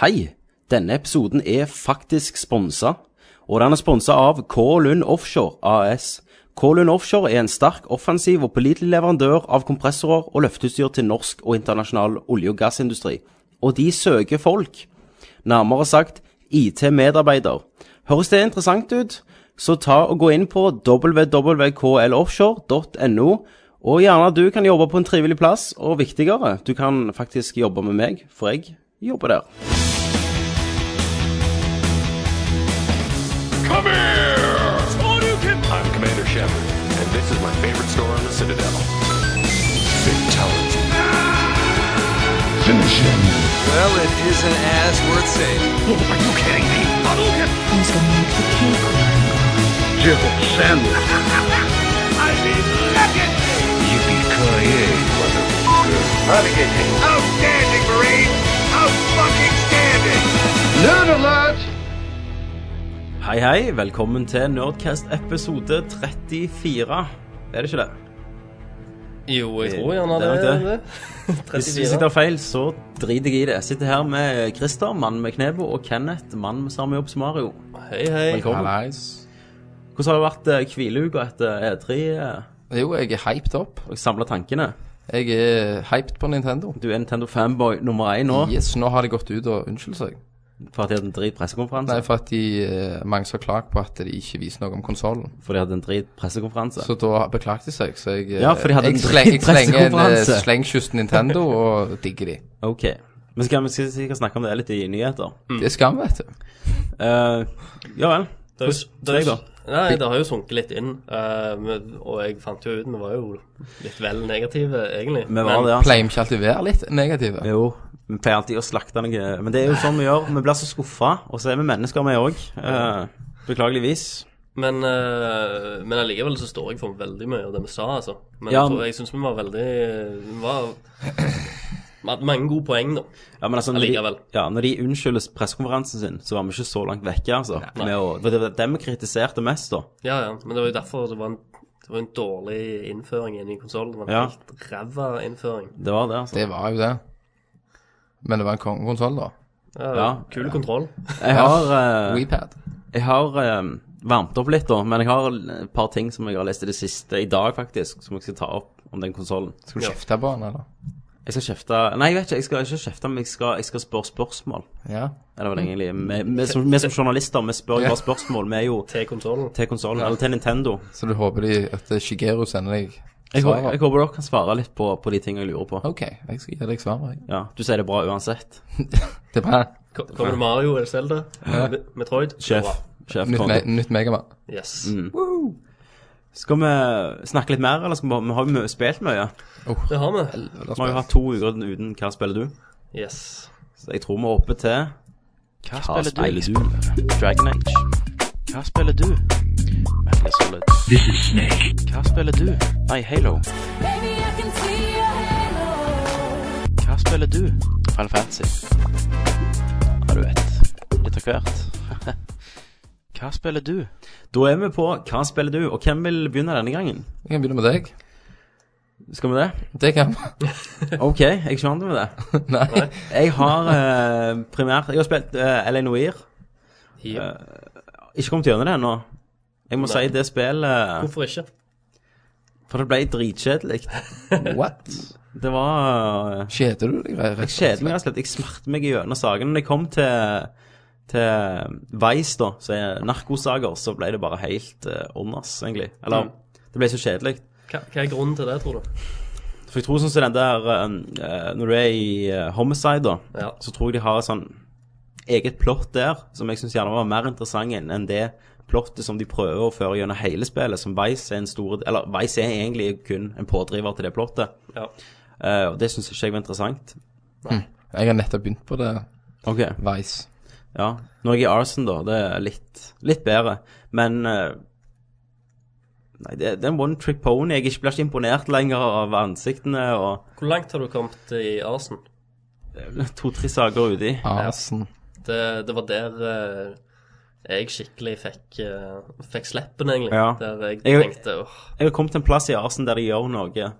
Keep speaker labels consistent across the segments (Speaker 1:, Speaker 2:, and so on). Speaker 1: Hei! Denne episoden er faktisk sponsa, og den er sponsa av K. Lund Offshore AS. K. Lund Offshore er en sterk, offensiv og pålitelig leverandør av kompressorer og løfteutstyr til norsk og internasjonal olje- og gassindustri. Og de søker folk. Nærmere sagt IT-medarbeider. Høres det interessant ut? Så ta og gå inn på www.kloffshore.no, og gjerne du kan jobbe på en trivelig plass, og viktigere, du kan faktisk jobbe med meg, for jeg jobber der.
Speaker 2: Come here! I'm Commander Shepard, and this is my favorite store on the Citadel. Fatality. Finish him.
Speaker 3: Well, it isn't as worth saving.
Speaker 2: Are you kidding me?
Speaker 4: Who's gonna make the cake?
Speaker 2: I mean, legend! Yippee-ki-yay, motherfucker. Outstanding, Marine! Out-fucking-standing!
Speaker 1: Hei, hei. Velkommen til Nerdcast episode 34. Er det ikke det?
Speaker 5: Jo, jeg tror gjerne det.
Speaker 1: Det er nok det. Hvis hvis jeg
Speaker 5: 34.
Speaker 1: tar feil, så driter jeg i det. Jeg sitter her med Christer, mann med knebo, og Kenneth, mann med samme jobb som Mario.
Speaker 5: Hei, hei.
Speaker 1: Velkommen.
Speaker 6: Nice.
Speaker 1: Hvordan har det vært eh, hvileuka etter E3 eh,
Speaker 6: Jo, jeg er hyped opp.
Speaker 1: og samla tankene?
Speaker 6: Jeg er hyped på Nintendo.
Speaker 1: Du er Nintendo fanboy nummer én nå
Speaker 6: Yes, nå har de gått ut og unnskyldt seg.
Speaker 1: for at de hadde en drit
Speaker 6: Nei,
Speaker 1: pressekonferanse.
Speaker 6: for at de, eh, mange som har klagd på at de ikke viser noe om konsollen.
Speaker 1: For de hadde en drit pressekonferanse.
Speaker 6: Så da beklagde de seg. Så jeg, eh,
Speaker 1: Ja, for de hadde en
Speaker 6: jeg, sleng, jeg slenger en eh,
Speaker 1: pressekonferanse.
Speaker 6: slengkyss til Nintendo og digger de.
Speaker 1: Ok. Men skal vi skal sikkert snakke om det litt i nyheter.
Speaker 6: Det er skam, vet
Speaker 1: Altså-
Speaker 6: du.
Speaker 1: Eh, ja vel. Hvordan
Speaker 5: Det er jo-
Speaker 1: det er
Speaker 5: det er
Speaker 1: deg,
Speaker 5: jo-
Speaker 1: da?
Speaker 5: Nei, det har jo sunket litt inn. eh, men- og jeg fant jo ut Vi var jo litt vel negative, egentlig.
Speaker 1: Vi var det, ja.
Speaker 6: Pleier vi ikke alltid å være litt negative?
Speaker 1: Jo, vi pleier alltid å slakte noe. Men det er jo sånn vi gjør. Vi blir så skuffa, og så er vi mennesker, vi òg. beklageligvis.
Speaker 5: Men, eh, men allikevel så står jeg for veldig mye av det vi sa, altså. Men
Speaker 1: Ja,
Speaker 5: jeg, tror- jeg syns vi var veldig Vi var vi hadde mange gode poeng, da.
Speaker 1: Ja, men altså, når de,
Speaker 5: Allikevel.
Speaker 1: ja, når de unnskylder pressekonferansen sin, så var vi ikke så langt vekke, altså. Med å, for det var dem vi kritiserte mest, da.
Speaker 5: Ja, ja. Men det var jo derfor det var en, det var en dårlig innføring i en ny konsoll. Det var en
Speaker 1: Ja.
Speaker 5: helt ræva innføring.
Speaker 1: Det var det, altså.
Speaker 6: Det var jo det. Men det var en kongekonsoll, da.
Speaker 5: Ja,
Speaker 1: Ja.
Speaker 5: Kul kontroll.
Speaker 1: Jeg har, eh,
Speaker 6: WePad.
Speaker 1: jeg har eh, varmt opp litt, da. Men jeg har et par ting som jeg har lest i det siste i dag, faktisk, som jeg skal ta opp om den konsollen.
Speaker 6: Skal du
Speaker 5: Ja.
Speaker 6: kjefte på den, eller?
Speaker 1: Jeg skal kjefte Nei, jeg vet ikke. Jeg skal ikke kjefte, men jeg skal, jeg skal spørre spørsmål.
Speaker 6: Ja.
Speaker 1: Eller vel egentlig Vi vi som, vi som journalister, vi spør jo bare spørsmål. Vi er jo
Speaker 5: Til konsollen.
Speaker 1: til konsollen, eller til Nintendo.
Speaker 6: Så du håper de at eh, Shigeru sender deg
Speaker 1: Jeg, hå-
Speaker 6: svaret?
Speaker 1: jeg håper dere kan svare litt på, på de tingene jeg lurer på.
Speaker 6: OK, jeg skal gi deg svaret. jeg.
Speaker 1: Ja, Du sier det bra uansett.
Speaker 6: Det er bare
Speaker 5: Ko- Kommer det Mario eller Zelda? Me- Metroid?
Speaker 1: Sjef.
Speaker 5: Bra.
Speaker 1: Sjef
Speaker 6: Nytt, me
Speaker 1: Konrad.
Speaker 6: nytt megamann.
Speaker 5: Yes.
Speaker 1: Mm. skal vi snakke litt mer, eller skal vi, bare- vi har jo mø- spilt mye?
Speaker 5: Det har vi.
Speaker 1: Vi har jo hatt to uker uten Hva spiller du?
Speaker 5: Yes.
Speaker 1: Så jeg tror vi er oppe til Hva
Speaker 7: spiller du?
Speaker 1: du? Dragon Age.
Speaker 7: Hva spiller du? Metal Solid. Hva spiller du? Nei, Halo.
Speaker 4: Baby, I can see your halo.
Speaker 7: Hva spiller du? Final Fantasy. Ja, du vet. Litt av hvert. Hva spiller du?
Speaker 1: Da er vi på Hva spiller du? Og hvem vil begynne denne gangen?
Speaker 6: Jeg kan begynne med deg.
Speaker 1: Skal vi det?
Speaker 6: Det kan vi.
Speaker 1: OK, jeg skjønner med det.
Speaker 6: Nei.
Speaker 1: Jeg har eh, primært Jeg har spilt uh, L.A. Noir. Eh,
Speaker 5: Ja.
Speaker 1: Ikke kommet gjennom det ennå. Jeg må
Speaker 5: Nei.
Speaker 1: si det spillet eh,
Speaker 5: Hvorfor ikke?
Speaker 1: For det ble dritkjedelig.
Speaker 6: What?
Speaker 1: Det var eh,
Speaker 6: Kjeder du deg? rett og slett?
Speaker 1: kjedelig, rett og slett. Jeg smerte meg gjennom saken. Når jeg kom til, til Vice, da, som er narkosaker, så ble det bare helt eh, ånders, egentlig. Eller Det ble så kjedelig.
Speaker 5: Hva, hva er grunnen til det, tror du?
Speaker 1: For jeg tror sånn som den der eh, Når du er i eh, Homicide, da,
Speaker 5: Ja.
Speaker 1: så tror jeg de har et sånn eget plott der som jeg syns gjerne var mer interessant enn enn det plottet som de prøver å føre gjennom hele spillet, som Vice er en stor Eller Vice er egentlig kun en pådriver til det plottet.
Speaker 5: Ja.
Speaker 1: Eh, og det syns ikke jeg var interessant.
Speaker 6: Jeg har nettopp begynt på det,
Speaker 1: Ok,
Speaker 6: Vice.
Speaker 1: ja. Når jeg er i Arson, da, det er litt, litt bedre. Men eh, Nei, det, det er en one trick pony. Jeg er ikke- blir ikke imponert lenger av ansiktene og
Speaker 5: Hvor langt har du kommet i Arsen?
Speaker 1: to-tre saker uti.
Speaker 6: Arsen.
Speaker 5: Det, det var der eh, jeg skikkelig fikk, eh, fikk sleppen, egentlig.
Speaker 1: Ja.
Speaker 5: Der jeg,
Speaker 1: Jeg-
Speaker 5: tenkte åh.
Speaker 1: Jeg har kommet til en plass i Arsen der de gjør noe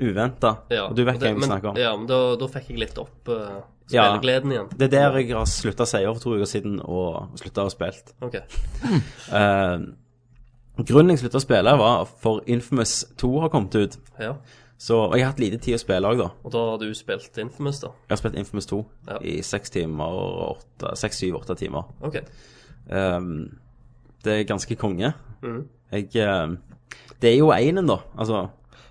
Speaker 1: uventa.
Speaker 5: Ja,
Speaker 1: og du vet hva
Speaker 5: det-
Speaker 1: jeg vil
Speaker 5: men-
Speaker 1: snakke om.
Speaker 5: Ja, men da, da fikk jeg litt opp eh, Spillegleden igjen.
Speaker 1: Det er der jeg har slutta å si for to uker siden, og slutta å spille.
Speaker 5: Ok.
Speaker 1: Eh, grunnen jeg slutta å spille, var for Infamous 2 har kommet ut.
Speaker 5: Ja.
Speaker 1: Så og jeg har hatt lite tid å spille òg, da.
Speaker 5: Og da har du spilt Infamous, da.
Speaker 1: Jeg har spilt Infamous 2
Speaker 5: Ja.
Speaker 1: i seks timer og åtte, seks, syv, åtte timer.
Speaker 5: Ok.
Speaker 1: Ehm, det er ganske konge.
Speaker 5: Mhm.
Speaker 1: Jeg ehm, Det er jo enen, da. Altså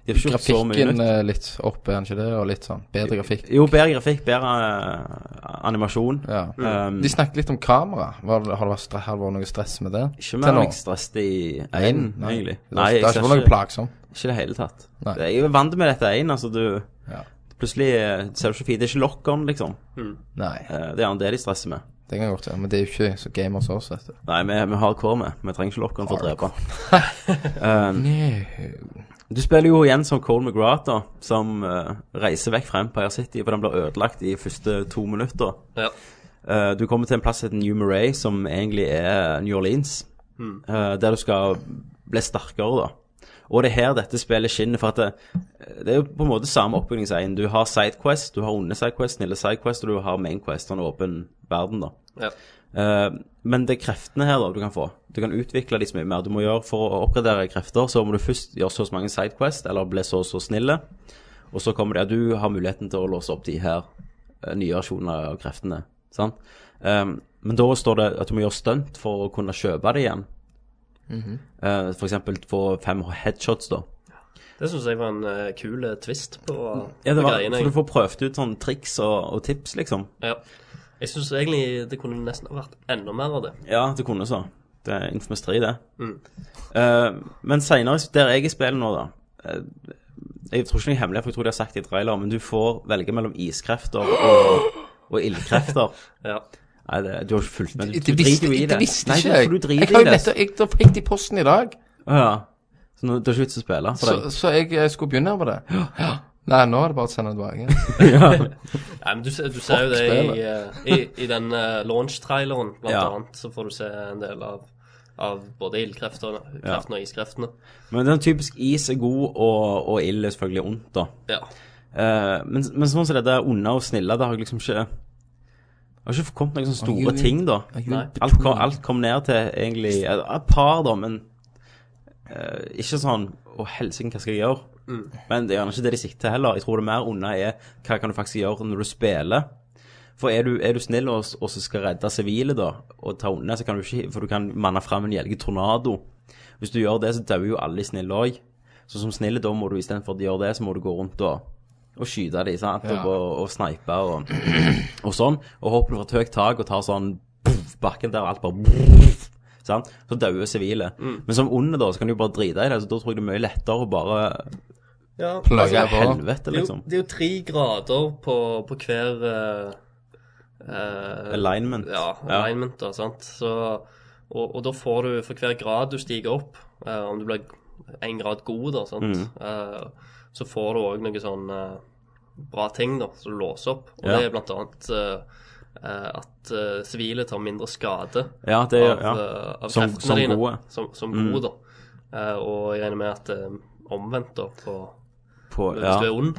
Speaker 1: de har ikke gjort så mye
Speaker 6: Grafikken
Speaker 1: nytt.
Speaker 6: eh, litt opp, er den ikke det? Og litt sånn bedre grafikk.
Speaker 1: Jo, bedre grafikk, bedre eh, animasjon.
Speaker 6: Ja.
Speaker 1: Ehm,
Speaker 6: De snakket litt om kamera. Var, det- har det vært, stre- har det vært noe stress med det?
Speaker 1: ikke
Speaker 6: Til
Speaker 1: mer
Speaker 6: nå?
Speaker 1: enn jeg stresset i én,
Speaker 6: Nei.
Speaker 1: egentlig.
Speaker 6: Det har- det har ikke vært noe plagsomt.
Speaker 1: Ikke i det hele tatt.
Speaker 6: Nei.
Speaker 1: Jeg er jo vant med dette én, altså du
Speaker 6: Ja.
Speaker 1: Plutselig eh, ser du ikke fint. Det er ikke lock-on, liksom.
Speaker 6: Nei,
Speaker 1: Eh, Det er gjerne det de stresser med.
Speaker 6: det kan jeg godt gjøre. Men det er jo ikke så game hos oss, vet du.
Speaker 1: Nei, vi, vi har core med. Vi trenger ikke lock-on for å drepe. Du spiller jo igjen som Cole McGrath, da, som eh, reiser vekk fra Empire City, for den blir ødelagt i første to minutter.
Speaker 5: Ja.
Speaker 1: Eh, du kommer til en plass som heter New Murray, som egentlig er New Orleans, eh, der du skal bli sterkere, da. Og det er her dette spillet skinner, for at det, eh, det er jo på en måte samme oppbygningsegn. Du har sidequest, du har onde sidequest, snille sidequest, og du har mainquest, sånn åpen verden, da.
Speaker 5: ja.
Speaker 1: Eh, men det er kreftene her da du kan få. Du kan utvikle de så mye mer. Du må gjøre For å oppgradere krefter så må du først gjøre så og så mange sidequest, eller bli så og så snille. Og så kommer det at du har muligheten til å låse opp de her eh, nye versjonene av kreftene. Sant? Eh, men da står det at du må gjøre stunt for å kunne kjøpe det igjen. Eh, for eksempel få fem headshots, da.
Speaker 5: Det syns jeg var en eh, kul eh, twist på
Speaker 1: Ja, det
Speaker 5: på
Speaker 1: var,
Speaker 5: greiene.
Speaker 1: for du
Speaker 5: jeg.
Speaker 1: får prøvd ut sånne triks og, og tips, liksom.
Speaker 5: Ja. Jeg syns egentlig det kunne nesten ha vært enda mer av det.
Speaker 1: Ja, det kunne så. Det er Infamous 3, det.
Speaker 6: Mm.
Speaker 1: Eh, men seinere, der jeg er i spillet nå, da eh, Jeg tror ikke det er hemmelig, for jeg tror de har sagt det i trailer, men du får velge mellom iskrefter og, og ildkrefter.
Speaker 5: Ja.
Speaker 1: Nei, det, du har ikke fulgt med. Du,
Speaker 6: Det
Speaker 1: du
Speaker 6: visste,
Speaker 1: driter jo i
Speaker 6: jeg-
Speaker 1: det.
Speaker 6: det visste
Speaker 1: Nei,
Speaker 6: ikke
Speaker 1: for
Speaker 6: jeg.
Speaker 1: du
Speaker 6: Jeg
Speaker 1: driter
Speaker 6: har
Speaker 1: i
Speaker 6: jo
Speaker 1: det.
Speaker 6: nettopp jeg- da fikk det i posten i dag,
Speaker 1: Å, Ja. Så nå, det er ikke vits å spille for
Speaker 6: så,
Speaker 1: deg.
Speaker 6: så jeg, jeg skulle begynne med det. Ja. Nei, nå er det bare å sende det tilbake.
Speaker 5: Nei, men du, ser- du ser jo det i, eh, i, i den eh, launch-traileren, blant
Speaker 1: Ja.
Speaker 5: annet, så får du se en del av, av både ildkreftene kreftene og iskreftene.
Speaker 1: Men den typisk is er god, og, og ild er selvfølgelig ondt, da.
Speaker 5: Ja.
Speaker 1: Eh, men, men sånn som det der onde og snille, det har jeg liksom ikke Det har ikke kommet noen sånne store
Speaker 6: Are you-
Speaker 1: ting, da.
Speaker 5: Nei.
Speaker 1: Alt kom, alt kom ned til egentlig eh, Et par, da, men eh, ikke sånn Å, helsike, hva skal jeg gjøre? Men det er gjerne ikke det de sikter til heller. Jeg tror det mer unna er hva kan du faktisk gjøre når du spiller. For er du, er du snill og, og så skal redde sivile, da, og ta unna, så kan du ikke For du kan manne fram en gjelge tornado. Hvis du gjør det, så dauer jo alle de snille òg. Så som snille, da må du istedenfor å gjøre det, så må du gå rundt og, og skyte de, sant?
Speaker 6: Ja.
Speaker 1: Og, og, og snipe og, og sånn. Og hopper du fra et høyt tak og tar sånn puff, bakken der, og alt bare puff, sant? Så dauer sivile.
Speaker 5: Mm.
Speaker 1: Men som onde, da, så kan du jo bare drite i det. Så da tror jeg det er mye lettere å bare Altså,
Speaker 5: ja. altså,
Speaker 6: Plugger jeg på.
Speaker 1: Helvete,
Speaker 5: Det er, jo,
Speaker 1: liksom.
Speaker 5: det er jo tre grader på, på hver eh, eh,
Speaker 1: Alignment.
Speaker 5: Ja, alignment, da, sant. Så, og, og da får du for hver grad du stiger opp, eh, om du blir én grad god, da, sant,
Speaker 1: Mm.
Speaker 5: eh, så får du òg noe sånn eh, bra ting, da, som du låser opp. Og
Speaker 1: Ja.
Speaker 5: det er blant annet eh, eh, at eh, sivile tar mindre skade
Speaker 1: Ja, det
Speaker 5: av,
Speaker 1: er ja.
Speaker 5: eh, av
Speaker 1: Som-
Speaker 5: kreftene
Speaker 1: som
Speaker 5: dine.
Speaker 1: gode. Mm.
Speaker 5: Som, som gode, da. Eh, og jeg regner med at eh, omvendt, da, på
Speaker 1: På,
Speaker 5: hvis
Speaker 1: ja.
Speaker 5: du er ond.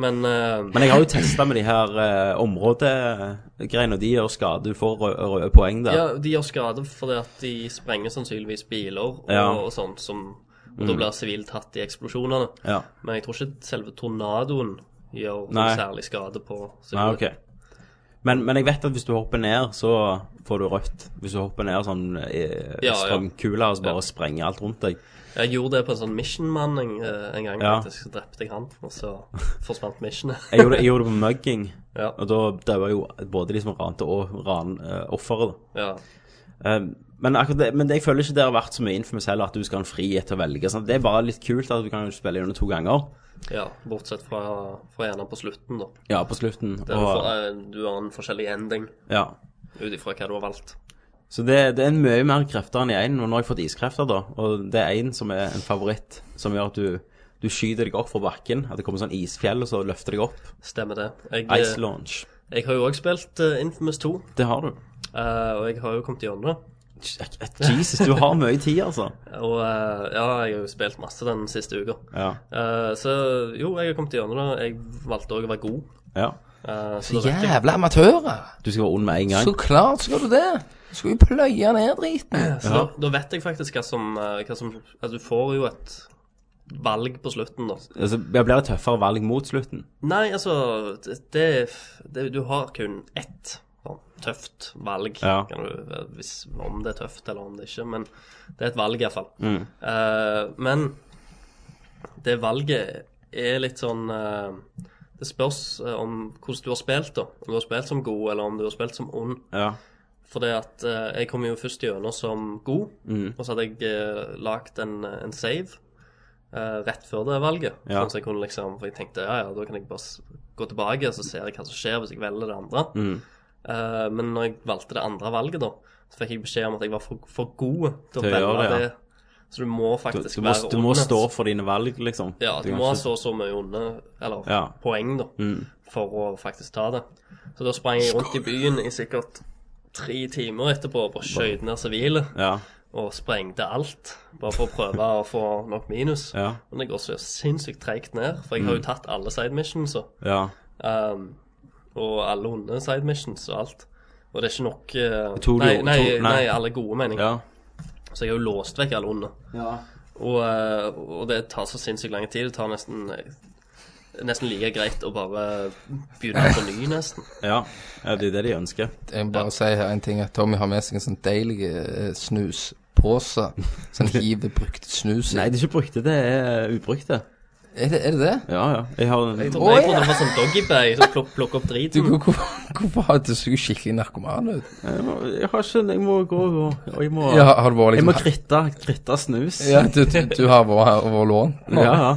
Speaker 5: Men, eh,
Speaker 1: Men jeg har jo testa med de her eh, områdegreiene, og de gjør skade. Du får rø- røde poeng der.
Speaker 5: ja, de gjør skade fordi at de sprenger sannsynligvis biler og,
Speaker 1: Ja. Mm.
Speaker 5: og sånt som Og da blir sivil tatt i eksplosjonene.
Speaker 1: Ja.
Speaker 5: Men jeg tror ikke selve tornadoen gjør noe
Speaker 1: Nei.
Speaker 5: særlig skade på
Speaker 1: Nei, Ah, ok. Men, men jeg vet at hvis du hopper ned, så får du rødt. Hvis du hopper ned sånn eh,
Speaker 5: Ja, ja.
Speaker 1: strømkula og så bare
Speaker 5: Ja.
Speaker 1: sprenger alt rundt deg.
Speaker 5: Jeg gjorde det på en sånn Mission-mann en, eh, en gang,
Speaker 1: Ja.
Speaker 5: faktisk. Så drepte jeg han, og så forsvant missionet.
Speaker 1: Jeg gjorde, jeg gjorde det på mugging,
Speaker 5: Ja.
Speaker 1: og da daua jo både de som rante og ran eh, offeret. da.
Speaker 5: ja.
Speaker 1: Eh, men, akkurat det, men det, jeg føler ikke det har vært så mye infamous heller, at du skal ha en frihet til å velge. Sånn. Det er bare litt kult at du kan spille gjennom to ganger.
Speaker 5: ja. Bortsett fra, fra gjerne på slutten, da.
Speaker 1: Ja, på slutten.
Speaker 5: Der du, får,
Speaker 1: Og,
Speaker 5: eh, du har en forskjellig ending
Speaker 1: ja.
Speaker 5: ut ifra hva du har valgt.
Speaker 1: Så det, det er mye mer krefter enn i én. Og nå har jeg fått iskrefter, da. Og det er én som er en favoritt, som gjør at du, du skyter deg opp fra bakken. At det kommer sånn isfjell, og så løfter deg opp.
Speaker 5: Stemmer det. Jeg,
Speaker 1: Ice launch.
Speaker 5: jeg har jo òg spilt eh, Infamous 2,
Speaker 1: Det har du.
Speaker 5: eh, og jeg har jo kommet gjennom det.
Speaker 1: Jesus, du har mye tid, altså.
Speaker 5: Og eh, ja, jeg har jo spilt masse den siste uka.
Speaker 1: Ja.
Speaker 5: Eh, så jo, jeg har kommet gjennom det. Jeg valgte òg å være god.
Speaker 1: ja.
Speaker 5: Eh, så
Speaker 6: Så
Speaker 5: det rekker.
Speaker 6: jævla amatører!
Speaker 1: Du skal være ond med en gang.
Speaker 6: Så klart skal du det! Du skal jo pløye ned driten.
Speaker 5: Så da, da vet jeg faktisk hva som, eh, hva som Altså, du får jo et valg på slutten, da.
Speaker 1: Altså, det blir et tøffere valg mot slutten.
Speaker 5: Nei, altså det, det, det- Du har kun ett sånn tøft valg,
Speaker 1: Ja.
Speaker 5: kan du, hvis, om det er tøft eller om det ikke. Men det er et valg, iallfall. Mm. Uh, men det valget er litt sånn eh, Det spørs eh, om hvordan du har spilt, da. Om du har spilt som god, eller om du har spilt som ond.
Speaker 1: Ja.
Speaker 5: Fordi at eh, jeg kom jo først gjennom som god,
Speaker 1: Mm.
Speaker 5: og så hadde jeg uh, lagd en, en save eh, rett før det valget.
Speaker 1: Ja.
Speaker 5: Sånn at jeg kunne liksom, For jeg tenkte ja, ja, da kan jeg bare s- gå tilbake og så ser jeg hva som skjer hvis jeg velger det andre.
Speaker 1: Mm.
Speaker 5: Eh, men når jeg valgte det andre valget, da, så fikk jeg beskjed om at jeg var for, for god til å
Speaker 1: Til å
Speaker 5: velge
Speaker 1: gjøre det, ja.
Speaker 5: det. Så du må
Speaker 1: Du,
Speaker 5: faktisk
Speaker 1: du, må,
Speaker 5: være
Speaker 1: du må
Speaker 5: onde.
Speaker 1: stå for dine valg, liksom.
Speaker 5: Ja, du
Speaker 1: kan
Speaker 5: må ha
Speaker 1: ikke-
Speaker 5: så og så mye onde, eller
Speaker 1: Ja. Mm.
Speaker 5: poeng, da, for å faktisk ta det. Så da sprang jeg rundt i byen i sikkert tre timer etterpå og bare skjøt ned sivile
Speaker 1: Ja.
Speaker 5: og sprengte alt, bare for å prøve å få nok minus.
Speaker 1: Ja. Mm.
Speaker 5: Men det går så sinnssykt treigt ned, for jeg har jo tatt alle side missions og,
Speaker 1: ja.
Speaker 5: um, og alle onde side missions og alt. Og det er ikke nok eh,
Speaker 1: To-
Speaker 5: nei, nei,
Speaker 1: to- nei.
Speaker 5: nei, alle gode, mener jeg.
Speaker 1: ja.
Speaker 5: Så jeg har jo låst vekk alle onde. Og, eh, og det tar så sinnssykt lang tid. Det tar nesten Nesten like greit å bare begynne på ny, nesten.
Speaker 1: ja. ja. Det er det de ønsker.
Speaker 6: Jeg må bare si her en ting, at Tommy har med seg en sånn deilig eh, snuspose. Sånn hiv det brukte snus i.
Speaker 1: Nei, det er ikke brukte, det er ubrukte.
Speaker 6: Er det, er det det?
Speaker 1: Ja, ja. Jeg har
Speaker 5: Jeg
Speaker 1: en
Speaker 5: trodde, jeg trodde det var sånn doggybag som pluk, plukker opp
Speaker 6: Du,
Speaker 5: driten.
Speaker 6: hvor- hvor- hvorfor har du så skikkelig narkoman ut?
Speaker 1: Jeg må- jeg har ikke Jeg må gå og og jeg må
Speaker 6: Ja, har du vært
Speaker 1: Jeg
Speaker 6: liksom
Speaker 1: må kritte, kritte snus.
Speaker 6: Ja, du, du, du har vært vært lånt nå?
Speaker 1: ja. ja.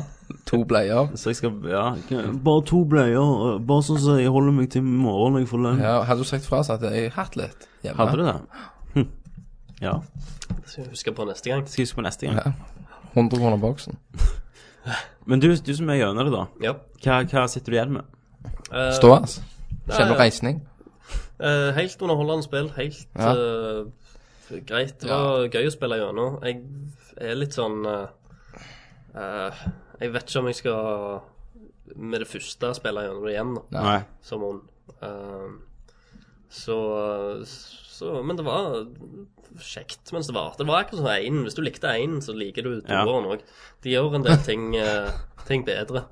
Speaker 6: To bleier.
Speaker 1: Så jeg skal Ja. Bare to bleier. Bare sånn som jeg holder meg til i morgen når jeg får lønn.
Speaker 6: Ja, hadde du sagt fra så hadde jeg hatt litt hjemme.
Speaker 1: Hadde du det? Hm. Ja.
Speaker 5: Skal jeg huske på neste gang.
Speaker 1: Skal jeg huske på neste gang.
Speaker 6: Ja. 100 kroner boksen.
Speaker 1: Men du, du som er gjennom det, da.
Speaker 5: Ja.
Speaker 1: Hva, hva sitter du igjen med?
Speaker 5: Eh,
Speaker 6: Ståas.
Speaker 5: ja,
Speaker 6: Kjenner
Speaker 5: ja.
Speaker 6: du reisning?
Speaker 5: eh, helt underholdende spill. Helt
Speaker 6: Ja.
Speaker 5: eh, greit. Det var gøy å spille gjennom. Jeg er litt sånn eh, eh, Jeg vet ikke om jeg skal med det første spille gjennom det igjen. Da.
Speaker 1: Nei.
Speaker 5: som hun. Ehm, så, så Men det var kjekt mens det varte. Det var akkurat som én. Hvis du likte én, så liker du
Speaker 1: Ja.
Speaker 5: toeren òg. De gjør en del ting, eh, ting bedre.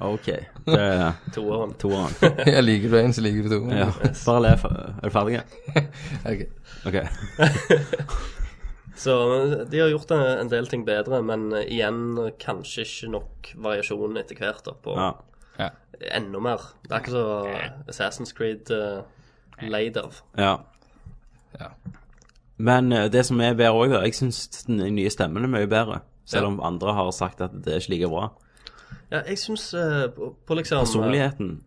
Speaker 1: OK. Det er
Speaker 5: Toeren.
Speaker 1: toeren.
Speaker 6: Jeg liker du en, så liker du to.
Speaker 1: Ja. Bare le. Er du ferdig?
Speaker 6: Ok.
Speaker 1: OK.
Speaker 5: Så eh, de har gjort en, en del ting bedre, men eh, igjen eh, kanskje ikke nok variasjon etter hvert. da, på
Speaker 1: Ja.
Speaker 5: Enda mer. Det er ikke så Assassin's Creed uh, leid av.
Speaker 1: ja.
Speaker 6: Ja.
Speaker 1: Men eh, det som er bedre òg, da Jeg syns den nye stemmen er mye bedre. Selv om andre har sagt at det er ikke like bra.
Speaker 5: Ja, jeg syns på, på liksom eh,
Speaker 1: Personligheten.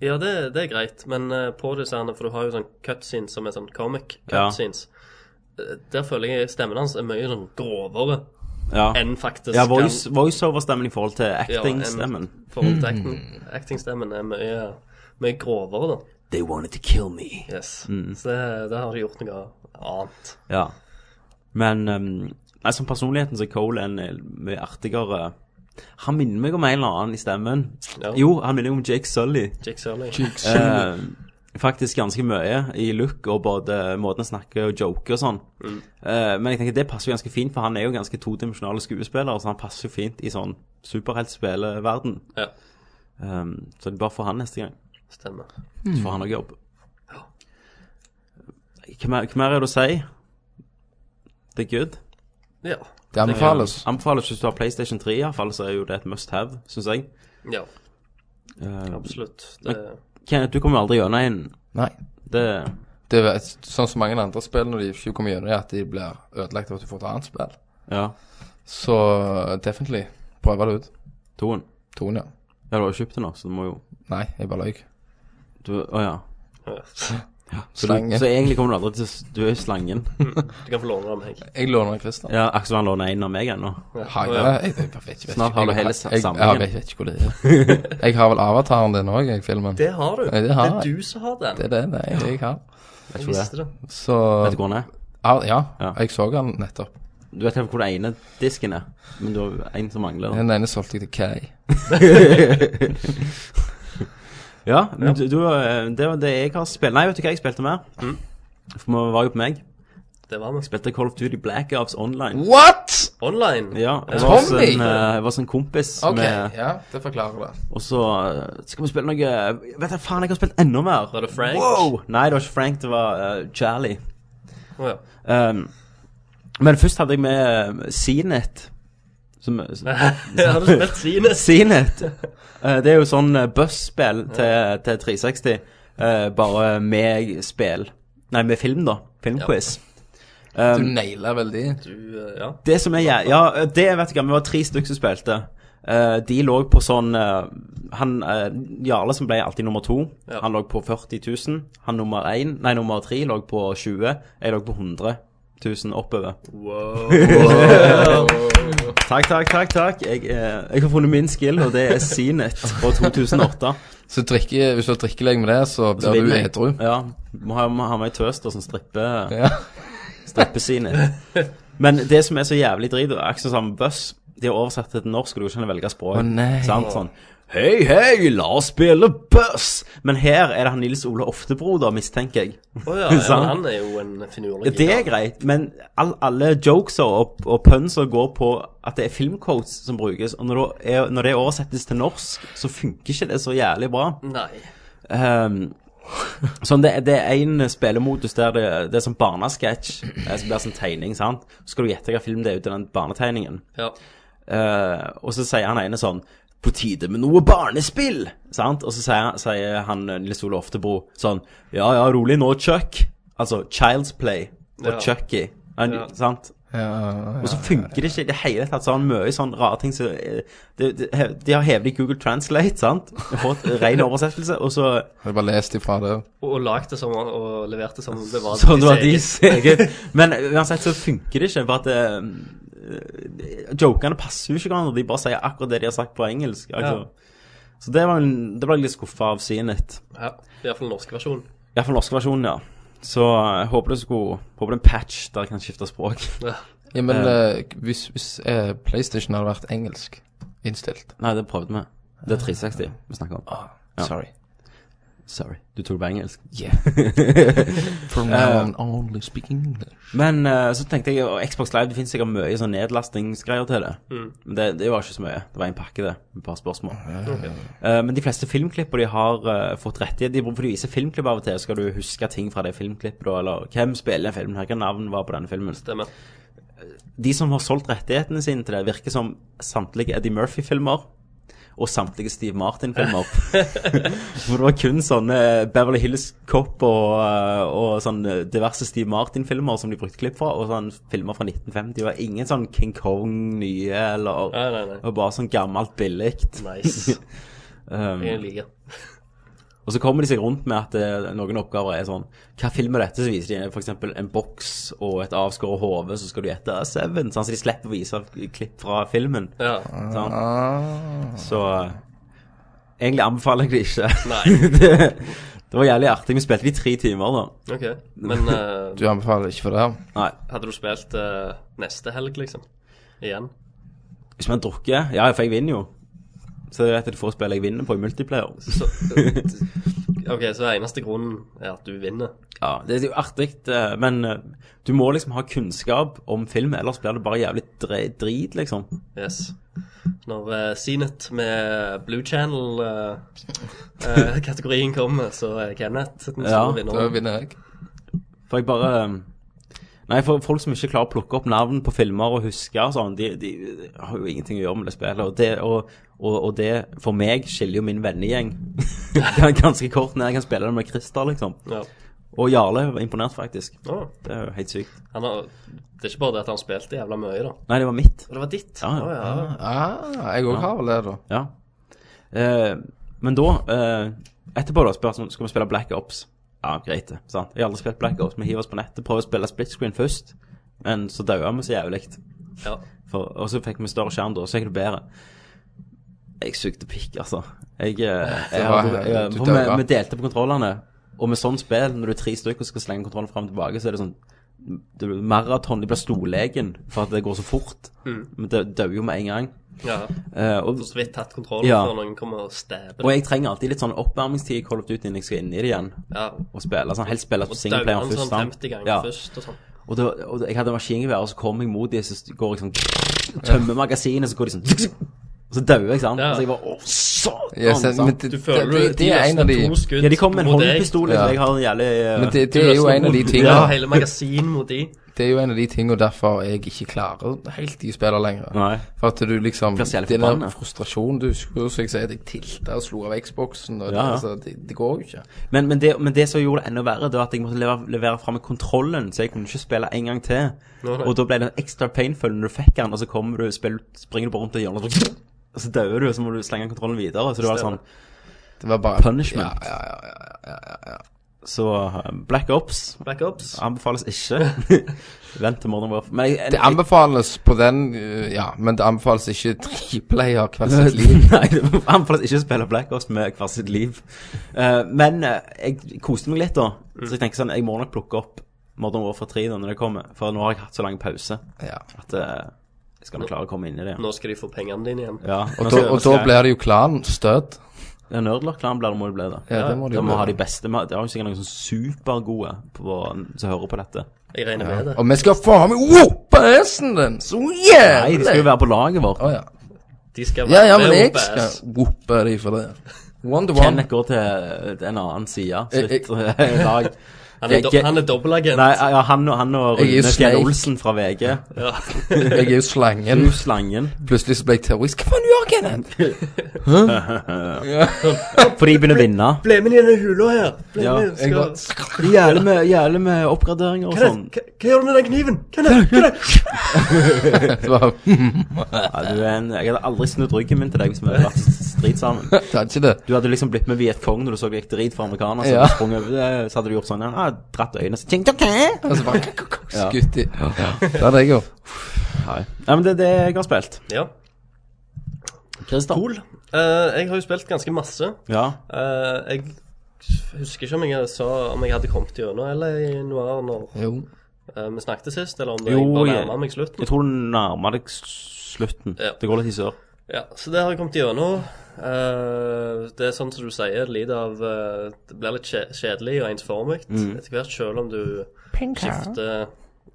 Speaker 5: Ja, det, det er greit, men eh, på disse her, for du har jo sånn cutscenes som er sånn comic
Speaker 1: Ja.
Speaker 5: cutscenes. Eh, Der føler jeg stemmen hans er mye sånn grovere
Speaker 1: Ja.
Speaker 5: enn faktisk
Speaker 1: Ja,
Speaker 5: kan-
Speaker 1: voice- voiceover-stemmen i forhold til
Speaker 5: Ja,
Speaker 1: acting-stemmen.
Speaker 5: enn forhold til acting,
Speaker 6: Hmm.
Speaker 5: actingstemmen er mye, mye grovere, da.
Speaker 1: They wanted to kill me.
Speaker 5: Yes.
Speaker 1: Hmm.
Speaker 5: Så det, det har de gjort noe annet.
Speaker 1: Ja. Men um, nei, som personligheten så er Cole en eh, mye artigere Han minner meg om en eller annen i stemmen.
Speaker 5: Ja.
Speaker 1: Jo, han minner meg om Jake Sully.
Speaker 5: Jake Sully.
Speaker 1: Eh, faktisk ganske mye i look og både måten han snakker og joker og sånn.
Speaker 5: Mm.
Speaker 1: Eh, men jeg tenker det passer jo ganske fint, for han er jo ganske todimensjonale skuespiller, så han passer jo fint i sånn superheltspilleverden.
Speaker 5: Ja,
Speaker 1: Um, så det er bare for han neste gang.
Speaker 5: stemmer.
Speaker 1: Så får han òg jobb. Hva mer, hva mer er det å si? Det er good.
Speaker 5: Ja.
Speaker 6: Det anbefales.
Speaker 1: Anbefales hvis du har PlayStation 3, i hvert fall, så er jo det et must have, syns jeg.
Speaker 5: ja
Speaker 1: Eh,
Speaker 5: absolutt. Det,
Speaker 1: Kenneth, du kommer jo aldri gjennom en.
Speaker 6: Nei.
Speaker 1: Det
Speaker 6: Det er et- sånn som mange andre spill når de ikke kommer gjennom det, at de blir ødelagt av at du får et annet spill.
Speaker 1: Ja.
Speaker 6: Så definitely, prøv det ut.
Speaker 1: Toen.
Speaker 6: Toen, ja.
Speaker 1: Ja, du har jo kjøpt den nå, så du må jo
Speaker 6: Nei, jeg bare løy.
Speaker 1: du, Å ja. Så, du,
Speaker 6: Slange.
Speaker 1: så egentlig kommer du aldri til s- Du er jo slangen.
Speaker 5: du kan få låne av meg.
Speaker 6: Jeg låner Christer.
Speaker 1: Ja, Aksel han låner en av meg ennå.
Speaker 6: Har jeg det? Jeg, jeg, jeg vet ikke.
Speaker 1: Snart har du
Speaker 6: jeg-
Speaker 1: hele
Speaker 6: jeg-
Speaker 1: samlingen.
Speaker 6: Jeg, jeg vet ikke hvor det er. Jeg har vel avataren din òg, jeg, filmen.
Speaker 5: Det har du.
Speaker 6: Nei, det har
Speaker 5: er
Speaker 6: jeg.
Speaker 5: du som har den.
Speaker 6: Det er det, det er jeg, jeg har.
Speaker 1: Vet
Speaker 5: jeg
Speaker 1: ikke hvor det er.
Speaker 5: visste det.
Speaker 6: Så
Speaker 1: Vet du hvor den er?
Speaker 6: ah, ja,
Speaker 1: Ja.
Speaker 6: jeg så den nettopp.
Speaker 1: Du vet helt hvor den ene disken er, men du har jo en som mangler. da.
Speaker 6: Den ene solgte jeg til Kay.
Speaker 1: Ja, men du, du, eh, det var det jeg har spilt Nei, vet du hva jeg spilte mer? For vi var jo på meg.
Speaker 5: Det var vi.
Speaker 1: Spilte Call of Duty Black Ops Online.
Speaker 6: What?!
Speaker 5: Online.
Speaker 1: Ja, jeg var hos
Speaker 6: Mm. Tommy!
Speaker 1: en, eh, jeg var hos en kompis
Speaker 6: Ok,
Speaker 1: med
Speaker 6: ja, det forklarer det.
Speaker 1: Og så eh, skal vi spille noe eh, Vet du faen, jeg har spilt enda mer.
Speaker 5: Var det Frank?
Speaker 1: Wow! Nei, det var ikke Frank, det var eh, Charlie.
Speaker 5: Å, ja.
Speaker 1: Um, men først hadde jeg med eh, CNET. Som,
Speaker 5: Jeg hadde spilt Sinus.
Speaker 1: CNET. Eh, det er jo sånn eh, busspill til, til 360, eh, bare med spill. Nei, med film, da. Filmquiz.
Speaker 6: Du naila vel de.
Speaker 5: Du, eh, ja.
Speaker 1: Det som er jæ- Ja, eh, det vet jeg ikke. Vi var tre stykker som spilte. Eh, de lå på sånn eh, Han eh, Jarle, som ble alltid nummer to,
Speaker 5: Ja.
Speaker 1: han lå på 40 000. Han nummer én, nei, nummer tre lå på 20 Jeg lå på 100 000 oppover.
Speaker 5: Wow.
Speaker 1: Takk, takk, takk. takk Jeg, eh, jeg har funnet min skill, og det er Cnet fra 2008.
Speaker 6: Så drikke, hvis du har drikkelegg med det, så
Speaker 1: Så
Speaker 6: blir du
Speaker 1: vinner jeg.
Speaker 6: edru.
Speaker 1: Ja. Må ha, må ha med ei tøster som stripper
Speaker 6: Ja.
Speaker 1: strippesine. Men det som er så jævlig drit, er akkurat som buss. De har oversatt det til norsk, og du kan ikke velge språk.
Speaker 6: Å, nei.
Speaker 1: Sant, sånn. Hei, hei, la oss spille buss! Men her er det han Nils Ole Oftebro, da, mistenker jeg.
Speaker 5: Å ja, ja,
Speaker 1: Sant.
Speaker 5: men han er jo en finurlig
Speaker 1: Det er greit, men all, alle jokes og, og punser går på at det er filmcodes som brukes. Og når det, er, når det oversettes til norsk, så funker ikke det så jævlig bra.
Speaker 5: Nei.
Speaker 1: Ehm, sånn, det, det er en spillemodus der det, det er sånn barnesketsj, eh, som blir sånn tegning, sant? Så skal du gjette hva film det er ut av den barnetegningen.
Speaker 5: Ja.
Speaker 1: Eh, og så sier han ene sånn, på tide med noe barnespill, sant? Og så sier, sier han eh, Nils Ole Oftebro sånn, ja, ja, rolig nå, Chuck. Altså, Child's Play og
Speaker 5: Ja.
Speaker 1: Chucky, han,
Speaker 5: Ja.
Speaker 1: sant? Og så funker det ikke i det hele tatt. Så har han mye sånn rare ting som eh, De, de, de har hevet i Google Translate, sant? Fått ren oversettelse, og så
Speaker 6: Har du bare lest ifra det?
Speaker 5: Og, og lagde som han- og leverte som det var
Speaker 1: Sånn det var
Speaker 5: eget.
Speaker 1: deres eget. Men uansett så funker det ikke. For at eh, Jokene passer jo ikke hverandre. De bare sier akkurat det de har sagt på engelsk. Altså. Så det, var en, det ble jeg litt skuffa av Zenit.
Speaker 5: Ja, Iallfall den norske versjonen.
Speaker 1: Iallfall norske versjonen, ja. Så jeg håper det skulle Håper det er en patch der jeg kan skifte språk.
Speaker 6: Ja,
Speaker 5: Ja.
Speaker 6: men
Speaker 1: Eh.
Speaker 6: eh, hvis, hvis eh, PlayStation hadde vært engelsk innstilt
Speaker 1: Nei, det prøvde vi. Det er 360 vi snakker om. Ja.
Speaker 6: Sorry.
Speaker 1: Ah, Sorry. Du tok det på engelsk.
Speaker 6: Yeah. From now on only speaking English.
Speaker 1: Men eh, så tenkte jeg og Xbox Live, det finnes sikkert mye sånn nedlastingsgreier til det. Men det, det var ikke så mye. Det var en pakke, det. Med et par spørsmål. Eh, men de fleste filmklipper de har eh, fått rettighet i, for de viser filmklipp av og til, skal du huske ting fra det filmklippet, da, eller hvem spiller den filmen her, hva navn var på denne filmen.
Speaker 5: Stemmer.
Speaker 1: De som har solgt rettighetene sine til det, virker som samtlige Eddie Murphy-filmer. Og samtlige Steve Martin-filmer. For det var kun sånne Beverly Hills Cop og, eh, og sånne diverse Steve Martin-filmer som de brukte klipp fra, og sånne filmer fra 1950. Det var ingen sånn King Kong nye, eller
Speaker 5: Nei, nei, nei.
Speaker 1: Og bare sånn gammelt billig.
Speaker 5: Nice.
Speaker 1: Um,
Speaker 5: Jeg liker.
Speaker 1: og så kommer de seg rundt med at eh, noen oppgaver er sånn Hva film er dette? Så viser de f.eks. en boks og et avskåret hode, så skal du gjette «Ah, Seven. Sånn, så de slipper å vise klipp fra filmen.
Speaker 5: Ja.
Speaker 1: Sånn. Så eh, egentlig anbefaler jeg det ikke.
Speaker 5: Nei.
Speaker 1: det, det var jævlig artig. Vi spilte det i tre timer, da.
Speaker 5: OK. Men eh,
Speaker 6: Du anbefaler ikke for det her?
Speaker 1: Nei.
Speaker 5: hadde du spilt eh, neste helg, liksom? Igjen?
Speaker 1: Hvis man drukker Ja, for jeg vinner jo. Så det er et av de få spillene jeg vinner på i multiplayer.
Speaker 5: Så, eh, OK, så eneste grunnen er at du vinner.
Speaker 1: Ja, Det er jo artig, eh, men eh, du må liksom ha kunnskap om film, ellers blir det bare jævlig dre- drit, liksom.
Speaker 5: Yes. Når uh, Cnet med Blue eh, Channel-kategorien kommer, så er Kenneth den
Speaker 1: Ja,
Speaker 6: Da
Speaker 5: store vinneren.
Speaker 6: vinner jeg.
Speaker 1: For jeg bare um, Nei, for folk som ikke klarer å plukke opp navn på filmer og huske og sånn, de, de har jo ingenting å gjøre med det spillet. Og det, og, og, og det for meg, skiller jo min vennegjeng ganske kort ned. Jeg kan spille det med Christer, liksom.
Speaker 5: Ja.
Speaker 1: Og Jarle var imponert, faktisk.
Speaker 5: Å,
Speaker 1: Det er jo helt sykt.
Speaker 5: han har, det er ikke bare det at han spilte jævla mye, da.
Speaker 1: Nei, det var mitt.
Speaker 5: Og det var ditt.
Speaker 1: Ja, ja.
Speaker 5: Å, ja.
Speaker 6: Ah, jeg òg har vel det, da.
Speaker 1: Ja. Eh, men da eh, Etterpå da spør jeg sånn, skal vi spille Black Ops. Ja, greit, det. sant? Jeg har aldri spilt Black Ops. Vi hiver oss på nettet, prøver å spille split screen først. Men så daua vi så jævlig.
Speaker 5: ja.
Speaker 1: For, og så fikk vi større skjerm da, så gikk det bedre. Jeg sugde pikk, altså. Jeg, eh, jeg,
Speaker 6: var-
Speaker 1: hadde- jeg,
Speaker 6: du
Speaker 1: for
Speaker 6: døde.
Speaker 1: vi, vi delte på kontrollene, og med sånn spill, når du er tre stykker og skal slenge kontrollen fram og tilbake, så er det sånn det blir maraton, det blir storlegen, for at det går så fort.
Speaker 5: Mm.
Speaker 1: Men det dør jo med en gang.
Speaker 5: Ja.
Speaker 1: Eh, og,
Speaker 5: For så vidt tatt kontrollen
Speaker 1: Ja.
Speaker 5: før noen kommer og stabber.
Speaker 1: og jeg trenger alltid litt sånn oppvarmingstid i Call of Duty når jeg skal inn i det igjen.
Speaker 5: ja.
Speaker 1: Og spille, sånn, helst spille
Speaker 5: Og
Speaker 1: singleplayer
Speaker 5: dauer han
Speaker 1: først.
Speaker 5: sånn
Speaker 1: sant?
Speaker 5: 50 ganger
Speaker 1: ja.
Speaker 5: først og sånn.
Speaker 1: Og, da, og da- jeg hadde maskingevær, og så kom jeg mot dem, så går jeg sånn Tømmer magasinet, så går de sånn Og så dauer jeg, sant.
Speaker 5: Ja.
Speaker 1: Så jeg bare Å, satan!
Speaker 6: Yes,
Speaker 1: sant?
Speaker 6: men det,
Speaker 5: Du
Speaker 6: det,
Speaker 5: føler
Speaker 6: det, det er en av de
Speaker 5: to skudd
Speaker 1: Ja, de kom med en
Speaker 5: mot deg.
Speaker 1: håndpistol,
Speaker 6: Ja.
Speaker 1: for jeg har en jævlig eh,
Speaker 6: Men det, det er jo en av de
Speaker 5: Ja,
Speaker 6: tingene
Speaker 5: hele magasin mot de.
Speaker 6: Det er jo en av de tingene derfor jeg ikke klarer helt de spiller lenger.
Speaker 1: Nei.
Speaker 6: For at du liksom
Speaker 1: Blir så jævlig
Speaker 6: Den der
Speaker 1: forbannet.
Speaker 6: frustrasjonen Du husker jo som jeg sier, at jeg tilta og slo av Xboxen. Og
Speaker 1: Ja, ja.
Speaker 6: Det, altså, det, det går jo ikke.
Speaker 1: Men, men, det, men det som gjorde det enda verre, det var at jeg måtte levere, levere fra meg kontrollen, så jeg kunne ikke spille en gang til.
Speaker 5: Nei, nei.
Speaker 1: Og da ble det ekstra painful når du fikk den, og så kommer du, spiller, springer du bare rundt og gjør noe sånn, og så dør du, og så må du slenge kontrollen videre. Så det var sånn
Speaker 6: Det var bare
Speaker 1: punishment.
Speaker 6: Ja, ja, ja, ja.
Speaker 1: Så eh, Black Ops
Speaker 5: Backups.
Speaker 1: anbefales ikke. Vent til Modern Warfare. Men jeg,
Speaker 6: Det
Speaker 1: jeg,
Speaker 6: anbefales på den øh, Ja, men det anbefales ikke triplayer hvert sitt liv.
Speaker 1: Nei, det anbefales ikke å spille Black Ops med hvert sitt liv. Eh, men eh, jeg koste meg litt da, så jeg tenker sånn, jeg må nok plukke opp Modern Warfare 3 da når det kommer, for nå har jeg hatt så lang pause
Speaker 6: Ja.
Speaker 1: at eh, jeg skal nok klare å komme inn i det. igjen.
Speaker 5: Nå skal de få pengene dine igjen.
Speaker 1: Ja,
Speaker 6: Og, da, og da blir det jo klanstøt.
Speaker 1: Ja, Nerdlock-klanen blir det må det bli, da.
Speaker 6: Ja, det må
Speaker 1: Da
Speaker 6: det jo
Speaker 1: må vi ha
Speaker 6: bli.
Speaker 1: de beste. Vi har- Det er jo sikkert noen sånn supergode på, som hører på dette.
Speaker 5: Jeg regner med det.
Speaker 6: Og vi skal faen meg whoope hesten din! Så
Speaker 1: Nei, de
Speaker 6: jævlig!
Speaker 1: skal jo være på laget vårt.
Speaker 6: Å ja.
Speaker 5: De skal
Speaker 6: ja, ja, men
Speaker 5: med
Speaker 6: jeg
Speaker 5: og
Speaker 6: skal
Speaker 5: bæs.
Speaker 6: whoope de for det. One to one.
Speaker 1: Kenneth går til en annen side. Så
Speaker 6: Jeg-
Speaker 1: vidt lag.
Speaker 5: Han er, do
Speaker 1: Jeg-
Speaker 5: han er dobbelagent.
Speaker 1: Nei, ja, han og, han og
Speaker 6: Jeg er jo
Speaker 1: Rune Fjell
Speaker 6: Snake.
Speaker 1: Olsen fra VG.
Speaker 5: Ja.
Speaker 6: Jeg er jo slangen.
Speaker 1: Du slangen.
Speaker 6: Plutselig så ble jeg terrorist. Hva faen gjør jeg henne?
Speaker 1: For de begynner å vinne.
Speaker 5: Ble med i denne hula her. Ble
Speaker 1: Ja,
Speaker 5: med.
Speaker 6: Jeg
Speaker 5: Skal...
Speaker 6: bare
Speaker 1: Jævlig med, jævlig med oppgraderinger og
Speaker 5: Kenneth,
Speaker 1: sånn.
Speaker 5: hva, hva gjør du med den kniven? Kenneth, Kenneth!
Speaker 6: Det var
Speaker 1: Ja, du er en, jeg hadde aldri snudd ryggen min til deg hvis vi hadde vært i strid sammen.
Speaker 6: Det er ikke det.
Speaker 1: Du hadde liksom blitt med Viet Cong når du så det gikk drit for amerikanere. Så,
Speaker 6: Ja.
Speaker 1: hadde du sprunget over det, så hadde du gjort sånn ja, ah, Dratt øynene så ting, ting, ting.
Speaker 6: Og så bare skutt i. Det hadde jeg jo.
Speaker 1: Nei. Nei, men det er det jeg har spilt.
Speaker 5: Ja,
Speaker 1: Christer.
Speaker 5: cool. Eh, jeg har jo spilt ganske masse.
Speaker 1: Ja.
Speaker 5: Eh, jeg husker ikke om jeg sa om jeg hadde kommet gjennom eller i januar når
Speaker 6: Jo.
Speaker 5: eh, vi snakket sist, eller om det
Speaker 1: Jo,
Speaker 5: jeg bare
Speaker 1: jeg-
Speaker 5: nærma meg slutten.
Speaker 1: Jeg tror du nærmer deg s- slutten.
Speaker 5: Ja.
Speaker 1: Det går litt i sør.
Speaker 5: Ja, så det har jeg kommet gjennom. Eh, det er sånn som du sier, det lider av eh, Det blir litt kje- kjedelig og ensformig
Speaker 1: Mm.
Speaker 5: etter hvert, selv om du skifter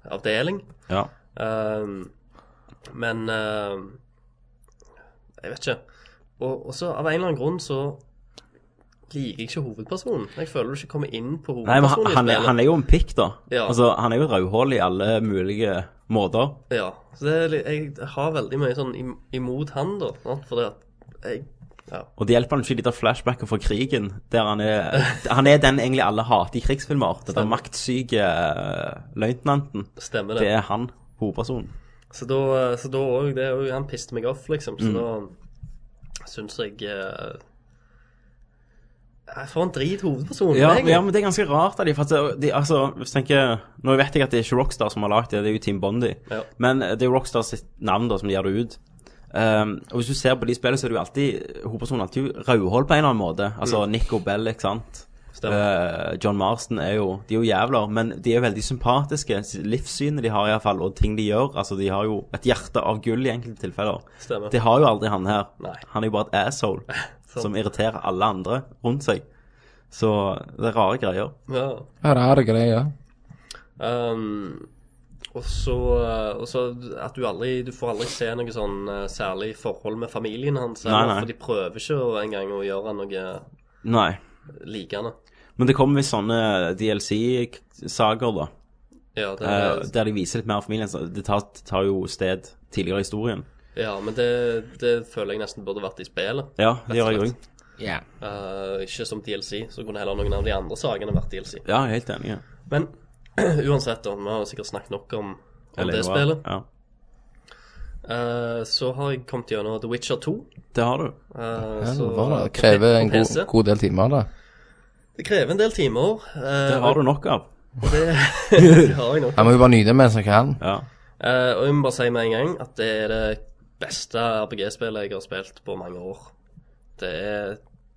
Speaker 5: avdeling.
Speaker 1: Ja.
Speaker 5: Ehm, men ehm, Jeg vet ikke. Og og så av en eller annen grunn så liker jeg ikke hovedpersonen. Jeg føler du ikke kommer inn på
Speaker 1: Nei, men han,
Speaker 5: hovedpersonen.
Speaker 1: han,
Speaker 5: i
Speaker 1: er,
Speaker 5: spillet.
Speaker 1: han er jo en pikk, da.
Speaker 5: Ja.
Speaker 1: Altså, han er jo et rødhål i alle mulige måter.
Speaker 5: Ja, så det er, litt- jeg har veldig mye sånn im- imot han, da. sant? Fordi at jeg
Speaker 1: Og det hjelper han ikke litt av flashbacker fra krigen, der han er Han er den egentlig alle hater i krigsfilmer. Den der maktsyke eh, løytnanten.
Speaker 5: stemmer
Speaker 1: Det er han, hovedpersonen.
Speaker 5: Så da, så da òg det, er jo- Han piste meg off, liksom.
Speaker 1: Mm.
Speaker 5: Så da syns jeg eh, Jeg får en drit hovedperson.
Speaker 1: Ja,
Speaker 5: egentlig.
Speaker 1: ja, men det er ganske rart av de, for at det- de altså, hvis jeg tenker, Nå vet jeg at det er ikke Rockstar som har lagd det, det er jo Team Bondi.
Speaker 5: Ja.
Speaker 1: Men eh, det er jo Rockstar sitt navn da, som gir det ut. Ehm, og hvis du ser på de spillene, så er det jo alltid hovedpersonen er alltid rødhål på en eller annen måte. Altså Nico Bell, ikke sant. Eh, John Marston er jo De er jo jævler, men de er veldig sympatiske. Livssynet de har, iallfall, og ting de gjør. Altså, de har jo et hjerte av gull i enkelte tilfeller.
Speaker 5: Stemmer.
Speaker 1: Det har jo aldri han her.
Speaker 5: Nei. sånn,
Speaker 1: Han er jo bare et asshole
Speaker 5: Sant.
Speaker 1: som irriterer alle andre rundt seg. Så det er rare greier.
Speaker 5: Ja.
Speaker 6: Ja, det er det greia.
Speaker 5: Ehm, og så eh, og så at du aldri Du får aldri se noe sånn eh, særlig forhold med familien hans.
Speaker 1: Nei,
Speaker 5: eller,
Speaker 1: nei.
Speaker 5: For de prøver ikke å- engang å gjøre noe
Speaker 1: Nei.
Speaker 5: likende.
Speaker 1: Men det kommer visst sånne DLC-saker, da.
Speaker 5: Ja, det,
Speaker 1: eh, Der de viser litt mer av familien. Så det tar, det tar jo sted tidligere i historien.
Speaker 5: ja men det, det føler jeg nesten burde vært i spillet.
Speaker 1: Ja, det gjør jeg
Speaker 5: Rett og
Speaker 1: òg.
Speaker 5: slett. Eh, ikke som DLC. Så kunne heller noen av de andre sakene vært DLC.
Speaker 1: Ja, jeg er helt enig. ja.
Speaker 5: Men uansett, da, vi har sikkert snakket nok om, om
Speaker 1: Eller
Speaker 5: det
Speaker 1: jo,
Speaker 5: spillet.
Speaker 1: Ja.
Speaker 5: Eh, så har jeg kommet gjennom The Witcher 2.
Speaker 1: Det har du.
Speaker 5: eh,
Speaker 6: Ja,
Speaker 5: så-
Speaker 6: det var det.
Speaker 5: på P-
Speaker 6: Krever en
Speaker 5: på PC.
Speaker 6: god, god del timer, da.
Speaker 5: Det krever en del timer. eh,
Speaker 1: Det har du nok av.
Speaker 5: og det, det har jeg nok.
Speaker 6: Han må jo bare nyte mens han kan.
Speaker 1: Ja.
Speaker 5: Eh, og jeg må bare si med en gang at det er det beste RPG-spillet jeg har spilt på mange år. Det er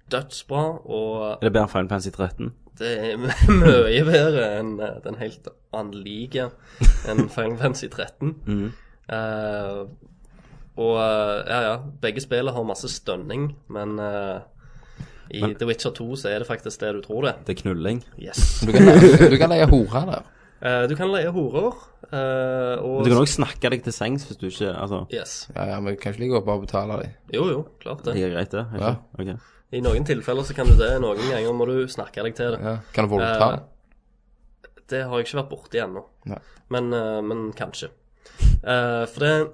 Speaker 5: dødsbra, og
Speaker 1: Er det bedre enn Final Fantasy 13?
Speaker 5: Det er mye bedre enn eh, den helt anlike enn Final Fantasy 13.
Speaker 6: Mhm.
Speaker 5: Eh, og eh, ja, ja, begge spillene har masse stønning, men eh, i The Witcher 2 så er det faktisk det du tror det.
Speaker 1: Det er knulling.
Speaker 5: Yes.
Speaker 6: Du kan leie, du kan leie hore der.
Speaker 5: Eh, du kan leie horer, eh, og
Speaker 1: Du kan òg snakke deg til sengs hvis du ikke Altså,
Speaker 5: Yes.
Speaker 6: Ja, ja, men du kan ikke like godt bare betale dem.
Speaker 5: Jo, jo, klart
Speaker 1: det
Speaker 5: det.
Speaker 1: er greit, det? er
Speaker 6: Ja.
Speaker 1: ikke? Ok.
Speaker 5: I noen tilfeller så kan du det, noen ganger må du snakke deg til det.
Speaker 6: Ja. Kan du voldta?
Speaker 5: Eh, Det har jeg ikke vært borti ennå.
Speaker 6: Nei.
Speaker 5: Men, eh, men kanskje. Eh, for det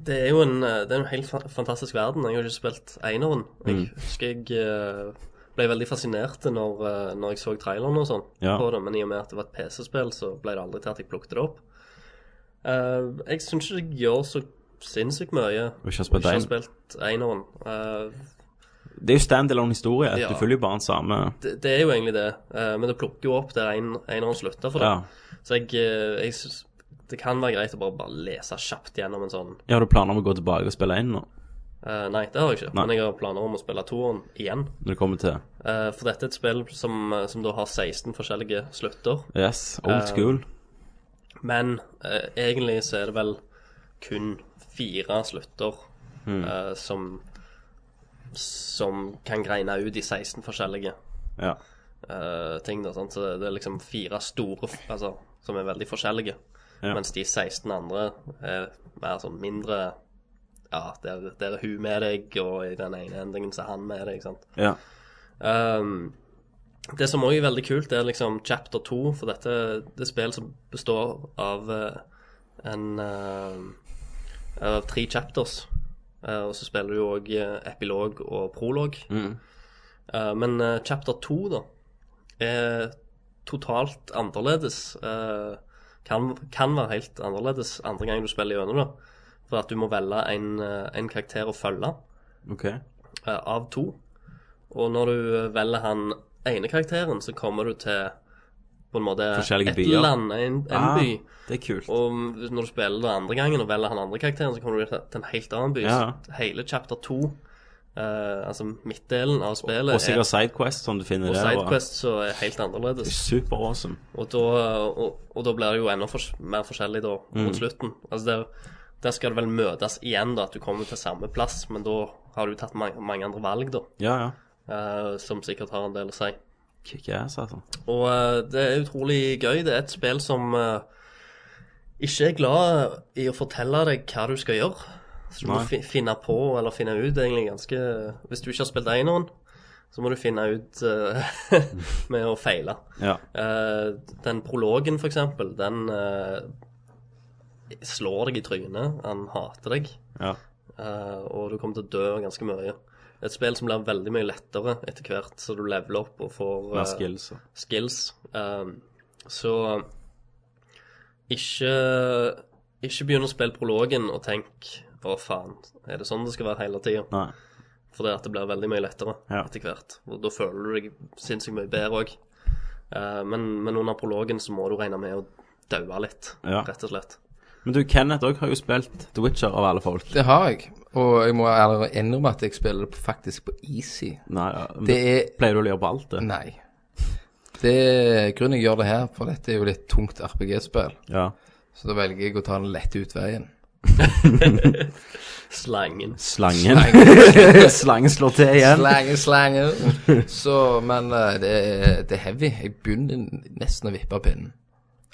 Speaker 5: Det er jo en, eh, det er en helt fa- fantastisk verden. Jeg har ikke spilt eneren.
Speaker 6: Mm.
Speaker 5: Jeg husker jeg eh, ble veldig fascinert når, eh, når jeg så traileren og sånn
Speaker 1: Ja.
Speaker 5: på det, men i og med at det var et PC-spill, så ble det aldri til at jeg plukket det opp. Eh, jeg syns ikke jeg gjør så sinnssykt mye.
Speaker 1: Og ikke har spilt
Speaker 5: og
Speaker 1: en.
Speaker 5: spilt eneren. Eh,
Speaker 1: Det er jo standalone historie.
Speaker 5: Ja.
Speaker 1: Du følger jo bare den samme
Speaker 5: det, det er jo egentlig det, eh, men det plukker jo opp der en, eneren slutter for det.
Speaker 1: ja.
Speaker 5: Så jeg, eh, jeg synes det kan være greit å bare, bare lese kjapt gjennom en sånn
Speaker 1: ja, har du planer om å gå tilbake og spille inn nå?
Speaker 5: Eh, Nei, det har jeg ikke,
Speaker 1: Nei.
Speaker 5: men jeg har planer om å spille toeren igjen.
Speaker 1: Når det kommer til
Speaker 5: Eh, for dette er et spill som, eh, som da har 16 forskjellige slutter.
Speaker 1: Yes, old
Speaker 5: Eh,
Speaker 1: school.
Speaker 5: Men eh, egentlig så er det vel kun fire slutter
Speaker 1: Hmm.
Speaker 5: eh, som som kan greine ut de 16 forskjellige
Speaker 1: ja.
Speaker 5: eh, ting. Da, sant? Så det, det er liksom fire store f- altså, som er veldig forskjellige.
Speaker 1: Ja.
Speaker 5: Mens de 16 andre er mer sånn mindre Ja, der, der er hun med deg, og i den ene endingen så er han med deg, ikke sant.
Speaker 1: ja.
Speaker 5: Ehm, det som òg er veldig kult, er liksom chapter 2, for dette det er spill som består av eh, en eh, Av tre chapters. Eh, og så spiller du òg epilog og prolog. Eh, men eh, chapter 2, da, er totalt annerledes. Eh, kan, kan være helt annerledes andre gangen du spiller gjennom det. For at du må velge en, eh, en karakter å følge
Speaker 1: OK.
Speaker 5: eh, av to. Og når du eh, velger han ene karakteren, så kommer du til på en måte
Speaker 1: Forskjellige
Speaker 5: et
Speaker 1: byer.
Speaker 5: land, en, en
Speaker 1: Ah,
Speaker 5: by.
Speaker 1: det er kult.
Speaker 5: Og hvis- når du spiller det andre gangen og velger han andre karakteren, så kommer du til til en helt annen by.
Speaker 1: Ja.
Speaker 5: Så hele chapter 2, eh, altså midtdelen av spillet,
Speaker 1: Og sikkert Sidequest, som du finner
Speaker 5: er, og
Speaker 1: der. og-
Speaker 5: Sidequest, så er helt annerledes.
Speaker 1: Super awesome.
Speaker 5: Og da, og, og da blir det jo enda fors mer forskjellig da,
Speaker 1: Mm.
Speaker 5: mot slutten. Altså der, der skal det vel møtes igjen, da, at du kommer til samme plass, men da har du tatt mange, mange andre valg, da.
Speaker 1: Ja, ja.
Speaker 5: eh, som sikkert har en del å si.
Speaker 1: Kickass, altså.
Speaker 5: Og eh, det er utrolig gøy. Det er et spill som eh, ikke er glad i å fortelle deg hva du skal gjøre. Så du må
Speaker 1: Nei.
Speaker 5: fi finne på, eller finne ut, egentlig ganske Hvis du ikke har spilt eneren, så må du finne ut eh, med å feile.
Speaker 1: Ja.
Speaker 5: Eh, den prologen, for eksempel, den eh, slår deg i trynet. Han hater deg.
Speaker 1: ja.
Speaker 5: Eh, og du kommer til å dø ganske mye. Et spill som blir veldig mye lettere etter hvert, så du leveler opp og får eh,
Speaker 1: Mer skills. og-
Speaker 5: skills. Um, så ikke, ikke begynn å spille prologen og tenk å faen, er det sånn det skal være hele tida?
Speaker 1: Nei.
Speaker 5: For det at det blir veldig mye lettere
Speaker 1: Ja.
Speaker 5: etter hvert. Og da føler du deg sinnssykt mye bedre òg. men, men under prologen så må du regne med å daue litt,
Speaker 1: Ja.
Speaker 5: rett og slett.
Speaker 1: Men du, Kenneth òg har jo spilt The Witcher av alle folk.
Speaker 6: Det har jeg. Og jeg må ærlig innrømme at jeg spiller det på- faktisk på easy.
Speaker 1: Nei, ja. men
Speaker 6: Det er
Speaker 1: Pleier du å gjøre på alt, det?
Speaker 6: Nei. Det Grunnen jeg gjør det her, for dette er jo litt tungt RPG-spill,
Speaker 1: Ja.
Speaker 6: så da velger jeg å ta den lette utveien.
Speaker 5: Slangen.
Speaker 1: Slangen. Slangen slår til igjen.
Speaker 6: Slange, slange. Så, men eh, det er, det er heavy. Jeg begynner nesten å vippe av pinnen.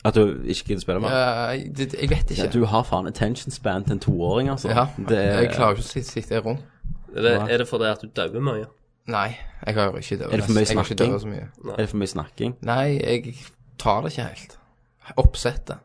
Speaker 1: At du ikke gidder spille mer?
Speaker 6: Eh, det, jeg vet ikke.
Speaker 1: Ja, du har faen attention span til en toåring, altså.
Speaker 6: Ja,
Speaker 1: det
Speaker 6: Jeg
Speaker 1: er,
Speaker 6: klarer ikke å sitte- sitte rundt.
Speaker 5: Er det, er det fordi at du dauer mye?
Speaker 6: Nei, jeg har jo ikke dødd.
Speaker 1: Er det for mye
Speaker 6: Jeg har ikke
Speaker 1: snakking?
Speaker 6: dødd så mye.
Speaker 1: er det for mye snakking?
Speaker 6: Nei, jeg tar det ikke helt. Oppsettet.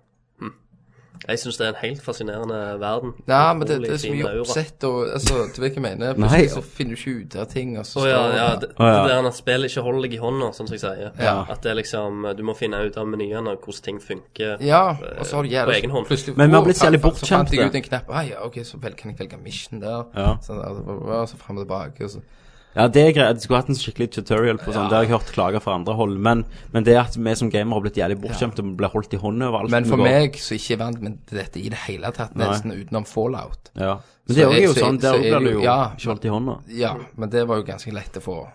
Speaker 5: Jeg syns det er en helt fascinerende verden.
Speaker 6: Nei, men det, det er så
Speaker 5: Utrolig fin
Speaker 6: mye
Speaker 5: aura.
Speaker 6: oppsett og altså, Du vet hva jeg mener?
Speaker 1: Nei.
Speaker 6: Plutselig så finner du ikke ut av ting, og så
Speaker 5: Å ja,
Speaker 6: står
Speaker 5: ja,
Speaker 6: det
Speaker 5: det,
Speaker 1: Å, ja.
Speaker 5: det der at spillet ikke holder deg i hånda, sånn som jeg sier.
Speaker 6: Ja.
Speaker 5: At det er liksom Du må finne ut av menyene og hvordan ting funker.
Speaker 6: ja, og så har du
Speaker 5: På egen hånd.
Speaker 6: plutselig-
Speaker 1: Men vi har
Speaker 6: Å,
Speaker 1: blitt
Speaker 6: faen,
Speaker 1: særlig
Speaker 6: faen, Så fant jeg
Speaker 1: bortskjemte.
Speaker 6: ut en knapp. Ah, ja, ok, så vel, kan jeg velge mission der.
Speaker 1: Ja.
Speaker 6: Så, altså, bla, bla, bla, så frem og tilbake. Og så.
Speaker 1: Ja, det er greit. Du skulle hatt en skikkelig tutorial på sånn. Det har jeg hørt klager fra andre hold. Men, men det at vi som gamere har blitt jævlig bortskjemte og blir holdt i hånden over alt
Speaker 6: Men
Speaker 1: vi
Speaker 6: for
Speaker 1: går-
Speaker 6: meg, som ikke er vant med dette i det hele tatt, nesten utenom fallout
Speaker 1: Ja. Men det
Speaker 6: Så
Speaker 1: er
Speaker 6: er-
Speaker 1: jo
Speaker 6: så er-
Speaker 1: sånn. Der
Speaker 6: så er
Speaker 1: blir
Speaker 6: det
Speaker 1: du
Speaker 6: jo-
Speaker 1: jo
Speaker 6: ja.
Speaker 1: ikke holdt i hånda.
Speaker 6: Ja, men det var jo ganske lett å få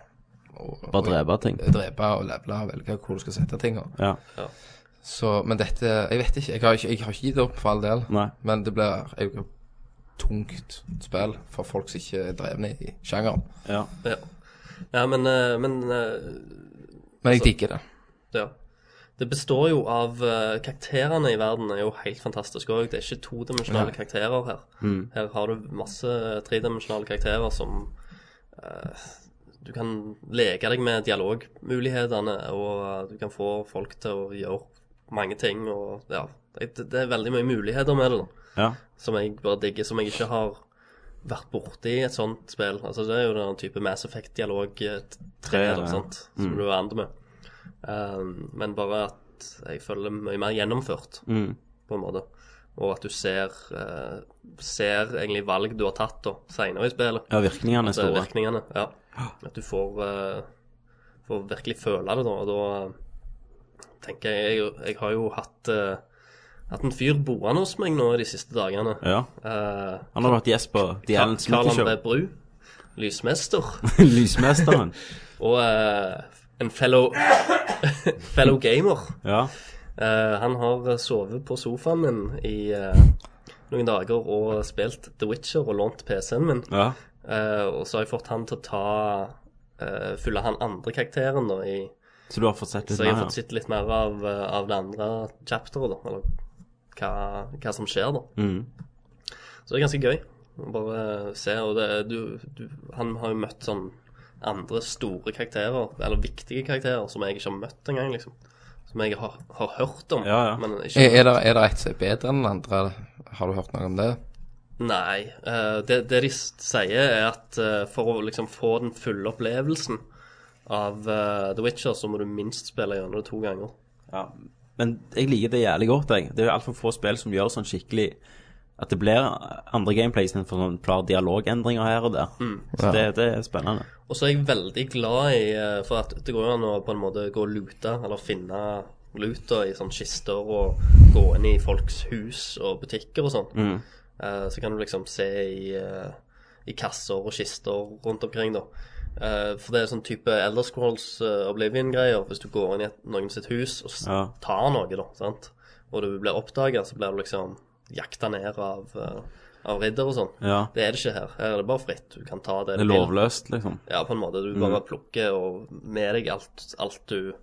Speaker 6: og,
Speaker 1: Bare drepe ting.
Speaker 6: og drepe og levele og velge hvor du skal sette tingene.
Speaker 1: Ja.
Speaker 6: Så, men dette Jeg vet ikke. Jeg har ikke, jeg har ikke gitt opp for all del.
Speaker 1: Nei.
Speaker 6: Men det blir et tungt spill for folk som ikke er drevne i sjangeren.
Speaker 1: Ja.
Speaker 5: Ja. Nei, men, eh, men eh,
Speaker 6: Men jeg digger det.
Speaker 5: ja. Det består jo av eh, Karakterene i verden er jo helt fantastiske òg. Det er ikke todimensjonale karakterer her. Her har du masse tredimensjonale karakterer som eh, Du kan leke deg med dialogmulighetene, og eh, du kan få folk til å gjøre mange ting. Og ja, det, det er veldig mye muligheter med det. da
Speaker 1: ja.
Speaker 5: som jeg bare digger, som jeg ikke har vært borti i et sånt spill. Altså Det er jo den type Mass Effect-dialog eh, tre,
Speaker 1: ja. Mm.
Speaker 5: eller sant, som du er vant med. Um, men bare at jeg føler det mye mer gjennomført,
Speaker 1: Mm.
Speaker 5: på en måte. Og at du ser, eh, ser egentlig valg du har tatt da, senere i spillet.
Speaker 1: ja virkningene er
Speaker 6: Altså,
Speaker 5: At, eh,
Speaker 1: store.
Speaker 5: virkningene, ja. At du får, eh, får virkelig føle det, da. Og da eh, tenker jeg Jeg, jeg har jo hatt, eh, hatt en fyr boende hos meg nå de siste dagene.
Speaker 1: Ja.
Speaker 5: Eh,
Speaker 1: Han har vært gjest på The Ellen
Speaker 5: Karl
Speaker 1: Smitty Show.
Speaker 5: André Bru, lysmester,
Speaker 1: Lysmesteren.
Speaker 5: og eh, en fellow, fellow gamer.
Speaker 1: Ja.
Speaker 5: Eh, han har sovet på sofaen min i eh, noen dager og spilt The Witcher og lånt PC-en min.
Speaker 1: ja.
Speaker 5: Eh, og så har jeg fått han til å ta eh, Fylle han andre karakteren, da. I,
Speaker 1: Så du har fått sett litt
Speaker 5: så jeg har
Speaker 1: mer?
Speaker 5: fått sett litt mer av, eh, av det andre chapteret, da. Eller hva, hva som skjer, da.
Speaker 1: Mm.
Speaker 5: Så det er ganske gøy. å Bare se. Og det, er- du, du Han har jo møtt sånn andre store karakterer, eller viktige karakterer, som jeg ikke har møtt engang, liksom. Som jeg har, har hørt om,
Speaker 1: Ja, ja.
Speaker 5: men ikke
Speaker 6: Er, er det, er det et som er bedre enn den andre? Har du hørt noe om det?
Speaker 5: Nei. eh, det, det de s- sier, er at eh, for å liksom få den fulle opplevelsen av eh, The Witcher, så må du minst spille gjennom det to ganger.
Speaker 1: Ja. Men jeg liker det jævlig godt, jeg. Det er jo altfor få spill som gjør sånn skikkelig at det blir andre gameplays enn for sånn klar dialogendringer her og der. Så det, det er spennende.
Speaker 5: Og så er jeg veldig glad i eh, For at det går jo an å på en måte gå og lute, eller finne luta i sånne kister, og gå inn i folks hus og butikker og sånn.
Speaker 1: Mm.
Speaker 5: Eh, så kan du liksom se i, eh, i kasser og kister rundt omkring, da. Eh, for det er sånn type Elder Scrolls eh, Oblivion-greier. Hvis du går inn i et, noen sitt hus og s-
Speaker 1: Ja.
Speaker 5: tar noe, da, sant? og du blir oppdaga, så blir du liksom jakta ned av, eh, av ridder og sånn.
Speaker 1: Ja.
Speaker 5: Det er det ikke her. Her er det bare fritt. Du kan ta det
Speaker 1: Det
Speaker 5: du
Speaker 1: er
Speaker 5: vil.
Speaker 1: lovløst, liksom.
Speaker 5: Ja, på en måte. Du
Speaker 1: Mm.
Speaker 5: bare plukker og med deg alt, alt du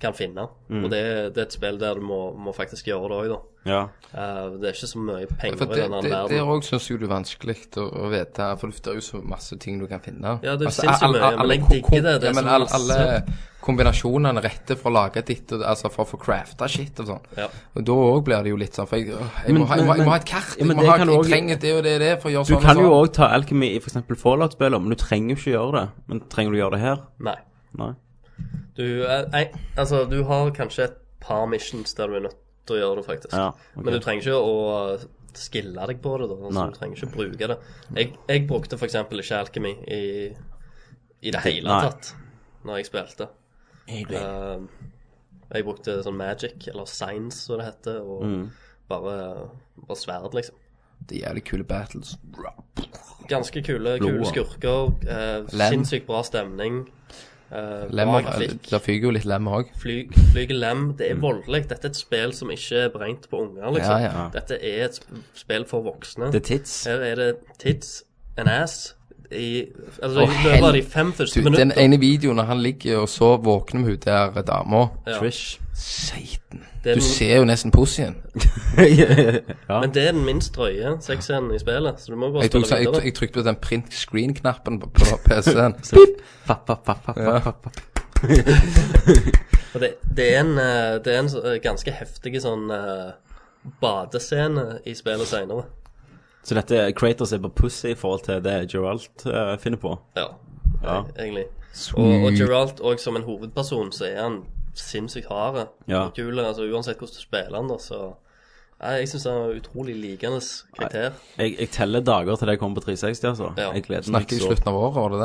Speaker 5: kan finne.
Speaker 1: Mm.
Speaker 5: Og det, det er et spill der du må, må faktisk gjøre det òg, da.
Speaker 1: Ja.
Speaker 5: Eh, det er ikke så mye
Speaker 6: For
Speaker 5: penger i
Speaker 6: det,
Speaker 5: denne
Speaker 6: det, det
Speaker 5: verden.
Speaker 6: òg syns jeg det er vanskelig å, å vite, for det er jo så masse ting du kan finne. Altså,
Speaker 5: Ja, det er sinnssykt mye, men jeg digger
Speaker 6: kom-
Speaker 5: det, det er
Speaker 6: ja, men
Speaker 5: så
Speaker 6: alle,
Speaker 5: masse.
Speaker 6: alle kombinasjonene rette for å lage ditt, og, altså for å få crafta shit og sånn.
Speaker 5: Ja.
Speaker 6: Og da òg blir det jo litt sånn, for jeg, åh, jeg,
Speaker 1: Men-
Speaker 6: må, ha, jeg, må,
Speaker 1: men-
Speaker 6: jeg må ha et kart.
Speaker 1: Ja, men
Speaker 6: Jeg, må
Speaker 1: det
Speaker 6: ha,
Speaker 1: kan
Speaker 6: jeg
Speaker 1: du også-
Speaker 6: trenger det og det og det for å gjøre
Speaker 1: Du
Speaker 6: sånn
Speaker 1: kan
Speaker 6: og
Speaker 1: jo
Speaker 6: sånn.
Speaker 1: òg ta Alchemy i f.eks. Fallout-spillet, men du trenger jo ikke gjøre det. Men trenger du gjøre det her?
Speaker 5: Nei.
Speaker 1: Nei.
Speaker 5: Du, eh, nei. Altså, du har kanskje et par missions der du er nødt til å gjøre det, faktisk.
Speaker 1: Ja, ok.
Speaker 5: Men du trenger ikke å eh, skille deg på det, da. Altså,
Speaker 1: Nei.
Speaker 5: du trenger ikke bruke det. Jeg, jeg brukte for eksempel ikke Alchemy i, i det hele
Speaker 1: Nei.
Speaker 5: tatt når jeg spilte. Eh, jeg brukte sånn magic, eller science som det heter, og
Speaker 6: Mm.
Speaker 5: bare, bare sverd, liksom.
Speaker 6: Det er jævlig kule battles.
Speaker 5: Ganske kule, kule skurker, eh,
Speaker 6: Lem.
Speaker 5: sinnssykt bra stemning. eh, bra
Speaker 6: Lemmer,
Speaker 5: grafikk.
Speaker 6: der fyker jo litt lem òg.
Speaker 5: Fly, flyger lem. Det er voldelig. Dette er et spill som ikke er beregnet på unger, liksom.
Speaker 6: Ja, ja.
Speaker 5: Dette er et sp- spill for voksne.
Speaker 1: Det er tits.
Speaker 5: Her er det tits and ass i altså,
Speaker 6: Å,
Speaker 5: i løpet av de
Speaker 6: hel-
Speaker 5: fem første
Speaker 6: Du, Den
Speaker 5: minutter.
Speaker 6: ene videoen når han ligger og sover våken med hun der eh, dama
Speaker 5: Ja.
Speaker 1: Trish.
Speaker 6: Satan.
Speaker 5: Det er
Speaker 6: Du
Speaker 5: den-
Speaker 6: ser jo nesten pussien.
Speaker 1: ja.
Speaker 5: Men det er den minst drøye sexscenen i spillet, så du må bare
Speaker 6: Jeg, tok, så-
Speaker 5: spille
Speaker 6: jeg,
Speaker 5: videre.
Speaker 6: jeg trykte på den print screen-knappen på, på PC-en.
Speaker 1: Fapp, fapp, fapp, fapp,
Speaker 6: Ja.
Speaker 1: fapp, fapp.
Speaker 5: Og det, det, er en, eh, det er en så- eh, ganske heftig sånn eh, badescene i spillet seinere.
Speaker 1: Så dette Kratos er bare pussy i forhold til det Geralt eh, finner på.
Speaker 5: Ja,
Speaker 1: Ja.
Speaker 5: eh, egentlig. Og, og Geralt òg som en hovedperson, så er han sinnssykt hard
Speaker 1: Ja.
Speaker 5: og kul. Altså, uansett hvordan du spiller han, da, så Nei, jeg syns han er en utrolig likende karakter.
Speaker 1: Jeg, jeg teller dager til det kommer på 360, altså.
Speaker 5: Ja.
Speaker 1: Jeg gleder meg
Speaker 6: Snakker i
Speaker 1: så
Speaker 6: slutten av året, var det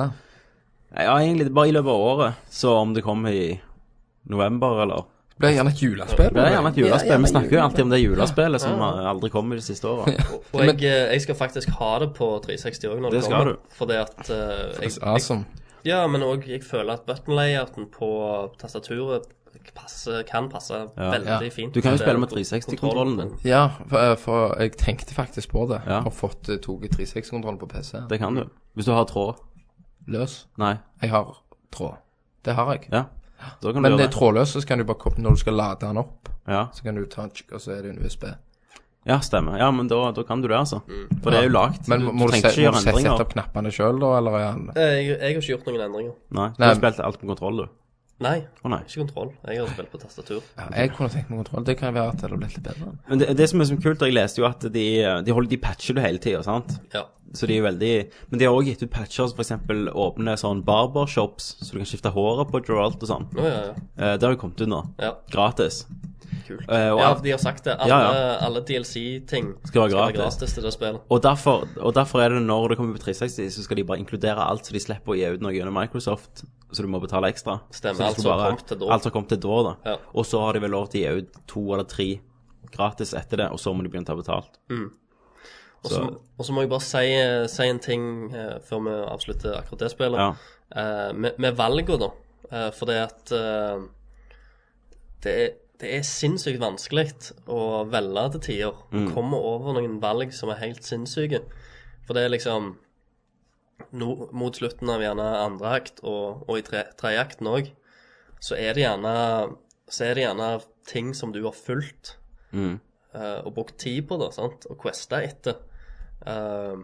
Speaker 6: det?
Speaker 1: Ja, egentlig bare i løpet av året. Så om det kommer i november, eller
Speaker 6: Det ble gjerne et julespill.
Speaker 1: Det er gjerne et julespill.
Speaker 6: Ja, gjerne
Speaker 1: Vi snakker jo alltid om det julespillet som aldri kom i de siste åra.
Speaker 5: Og jeg, eh, jeg skal faktisk ha det på 360 òg når
Speaker 1: Det
Speaker 5: det,
Speaker 1: skal
Speaker 5: kommer.
Speaker 1: du.
Speaker 5: Fordi at eh, jeg,
Speaker 6: It's awesome.
Speaker 5: jeg, Ja, men òg jeg føler at button-layouten på tastaturet passer, kan passe veldig
Speaker 6: Ja.
Speaker 5: fint.
Speaker 1: Du kan jo
Speaker 5: til
Speaker 1: spille med
Speaker 5: kontro-
Speaker 1: 360-kontrollen din.
Speaker 6: Ja, for, for jeg tenkte faktisk på det.
Speaker 1: Ja.
Speaker 6: Har fått eh, tatt 360-kontroll på PC.
Speaker 1: Det kan du. Hvis du har tråd.
Speaker 6: Løs.
Speaker 1: Nei.
Speaker 6: Jeg har tråd. Det har jeg.
Speaker 1: Ja. Da kan du
Speaker 6: Men
Speaker 1: gjøre
Speaker 6: det
Speaker 1: det.
Speaker 6: er trådløst, så kan du bare koble Når du skal lade den opp,
Speaker 1: Ja.
Speaker 6: så kan du ta en kikk, og så er det en USB.
Speaker 1: ja, stemmer. Ja, men da, da kan du det, altså. For det er jo lagt.
Speaker 6: Mm. Men
Speaker 1: du,
Speaker 6: må
Speaker 1: du
Speaker 6: du, se,
Speaker 1: trenger ikke
Speaker 6: må du
Speaker 1: gjøre
Speaker 6: se, sette
Speaker 1: endringer.
Speaker 6: opp knappene sjøl, da, eller er han
Speaker 5: Eh, Jeg, jeg har ikke gjort noen endringer.
Speaker 1: Nei, du
Speaker 6: Nei.
Speaker 1: har spilt alt med kontroll, du.
Speaker 5: Nei,
Speaker 1: Å nei.
Speaker 5: ikke kontroll. Jeg har spilt på tastatur.
Speaker 6: ja, Jeg kunne tenkt meg kontroll. Det kan være at det hadde blitt litt bedre.
Speaker 1: Men det, det som er så kult, og jeg leste jo at de, de holder de patcher du hele tida, sant.
Speaker 5: Ja.
Speaker 1: Så de er veldig Men de har òg gitt ut patcher som f.eks. åpne sånn barbershops, så du kan skifte håret på Geralt og sånn.
Speaker 5: Å, ja, ja.
Speaker 1: Eh, det har jo kommet ut nå.
Speaker 5: ja.
Speaker 1: Gratis.
Speaker 5: Kult.
Speaker 1: Eh, og,
Speaker 5: Ja,
Speaker 1: alt-
Speaker 5: de har sagt det. Alle,
Speaker 1: Ja, ja.
Speaker 5: alle DLC-ting
Speaker 1: Skal være gratis.
Speaker 5: gratis til det spillet.
Speaker 1: og, derfor, og derfor er det når det kommer på 360, så skal de bare inkludere alt, så de slipper å gi ut noe gjennom Microsoft, så du må betale ekstra.
Speaker 5: Stemmer,
Speaker 1: Så de
Speaker 5: alt
Speaker 1: skal
Speaker 5: som har kommet til da.
Speaker 1: Alt som har kommet til da, da.
Speaker 5: Ja.
Speaker 1: Og så har de vel lov til å gi ut to eller tre gratis etter det, og så må de begynne å ta betalt.
Speaker 5: Og så og så må jeg bare si, si en ting eh, før vi avslutter akkurat det spillet.
Speaker 1: Ja.
Speaker 5: Eh, med, med valgene, da. Eh, for det at eh, det, er, det er sinnssykt vanskelig å velge til tider. Mm. Komme over noen valg som er helt sinnssyke. For det er liksom no, Mot slutten av gjerne andre akt, og, og i tre- tredje akten òg, så er det gjerne Så er det gjerne ting som du har fulgt eh, og brukt tid på det, sant, og questa etter. eh,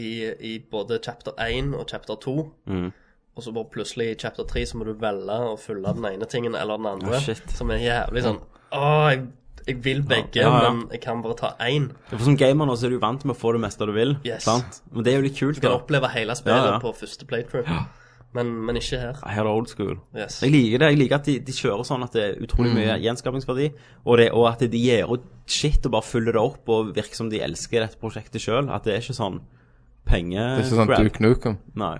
Speaker 5: i, I både chapter 1 og chapter 2.
Speaker 1: Mm.
Speaker 5: Og så bare plutselig i chapter 3 så må du velge å følge den ene tingen eller den andre.
Speaker 1: Å, Ah, shit.
Speaker 5: som er jævlig sånn Å, jeg, jeg vil begge,
Speaker 1: Ja, ja.
Speaker 5: men jeg kan bare ta én.
Speaker 1: For Som gamer nå så er du vant med å få det meste du vil.
Speaker 5: Yes.
Speaker 1: Sant? Men det er jo litt kult.
Speaker 5: Du kan
Speaker 1: da.
Speaker 5: oppleve hele spillet
Speaker 1: Ja, ja.
Speaker 5: på første playthrough. Men, men ikke her.
Speaker 1: Her er det old school.
Speaker 5: Yes.
Speaker 1: Jeg liker det. Jeg liker at de, de kjører sånn at det er utrolig mye gjenskapingsverdi, og, det, og at de gir ut shit og bare følger det opp og virker som de elsker dette prosjektet sjøl. At det er ikke sånn penge...
Speaker 6: Det er ikke sånn Duke Nukem.
Speaker 1: Nei.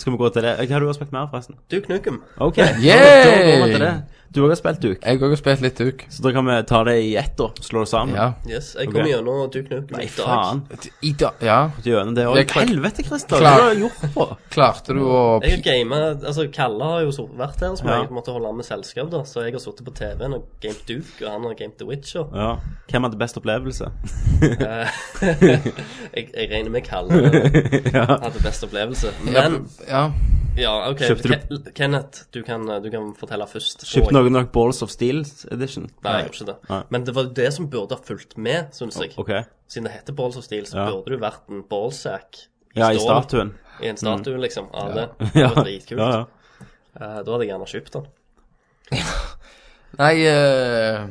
Speaker 1: Skal vi gå til det? Hva har du spilt mer, forresten?
Speaker 5: Du, Knukum.
Speaker 1: OK.
Speaker 6: Yay!
Speaker 1: Da går vi til det. Du har også spilt Duke,
Speaker 6: Jeg har også spilt litt Duke.
Speaker 1: så da kan vi ta det i ett og slå det sammen.
Speaker 6: Ja.
Speaker 5: Yes, jeg
Speaker 1: Ok.
Speaker 5: kom gjennom Du Knukum
Speaker 1: Nei,
Speaker 5: i dag.
Speaker 1: faen.
Speaker 6: I da, ja.
Speaker 1: Gjøne det
Speaker 6: Det er
Speaker 1: òg.
Speaker 6: klart.
Speaker 1: Helvete, Christer. Hva
Speaker 6: Klart.
Speaker 1: har du gjort på?
Speaker 6: Klarte du å
Speaker 5: Jeg har gamet Altså, Kalle har jo så- vært her, som
Speaker 1: Ja.
Speaker 5: jeg måtte holde med selskap, da. Så jeg har sittet på TV-en og gamet Duke, og han har gamet The Witcher.
Speaker 1: Ja. Hvem hadde best opplevelse?
Speaker 5: Jeg, jeg regner med Kalle eh, hadde best opplevelse. Men
Speaker 6: Ja.
Speaker 5: ja, OK.
Speaker 1: Kjøpte du-
Speaker 5: Ke- Kenneth, du kan, du kan fortelle først.
Speaker 1: Kjøpte
Speaker 5: Og-
Speaker 1: noen nok Balls of Steel edition?
Speaker 5: Nei, jeg gjorde ikke det.
Speaker 1: Nei.
Speaker 5: Men det var det som burde ha fulgt med, syns jeg.
Speaker 1: OK.
Speaker 5: Siden det heter Balls of Steel, så
Speaker 1: Ja.
Speaker 5: burde du vært en ballsack i
Speaker 1: Ja, i
Speaker 5: stål.
Speaker 1: statuen.
Speaker 5: I en statue, liksom, av det. Det
Speaker 1: Ja.
Speaker 5: var dritkult.
Speaker 1: Ja, ja.
Speaker 5: Eh, da hadde jeg gjerne kjøpt den.
Speaker 6: Nei, eh,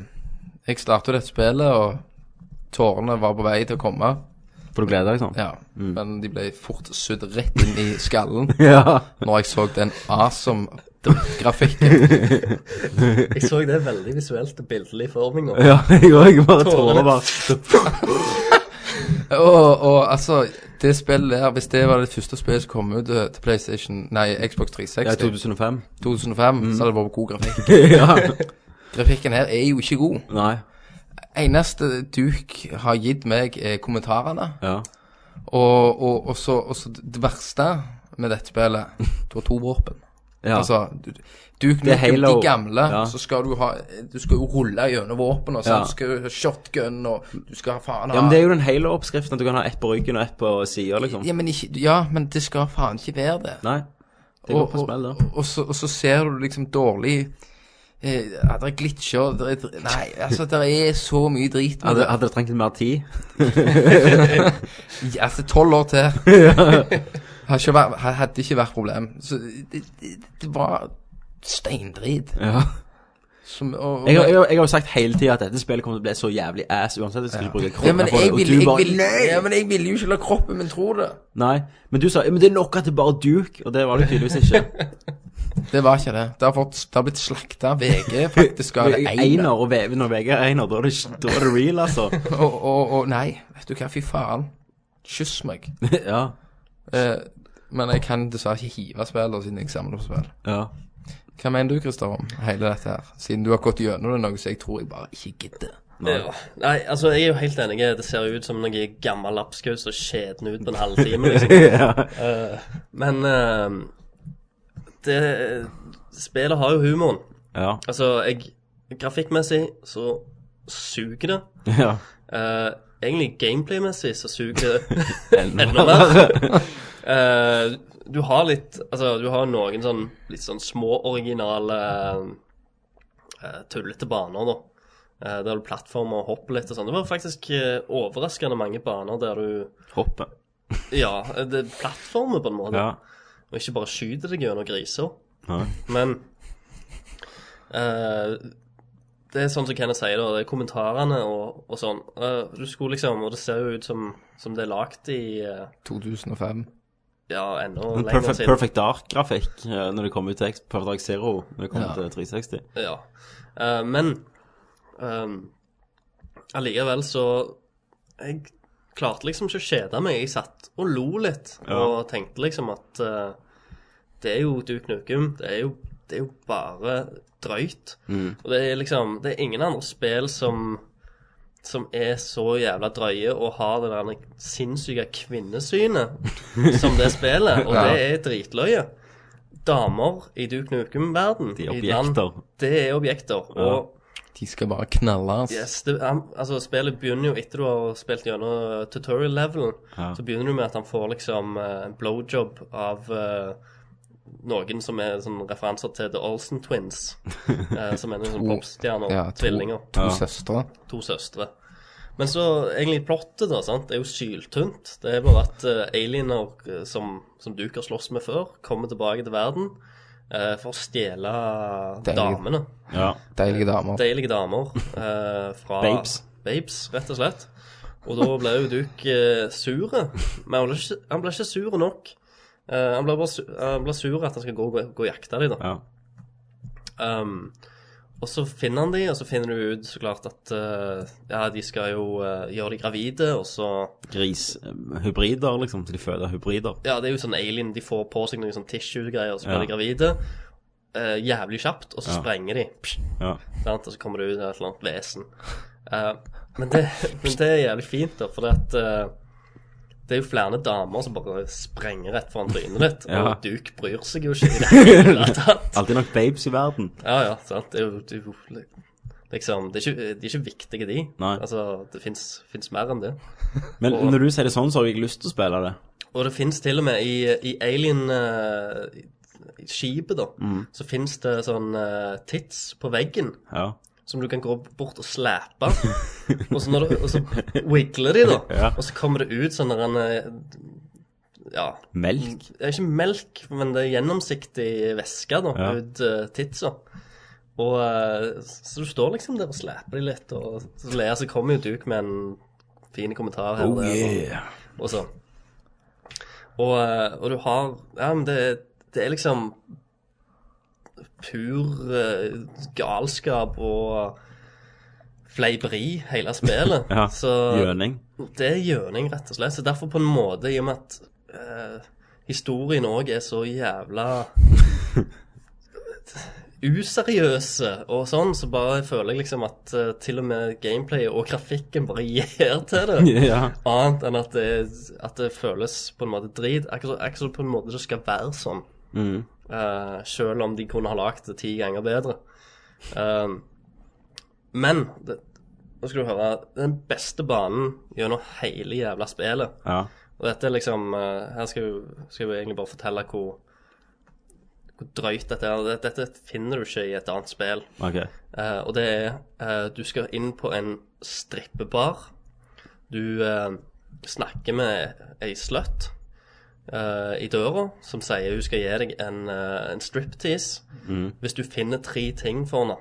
Speaker 6: jeg startet jo dette spillet, og tårene var på vei til å komme.
Speaker 1: For du gleder deg sånn?
Speaker 6: Ja. Men de ble fort sydd rett inn i skallen
Speaker 1: Ja.
Speaker 6: når jeg så den awesome grafikken.
Speaker 5: Jeg så det veldig visuelt og bildelig forming nå.
Speaker 1: Ja, jeg òg. Bare
Speaker 5: Tårene.
Speaker 1: tårer bare
Speaker 6: Og, og altså, det spillet der, hvis det var det første spillet som kom ut eh, til PlayStation Nei, Xbox 360
Speaker 1: Ja, 2005.
Speaker 6: 2005, så hadde det vært god grafikk.
Speaker 1: ja.
Speaker 6: Grafikken her er jo ikke god.
Speaker 1: Nei.
Speaker 6: Eneste Duke har gitt meg, er kommentarene.
Speaker 1: Ja.
Speaker 6: Og, og, og, så, og så det verste med dette spillet Du har to våpen.
Speaker 1: ja.
Speaker 6: Altså, du, du
Speaker 1: Det er
Speaker 6: knukker
Speaker 1: Halo.
Speaker 6: de gamle,
Speaker 1: Ja.
Speaker 6: så skal du ha Du skal jo rulle gjennom våpen, og så
Speaker 1: Ja.
Speaker 6: du skal ha shotgun, og du skal ha faen ha
Speaker 1: ja, men det er jo den Halo-oppskriften. at Du kan ha ett på ryggen og ett på sida, liksom.
Speaker 6: ja, men ikke, ja, men det skal faen ikke være det.
Speaker 1: Nei. Det går på spill,
Speaker 6: og,
Speaker 1: da.
Speaker 6: og, så, og så ser du liksom dårlig eh, ja, Det er glitcher det er, Nei, altså, det er så mye drit med
Speaker 1: Hadde,
Speaker 6: det.
Speaker 1: hadde det trengt litt mer tid?
Speaker 6: Altså, tolv år til hadde, ikke vært, hadde ikke vært problem. Så det, det, det var steindrit.
Speaker 1: Ja.
Speaker 6: Som, og, og,
Speaker 1: Jeg, har- jeg, har- jeg har jo sagt hele tida at dette spillet kommer til å bli så jævlig ass uansett. Jeg skal ikke bruke
Speaker 6: ja,
Speaker 1: kroner
Speaker 6: men
Speaker 1: på det.
Speaker 6: jeg
Speaker 1: Og
Speaker 6: ville
Speaker 1: du
Speaker 6: jeg
Speaker 1: bare
Speaker 6: ville- ja, men jeg ville jo ikke la kroppen min tro det.
Speaker 1: Nei. Men du sa ja, men det er nok at det er bare Duke, og det var det tydeligvis ikke.
Speaker 6: Det var ikke det. Det har, fått, det har blitt slakta VG faktisk av
Speaker 1: Einer
Speaker 6: Einer.
Speaker 1: og Veven og Vegard Einer, da er det- da er det real, altså.
Speaker 6: Og, og, og nei, vet du hva, fy faen. Kyss meg.
Speaker 1: Ja.
Speaker 6: Eh, men jeg kan dessverre ikke hive spillere siden jeg samler på spill.
Speaker 1: Ja.
Speaker 6: Hva mener du, Christer, om hele dette her? Siden du har gått gjennom det noe, så jeg tror jeg bare ikke gidder.
Speaker 5: Ja. Nei, altså, jeg er jo helt enig. Det ser jo ut som noe gammel lapskaus og skjeden ut på en halvtime, liksom. Eh, men eh, det Spillet har jo humoren.
Speaker 1: Ja.
Speaker 5: Altså, jeg Grafikkmessig så suger det.
Speaker 1: ja.
Speaker 5: Eh, egentlig gameplaymessig så suger det enda mer. Eh, du har litt Altså, du har noen sånn litt sånn småoriginale eh, tullete baner, da. Eh, der du plattformer og hopper litt og sånn. Det var faktisk eh, overraskende mange baner der du
Speaker 1: Hoppet.
Speaker 5: Ja, eh, det plattformer på en måte.
Speaker 1: Ja.
Speaker 5: Og ikke bare skyter deg gjennom griser.
Speaker 1: Nei.
Speaker 5: Men eh, Det er sånn som Kenneth sier, da. Det er kommentarene og, og sånn. Eh, du skulle liksom Og det ser jo ut som, som det er lagd i eh,
Speaker 6: 2005.
Speaker 5: Ja, enda
Speaker 1: Men
Speaker 5: lenger
Speaker 1: Perfect,
Speaker 5: siden.
Speaker 1: perfect Dark-grafikk eh, når det kom ut til X- Perfect Dark Zero når det kom
Speaker 6: Ja.
Speaker 1: til 360.
Speaker 5: Ja. Eh, men ehm, allikevel så Jeg klarte liksom ikke å kjede meg. Jeg satt og lo litt
Speaker 1: Ja.
Speaker 5: og tenkte liksom at eh, det er jo Duke Nukem. Det er jo, det er jo bare drøyt. Og det er liksom Det er ingen andre spill som som er så jævla drøye og har det der sinnssyke kvinnesynet som det spillet. Og det er dritløye. Damer i Duke Nukem-verden
Speaker 1: De
Speaker 5: i
Speaker 1: er
Speaker 5: land-
Speaker 1: objekter.
Speaker 5: det er objekter. Og
Speaker 6: De skal bare knalles.
Speaker 5: yes, det, han, altså, spillet begynner jo etter du har spilt gjennom eh, tutorial-levelen. Så begynner du med at han får liksom eh, en blowjob av eh, noen som er sånn referanser til The Olsen Twins. eh, som er noen sånne popstjerner.
Speaker 6: Ja, to,
Speaker 5: tvillinger.
Speaker 6: to søstre.
Speaker 5: To søstre. Men så egentlig plottet da, sant, er jo syltynt. Det er bare at eh, aliener eh, som, som Duke har slåss med før, kommer tilbake til verden eh, for å stjele
Speaker 6: Deilig.
Speaker 5: damene.
Speaker 1: Ja.
Speaker 6: Deilige damer.
Speaker 5: Deilige damer eh, fra
Speaker 1: Babes.
Speaker 5: Babes, rett og slett. Og da ble jo Duke eh, sure. Men han ble ikke, han ble ikke sur nok. Eh, han ble bare su han ble sur at han skal gå, gå, gå og jakte dem, da.
Speaker 1: ja.
Speaker 5: Um, og så finner han de, og så finner du ut så klart at eh, ja, de skal jo eh, gjøre de gravide, og så
Speaker 1: Grishybrider, eh, liksom. Så de føder hybrider.
Speaker 5: Ja, det er jo sånn alien, de får på seg noen sånn tissue-greier, og så blir
Speaker 1: Ja.
Speaker 5: de gravide. eh, jævlig kjapt, og så
Speaker 1: Ja.
Speaker 5: sprenger de. Psh,
Speaker 1: Ja.
Speaker 5: sant? Og så kommer det ut et eller annet vesen. Eh, men, det, men det er jævlig fint, da, for det at eh, det er jo flere damer som bare sprenger rett foran trynet ditt,
Speaker 1: Ja.
Speaker 5: og Duke bryr seg jo ikke i det hele tatt.
Speaker 1: Alltid nok babes i verden.
Speaker 5: Ja, ja, sant. Det er jo, det er jo li- liksom det er ikke, De er ikke viktige, de.
Speaker 1: Nei.
Speaker 5: Altså, det fins mer enn det.
Speaker 1: Men
Speaker 5: Og-
Speaker 1: når du sier det sånn, så har jeg lyst til å spille det.
Speaker 5: Og det fins til og med i, i Alien eh, i- i Skipet, da,
Speaker 1: Mm.
Speaker 5: så fins det sånn eh, tits på veggen
Speaker 1: Ja.
Speaker 5: som du kan gå bort og slappe. og, så når du, og så wiggler de, da.
Speaker 1: Ja.
Speaker 5: Og så kommer det ut sånn der en eh, Ja.
Speaker 1: Melk.
Speaker 5: Det er ikke melk, men det er gjennomsiktig væske da,
Speaker 1: Ja.
Speaker 5: ut eh, titsa. Og eh, Så du står liksom der og slæper de litt, og så ler så kommer jo Duke med en fin kommentar
Speaker 1: Oh,
Speaker 5: her og der, og, og sånn. Og, eh, og du har Ja, men det, det er liksom pur eh, galskap og fleiperi, hele spillet.
Speaker 1: Ja.
Speaker 5: Så-
Speaker 1: Gjøning.
Speaker 5: det er gjøning, rett og slett. Så derfor på en måte, i og med at eh, historien òg er så jævla useriøse og sånn, så bare føler jeg liksom at eh, til og med gameplayet og grafikken bare gir til det.
Speaker 1: Ja.
Speaker 5: Annet enn at det, at det føles på en måte drit. Akkurat akkurat som på en måte det skal være sånn. Eh, selv om de kunne ha lagd det ti ganger bedre. Eh, men det, nå skal du høre den beste banen gjennom hele jævla spillet.
Speaker 1: ja.
Speaker 5: Og dette er liksom eh, Her skal jo, skal jo egentlig bare fortelle hvor, hvor drøyt dette er. Dette- Dette finner du ikke i et annet spill.
Speaker 1: OK.
Speaker 5: Eh, og det er eh, Du skal inn på en strippebar. Du eh, snakker med ei slutt eh, i døra som sier hun skal gi deg en, eh, en striptease hvis du finner tre ting for henne.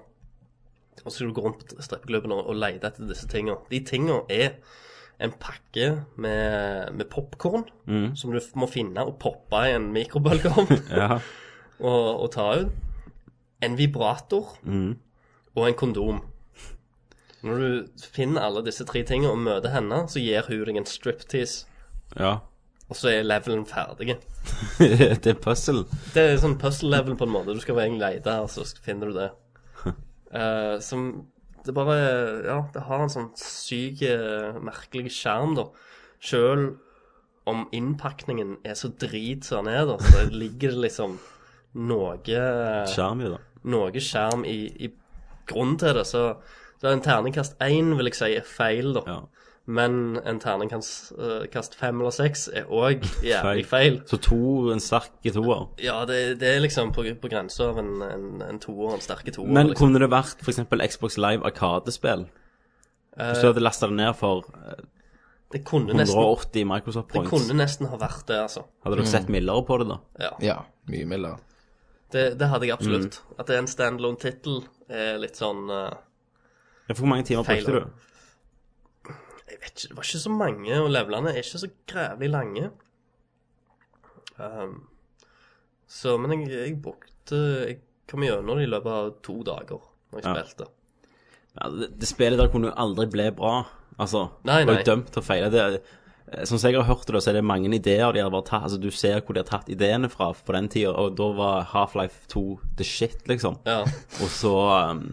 Speaker 5: Og så skal du gå rundt på strippeklubben og, og lete etter disse tingene. De tingene er en pakke med, med popkorn som du må finne og poppe i en mikrobølgeovn
Speaker 1: Ja.
Speaker 5: og, og ta ut. En vibrator og en kondom. Når du finner alle disse tre tingene og møter henne, så gir hun deg en striptease,
Speaker 1: ja.
Speaker 5: og så er levelen ferdig.
Speaker 1: det er puzzle.
Speaker 5: Det er sånn puzzle level på en måte. Du skal egentlig lete, og så finner du det. Eh, som Det bare Ja, det har en sånn syk, eh, merkelig skjerm, da. Sjøl om innpakningen er så drit som den er, da, så ligger det liksom noe eh,
Speaker 1: Skjerm jo, da.
Speaker 5: noe skjerm i, i grunnen til det, så, så en terningkast 1 vil jeg si er feil, da.
Speaker 1: Ja.
Speaker 5: Men en terningkast eh, kast 5 eller 6 er òg jævlig feil.
Speaker 1: Feil. Så to, en sterk toer.
Speaker 5: Ja, det, det er liksom på, på grensa av en, en, en toer, en sterke toer.
Speaker 1: Men
Speaker 5: liksom.
Speaker 1: kunne det vært for eksempel Xbox Live Arkadespill? Hvis du hadde lasta det ned for eh,
Speaker 5: det kunne nesten,
Speaker 1: 180 Microsoft
Speaker 5: det
Speaker 1: points,
Speaker 5: kunne nesten ha vært det, altså.
Speaker 1: hadde dere sett mildere på det da?
Speaker 5: Ja.
Speaker 6: Ja, mye mildere.
Speaker 5: Det, det hadde jeg absolutt.
Speaker 1: Mm.
Speaker 5: At det er en standalone-tittel, er litt sånn eh,
Speaker 1: Ja, for Hvor mange timer
Speaker 5: Feil,
Speaker 1: brukte
Speaker 5: da.
Speaker 1: du?
Speaker 5: Jeg vet ikke, det var ikke så mange, og levelene er ikke så grævlig lange. Ehm, så, men jeg, jeg brukte Jeg kom gjennom det i løpet av to dager når jeg
Speaker 1: Ja.
Speaker 5: spilte.
Speaker 1: Ja, det, det spillet der kunne jo aldri bli bra. Altså,
Speaker 5: Nei,
Speaker 1: det var
Speaker 5: nei.
Speaker 1: jo dømt til å feile. Det, eh, som jeg har hørt det, så er det mange ideer de har bare tatt. Altså, du ser hvor de har tatt ideene fra på den tida, og da var Half-Life 2 the shit, liksom.
Speaker 5: Ja.
Speaker 1: Og så um,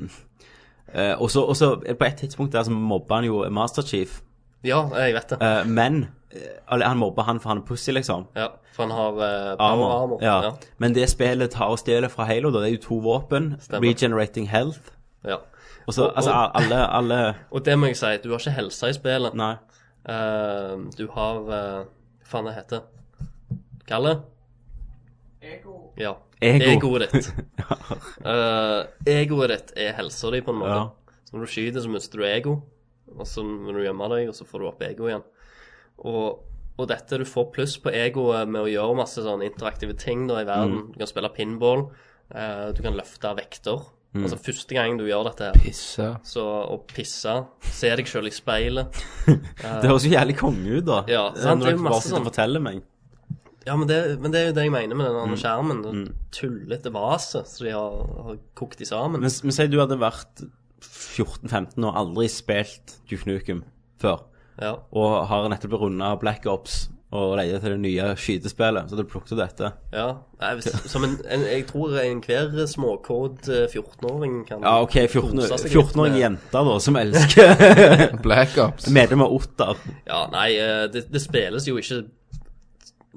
Speaker 1: eh, og så, og så eh, På et tidspunkt der så mobba han jo Master Chief,
Speaker 5: ja, jeg vet det.
Speaker 1: eh, men eh, eller, Han mobba han for han er pussy, liksom.
Speaker 5: Ja, For han har uh,
Speaker 1: Armor.
Speaker 5: power-armor.
Speaker 1: Ja.
Speaker 5: Ja.
Speaker 1: Men det spillet tar og stjeler fra Halo, da. Det er jo to våpen.
Speaker 5: Stemmer.
Speaker 1: Regenerating health.
Speaker 5: Ja.
Speaker 1: Og så,
Speaker 5: Og-
Speaker 1: altså,
Speaker 5: og-
Speaker 1: alle, alle
Speaker 5: Og det må jeg si, du har ikke helsa i spillet.
Speaker 1: Nei.
Speaker 5: Ehm, du har eh, Hva faen det heter Kalle? Ego. Ja.
Speaker 1: Ego.
Speaker 5: Egoet ditt. Eh, egoet ditt er helsa di, på en måte.
Speaker 1: Ja.
Speaker 5: Så når du skyter, så mister du ego, og så må du gjemme deg, og så får du opp ego igjen. Og, og dette du får pluss på egoet med å gjøre masse sånn interaktive ting da i verden.
Speaker 1: Mm.
Speaker 5: Du kan spille pinball, eh, du kan løfte vekter.
Speaker 1: Mm.
Speaker 5: Altså første gang du gjør dette her,
Speaker 6: Pisse.
Speaker 5: så å pisse, se deg sjøl i speilet
Speaker 1: Det høres jo jævlig konge ut, da.
Speaker 5: Ja, sant,
Speaker 1: Når
Speaker 5: det er jo
Speaker 1: dere bare
Speaker 5: masse
Speaker 1: sitter og
Speaker 5: sånn-
Speaker 1: forteller meg.
Speaker 5: Ja, men det, men det er jo det jeg mener med den
Speaker 1: Mm.
Speaker 5: andre skjermen. Den tullete vase som de har, har kokt i sammen.
Speaker 1: Men, men si du hadde vært 14-15 og aldri spilt Duke Nukem før,
Speaker 5: ja.
Speaker 1: og har nettopp runda Black Ops og leter etter det nye skytespillet, så hadde du plukket opp dette.
Speaker 5: ja. Nei, hvis, som en, en, jeg tror enhver småkåt eh, 14-åring kan
Speaker 1: Ja, OK, 14
Speaker 5: kose seg litt
Speaker 1: 14-årige
Speaker 5: med-
Speaker 1: jenter, da, som elsker
Speaker 6: Black Ops.
Speaker 1: medlem av Otter.
Speaker 5: Ja, nei, eh, det, det spilles jo ikke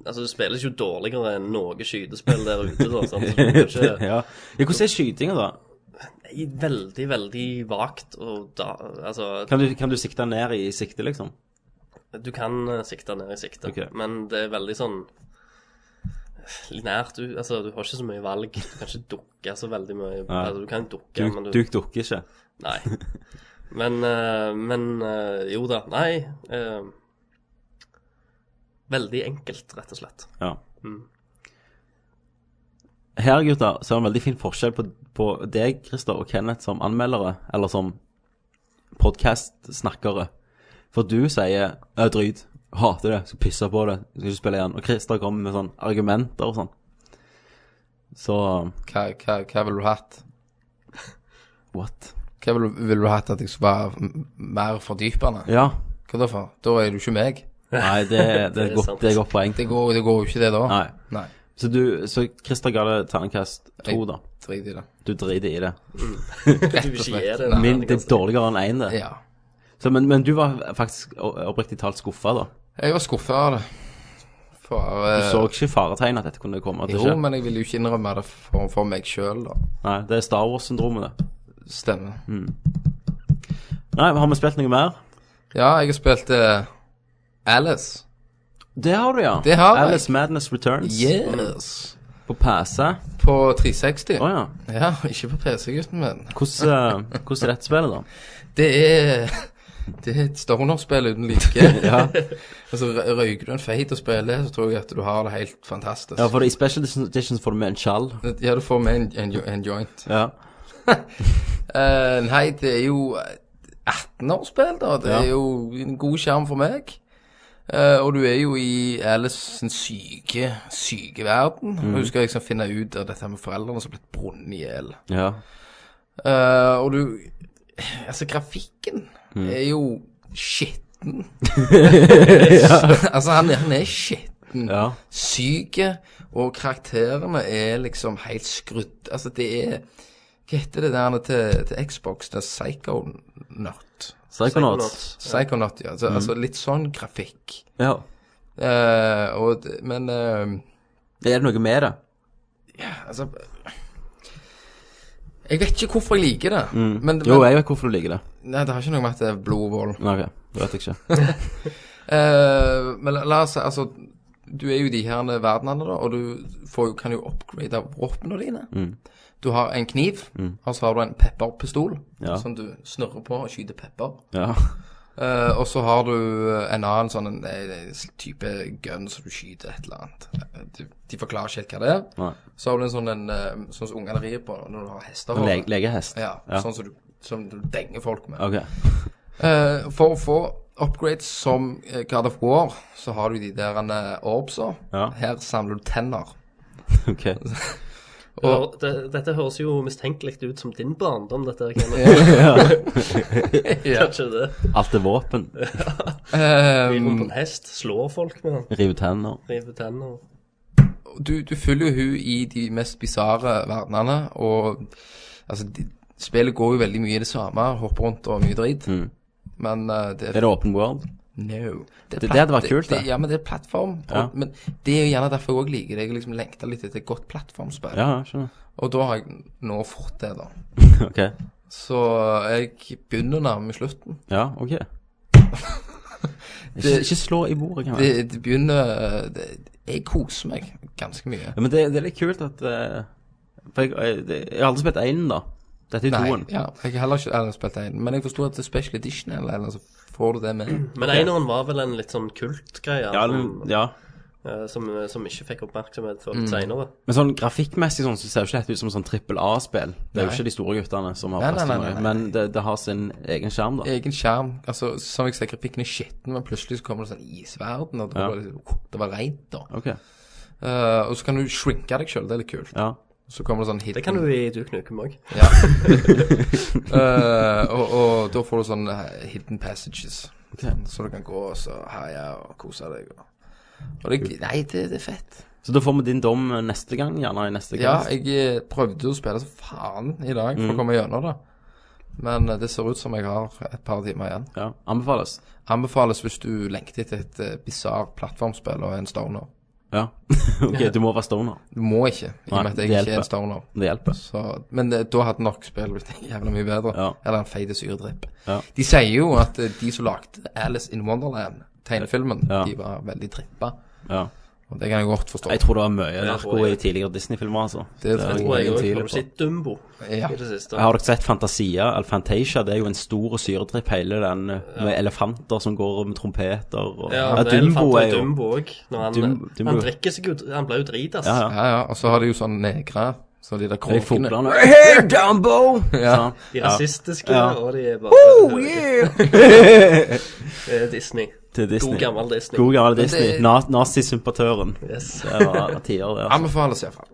Speaker 5: Altså, det spilles jo dårligere enn noe skytespill der ute, da. Sant? Så det er ikke,
Speaker 1: ja. ja, hvordan er skytinga, da?
Speaker 5: nei, veldig, veldig vagt og da Altså,
Speaker 1: Kan du, kan du sikte ned i sikte, liksom?
Speaker 5: Du kan eh, sikte ned i sikte,
Speaker 1: Ok.
Speaker 5: men det er veldig sånn linært. Du, altså, du har ikke så mye valg. Du kan ikke dukke så veldig mye.
Speaker 1: Nei.
Speaker 5: Altså, du kan dukke,
Speaker 1: Du,
Speaker 5: men
Speaker 1: du
Speaker 5: du
Speaker 1: dukker ikke.
Speaker 5: Nei. Men, eh, men eh, jo da. Nei. eh, veldig enkelt, rett og slett.
Speaker 1: Ja. Mm. Her, gutter, så er det en veldig fin forskjell på, på deg, Christer, og Kenneth som anmeldere, eller som podcast-snakkere. For du sier «Jeg er dryt, hater det, skal pisse på det, skal ikke spille igjen». Og Christer kommer med sånne argumenter og sånn. Så,
Speaker 6: Hva, hva, hva ville du hatt?
Speaker 1: what?
Speaker 6: Hva ville vil du hatt at jeg skulle være m- mer fordypende?
Speaker 1: Ja,
Speaker 6: Hva da for? Da er du ikke meg.
Speaker 1: nei, det, det, er,
Speaker 5: er
Speaker 1: godt,
Speaker 5: sant.
Speaker 1: det er godt poeng.
Speaker 6: Det går, det går jo ikke det da.
Speaker 1: Nei.
Speaker 6: Nei.
Speaker 1: Så, du, så Christer ga det terningkast 2 da.
Speaker 6: Drit i det.
Speaker 1: Du driter i det.
Speaker 5: Du vil ikke gi det.
Speaker 6: Nei.
Speaker 1: Min, det er dårligere enn en det.
Speaker 6: Ja.
Speaker 1: Så, men, men du var faktisk o- oppriktig talt skuffet da.
Speaker 6: Jeg var skuffa av det. For
Speaker 1: Du
Speaker 6: eh,
Speaker 1: så ikke faretegn at dette kunne komme til å
Speaker 6: Jo,
Speaker 1: skje.
Speaker 6: men jeg ville jo ikke innrømme det for, for meg sjøl, da.
Speaker 1: Nei, det er Star Wars-syndromet, det.
Speaker 6: Stemmer.
Speaker 1: Mm. Nei, har vi spilt noe mer?
Speaker 6: Ja, jeg har spilt eh, Alice.
Speaker 1: Det har du, ja.
Speaker 6: Det har jeg.
Speaker 1: Alice Madness Returns
Speaker 6: Yes.
Speaker 1: på PC.
Speaker 6: På 360.
Speaker 1: Å ja.
Speaker 6: Ja, ikke på PC-gutten min.
Speaker 1: Hvordan, eh, hvordan er dette spillet, da?
Speaker 6: Det er Det er et stoner-spill uten like.
Speaker 1: Ja.
Speaker 6: Og så rø- røyker du en feit og spiller, så tror jeg at du har det helt fantastisk.
Speaker 1: Ja, for I Special Edition får du med en skjall.
Speaker 6: Ja, du får med en, en, jo- en joint.
Speaker 1: Ja.
Speaker 6: Eh, nei, det er jo 18-årsspill, da. Det
Speaker 1: Ja.
Speaker 6: er jo en god skjerm for meg. Eh, og du er jo i Alice sin syke, syke verden.
Speaker 1: Mm.
Speaker 6: Og Hun skal liksom finne ut av dette med foreldrene som har blitt brunnet i hjel.
Speaker 1: ja.
Speaker 6: Eh, og du Altså, grafikken
Speaker 1: Mm.
Speaker 6: er jo skitten. altså, han, han er skitten.
Speaker 1: ja.
Speaker 6: Syke, og karakterene er liksom helt skrudd. Altså, det er Hva heter det der til, til Xbox? Det er Psychonaut.
Speaker 1: Psychonauts.
Speaker 6: Psychonaut, ja.
Speaker 1: Mm.
Speaker 6: Altså, altså litt sånn grafikk.
Speaker 1: Ja.
Speaker 6: Eh, og, det- men eh,
Speaker 1: Er det noe med det?
Speaker 6: Altså Jeg vet ikke hvorfor jeg liker det. Men, men
Speaker 1: Mm. Jo, jeg vet hvorfor du liker det.
Speaker 6: Nei, det har ikke noe med at det er blodvold.
Speaker 1: Nei, ok, det vet jeg ikke.
Speaker 6: Eh, men la- la oss si, altså Du er jo i de her verdenene, da, og du får, jo- kan jo upgrade våpnene dine.
Speaker 1: Mm.
Speaker 6: Du har en kniv, og så har du en pepperpistol
Speaker 1: Ja.
Speaker 6: som du snurrer på og skyter pepper.
Speaker 1: Ja.
Speaker 6: Eh, og så har du en annen sånn en, en type gun som du skyter et eller annet. De, de forklarer ikke helt hva det er.
Speaker 1: Nei.
Speaker 6: Så har du en sånn en, eh, sånn som ungene rir på når du har hester.
Speaker 1: Le legehest.
Speaker 6: Ja, sånn som du, som du denger folk med.
Speaker 1: Ok.
Speaker 6: Eh, for å få upgrades som eh, God of War, så har du de der eh, orbsa.
Speaker 1: Ja.
Speaker 6: Her samler du tenner.
Speaker 1: ok.
Speaker 5: Og det, dette høres jo mistenkelig ut som din barndom, dette. Kenneth. Kanskje det.
Speaker 1: Alt er våpen. Um,
Speaker 5: Rir rundt på en hest, slår folk med den,
Speaker 1: Rive tenner.
Speaker 5: river tenner.
Speaker 6: Du, du følger jo hun i de mest bisarre verdenene, og altså de, Spillet går jo veldig mye i det samme, hopper rundt og mye drit. Men eh, det
Speaker 1: Er Mm. det open world?
Speaker 6: No. Det,
Speaker 1: det hadde vært kult, det.
Speaker 6: Ja, men det er plattform.
Speaker 1: Ja.
Speaker 6: Og, men det er jo gjerne derfor jeg òg liker det. Jeg liksom lengter litt etter et godt plattformspill.
Speaker 1: Ja, ja, skjønner.
Speaker 6: Og da har jeg nå fått det, da.
Speaker 1: Ok.
Speaker 6: Så eh, jeg begynner nærmere slutten.
Speaker 1: Ja, ok. Ikke,
Speaker 6: Det-
Speaker 1: ikke slå i bordet, kan
Speaker 6: Det,
Speaker 1: jeg.
Speaker 6: det begynner det, Jeg koser meg ganske mye.
Speaker 1: Ja, men det, det er litt kult at eh, For jeg, jeg, det- jeg har aldri spilt einen, da. Dette er toen.
Speaker 6: ja, jeg har heller ikke eller spilt en, men jeg forsto at det er special edition, eller, eller så får du det med.
Speaker 1: Mm.
Speaker 5: Men eineren var vel en litt sånn kultgreie
Speaker 1: Ja,
Speaker 5: som,
Speaker 1: men- ja.
Speaker 5: eh, som, som ikke fikk oppmerksomhet før litt seinere.
Speaker 1: Men sånn grafikkmessig sånn, så ser jo ikke dette ut som sånn trippel A-spill. Det er jo
Speaker 6: Nei.
Speaker 1: ikke de store guttene som har
Speaker 6: Nei, nei,
Speaker 1: plass til
Speaker 6: nei, nei,
Speaker 1: mye.
Speaker 6: nei.
Speaker 1: Men det, det har sin egen skjerm, da.
Speaker 6: Egen skjerm. Altså, som jeg sier, grafikken er skitten, men plutselig så kommer det sånn isverden, og det
Speaker 1: Ja.
Speaker 6: var, liksom- det var rent, da.
Speaker 1: Ok.
Speaker 6: Eh, og så kan du shrinke deg sjøl, det er litt kult.
Speaker 1: Ja.
Speaker 6: Så kommer det sånn hidden
Speaker 5: Det kan du i Duke Nukem òg.
Speaker 6: Ja. Eh, og, og da får du sånne eh, hidden passages. Så du kan gå og så herje og kose deg. Og, og det, nei, det, det er fett.
Speaker 1: Så da får vi din dom eh, neste gang, gjerne i neste
Speaker 6: Ja,
Speaker 1: gang.
Speaker 6: jeg eh, prøvde å spille som faen i dag
Speaker 1: Mm.
Speaker 6: for å komme gjennom det. Men eh, det ser ut som jeg har et par timer igjen.
Speaker 1: Ja. Anbefales.
Speaker 6: Anbefales hvis du lengter etter et uh, bisarr plattformspill og er en stoner.
Speaker 1: Ja. ok, du må være stoner.
Speaker 6: Du må ikke, i og
Speaker 1: Nei,
Speaker 6: med at jeg
Speaker 1: det
Speaker 6: ikke
Speaker 1: hjelper.
Speaker 6: er en stoner.
Speaker 1: Det hjelper.
Speaker 6: Så, men eh, da hadde nok spillet blitt jævla mye bedre.
Speaker 1: Ja.
Speaker 6: Eller en feit syredripp.
Speaker 1: Ja.
Speaker 6: De sier jo at eh, de som lagde Alice in Wonderland, tegnefilmen,
Speaker 1: Ja.
Speaker 6: de var veldig drippa.
Speaker 1: Ja.
Speaker 6: Og det kan jeg godt forstå.
Speaker 1: Jeg tror det var mye narko
Speaker 5: tror jeg.
Speaker 1: i tidligere Disney-filmer, altså.
Speaker 6: det
Speaker 5: Det
Speaker 6: tror
Speaker 5: tror jeg
Speaker 1: ingen
Speaker 5: òg.
Speaker 1: tvil
Speaker 5: Har du
Speaker 1: på.
Speaker 5: sett Dumbo
Speaker 6: Ja.
Speaker 5: i det siste?
Speaker 1: Har dere sett Fantasia, eller Fantasia? Det er jo en stor syretripp, hele den, eh, med elefanter som går med trompeter og
Speaker 5: Ja, men det er
Speaker 1: Dumbo
Speaker 5: Dumbo
Speaker 1: er jo
Speaker 5: Dumbo òg. Han,
Speaker 1: Dum- Dumbo-
Speaker 5: han drikker seg ut Han ble jo dritas.
Speaker 1: Ja, ja.
Speaker 6: Ja, ja. Og så har de jo sånne negre, så de der
Speaker 1: Jeg
Speaker 6: krokene
Speaker 1: fogler den. Hey, Dumbo!
Speaker 6: Ja.
Speaker 1: Sånn.
Speaker 5: De
Speaker 1: Ja.
Speaker 5: rasistiske,
Speaker 1: Ja.
Speaker 5: og de er bare oh, Disney.
Speaker 1: Til Disney.
Speaker 5: God gammel Disney.
Speaker 1: God gammel
Speaker 6: det-
Speaker 1: Disney. Na Nazisympatøren.
Speaker 5: Yes.
Speaker 1: Det var tider, det. altså.
Speaker 6: Anbefales iallfall.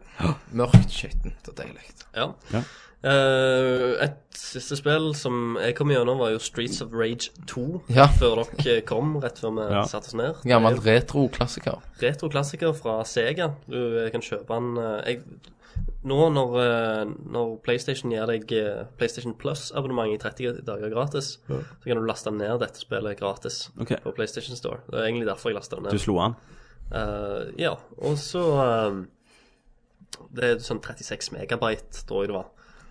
Speaker 6: Mørkt, skittent og deilig.
Speaker 5: Ja.
Speaker 1: Ja.
Speaker 5: Eh, et siste spill som jeg kom gjennom, var jo Streets of Rage 2.
Speaker 6: Ja.
Speaker 5: Før dere kom, rett før vi
Speaker 1: Ja.
Speaker 5: satte oss ned.
Speaker 6: Gammel retro-klassiker.
Speaker 5: Retroklassiker fra Sega. Du eh, kan kjøpe den eh, jeg, Nå når, eh, når PlayStation gir deg eh, PlayStation Plus-abonnement i 30 dager gratis, så kan du laste ned dette spillet gratis
Speaker 1: Ok.
Speaker 5: på PlayStation Store. Det er egentlig derfor jeg lasta det ned.
Speaker 1: Du slo han.
Speaker 5: Eh, ja, og så eh, Det er sånn 36 megabyte, tror jeg det var.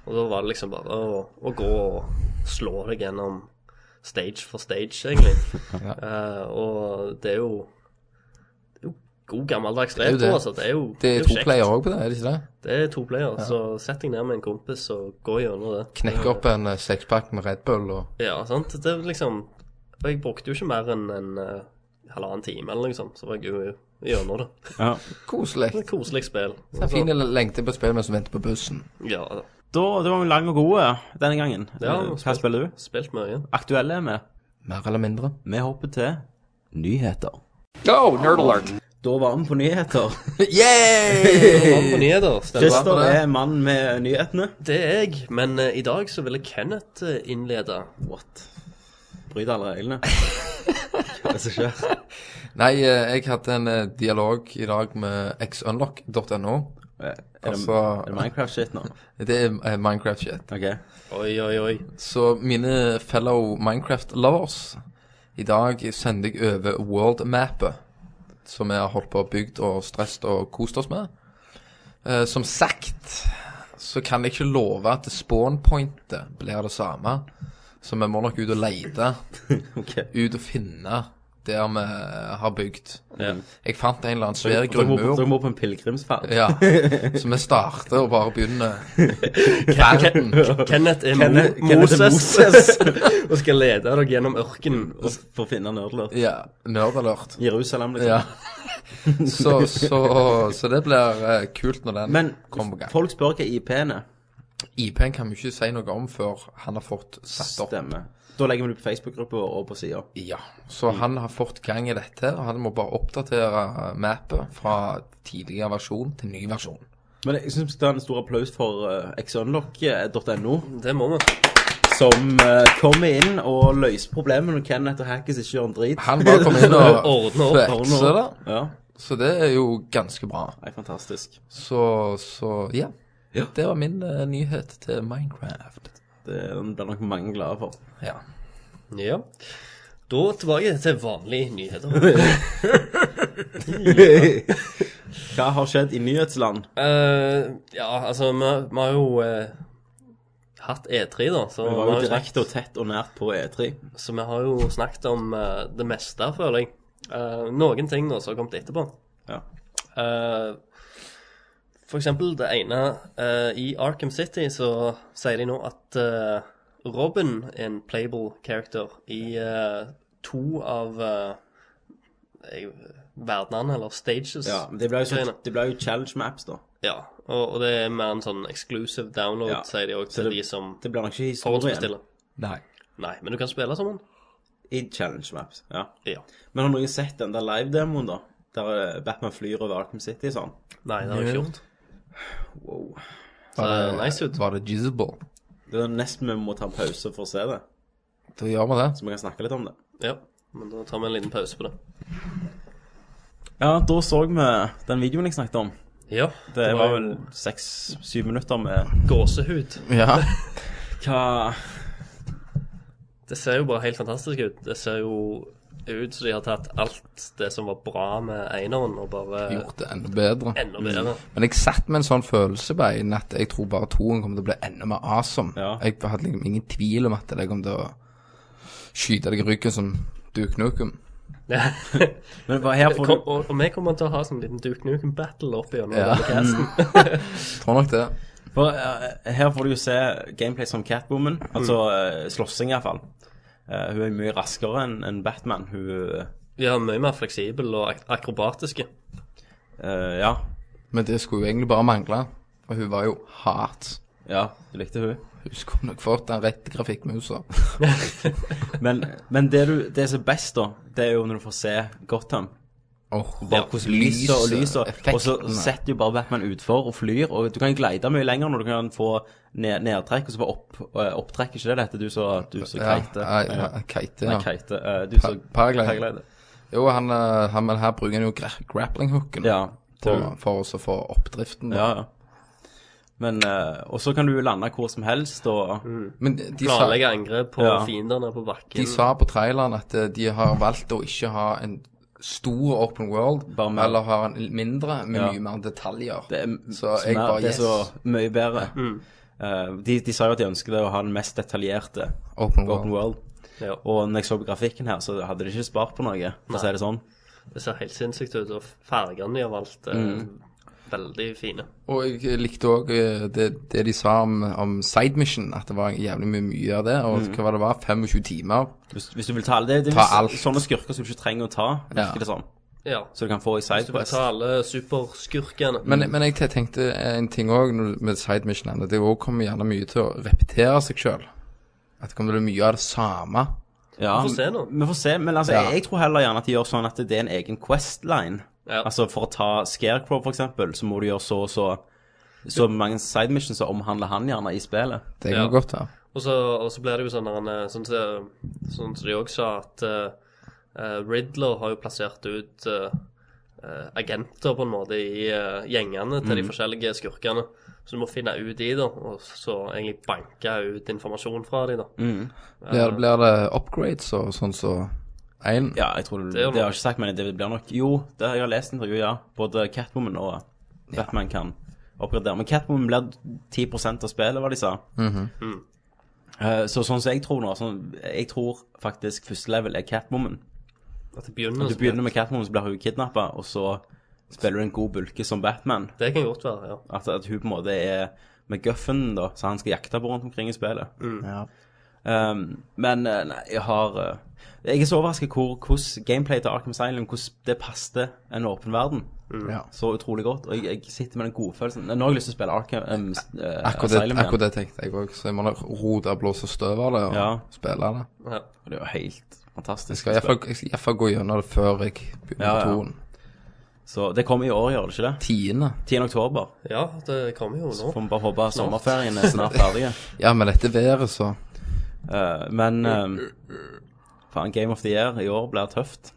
Speaker 5: Og da var det liksom bare å, å gå og slå deg gjennom stage for stage, egentlig. Eh, og det er jo Det er jo god gammeldags
Speaker 6: er jo
Speaker 5: retro,
Speaker 6: det.
Speaker 5: altså. Det er jo
Speaker 6: Det er
Speaker 5: jo
Speaker 6: to
Speaker 5: kjekt.
Speaker 6: player òg på det, er det ikke det?
Speaker 5: Det er to player, så sett deg ned med en kompis og gå gjennom det.
Speaker 6: Knekke opp en eh, sekspakk med Red Bull og
Speaker 5: Ja, sant. Det er liksom Og jeg brukte jo ikke mer enn en eh, halvannen time, eller noe sånt, så var jeg jo gjennom det.
Speaker 1: Ja.
Speaker 6: Koselig.
Speaker 5: Det er et Koselig spill.
Speaker 6: Det er Fin lengte på spill mens du venter på bussen.
Speaker 5: Ja, da.
Speaker 1: Da, det var vi lang og gode denne gangen.
Speaker 5: Ja,
Speaker 1: Eh, Hva
Speaker 5: spilt-
Speaker 1: spiller du?
Speaker 5: Spilt mye.
Speaker 1: Aktuelle er vi.
Speaker 6: Mer eller mindre.
Speaker 1: Vi hopper til nyheter.
Speaker 3: Go, Oh, nerd alert.
Speaker 1: Da var vi på nyheter.
Speaker 5: Mann på nyheter, stemmer det?
Speaker 1: Christer er mann med nyhetene.
Speaker 5: Det er jeg, men eh, i dag så ville Kenneth eh, innlede.
Speaker 1: What? Bryter alle reglene. Hva er det som skjer?
Speaker 6: Nei, eh, jeg hadde en eh, dialog i dag med xunlock.no.
Speaker 1: Er det,
Speaker 6: Altså-
Speaker 1: er det Minecraft-shit nå?
Speaker 6: Det er eh, Minecraft-shit.
Speaker 1: Ok.
Speaker 5: Oi, oi, oi.
Speaker 6: Så mine fellow Minecraft-lovers, i dag sender jeg over worldmappet som vi har holdt på og bygd og stresset og kost oss med. Eh, som sagt så kan jeg ikke love at spawnpointet blir det samme. Så vi må nok ut og lete. Ut og finne der vi har bygd.
Speaker 1: Ja.
Speaker 6: Jeg fant en eller annen svær
Speaker 1: Dere må,
Speaker 6: grunnmur.
Speaker 1: dere må på en pilegrimsferd.
Speaker 6: Ja, så vi starter og bare begynner. Verden.
Speaker 5: Kenneth
Speaker 1: Kenneth-
Speaker 5: er Mo
Speaker 1: Kenneth er
Speaker 5: Moses,
Speaker 1: Moses.
Speaker 5: og skal lede dere gjennom ørkenen.
Speaker 1: Og s- For å finne nerdlert.
Speaker 6: Ja, nerdalert.
Speaker 1: Jerusalem, liksom.
Speaker 6: Ja. Så, så, så det blir eh, kult når den
Speaker 1: Men
Speaker 6: kommer på gang.
Speaker 1: folk spør hva IP-en er.
Speaker 6: IP-en kan vi ikke si noe om før han har fått satt opp.
Speaker 1: Stemmer. Da legger vi det på Facebook-gruppa og på sida.
Speaker 6: Ja, så han har fått gang i dette, og han må bare oppdatere eh, mappet fra tidligere versjon til ny versjon.
Speaker 1: Men jeg syns det er en stor applaus for eh, xunlock.no,
Speaker 5: Det må vi.
Speaker 1: som eh, kommer inn og løser problemet når Kenneth og Hackis ikke gjør en drit.
Speaker 6: Han bare kom inn og
Speaker 5: Ordne opp.
Speaker 6: fikse det,
Speaker 1: Ja,
Speaker 6: så det er jo ganske bra.
Speaker 1: det er fantastisk.
Speaker 6: Så, så ja.
Speaker 1: Ja.
Speaker 6: Det var min eh, nyhet til Minecraft.
Speaker 1: Det den blir nok mange glade for.
Speaker 6: Ja.
Speaker 5: Ja. Da tilbake til vanlige nyheter.
Speaker 1: Hva har skjedd i nyhetsland?
Speaker 5: Eh, ja, altså, vi, vi har jo eh, hatt E3, da. Så
Speaker 1: Vi
Speaker 5: vi,
Speaker 1: var
Speaker 5: har
Speaker 1: jo
Speaker 5: jo snakket,
Speaker 1: direkte og tett og nært på E3.
Speaker 5: så vi har jo snakket om eh, det meste, føler jeg. Eh, noen ting da som har kommet etterpå.
Speaker 1: Ja.
Speaker 5: Eh, for eksempel det ene eh, I Arkham City så sier de nå at eh, Robin er en playable character i eh, to av eh, jeg- verdenene, eller stages.
Speaker 1: Ja, men det ble jo,
Speaker 5: Greiene.
Speaker 1: sånn- det ble jo challenge maps, da.
Speaker 5: Ja, og, og det er mer en sånn exclusive download,
Speaker 1: Ja.
Speaker 5: sier de òg,
Speaker 1: Så
Speaker 5: til
Speaker 1: det-
Speaker 5: de som
Speaker 1: Det blir nok ikke historien
Speaker 5: forhåndsbestiller.
Speaker 6: Nei.
Speaker 5: Nei, men du kan spille som han.
Speaker 1: i challenge maps. Ja.
Speaker 5: Ja.
Speaker 1: Men har noen sett den der live-demoen, da? Der eh, Batman flyr over Arkham City sånn?
Speaker 5: Nei, det har jeg ikke gjort.
Speaker 1: Wow.
Speaker 5: Så det
Speaker 6: Var
Speaker 5: er nice ut.
Speaker 6: Var det usable?
Speaker 1: Det er nesten vi må ta en pause for å se det,
Speaker 6: Da gjør vi det.
Speaker 1: så vi kan snakke litt om det.
Speaker 5: Ja, men da tar vi en liten pause på det.
Speaker 1: Ja, da så vi den videoen jeg snakket om.
Speaker 5: Ja,
Speaker 1: Det var vel seks-syv minutter med
Speaker 5: gåsehud.
Speaker 6: Ja.
Speaker 1: Hva
Speaker 5: Det ser jo bare helt fantastisk ut. Det ser jo ut som de har tatt alt det som var bra med eineren, og bare
Speaker 6: Gjort Mm. det enda bedre.
Speaker 5: enda bedre.
Speaker 6: Men jeg satt med en sånn følelse på en at jeg tror bare toen kommer til å bli enda mer awesome.
Speaker 1: Ja.
Speaker 6: Jeg hadde liksom ingen tvil om at det kom til å skyte deg i ryggen som Duke Nukem.
Speaker 1: Men hva her får
Speaker 5: Kom,
Speaker 1: du
Speaker 5: og, og vi kommer til å ha sånn liten Duke Nukem-battle oppi gjennom
Speaker 6: Ja.
Speaker 5: denne casten.
Speaker 6: Tror nok det.
Speaker 1: for, eh, Her får du jo se gameplay som Catwoman. Altså eh, slåssing, iallfall. Uh, hun er mye raskere enn enn Batman. Hun
Speaker 5: Ja, mye mer fleksibel og ak akrobatiske.
Speaker 1: eh, Ja.
Speaker 6: Men det skulle jo egentlig bare mangle. For hun var jo hardt.
Speaker 1: Ja, du likte hun.
Speaker 6: Hun skulle nok fått den rette grafikkmusa.
Speaker 1: Men, men det, du, det som er best, da, det er jo når du får se Gotham.
Speaker 6: Oh,
Speaker 1: Bare hvordan lyset og lyset Og så setter jo bare Batman utfor og flyr. Og du kan glide mye lenger når du kan få ned, nedtrekk, og så bare opp, eh, opptrekk. Ikke det dette du så, du så
Speaker 6: ja,
Speaker 1: kite?
Speaker 6: ja, ja, Keite,
Speaker 1: Nei,
Speaker 6: ja.
Speaker 1: kite. eh, Du så
Speaker 6: Pa- paraglider.
Speaker 1: paraglider.
Speaker 6: Jo, han, eh, han, men her bruker han jo gra grappling-hooken
Speaker 1: Ja.
Speaker 6: for, for også å få oppdriften. da.
Speaker 1: ja, ja. Men eh, Og så kan du lande hvor som helst, og
Speaker 6: Men de, de, sa,
Speaker 5: Planlegge angrep på
Speaker 1: Ja.
Speaker 5: fiendene
Speaker 6: de
Speaker 5: på bakken.
Speaker 6: sa på traileren at eh, de har valgt å ikke ha en stor open world,
Speaker 1: Bare mer-
Speaker 6: eller ha en mindre med
Speaker 1: Ja.
Speaker 6: mye mer detaljer.
Speaker 1: det er,
Speaker 6: så jeg
Speaker 1: mer-
Speaker 6: bare
Speaker 1: det er
Speaker 6: yes, Mm.
Speaker 1: så mye bedre. Eh, de, de sa jo at de ønsket å ha den mest detaljerte
Speaker 6: open world.
Speaker 1: Open World.
Speaker 5: Ja,
Speaker 1: Og når jeg så på grafikken her, så hadde de ikke spart på noe, for å si det sånn.
Speaker 5: det ser helt sinnssykt ut, og fargene de har valgt, er
Speaker 6: Mm.
Speaker 5: veldig fine.
Speaker 6: Og jeg eh, likte òg det, det de sa om, om side mission, at det var jævlig mye, mye av det. Og
Speaker 1: Mm.
Speaker 6: hva var det var? 25 timer?
Speaker 1: Hvis, hvis du vil ta det, det er
Speaker 6: Ta
Speaker 1: visse-
Speaker 6: alt.
Speaker 1: sånne skurker som du ikke trenger å ta, virker
Speaker 6: Ja.
Speaker 1: det som.
Speaker 5: Ja.
Speaker 1: Så du kan få i
Speaker 5: Så bare
Speaker 1: sidequest.
Speaker 5: ta alle superskurkene.
Speaker 6: Men,
Speaker 1: Mm.
Speaker 6: men jeg te- tenkte eh, en ting òg med side missionene. Det også kommer gjerne mye til å repetere seg sjøl. At det kommer til å bli mye av det samme.
Speaker 1: Ja,
Speaker 5: Vi får se nå.
Speaker 1: Vi får se, men altså,
Speaker 6: Ja.
Speaker 1: jeg, jeg tror heller gjerne at de gjør sånn at det er en egen questline.
Speaker 5: Ja.
Speaker 1: Altså for å ta Scarecrow, for eksempel, så må du gjøre så og så så mange side missions som omhandler han gjerne i spillet.
Speaker 6: Det kan
Speaker 5: Ja.
Speaker 6: godt være.
Speaker 5: Og så, og så blir det jo sånn der, eh, Sånn som sånn som de også sa, at eh, eh, Riddler har jo plassert ut eh, eh, agenter på en måte i eh, gjengene til de forskjellige skurkene. Så du må finne ut de, da, og så egentlig banke ut informasjon fra de, da.
Speaker 6: Blir, blir det upgrades og sånn som så én?
Speaker 1: Ja, jeg tror det, det
Speaker 5: er jo
Speaker 1: har jeg ikke sagt, men det blir nok Jo, det har jeg lest intervju, ja. Både Catwoman og Batman kan oppgradere. Men Catwoman blir 10 av spillet, hva de sa. Eh, så sånn som jeg tror nå sånn, Jeg tror faktisk første level er Catwoman.
Speaker 5: At det begynner,
Speaker 1: Du
Speaker 5: som
Speaker 1: begynner
Speaker 5: et-
Speaker 1: med Catwoman, så blir hun kidnappa, og så spiller du en god bulke som Batman.
Speaker 5: Det kan godt være, ja.
Speaker 1: At, at hun på en måte er med guffen, da, så han skal jakte på rundt omkring i spillet.
Speaker 7: Ja.
Speaker 1: Um, men eh, nei, jeg har eh, Jeg er så overrasket hvor, hvordan gameplay til Arkham Asylum hvordan det passet en åpen verden.
Speaker 6: Ja.
Speaker 1: Så utrolig godt. Og jeg, jeg sitter med den godfølelsen. Nå har jeg lyst til å spille Arkham um, s- eh,
Speaker 6: Akkurat det,
Speaker 1: Asylum
Speaker 6: akkurat det tenkte jeg òg, så jeg må nok rote og blåse støv av det og
Speaker 1: Ja.
Speaker 6: spille det.
Speaker 5: ja.
Speaker 1: Det er jo helt fantastisk.
Speaker 6: Jeg skal iallfall gå gjennom det før jeg begynner
Speaker 1: Ja,
Speaker 6: ja,
Speaker 1: ja.
Speaker 6: på toen.
Speaker 1: Så det kommer i år, gjør det ikke det?
Speaker 6: Tiende.
Speaker 1: 10. oktober.
Speaker 5: ja, det kommer jo nå.
Speaker 1: Så får vi bare håpe sommerferien er snart ferdig.
Speaker 6: Ja, men dette været, så
Speaker 1: Eh, men um, faen, Game of the Year i år blir tøft.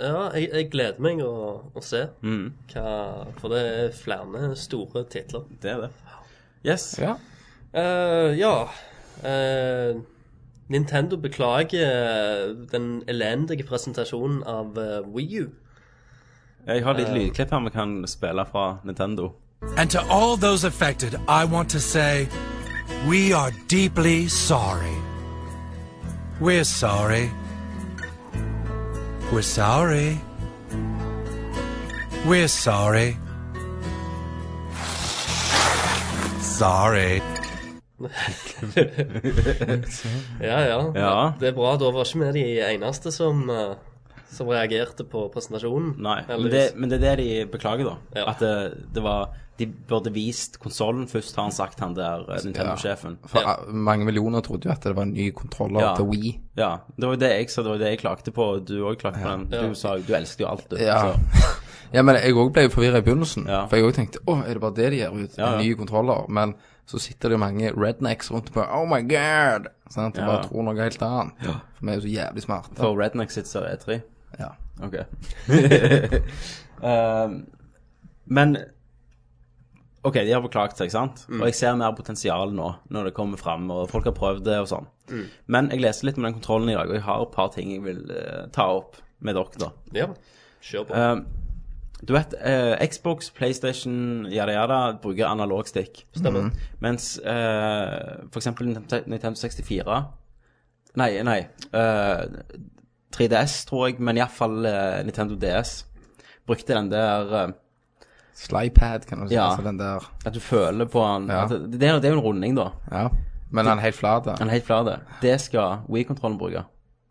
Speaker 5: Ja, jeg, jeg gleder meg å, å se hva For det er flere store titler.
Speaker 1: Det er det. Yes.
Speaker 6: Ja.
Speaker 5: Eh, ja eh, Nintendo beklager eh, den elendige presentasjonen av uh, Wii U.
Speaker 1: Jeg har litt lydklipp her vi kan spille fra Nintendo.
Speaker 8: And to all those affected, I want to say we are deeply sorry. We're sorry. We're sorry. We're sorry. Sorry.
Speaker 5: Ja, ja.
Speaker 1: Ja.
Speaker 5: Det er bra. Da var ikke vi de eneste som, eh, som reagerte på presentasjonen.
Speaker 1: Nei, men det,
Speaker 5: heldigvis.
Speaker 1: men det er det de beklager, da.
Speaker 5: Ja.
Speaker 1: At det, det var De burde vist konsollen først, har han sagt, han der eh, Nintendo-sjefen.
Speaker 6: For eh, mange millioner trodde jo at det var en ny kontroller
Speaker 1: Ja.
Speaker 6: til Wii.
Speaker 1: Ja. Det var jo det jeg sa, det var det jeg klagde på, og du òg klagde på den. Du sa jo du elsker jo alt, du.
Speaker 6: Ja.
Speaker 1: Så,
Speaker 6: ja, men jeg òg ble forvirra i begynnelsen.
Speaker 1: Ja.
Speaker 6: For jeg òg tenkte å, er det bare det de gjør ut?
Speaker 1: Ja, ja.
Speaker 6: Nye kontroller? Men så sitter det jo mange rednecks rundt og bare Oh my god! Sant? Og
Speaker 1: Ja.
Speaker 6: bare tror noe helt annet. For vi er jo så jævlig smarte.
Speaker 1: for Redneck sitt så er det E3.
Speaker 6: Ja.
Speaker 1: Ok. um, men OK, de har beklaget seg, sant?
Speaker 6: Mm.
Speaker 1: Og jeg ser mer potensial nå, når det kommer fram, og folk har prøvd det og sånn.
Speaker 6: Mm.
Speaker 1: Men jeg leste litt om den kontrollen i dag, og jeg har et par ting jeg vil eh, ta opp med dere, da.
Speaker 5: Ja, kjør på.
Speaker 1: Eh, du vet, eh, Xbox, PlayStation, jada jada, bruker analog stick.
Speaker 5: Stemmer.
Speaker 1: Mens eh, for eksempel Nintendo Nintendo 64 Nei, nei. eh, 3DS, tror jeg, men iallfall uh, Nintendo DS brukte den der eh,
Speaker 6: Slypad, kan du si.
Speaker 1: Ja.
Speaker 6: Altså den der.
Speaker 1: at du føler på den
Speaker 6: Ja.
Speaker 1: at det, det er det er jo en runding, da.
Speaker 6: Ja. Men den er helt flat.
Speaker 1: Den er helt flat. Det skal Wii-kontrollen bruke.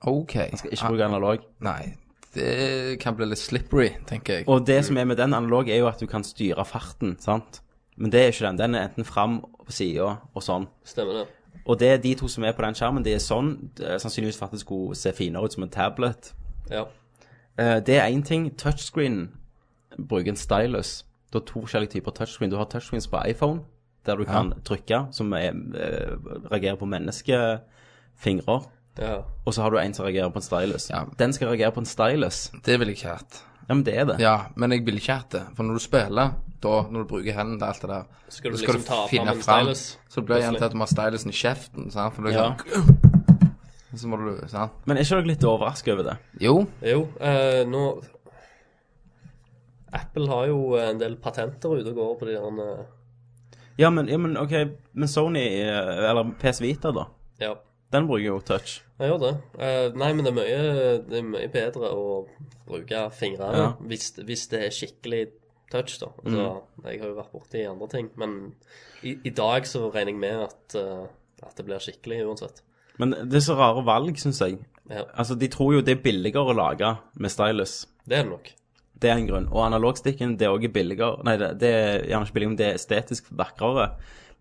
Speaker 6: OK. Ah,
Speaker 1: Ikke bruke analog.
Speaker 6: Nei. Det kan bli litt slippery, tenker jeg.
Speaker 1: Og det som er med den analog, er jo at du kan styre farten, sant? Men det er ikke den. Den er enten fram på sida og sånn.
Speaker 5: Stemmer det.
Speaker 1: Og det er de to som er på den skjermen, de er sånn, eh, sannsynligvis for at det skulle se finere ut som en tablet.
Speaker 5: Ja.
Speaker 1: Eh, Det er én ting. Touchscreen bruker en stylus. Du har to forskjellige typer touchscreen. Du har touchscreens på iPhone, der du kan trykke, som er, eh, reagerer på menneskefingrer.
Speaker 5: ja.
Speaker 1: Og så har du en som reagerer på en stylus.
Speaker 6: Ja.
Speaker 1: Den skal reagere på en stylus.
Speaker 6: Det ville jeg ikke hatt.
Speaker 1: Ja, men det er det.
Speaker 6: Ja, men jeg ville ikke hatt det. For når du spiller, da, når du bruker hendene til alt det der,
Speaker 5: Skal du
Speaker 6: så
Speaker 5: liksom ta fram en stylus,
Speaker 6: Så det blir igjen
Speaker 5: plutselig.
Speaker 6: til at du må ha stylusen i kjeften, sant? For det er
Speaker 1: Ja.
Speaker 6: sånn Så må du sant?
Speaker 1: Men er ikke dere litt overrasket over det?
Speaker 6: Jo.
Speaker 5: Jo, eh, nå Apple har jo eh, en del patenter ute og går på de der eh,
Speaker 1: Ja, men, ja, men OK, men Sony, eh, eller PS Vita, da.
Speaker 5: Ja,
Speaker 1: Den bruker jo touch.
Speaker 5: jeg gjør det. Eh, nei, men det er, mye, det er mye bedre å bruke fingrene
Speaker 1: Ja. Mm.
Speaker 5: hvis, hvis det er skikkelig touch, da. Altså, Jeg har jo vært borti andre ting, men i, i dag så regner jeg med at, eh, at det blir skikkelig uansett.
Speaker 1: Men det er så rare valg, syns jeg.
Speaker 5: Ja,
Speaker 1: Altså, De tror jo det er billigere å lage med stylus.
Speaker 5: det er det nok.
Speaker 1: Det er en grunn. Og analogstikken, det er også billigere. Nei, det, det er gjerne ikke billigere, men det er estetisk vakrere.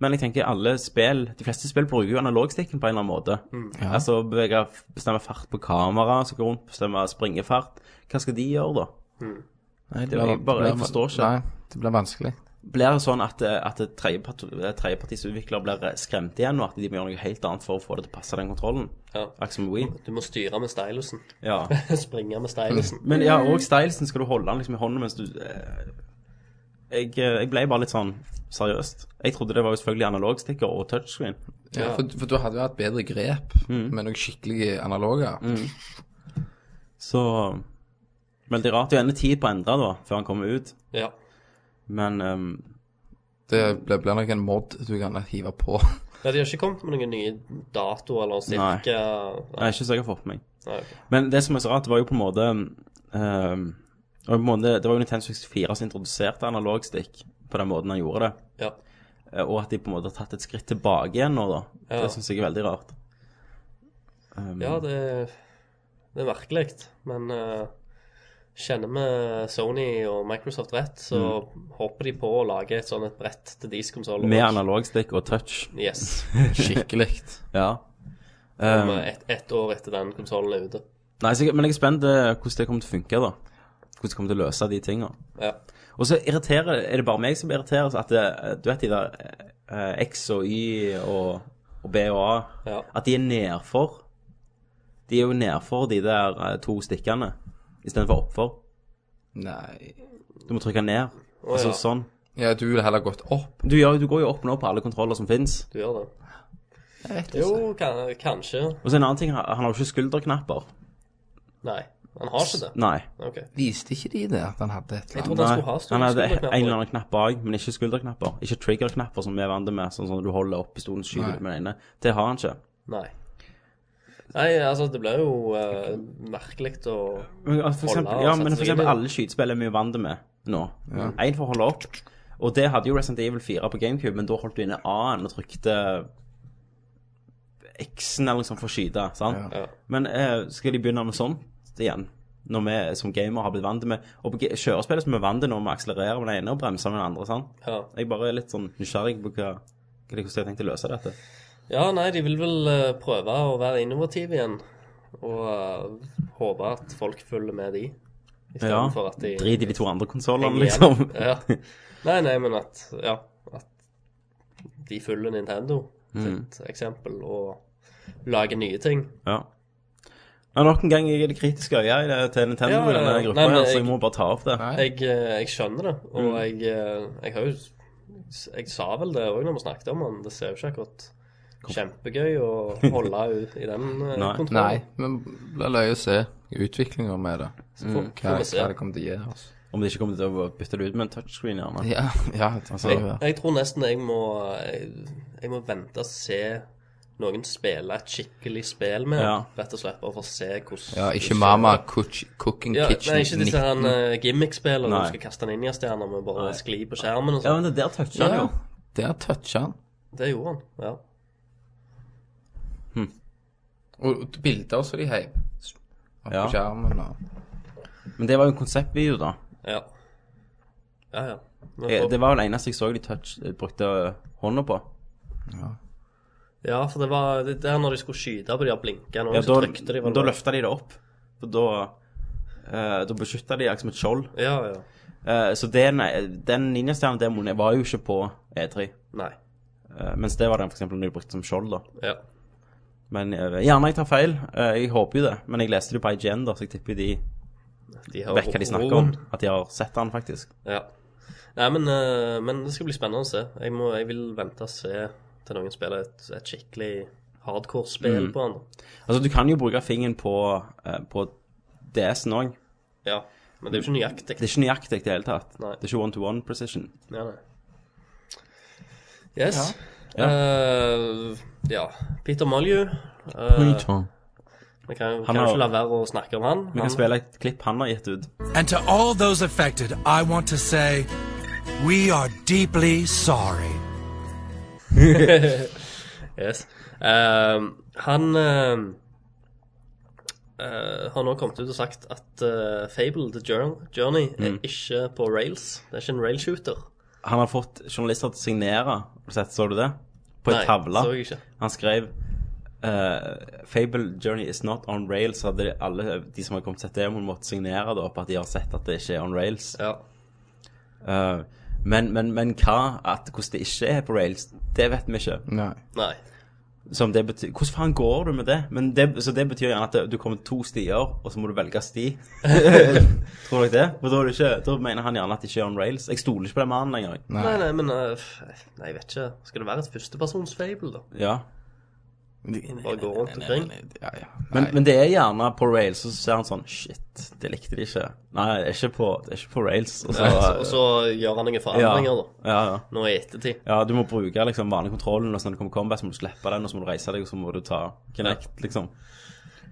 Speaker 1: Men jeg tenker alle spill, de fleste spill bruker jo analogstikken på en eller annen måte. Altså bevege, bestemme fart på kamera, så gå rundt, bestemme springefart. Hva skal de gjøre, da?
Speaker 6: Nei, det
Speaker 1: er jo bare- jeg forstår ikke.
Speaker 6: Nei, det blir vanskelig.
Speaker 1: Blir det sånn at, at tredjepartisutviklere blir skremt igjen, og at de må gjøre noe helt annet for å få det til å passe den kontrollen?
Speaker 5: Ja.
Speaker 1: Akkurat som Wii.
Speaker 5: Du må styre med stylusen.
Speaker 1: Ja.
Speaker 5: Springe med stylusen.
Speaker 1: Men ja, og stylesen skal du holde den liksom i hånden mens du eh, jeg, eh, jeg ble bare litt sånn seriøst. Jeg trodde det var jo selvfølgelig analogstikker og touchscreen.
Speaker 6: Ja, For, for du hadde jo hatt bedre grep med noen skikkelige analoger.
Speaker 1: Så Mm. Veldig rart. Det er jo ennå tid på å endre, da, før han kommer ut.
Speaker 5: Ja.
Speaker 1: Men ehm,
Speaker 6: Det blir blir nok en mod du kan hive på.
Speaker 5: Ja, de har ikke kommet med noen nye datoer eller
Speaker 1: Nei.
Speaker 5: cirka
Speaker 1: Jeg er ikke så jeg har fått med meg.
Speaker 5: Nei, ok.
Speaker 1: Men det som er så rart, det var jo på en måte ehm, det var jo på en måte, Det var jo Nintendo 64 som introduserte analogstikk på den måten han gjorde det.
Speaker 5: Ja.
Speaker 1: Eh, Og at de på en måte har tatt et skritt tilbake igjen nå, da.
Speaker 5: Ja.
Speaker 1: Det syns jeg er veldig rart. Um,
Speaker 5: ja, det, det er merkelig. Men eh, kjenner vi Sony og Microsoft rett, så hopper de på å lage et sånn et brett til deres konsoller.
Speaker 1: Med analogstikk og touch.
Speaker 5: Yes.
Speaker 6: Skikkelig.
Speaker 1: Ja. Ehm,
Speaker 5: Um, ett et år etter den konsollen er ute.
Speaker 1: Nei, så, jeg- Men jeg er spent eh, hvordan det kommer til å funke, da. Hvordan det kommer til å løse de tinga.
Speaker 5: Ja.
Speaker 1: Og så irriterer, er det bare meg som irriteres at det, du vet de der eh, X og Y og, og B og A,
Speaker 5: Ja.
Speaker 1: at de er nedfor. De er jo nedfor de der eh, to stikkene, istedenfor oppfor.
Speaker 6: Nei
Speaker 1: Du må trykke ned. altså
Speaker 5: ja.
Speaker 1: sånn.
Speaker 6: Ja, du ville heller gått opp.
Speaker 1: Du, gjør, du går jo opp nå på alle kontroller som fins.
Speaker 5: Du gjør det.
Speaker 6: Jeg vet
Speaker 5: Jo, kan, kanskje.
Speaker 1: Og så en annen ting, han han har jo ikke skulderknapper.
Speaker 5: Nei, han har ikke det.
Speaker 1: Nei.
Speaker 5: Ok.
Speaker 6: Viste ikke de det, at han hadde et
Speaker 5: Jeg
Speaker 6: eller
Speaker 5: trodde
Speaker 6: annet?
Speaker 5: han
Speaker 1: Nei.
Speaker 5: skulle
Speaker 1: Han
Speaker 5: ha store
Speaker 1: hadde en
Speaker 5: skulderknapper.
Speaker 1: eller annen knapp bak, men ikke skulderknapper. Ikke triggerknapper, som vi er vant med, sånn som du holder opp pistolen og skyter
Speaker 6: Nei.
Speaker 1: ut med den ene. Det har han ikke.
Speaker 5: Nei. Nei, altså, det blir jo eh, merkelig å
Speaker 1: Men, altså, for
Speaker 5: Holde
Speaker 1: eksempel,
Speaker 5: og
Speaker 1: ja,
Speaker 5: sette
Speaker 1: men
Speaker 5: seg
Speaker 1: for
Speaker 5: inn i
Speaker 1: eksempel
Speaker 5: det.
Speaker 1: alle skytespill er vi jo vant med nå. Én for å holde opp. Og det hadde jo Resident Evil 4 på GameCube, men da holdt du inne A-en og trykte X-en eller noe sånt for å skyte. sant?
Speaker 5: Ja.
Speaker 1: Men eh, skal de begynne med sånt igjen? Når vi som gamer har blitt vant med Og på ge- kjørespill som vi er vant til når vi akselererer med den ene og bremser med den andre. sant?
Speaker 5: ja.
Speaker 1: Jeg bare er litt sånn nysgjerrig på hva, hva de- hvordan de har tenkt å løse dette.
Speaker 5: ja, nei, de vil vel eh, prøve å være innovative igjen. Og eh, håpe at folk følger med de. I stedet
Speaker 1: Ja,
Speaker 5: for at de
Speaker 1: Drit i de to andre konsollene,
Speaker 5: henger
Speaker 1: liksom.
Speaker 5: igjen. ja. Nei, nei, men at Ja. At de følger Nintendo
Speaker 1: Mm.
Speaker 5: sitt eksempel og lager nye ting.
Speaker 1: Ja. Ja, nok en gang jeg er det kritiske øyet i det- til Nintendo
Speaker 5: Ja, ja,
Speaker 1: i denne
Speaker 5: ja.
Speaker 1: gruppa,
Speaker 5: Nei, men
Speaker 1: her, så
Speaker 5: jeg-
Speaker 1: jeg må bare ta opp det.
Speaker 6: Nei.
Speaker 5: Jeg, eh, jeg skjønner det, og
Speaker 1: Mm.
Speaker 5: jeg, eh, jeg har jo Jeg sa vel det òg når vi snakket om den. Det ser jo ikke akkurat kjempegøy å holde ut i den
Speaker 1: Nei.
Speaker 5: eh,
Speaker 6: Nei,
Speaker 5: kontrollen.
Speaker 6: men det blir løye å se utviklinga med det. Mm.
Speaker 5: Får,
Speaker 6: Hva,
Speaker 5: får vi se.
Speaker 6: hva det kommer til å gi oss.
Speaker 1: Om de ikke kommer til å bytte det ut med en touchscreen, gjerne.
Speaker 6: Ja, ja, altså,
Speaker 1: Jeg-
Speaker 5: Jeg tror nesten jeg må jeg, jeg må vente og se noen spille et skikkelig spill med,
Speaker 1: Ja.
Speaker 5: rett og slett, bare for å se hvordan
Speaker 6: ja ikke
Speaker 5: hvordan-
Speaker 6: Mama Cooch, Cooking
Speaker 5: ja,
Speaker 6: Kitchen.
Speaker 5: Nei, ikke disse her eh, gimmick-spillene
Speaker 1: Nei.
Speaker 5: du skal kaste ninjastjerner med, bare
Speaker 1: Nei.
Speaker 5: skli på skjermen og
Speaker 1: Ja, men
Speaker 5: sånn.
Speaker 1: det der toucher han
Speaker 6: Ja,
Speaker 1: jo.
Speaker 6: der toucha han.
Speaker 5: Det gjorde han. ja.
Speaker 6: Og og bilder som de heiv på
Speaker 1: Ja.
Speaker 6: skjermen og
Speaker 1: Men det var jo en konseptvideo, da.
Speaker 5: Ja, ja. ja. Men
Speaker 1: Eh,
Speaker 5: for-
Speaker 1: Det var vel det eneste jeg så de touch, eh, brukte hånda på.
Speaker 5: Ja, for det var det der når de skulle skyte på de her blinkene,
Speaker 1: Ja,
Speaker 5: ja, så
Speaker 1: da,
Speaker 5: trykte de vel
Speaker 1: da
Speaker 5: bare-
Speaker 1: løfta de det opp. For da eh, Da beskytta de deg som et skjold.
Speaker 5: Ja, ja.
Speaker 1: Eh, så det, nei, den ninjastjernedemoen var jo ikke på E E3.
Speaker 5: Nei.
Speaker 1: eh, mens det var den for eksempel når de brukte som skjold, da.
Speaker 5: Ja.
Speaker 1: Men eh, gjerne jeg tar feil. Eh, jeg håper jo det. Men jeg leste det på IGN, da, så jeg tipper de
Speaker 5: De har
Speaker 1: vet hva de snakker om. At de har sett han faktisk.
Speaker 5: Ja. Nei, men, eh, men det skal bli spennende å se. Jeg, må, jeg vil vente og se til noen spiller et, et skikkelig hardcore spill på han.
Speaker 1: Altså, du kan jo bruke fingeren på, eh, på DS-en òg.
Speaker 5: Ja. Men det er jo ikke nøyaktig.
Speaker 1: Det er ikke nøyaktig i det hele tatt.
Speaker 5: Nei.
Speaker 1: Det er ikke one-to-one precision.
Speaker 5: Ja, nei. Yes.
Speaker 1: Ja.
Speaker 5: Ja. ja. Peter Molyu. eh, Vi kan, kan jo
Speaker 1: har-
Speaker 5: ikke la være å snakke om han.
Speaker 1: Vi
Speaker 5: han
Speaker 1: kan spille et klipp han har gitt ut.
Speaker 8: And to all those affected, I want to say, we are deeply sorry.
Speaker 5: Yes. Ehm, han ehm, eh, har nå kommet ut og sagt at eh, Fable The Jour- Journey er
Speaker 1: Mm.
Speaker 5: ikke på rails. Det er ikke en railshooter.
Speaker 1: Han har fått journalister til å signere. Har du sett, så du det? På en
Speaker 5: Nei,
Speaker 1: tavle.
Speaker 5: så jeg ikke.
Speaker 1: Han skrev eh, Fable Journey is not on rails. Så hadde alle de som har kommet til demoen, måtte signere da, på at de har sett at det ikke er on rails.
Speaker 5: Ja.
Speaker 1: Eh, men, men, men hva, at hvordan det ikke er på rails, det vet vi ikke.
Speaker 6: Nei.
Speaker 5: Nei.
Speaker 1: Som det betyr, hvordan faen går du med det? Men det? Så det betyr gjerne at det- du kommer to stier, og så må du velge sti. Tror dere det? For da, er det ikke, da mener han gjerne at det ikke er on rails. Jeg stoler ikke på den mannen engang.
Speaker 5: Nei, nei, men eh, f- Nei, jeg vet ikke. Skal det være et førstepersons Fable, da?
Speaker 1: Ja.
Speaker 5: Bare gå rundt omkring.
Speaker 7: Ja, ja.
Speaker 1: Men, men det er gjerne på rails, og så ser han sånn Shit, det likte de ikke. Nei, det er ikke på, det er ikke på rails. Og så,
Speaker 5: Og så gjør han noen
Speaker 1: ja,
Speaker 5: forandringer, da.
Speaker 1: ja, ja.
Speaker 5: Nå i ettertid.
Speaker 1: ja, du må bruke liksom vanlig kontrollen, og så når det kommer combat, så må du slippe den, og så må du reise deg, og så må du ta connect, liksom.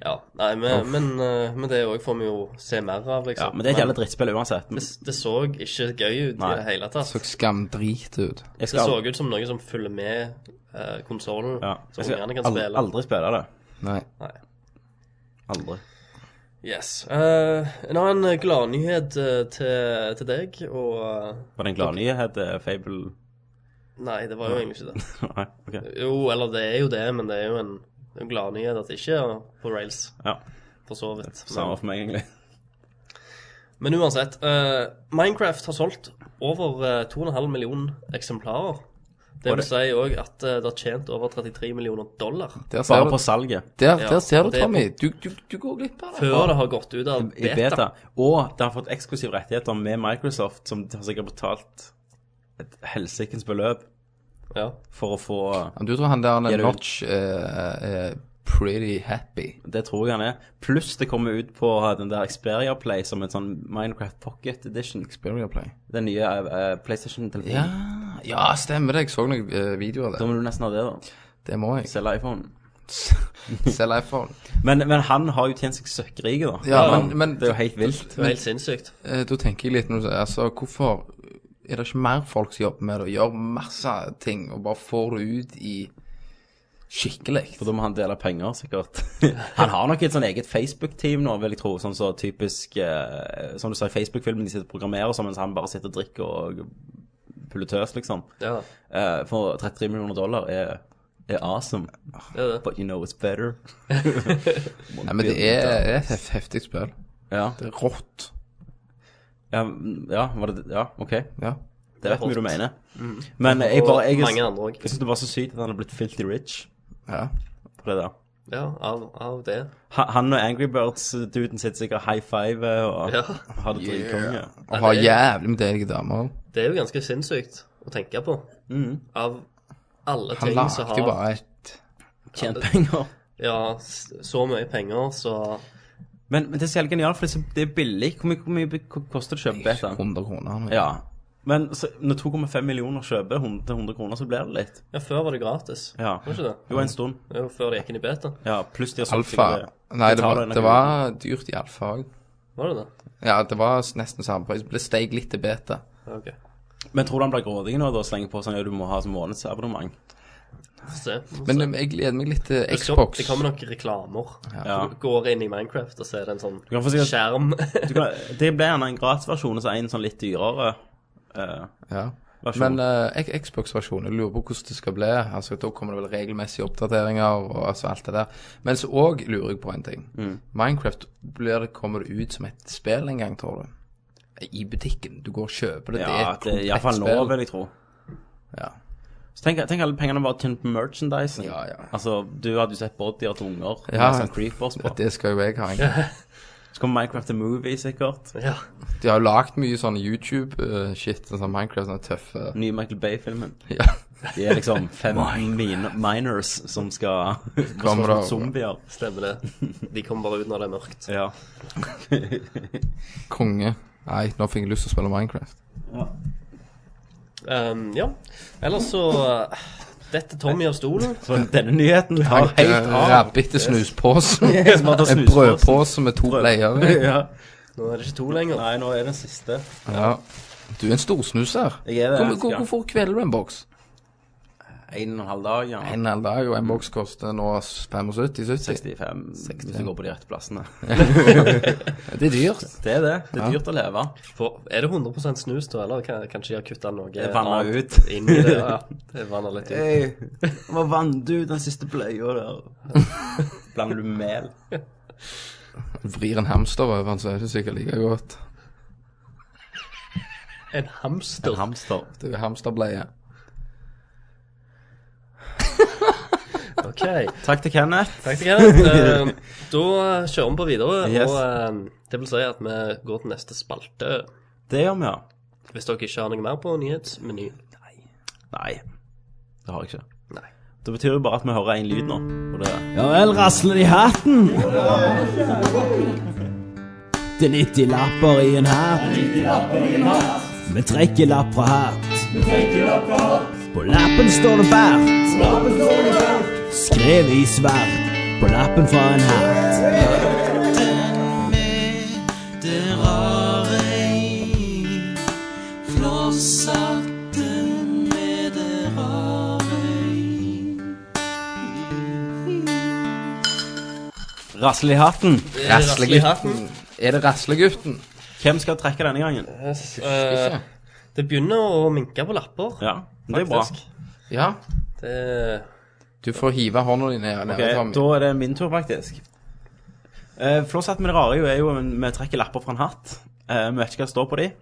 Speaker 5: Ja. Nei, men, men, eh, men det òg får vi jo se mer av,
Speaker 1: Ja,
Speaker 5: liksom.
Speaker 1: men det er et jævla drittspill uansett. Men
Speaker 5: det, det så ikke gøy ut
Speaker 1: Nei.
Speaker 5: i det hele tatt.
Speaker 6: Så skamdrit ut.
Speaker 1: jeg
Speaker 5: Det
Speaker 1: skal
Speaker 5: så
Speaker 1: aldri,
Speaker 5: ut som noe som følger med uh, konsollen,
Speaker 1: ja,
Speaker 5: så
Speaker 1: jeg skal
Speaker 5: ungene kan
Speaker 1: aldri,
Speaker 5: spille.
Speaker 1: aldri spille det.
Speaker 6: Nei.
Speaker 5: Nei.
Speaker 1: Aldri.
Speaker 5: Yes. Eh, en annen gladnyhet eh, til, til deg, og eh,
Speaker 1: Var det en gladnyhet, eh, Fable
Speaker 5: Nei, det var jo egentlig ikke det.
Speaker 1: Nei, OK.
Speaker 5: Jo, eller det er jo det, men det er jo en, en gladnyhet at det ikke er på rails,
Speaker 1: Ja.
Speaker 5: for så vidt.
Speaker 1: Samme for meg, egentlig.
Speaker 5: Men uansett, eh, Minecraft har solgt over eh, 2,5 millioner eksemplarer. Det
Speaker 1: Og
Speaker 5: vil
Speaker 1: det-
Speaker 5: si òg at eh, det har tjent over 33 millioner dollar
Speaker 6: Der ser
Speaker 1: Bare
Speaker 6: du,
Speaker 1: på salget.
Speaker 6: der,
Speaker 5: Ja,
Speaker 6: der ser du
Speaker 5: det er på-
Speaker 6: Tommy. Du, du, du går glipp av det.
Speaker 5: før det har gått ut av
Speaker 1: I
Speaker 5: beta.
Speaker 1: beta. Og det har fått eksklusive rettigheter med Microsoft, som har sikkert betalt et helsikens beløp
Speaker 5: Ja.
Speaker 1: for å få
Speaker 6: Du tror han der han
Speaker 1: Gir
Speaker 6: er
Speaker 1: det ut.
Speaker 6: Notch er pretty happy.
Speaker 1: Det tror jeg han er. Pluss det kommer ut på den der Xperia Play som en sånn Minecraft Pocket Edition.
Speaker 6: Barrier play.
Speaker 1: Den nye eh, PlayStation-telefonen.
Speaker 6: Ja, ja, stemmer det. Jeg så noen eh, videoer av
Speaker 1: Da
Speaker 6: det.
Speaker 1: må du nesten ha det, da.
Speaker 6: Det må jeg.
Speaker 1: Selge iPhone.
Speaker 6: Selge iPhone.
Speaker 1: Men, men han har jo tjent seg søkkrike, da.
Speaker 6: Ja, men- men-
Speaker 1: det er jo helt vilt.
Speaker 5: Det var helt sinnssykt.
Speaker 6: Eh, Da tenker jeg litt når du sier, altså, hvorfor er det ikke mer folk som jobber med det, og gjør masse ting, og bare får det ut i skikkelig?
Speaker 1: For da må han dele penger, sikkert. han har nok et sånn eget Facebook-team nå, vil jeg tro. Sånn så typisk eh, Som du sa i Facebook-filmen, de sitter og programmerer sammen, mens han bare sitter og drikker og puller tøs, liksom.
Speaker 5: Ja,
Speaker 1: Eh, for 33 millioner dollar er, er awesome.
Speaker 5: det er det.
Speaker 1: But you know it's better.
Speaker 6: Nei, men det er, det er et hef- heftig spill.
Speaker 1: Ja,
Speaker 6: Det er rått.
Speaker 1: ja, ja, var det, ja OK.
Speaker 6: Ja.
Speaker 1: Det vet vi hva du mener. Men jeg bare Jeg,
Speaker 5: mange andre også.
Speaker 1: jeg syns det var så sykt at han er blitt filthy rich
Speaker 6: ja.
Speaker 1: på det der.
Speaker 5: Ja, av, av det.
Speaker 1: Ha- Han og Angry Birds-duden sitter sikkert high five og
Speaker 5: Ja.
Speaker 1: har det dritkonge.
Speaker 6: Og har
Speaker 5: det er-
Speaker 6: jævlig med deilige damer.
Speaker 5: Det er jo ganske sinnssykt å tenke på.
Speaker 1: Mm.
Speaker 5: Av alle
Speaker 6: Han
Speaker 5: ting som
Speaker 6: lagde
Speaker 5: har
Speaker 6: jo bare et
Speaker 1: Tjent penger.
Speaker 5: ja, s- så mye penger, så
Speaker 1: Men, men det er så jævlig genialt, for det er så- det er billig. Hvor mye, hvor mye k- koster det å kjøpe beta?
Speaker 6: 100 kroner. nå.
Speaker 1: Ja. Men så, når 2,5 millioner kjøper 100, til 100 kroner, så blir det litt.
Speaker 5: Ja, før var det gratis.
Speaker 1: Ja.
Speaker 5: Var ikke det?
Speaker 1: Jo, en stund.
Speaker 5: Det var før det gikk inn i beta.
Speaker 1: Ja, pluss de har solgt
Speaker 6: Alfa.
Speaker 1: sikkert-
Speaker 6: Nei,
Speaker 1: de
Speaker 6: det
Speaker 1: tar
Speaker 6: var,
Speaker 1: en
Speaker 6: det
Speaker 1: av gulvet.
Speaker 6: var dyrt i alfa òg.
Speaker 5: Var det det?
Speaker 6: Ja, det var nesten samme pris. Det steg litt til beta.
Speaker 5: Ja, Ok.
Speaker 1: Men tror du han blir grådig nå da, og slenger på sånn ja, du må ha som månedsabonnement?
Speaker 5: Få se. Få
Speaker 6: Men
Speaker 5: se.
Speaker 6: eh, jeg gleder meg litt til
Speaker 5: Det kom-
Speaker 6: Xbox.
Speaker 5: Det kommer nok reklamer.
Speaker 1: Ja.
Speaker 5: Du går inn i Minecraft og ser en sånn
Speaker 1: kan få si at-
Speaker 5: skjerm.
Speaker 1: Du kan- Det blir gjerne en gratisversjon og så en sånn litt dyrere. eh,
Speaker 6: Ja.
Speaker 1: Versjon.
Speaker 6: Men eh, X- Xbox-versjonen, jeg lurer på hvordan det skal bli. Altså, Da kommer det vel regelmessige oppdateringer og altså, alt det der. Men så òg lurer jeg på en ting.
Speaker 1: Mm.
Speaker 6: Minecraft blir det, kommer det ut som et spill en gang, tror du? I butikken. Du går og kjøper det. det er
Speaker 1: ja,
Speaker 6: et
Speaker 1: det er
Speaker 6: komplett
Speaker 1: iallfall nå,
Speaker 6: spill.
Speaker 1: vil jeg tro.
Speaker 6: Ja.
Speaker 1: Så tenk, tenk alle pengene bare tjent på merchandising.
Speaker 6: Ja, ja.
Speaker 1: Altså, du hadde jo sett bodyer til unger.
Speaker 6: Ja.
Speaker 1: med sånn creepers på.
Speaker 6: Det skal jo jeg ha. egentlig.
Speaker 1: Så kommer Minecraft til movie, sikkert.
Speaker 5: ja.
Speaker 6: De har jo lagd mye sånn YouTube-shit. sånn Minecraft sånne tøffe
Speaker 1: Nye Michael Bay-filmen.
Speaker 6: ja.
Speaker 1: De er liksom fem min miners som skal
Speaker 6: Kommer
Speaker 1: som
Speaker 6: det-
Speaker 1: zombier.
Speaker 5: Stemmer det. De kommer bare ut når det er mørkt.
Speaker 1: Ja.
Speaker 6: Konge. Nei, nå fikk jeg lyst til å spille Minecraft.
Speaker 5: Um, ja. Ellers så uh, Dette Tommy av stolen.
Speaker 1: Så denne nyheten tar helt av.
Speaker 6: Rabbit i snuspose.
Speaker 1: Yes, man tar
Speaker 6: En
Speaker 1: snuspose.
Speaker 6: brødpose med to bleier i.
Speaker 1: Ja.
Speaker 5: Nå er det ikke to lenger.
Speaker 1: Nei, nå er det den siste.
Speaker 6: Ja. Du er en storsnuser.
Speaker 1: Jeg er det,
Speaker 6: Hvor- hvor-
Speaker 1: ja.
Speaker 6: Hvorfor kveler du en boks?
Speaker 1: En og en halv dag, ja.
Speaker 6: En hel dag, og en boks koster nå 75-70.
Speaker 1: 65, hvis du går på de rette plassene.
Speaker 6: Det er dyrt.
Speaker 1: Det er det. Det er dyrt å leve.
Speaker 5: For, er det 100 snus, da? Eller kan, kanskje de har kutta noe
Speaker 1: er vannet
Speaker 5: annet
Speaker 1: ut.
Speaker 5: inn i det? Ja, det er vannet litt ut.
Speaker 1: Hey, hva vant du den siste bleia der? Blander du mel?
Speaker 6: Vrir en hamster over den, så er det sikkert like godt.
Speaker 5: En hamster.
Speaker 1: Hamster.
Speaker 6: Det er hamsterbleie.
Speaker 5: Ok.
Speaker 1: Takk til Kenneth.
Speaker 5: Takk til Kenneth. Eh, Da kjører vi på videre.
Speaker 1: Yes.
Speaker 5: Og eh, det vil si at vi går til neste spalte.
Speaker 1: Det gjør vi, ja.
Speaker 5: Hvis dere ikke har noe mer på nyhetsmenyen.
Speaker 1: Nei, det har jeg ikke.
Speaker 5: Nei.
Speaker 1: Det betyr jo bare at vi hører én lyd nå. Og det er
Speaker 9: Ja vel, rasler det i hatten. Det er 90 lapper i en hatt. Vi trekker lapp fra hatt. På lappen står det bart. Skrevet i svart på lappen fra en hatt.
Speaker 1: Rasle i hatten.
Speaker 6: Raslegutten. Er det Raslegutten?
Speaker 1: Hvem skal trekke denne gangen?
Speaker 5: Yes, eh, det begynner å minke på lapper.
Speaker 1: Ja, det er bra.
Speaker 5: faktisk.
Speaker 6: Ja.
Speaker 5: Det,
Speaker 6: Du får hive hånda di ned. ned
Speaker 1: Ok,
Speaker 6: Tommy.
Speaker 1: da er det min tur, faktisk. Eh, Flosshatt med det rare jo er jo en- vi trekker lapper fra en hatt. Eh, vi vet ikke hva det står på de.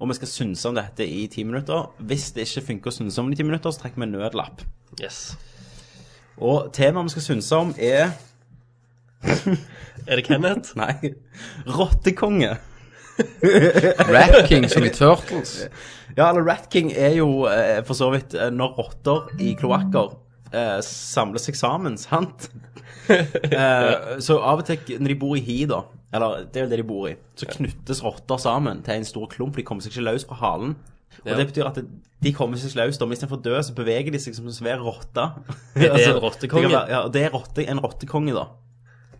Speaker 1: Og vi skal synse om dette i ti minutter. Hvis det ikke funker å synse om det i ti minutter, så trekker vi en nødlapp.
Speaker 5: yes.
Speaker 1: Og temaet vi skal synse om, er
Speaker 5: Er det Kenneth?
Speaker 1: Nei, rottekonge.
Speaker 6: Rat King som i Turtles.
Speaker 1: Ja, eller Rat King er jo eh, for så vidt eh, når rotter i kloakker eh, samler seg sammen, sant? eh, så av og til når de bor i hi, da, eller det er jo det de bor i, så knyttes rotter sammen til en stor klump. De kommer seg ikke løs fra halen. Og
Speaker 5: Ja.
Speaker 1: det betyr at de kommer seg ikke løs. da, men Istedenfor å dø, så beveger de seg som en svær rotte.
Speaker 5: Er det en
Speaker 1: Altså,
Speaker 5: rottekonge?
Speaker 1: det kan være- Ja, og det er rotte, en rottekonge, da.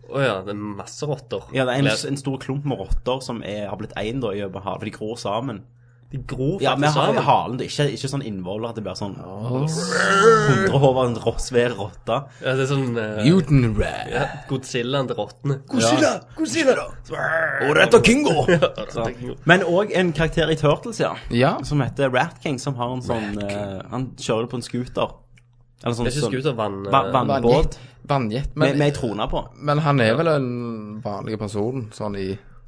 Speaker 5: Å ja, det er masse rotter.
Speaker 1: Ja, det er en,
Speaker 5: Eller,
Speaker 1: en stor klump med rotter som er, har blitt én, da, i over havet. For de gror sammen.
Speaker 5: De gror
Speaker 1: Ja, vi
Speaker 5: faktisk
Speaker 1: har
Speaker 5: sammen.
Speaker 1: halen. Det er ikke, ikke sånn innvoller at det blir sånn Hundrehover, en rå- svær rotte.
Speaker 5: Ja, det er sånn eh,
Speaker 6: Newton Rat.
Speaker 5: ja, Godzillaen til rottene.
Speaker 1: Og dette er Kingo!
Speaker 5: Så-
Speaker 1: Men òg en karakter i Turtles, ja.
Speaker 6: Ja.
Speaker 1: Som heter Rat King, som har en sånn eh, Han kjører det på en scooter. Eller sånn
Speaker 5: Det er ikke skuter vann... eh,
Speaker 1: Va- vannbåt
Speaker 6: Vannjet. Vannjet.
Speaker 1: med,
Speaker 6: Men,
Speaker 1: med ei trone på.
Speaker 6: men han er vel en vanlig person, sånn i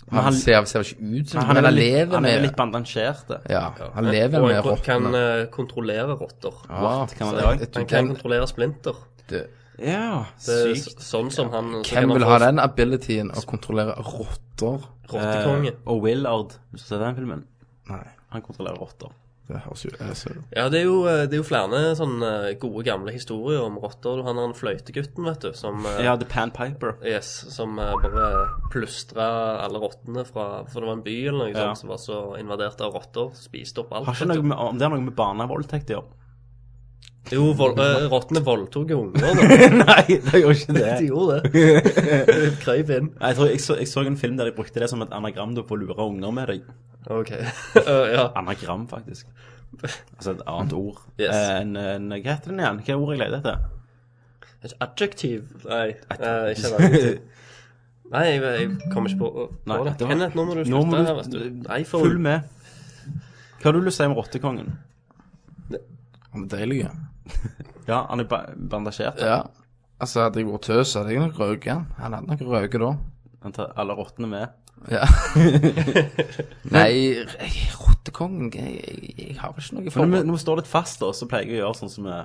Speaker 6: Han,
Speaker 1: han-
Speaker 6: ser, ser ikke ut som
Speaker 1: Han er
Speaker 6: men
Speaker 1: vel
Speaker 6: han
Speaker 1: litt,
Speaker 6: lever
Speaker 1: han er vel
Speaker 6: med
Speaker 1: litt bandasjert. eh. det.
Speaker 6: Ja, han lever
Speaker 5: og
Speaker 6: med
Speaker 5: han kan
Speaker 6: rottene.
Speaker 5: eh, kontrollere rotter.
Speaker 6: Ja,
Speaker 1: Kan man
Speaker 6: så
Speaker 1: det også?
Speaker 6: jeg tror
Speaker 5: Han kan
Speaker 6: den-
Speaker 5: kontrollere splinter.
Speaker 6: det-
Speaker 1: Ja,
Speaker 5: Det er
Speaker 1: sykt.
Speaker 5: s- sånn som han... så kan
Speaker 6: Hvem vil
Speaker 5: han
Speaker 6: ha
Speaker 5: få
Speaker 6: den abilityen å kontrollere rotter?
Speaker 5: Rottekonge.
Speaker 1: Eh, og Willard, hvis du ser den filmen,
Speaker 6: Nei,
Speaker 1: han kontrollerer rotter.
Speaker 6: det høres jo altså,
Speaker 5: Ja, det er jo, eh, det er jo flere sånne eh, gode gamle historier om rotter. Han har en fløytegutten, vet du, som... eh,
Speaker 1: Ja, The Pan Piper.
Speaker 5: Yes, som eh, bare plystra alle rottene fra For det var en by eller noe
Speaker 1: Ja.
Speaker 5: sånt som var så invadert av rotter. Spiste opp alt.
Speaker 1: Har ikke
Speaker 5: vet du.
Speaker 1: noe med, om det har noe med barnevoldtekt å gjøre?
Speaker 5: Jo, vold, eh, rottene voldtok jo unger, da.
Speaker 1: Nei, det gjør ikke det.
Speaker 5: De gjorde det. De Krøyp inn.
Speaker 1: Nei, Jeg tror jeg så, jeg så en film der de brukte det som et anagram du får lure unger med deg.
Speaker 5: OK. Eh, ja.
Speaker 1: Anagram, faktisk. Altså et annet ord.
Speaker 5: Yes.
Speaker 1: Eh, En, en, hva heter den igjen? Hva er ordet jeg leter etter?
Speaker 5: Et Adjektiv? Nei, eh, ikke et adjektiv. Nei, jeg, jeg kommer ikke på, på
Speaker 1: Nei,
Speaker 5: det.
Speaker 1: det var-
Speaker 5: Kenneth, nå må du
Speaker 1: Nå
Speaker 5: slutte
Speaker 1: må
Speaker 5: her, vet
Speaker 1: du
Speaker 5: du. Nei, for
Speaker 1: Følg med. Hva har du lyst til å si om rottekongen?
Speaker 6: Han er deilig. ja.
Speaker 1: Ja, han er ba bandasjert.
Speaker 6: Ja. Altså, hadde jeg vært tøs, hadde jeg nok røket han. Han hadde nok røket da.
Speaker 1: Han tar alle rottene med.
Speaker 6: Ja. Nei, jeg- rottekongen jeg, jeg, jeg har vel ikke noe
Speaker 1: Men når vi,
Speaker 6: forhold
Speaker 1: når vi står litt fast, da, så pleier jeg å gjøre sånn som vi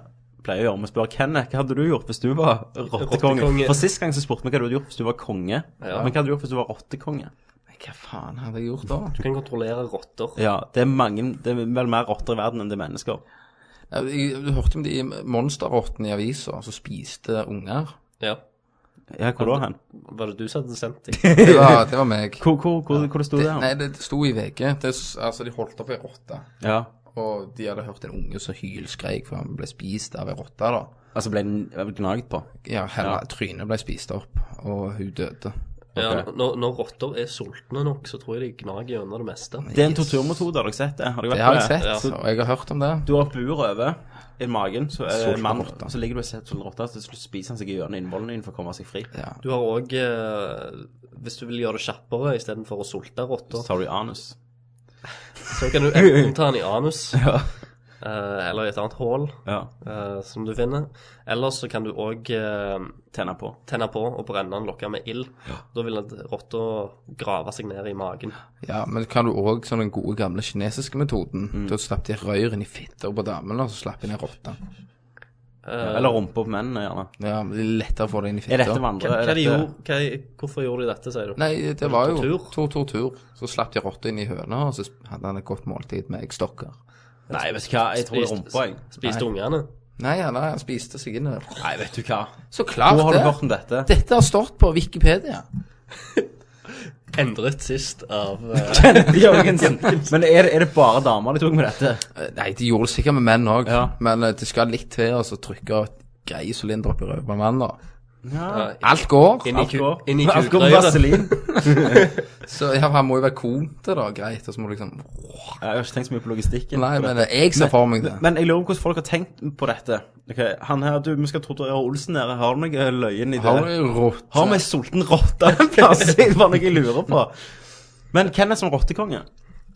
Speaker 1: pleier å gjøre. Vi spør Kenneth, hva hadde du gjort hvis du var rottekonge?
Speaker 5: Rottekonge.
Speaker 1: For sist gang så spurte vi hva du hadde gjort hvis du var konge.
Speaker 5: Ja.
Speaker 1: Men hva hadde du gjort hvis du var rottekonge?
Speaker 6: Hva faen hadde jeg gjort da?
Speaker 5: Du kan kontrollere rotter.
Speaker 1: Ja, det er mange Det er vel mer rotter i verden enn det er mennesker.
Speaker 6: Jeg, jeg, du hørte om de monsterrottene i aviser som spiste unger.
Speaker 5: Ja.
Speaker 1: Ja, hvor da hen?
Speaker 5: Var det du som hadde sendt dem?
Speaker 6: Det var, det var meg.
Speaker 1: Hvor, hvor, hvor, hvor det stod det?
Speaker 6: Det, nei, det sto i VG. Det, s- altså, de holdt opp ei rotte.
Speaker 1: Ja.
Speaker 6: Og de hadde hørt en unge som hylskreik for han ble spist av ei rotte. da.
Speaker 1: Altså ble den gnaget på?
Speaker 6: Ja, henne, Trynet ble spist opp, og hun døde.
Speaker 5: Ja, når, når rotter er sultne nok, så tror jeg de gnager gjennom det meste.
Speaker 1: Det er en torturmetode, har dere sett det? Har dere vært
Speaker 6: Det har jeg
Speaker 1: på
Speaker 6: sett,
Speaker 5: Ja.
Speaker 6: og jeg har hørt om det.
Speaker 1: Du har et bur over i magen, så er det en mann,
Speaker 6: Solskinn-rotte.
Speaker 1: så ligger du og ser sånn rotte, så til slutt spiser han seg i hjørnet innvollene dine for å komme seg fri.
Speaker 6: Ja.
Speaker 5: Du har òg eh, Hvis du vil gjøre det kjappere istedenfor å sulte rotter,
Speaker 1: Sorry, anus.
Speaker 5: så kan du enten ta den i anus eh, eller i et annet hull
Speaker 1: Ja.
Speaker 5: eh, som du finner. Eller så kan du òg eh,
Speaker 1: Tenner på.
Speaker 5: tenne på og brenne den, lokke med ild. Da vil den rotta grave seg ned i magen.
Speaker 6: Ja, men kan du òg sånn den gode gamle kinesiske metoden? Da slapp de røyr inn i fitter på damene, og så slapp de ned rotta.
Speaker 5: Eh,
Speaker 1: Eller rumpa på mennene, gjerne.
Speaker 6: Ja, men det er lettere å få det inn i fitter.
Speaker 1: Er dette
Speaker 5: hva,
Speaker 1: vandre?
Speaker 5: hva
Speaker 1: Er
Speaker 5: de
Speaker 1: dette...
Speaker 5: gjorde, hva, hvorfor gjorde de dette, sier du?
Speaker 6: Nei, det var jo
Speaker 5: Tortur?
Speaker 6: to tortur. Så slapp de rotta inn i høna, og så hadde han et godt måltid med eggstokker.
Speaker 1: Nei, vet du hva, jeg tror det er
Speaker 5: Spiste-
Speaker 1: rumpa, jeg.
Speaker 5: Spiste ungene?
Speaker 6: Nei, han, han spiste seg inn i det.
Speaker 1: Nei, vet du hva.
Speaker 6: Så
Speaker 1: Hvor
Speaker 6: klart
Speaker 1: har du hørt
Speaker 6: det.
Speaker 1: om dette?
Speaker 6: Dette har stått på Wikipedia.
Speaker 5: Endret sist av eh,
Speaker 1: Jørgensen. Men er det, er det bare damer de tok med dette?
Speaker 6: Eh, Nei, de gjorde det sikkert med menn òg,
Speaker 1: Ja.
Speaker 6: men eh, det skal litt til å så trykke et greie sylinder opp i røven på en mann, da.
Speaker 5: eh,
Speaker 6: Alt går.
Speaker 5: inn i ku- inn i
Speaker 1: Alt går med
Speaker 5: kukrøret.
Speaker 1: vaselin.
Speaker 6: Så ja, han må jo være kon til det, greit. Og så må du liksom
Speaker 1: Jeg har ikke tenkt så mye på logistikken.
Speaker 6: Nei, men eh, jeg ser for meg det.
Speaker 1: Men jeg lurer på hvordan folk har tenkt på dette. Ok, han her, du, Vi skal torturere Olsen her. Har du noe eh, løyen i det?
Speaker 6: Har du rått?
Speaker 1: Har vi en sulten rotte en plass? Det er bare noe jeg lurer på. Men hvem er som rottekonge?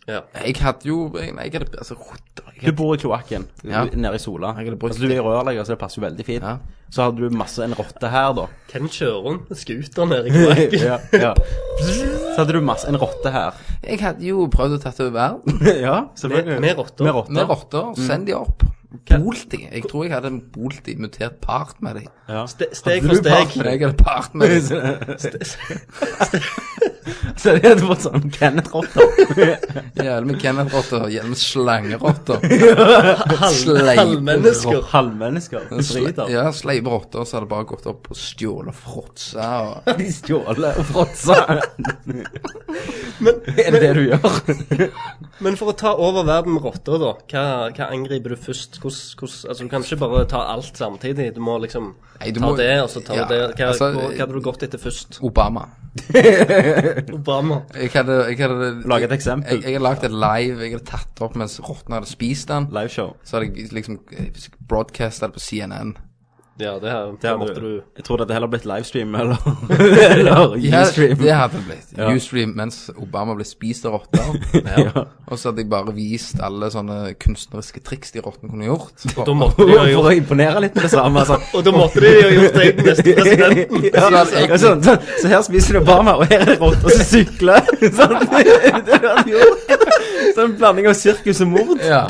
Speaker 5: Ja.
Speaker 6: Jeg hadde jo Jeg, nei, jeg hadde altså, rotter, jeg
Speaker 1: Du bor i kloakken
Speaker 6: Ja.
Speaker 1: nede i Sola.
Speaker 6: hadde brukt
Speaker 1: Altså, du er rørlegger, så det passer jo veldig fint.
Speaker 6: Ja.
Speaker 1: Så hadde du masse en rotte her, da.
Speaker 5: Hvem kjører rundt med scooter nede i kloakken?
Speaker 1: ja, ja. Så hadde du masse en rotte her.
Speaker 6: hadde- jeg hadde jo prøvd å ta over verden
Speaker 1: ja,
Speaker 5: Med, med rotter.
Speaker 1: Med rotter.
Speaker 6: med rotter.
Speaker 1: Mm.
Speaker 6: Send de opp. Bolt de. Jeg tror jeg hadde en bolt de, mutert part med de.
Speaker 5: Ste- Steg
Speaker 1: Hadde
Speaker 5: for
Speaker 1: du
Speaker 5: steg.
Speaker 1: part
Speaker 6: Men jeg hadde part med de.
Speaker 1: Så de hadde fått sånn Kenneth-rotter.
Speaker 6: Jævlig med Kenneth-rotter. Jævlig med slangerotter. Sleip-
Speaker 5: Halvmennesker.
Speaker 1: Halvmennesker. Hybrider.
Speaker 6: Ja, sleipe rotter, så hadde bare gått opp og stjålet og fråtsa og
Speaker 1: De stjåler og fråtser. Er det det du gjør?
Speaker 5: Men for å ta over verden med rotter, da, hva, hva angriper du først? Hvordan, hvordan, altså, du kan ikke bare ta alt samtidig. Du må liksom
Speaker 6: Nei, du
Speaker 5: ta
Speaker 6: må-
Speaker 5: det, og så ta
Speaker 6: ja,
Speaker 5: det. Hva,
Speaker 6: altså,
Speaker 5: hva, hva hadde du gått etter først?
Speaker 6: Obama.
Speaker 5: Obama.
Speaker 6: Jeg hadde, jeg hadde
Speaker 1: Lag et eksempel.
Speaker 6: Jeg, jeg hadde lagd et live jeg hadde tatt opp mens rottene hadde spist den.
Speaker 1: Liveshow.
Speaker 6: Så hadde jeg liksom eh, broadcastet det på CNN.
Speaker 5: Ja, det her
Speaker 1: Det
Speaker 5: det
Speaker 1: hadde
Speaker 5: måtte du
Speaker 1: Jeg tror det hadde heller blitt livestream eller, eller
Speaker 6: Ja,
Speaker 1: Ustream.
Speaker 6: Det hadde det blitt.
Speaker 1: Ja.
Speaker 6: Ustream mens Obama ble spist av rotter. Og så hadde jeg bare vist alle sånne kunstneriske triks de rottene kunne gjort.
Speaker 5: Da
Speaker 6: Og
Speaker 5: måtte de jo ha
Speaker 1: For
Speaker 5: gjort
Speaker 1: å imponere litt med det samme. Altså.
Speaker 5: Og da måtte de jo ha gjort deg den neste presidenten.
Speaker 1: Ja, ja, sånn, sånn, så her spiser du Obama, og her er det rotter som sykler. Sånn, det hadde han gjort. sånn blanding av sirkus og mord.
Speaker 6: ja.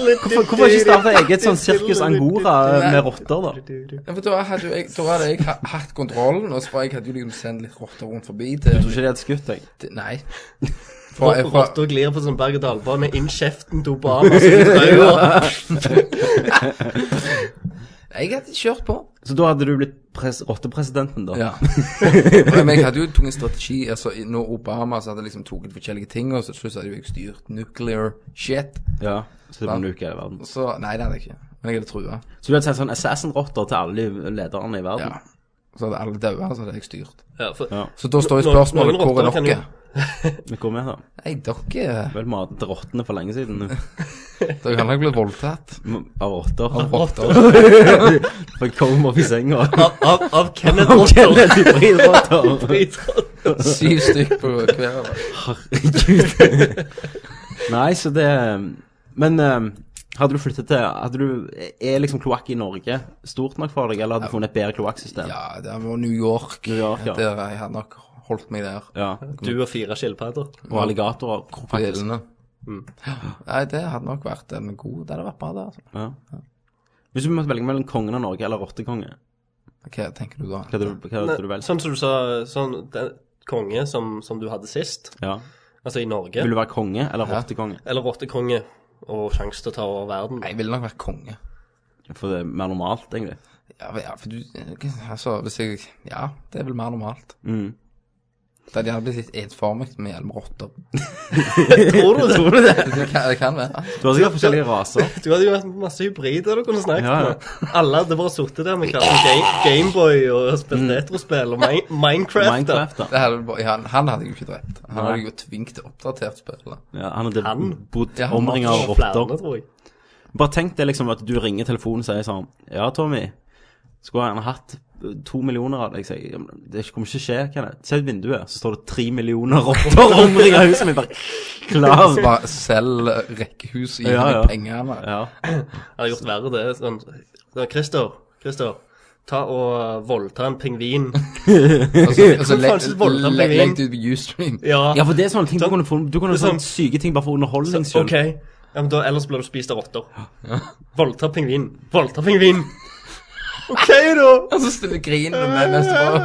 Speaker 1: Hvorfor, hvorfor ikke starte eget sånn sirkus Angora med rotter, da?
Speaker 6: Ja, for da hadde jo jeg, da hadde jeg ha- hatt kontrollen, og så bare jeg hadde jo liksom sendt litt rotter rundt forbi til
Speaker 1: Jeg tror ikke de hadde skutt deg.
Speaker 6: til- Nei. Fra,
Speaker 5: Og
Speaker 6: fra,
Speaker 5: Rotta glir på sånn berg-og-dal-bane inn kjeften til Obama. så de prøver.
Speaker 6: jeg hadde kjørt på.
Speaker 1: Så da hadde du blitt pres rottepresidenten, da?
Speaker 6: Ja. Men jeg hadde jo tatt en strategi. Altså, i- når Obama så hadde jeg liksom tatt forskjellige ting, og så til slutt så hadde jo jeg styrt nuclear shit.
Speaker 1: ja. Så det var nuke i verden.
Speaker 6: Så Nei, det hadde jeg ikke. Men jeg hadde trua.
Speaker 1: Så du hadde sendt sånn assassin-rotter til alle de lederne i verden?
Speaker 6: Ja. Så hadde alle daua, så hadde jeg styrt.
Speaker 5: Ja, for-
Speaker 1: Ja.
Speaker 6: Så da står jo
Speaker 5: Nå-
Speaker 6: spørsmålet
Speaker 5: noen
Speaker 6: hvor er
Speaker 5: rotter kan jo-
Speaker 6: dere?
Speaker 1: Vi går med, da.
Speaker 6: Nei, dere eh,
Speaker 1: Vel matet rottene for lenge siden nå.
Speaker 6: Dere kan da bli voldtatt
Speaker 1: av rotter.
Speaker 6: av rotter.
Speaker 1: For jeg kom opp i senga.
Speaker 5: Av, av, av Kenneth
Speaker 1: Og
Speaker 5: Rotter.
Speaker 1: Kenneth hybridrotter.
Speaker 6: Syv stykk på hver av dem.
Speaker 1: Nei, så det Men eh, hadde du flyttet til hadde du, Er liksom kloakk i Norge stort nok for deg, eller hadde du funnet et bedre kloakksystem?
Speaker 6: Ja, det var New York.
Speaker 1: New York, ja.
Speaker 6: Der jeg hadde nok holdt meg der.
Speaker 1: Ja.
Speaker 5: Du og fire skilpadder.
Speaker 1: Og alligatorer. faktisk.
Speaker 6: Krokodillene. Nei, det hadde nok vært en god Det hadde vært bra, det. Altså.
Speaker 1: Ja. Hvis du måtte velge mellom kongen av Norge eller rottekonge,
Speaker 6: Hva tenker du da?
Speaker 1: hva hadde du, hva hadde du
Speaker 5: Nei,
Speaker 1: valgt?
Speaker 5: Sånn som du sa, sånn den konge som, som du hadde sist,
Speaker 1: Ja.
Speaker 5: altså i Norge,
Speaker 1: Vil du være konge eller rottekonge?
Speaker 5: eller rottekonge og sjanse til å ta over verden.
Speaker 6: Jeg ville nok vært konge.
Speaker 1: For det er mer normalt, egentlig.
Speaker 6: Ja, men- ja, for du Altså, hvis jeg Ja, det er vel mer normalt.
Speaker 1: Mm.
Speaker 6: Det hadde gjerne blitt litt ensformig med hjelm rotter.
Speaker 5: Tror du det?
Speaker 1: Tror du det?
Speaker 6: Det kan, det kan være.
Speaker 1: Du har sikkert forskjellige raser.
Speaker 5: Du hadde jo hatt masse hybrider du kunne snakket
Speaker 1: Ja, ja.
Speaker 5: med. Alle hadde bare sittet der med hver sin ga- Gameboy og spilt retrospill og Mi- Minecraft.
Speaker 1: Mm. Minecraft, da.
Speaker 6: Det hadde, bare- han, han hadde jeg jo ikke drept. Han hadde jeg jo tvunget til oppdatert spillet.
Speaker 1: Ja, han hadde
Speaker 5: Han?
Speaker 1: bodd
Speaker 6: Ja, han
Speaker 1: omringet av
Speaker 5: Og flere,
Speaker 1: rotter.
Speaker 5: tror jeg.
Speaker 1: Bare tenk deg liksom at du ringer telefonen og sier sånn Ja, Tommy, skulle han hatt eh, to millioner av deg? Jeg sier, "Ja, men Det kommer ikke skje, Kenneth. Se ut vinduet, så står det tre millioner rotter omringet av huset mitt. Bare klar.
Speaker 6: Så Altså, bare selg rekkehuset, gi
Speaker 1: Ja,
Speaker 6: meg
Speaker 1: ja.
Speaker 6: pengene.
Speaker 1: Ja.
Speaker 5: Jeg hadde gjort verre det. Sånn, sånn, Christer, Christer, ta og voldta en pingvin.
Speaker 6: Og så, og så
Speaker 5: Hvordan
Speaker 6: legg
Speaker 5: faen synes voldtatt
Speaker 6: legg-
Speaker 5: pingvin?
Speaker 6: legg det ut på Ustream.
Speaker 5: Ja,
Speaker 1: ja, for det er sånne ting du
Speaker 5: Sånn.
Speaker 1: kunne få Du kunne
Speaker 5: Det er
Speaker 1: sånn syke ting bare for underholdning selv.
Speaker 5: ok. Ja, men da, ellers blir du spist av rotter. Voldta pingvin. Voldta pingvin. OK, da.
Speaker 6: Og så stille griner med neste år.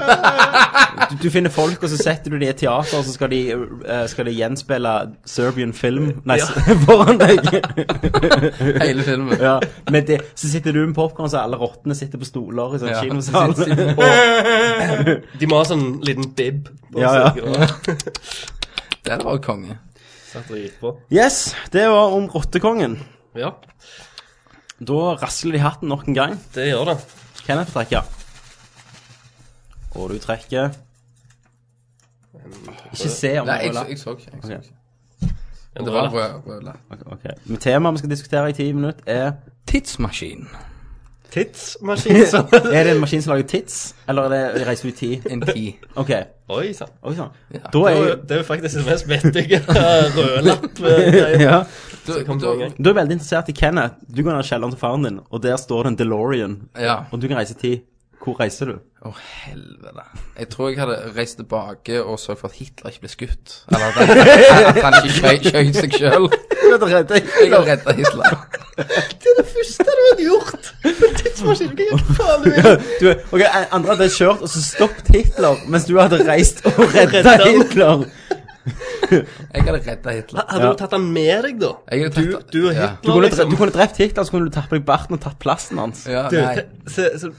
Speaker 1: Du, du finner folk, og så setter du dem i et teater, og så skal de, eh, skal de gjenspille Serbian film Nei,
Speaker 5: Ja.
Speaker 1: foran deg.
Speaker 6: Hele filmen.
Speaker 1: Ja, men det, så sitter du med popkorn, så alle rottene sitter på stoler i sånn
Speaker 6: Ja.
Speaker 1: kinosal.
Speaker 5: De må ha sånn liten bib på
Speaker 1: Ja,
Speaker 5: seg. og
Speaker 6: Den var konge.
Speaker 5: Satt og gikk på.
Speaker 1: Yes, det var om rottekongen.
Speaker 5: Ja,
Speaker 1: Da rasler de hatten nok en gang.
Speaker 5: det gjør det.
Speaker 1: Kenneth trekker. Og du trekker Ikke se om
Speaker 6: Nei,
Speaker 1: det
Speaker 6: jeg,
Speaker 1: er
Speaker 6: så- jeg så ikke. Jeg så
Speaker 1: Ok.
Speaker 6: ikke.
Speaker 5: En
Speaker 6: Det var
Speaker 5: rød lapp.
Speaker 6: rød- rød lapp.
Speaker 1: Ok, Men Temaet vi skal diskutere i ti minutter, er
Speaker 6: Tidsmaskin.
Speaker 5: tidsmaskin. så-
Speaker 1: Er det en maskin som lager tits, eller er det reiser du i tid?
Speaker 6: En ti.
Speaker 1: OK.
Speaker 5: Oi sann.
Speaker 1: Oi sann.
Speaker 6: Ja.
Speaker 1: Da
Speaker 5: Det
Speaker 1: er
Speaker 5: er jo- det er jo faktisk det mest vettige rødlapp-greia.
Speaker 1: ja.
Speaker 6: Du,
Speaker 5: kom
Speaker 6: du,
Speaker 5: på en gang.
Speaker 1: Da er jeg veldig interessert i Kenneth. Du går ned i kjelleren til faren din, og der står det en DeLorean.
Speaker 6: ja.
Speaker 1: Og du kan reise i tid. Hvor reiser du?
Speaker 6: Å, helvete. Jeg tror jeg hadde reist tilbake og sørget for at Hitler ikke ble skutt. Eller at han, at han ikke skjøt- skjøt seg sjøl. Jeg har redda Hitler.
Speaker 1: Du, ok, Andre hadde kjørt og så stoppet Hitler, mens du hadde reist og redda
Speaker 5: Redda han.
Speaker 1: Hitler.
Speaker 6: Jeg hadde redda Hitler.
Speaker 5: Hadde
Speaker 1: Ja.
Speaker 5: du tatt den med deg, da?
Speaker 6: Jeg hadde
Speaker 5: Du,
Speaker 6: tatt-
Speaker 5: du og
Speaker 6: ja.
Speaker 1: Du
Speaker 5: Hitler,
Speaker 1: kunne, dre-
Speaker 5: liksom.
Speaker 1: du kunne drept Hitler, så kunne du tatt på deg barten og tatt plassen hans.
Speaker 6: Ja,
Speaker 5: Du,
Speaker 6: nei.
Speaker 5: se, så,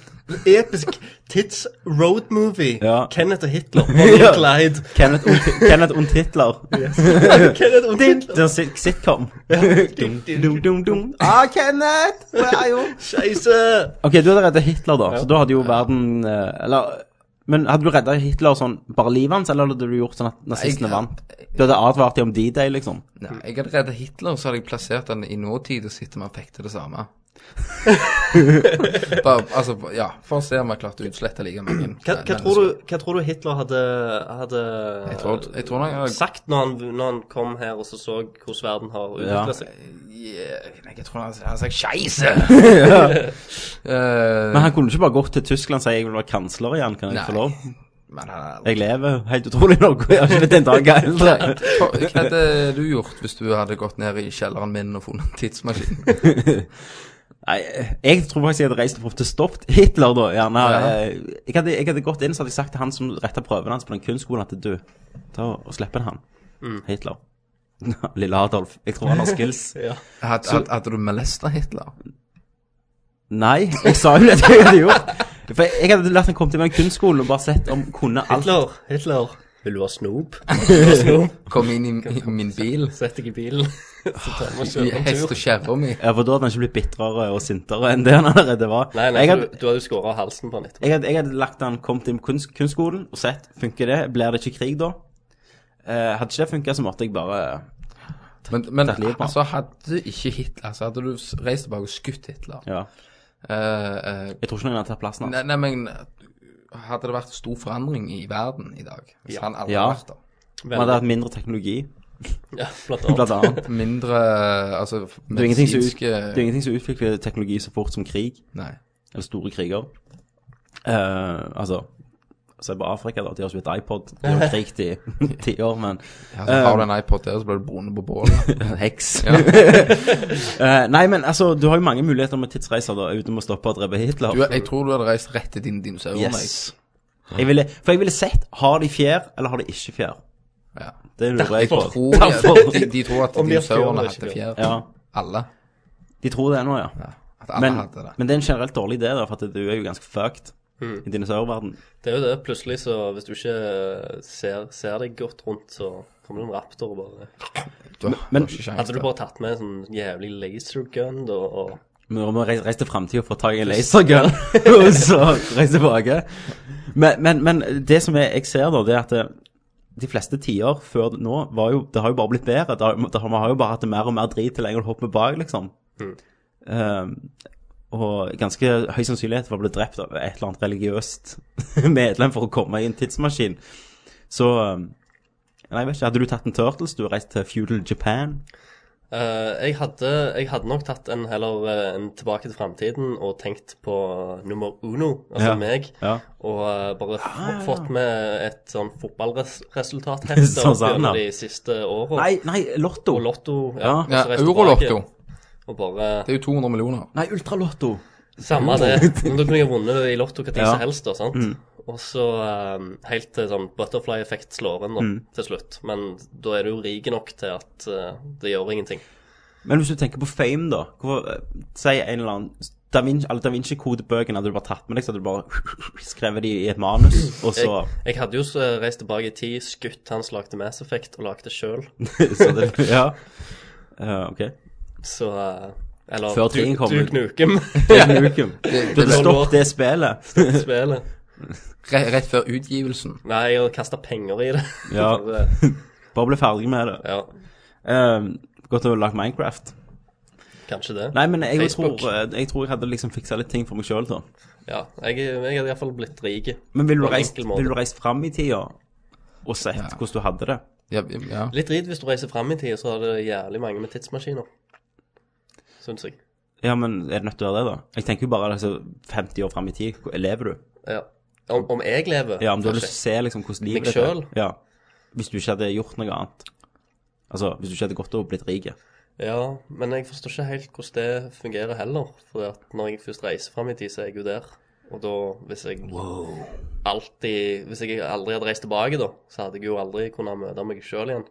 Speaker 5: episk tids road movie.
Speaker 1: Ja.
Speaker 5: Kenneth og Hitler. Bonnie
Speaker 1: Ja.
Speaker 5: og Clyde.
Speaker 1: Kenneth und, Kenneth und Hitler.
Speaker 5: Kenneth og
Speaker 1: Din,
Speaker 5: Hitler.
Speaker 1: det er en sit- sitcom. Dum, dum, dum. Ah, Kenneth! Where are you?
Speaker 5: Scheisse!
Speaker 1: Ok, du hadde redda Hitler, da. Så da hadde jo verden eh, Eller Men hadde du redda Hitler sånn bare livet hans, eller hadde du gjort sånn at nazistene
Speaker 6: Jeg-
Speaker 1: vant? Du hadde advart dem om D-Day, liksom?
Speaker 6: Nei, jeg hadde redda Hitler, og så hadde jeg plassert den i nåtid og sett om han fikk til det samme. Bare, altså, ja, For å se om jeg klarte å utslette like mange.
Speaker 5: Hva, hva, tror du, hva tror du Hitler hadde, hadde
Speaker 6: Jeg tror, jeg tror nok jeg,
Speaker 5: sagt når han, når han kom her og så, så hvordan verden har
Speaker 1: Ja.
Speaker 5: utvikla seg?
Speaker 6: Yeah, nei, jeg tror han han sa 'skeise'. Eh,
Speaker 1: Men han kunne ikke bare gått til Tyskland og si 'jeg vil være kansler igjen', kan jeg få
Speaker 6: Nei.
Speaker 1: lov?
Speaker 6: men han er
Speaker 1: Jeg lever helt utrolig nok, og jeg har ikke blitt en dag eldre.
Speaker 6: Hva hva hadde du gjort hvis du hadde gått ned i kjelleren min og funnet en tidsmaskin?
Speaker 1: Nei, jeg tror faktisk jeg hadde reist opp til stoppet Hitler, da. Gjerne.
Speaker 6: Ja.
Speaker 1: eh, Jeg, hadde, jeg hadde gått inn så hadde jeg sagt til han som retta prøven hans på den kunstskolen, at du, ta og slipp han.
Speaker 6: Mm.
Speaker 1: Hitler. Lille Adolf. Jeg tror han har skills.
Speaker 6: Hadde, hadde, hadde du molesta Hitler?
Speaker 1: Nei, jeg sa jo det jeg hadde gjort. For jeg, jeg hadde lært han kom til meg i kunstskolen og bare sett om kunne alt.
Speaker 5: Hitler, Hitler, vil du ha snop? Vil du ha snop?
Speaker 6: Kom inn i, i min bil
Speaker 5: Sett deg i bilen, så tar vi og
Speaker 6: i
Speaker 5: kjører en
Speaker 6: hest og
Speaker 5: tur.
Speaker 6: kjerra mi.
Speaker 1: Ja, for da hadde han ikke blitt bitrere og sintere enn det han allerede var.
Speaker 5: Nei, nei,
Speaker 1: jeg,
Speaker 5: for
Speaker 1: hadde,
Speaker 5: du, du hadde jo skåra halsen på han etterpå.
Speaker 1: jeg, hadde, jeg hadde lagt han kom til kunst, kunstskolen og sett funker det, blir det ikke krig da? Eh, hadde ikke det funka, så måtte jeg bare
Speaker 6: Men, men
Speaker 1: Tatt livet av.
Speaker 6: altså, hadde ikke Hitler altså, Hadde du s- reist tilbake og skutt Hitler
Speaker 1: Ja.
Speaker 6: Eh, eh,
Speaker 1: Jeg tror ikke noen hadde tatt plassen hans.
Speaker 6: nei, nei, men hadde det vært stor forandring i verden i dag? Hvis han aldri
Speaker 1: Ja.
Speaker 6: hadde vært der?
Speaker 1: Man hadde hatt mindre teknologi,
Speaker 5: Ja, blant annet.
Speaker 1: blant annet.
Speaker 6: Mindre altså,
Speaker 1: Det er ingenting som ut-
Speaker 6: medisinske
Speaker 5: eh,
Speaker 1: det er ingenting som utvikler teknologi så fort som krig,
Speaker 6: Nei.
Speaker 1: eller store kriger. Eh, altså Se på Afrika, da. De har ikke blitt iPod. De har kriget i ti år, men
Speaker 6: Ja,
Speaker 1: Eh.
Speaker 6: så har du en iPod der, så blir du boende på bålet.
Speaker 1: Heks.
Speaker 6: Ja.
Speaker 1: Eh, nei, men altså, du har jo mange muligheter med tidsreiser, da, uten å stoppe og drepe Hitler.
Speaker 6: Du, Oh jeg tror du hadde reist rett til dine dinosaurer.
Speaker 1: yes. Jeg ville, for jeg ville sett har de fjær, eller har de ikke fjær.
Speaker 6: Mike. Ja.
Speaker 1: Det lurer jeg på.
Speaker 6: Jeg tror de, de, de tror at
Speaker 5: Om de har fjør
Speaker 6: dinosaurene
Speaker 5: eller
Speaker 6: hadde
Speaker 5: ikke
Speaker 6: fjær.
Speaker 1: Ja,
Speaker 6: Alle.
Speaker 1: de tror det nå, ja.
Speaker 6: Ja. At alle
Speaker 1: Men,
Speaker 6: hadde det. Mm.
Speaker 1: men det er en generelt dårlig idé, da, for at du er jo ganske fucked i dinosaurverdenen.
Speaker 5: Det er jo det. Plutselig, så hvis du ikke ser, ser deg godt rundt, så kommer det en raptor og bare
Speaker 6: Du har
Speaker 1: men-
Speaker 6: ikke sjans
Speaker 5: Hadde du
Speaker 6: til det.
Speaker 5: bare tatt med en sånn jævlig lasergun, da, og
Speaker 1: Vi må reise, reise til fremtiden for å ta i en lasergun, og så reise tilbake. Men, men, men det som jeg, jeg ser da, det er at det, de fleste tider før nå, var jo, det har jo bare blitt bedre. Det har, det har, vi har jo bare hatt det mer og mer drit til lenger å hoppe bak, liksom. Ehm, og ganske høy sannsynlighet for å bli drept av et eller annet religiøst medlem for å komme i en tidsmaskin. Så, ehm, nei, jeg vet ikke, hadde du tatt en Turtles, du reiste til Feudal Japan?
Speaker 5: Eh, jeg, hadde, jeg hadde nok tatt en heller eh, en tilbake til framtiden og tenkt på nummer uno, altså
Speaker 1: Ja.
Speaker 5: meg,
Speaker 1: Ja. Ah,
Speaker 5: og eh, bare f fått med et sånn fotballresultat
Speaker 1: Sånn
Speaker 5: opp
Speaker 1: som han har.
Speaker 5: gjennom de siste åra.
Speaker 1: Nei, nei, Lotto.
Speaker 5: Og Lotto.
Speaker 1: Ja.
Speaker 5: og så
Speaker 6: Ja,
Speaker 5: reiste tilbake
Speaker 6: Eurolotto.
Speaker 5: Og bare
Speaker 6: Det er jo 200 millioner.
Speaker 1: Nei, Ultralotto.
Speaker 5: Samme det. Men da kunne jeg vunnet i Lotto hva tid
Speaker 1: Ja. Mm.
Speaker 5: som helst, da, sant? Og så eh, helt til sånn butterfly-effekt slår en da,
Speaker 1: Mm.
Speaker 5: til slutt. Men da er du jo rik nok til at eh, det gjør ingenting.
Speaker 1: Men hvis du tenker på fame, da hvorfor, eh, Si en eller annen Da Vinci, alle Da Vinci-kodebøkene hadde du bare tatt med deg, så hadde du bare skrevet de i et manus, og så
Speaker 5: Jeg, jeg hadde jo så reist tilbake i tid, skutt hans lagde Mass Effect og lagd det sjøl.
Speaker 1: så det, Ja. Eh, OK.
Speaker 5: Så eh, Eller
Speaker 1: Før trien kom ut.
Speaker 5: Duke Nukem.
Speaker 1: Nukem. Du hadde stoppet det spillet.
Speaker 5: Spillet.
Speaker 6: Rett, rett før utgivelsen.
Speaker 5: Nei, jeg har kasta penger i det.
Speaker 1: Ja.
Speaker 5: For, eh,
Speaker 1: Bare bli ferdig med det.
Speaker 5: ja,
Speaker 1: Uh, godt å ha lagt Minecraft.
Speaker 5: kanskje det.
Speaker 1: Nei, men jeg tror,
Speaker 5: Facebook.
Speaker 1: jeg tror jeg hadde liksom fiksa litt ting for meg sjøl, da.
Speaker 5: Ja, jeg, jeg hadde iallfall blitt rik.
Speaker 1: Men ville du
Speaker 5: På en
Speaker 1: reist,
Speaker 5: enkel måte.
Speaker 1: vil du reist fram i tida og sett hvordan du hadde det?
Speaker 6: Ja, ja.
Speaker 5: Litt drit hvis du reiser fram i tid, så er det jævlig mange med tidsmaskiner. Syns jeg.
Speaker 1: Ja, men er det nødt til å være det, da? Jeg tenker jo bare altså, 50 år fram i tid. hvor- Lever du?
Speaker 5: Ja. Om, om jeg lever?
Speaker 1: Ja, om du har
Speaker 5: Kanskje.
Speaker 1: lyst til å se liksom hvordan
Speaker 5: Meg
Speaker 1: livet ditt
Speaker 5: selv?
Speaker 1: Ja. Hvis du ikke hadde gjort noe annet. Altså, hvis du ikke hadde gått og blitt rik.
Speaker 5: Ja, men jeg forstår ikke helt hvordan det fungerer heller. For at når jeg først reiser fram i tid, så er jeg jo der. Og da, hvis jeg alltid Hvis jeg aldri hadde reist tilbake, da, så hadde jeg jo aldri kunnet møte meg sjøl igjen.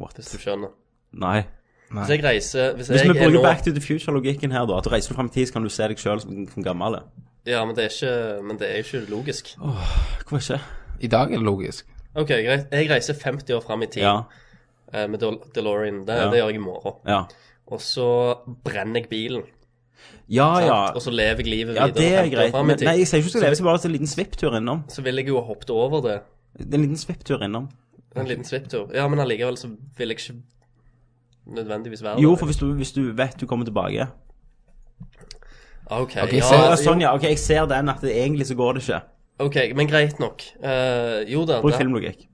Speaker 1: What?
Speaker 5: Hvis du skjønner.
Speaker 1: Nei.
Speaker 5: Hvis jeg reiser Hvis,
Speaker 1: Hvis
Speaker 5: jeg
Speaker 1: vi
Speaker 5: er nå
Speaker 1: bruker Back to the Future-logikken her, da, at du reiser fram i tid, så kan du se deg sjøl som, som gammel.
Speaker 5: Ja, men det er ikke Men det er ikke logisk.
Speaker 1: Hvorfor ikke?
Speaker 6: I dag er det logisk.
Speaker 5: OK, greit. Jeg reiser 50 år fram i tid
Speaker 1: Ja.
Speaker 5: eh, med Del- DeLorean. Det,
Speaker 1: Ja.
Speaker 5: det gjør jeg i morgen.
Speaker 1: Ja,
Speaker 5: Og så brenner jeg bilen.
Speaker 1: ja.
Speaker 5: sant?
Speaker 1: ja.
Speaker 5: Og så lever jeg livet
Speaker 1: Ja,
Speaker 5: videre.
Speaker 1: det er
Speaker 5: 50 år
Speaker 1: greit.
Speaker 5: frem i
Speaker 1: Men,
Speaker 5: tid.
Speaker 1: nei, jeg sier ikke du skal leve, jeg skal bare ha en liten svipptur innom.
Speaker 5: Så ville jeg jo ha hoppet over det.
Speaker 1: En liten svipptur innom.
Speaker 5: En liten svipptur. Ja, men allikevel så vil jeg ikke nødvendigvis være
Speaker 1: Jo,
Speaker 5: der.
Speaker 1: for hvis du, hvis du vet du kommer tilbake
Speaker 5: OK,
Speaker 6: Ok,
Speaker 5: ja,
Speaker 1: Ja,
Speaker 6: så-
Speaker 1: sånn, ja. Ok, jeg ser den at det egentlig så går det ikke.
Speaker 5: jo, ok, men greit nok. Eh, jo da,
Speaker 1: Bruk
Speaker 5: det-
Speaker 1: filmlogikk.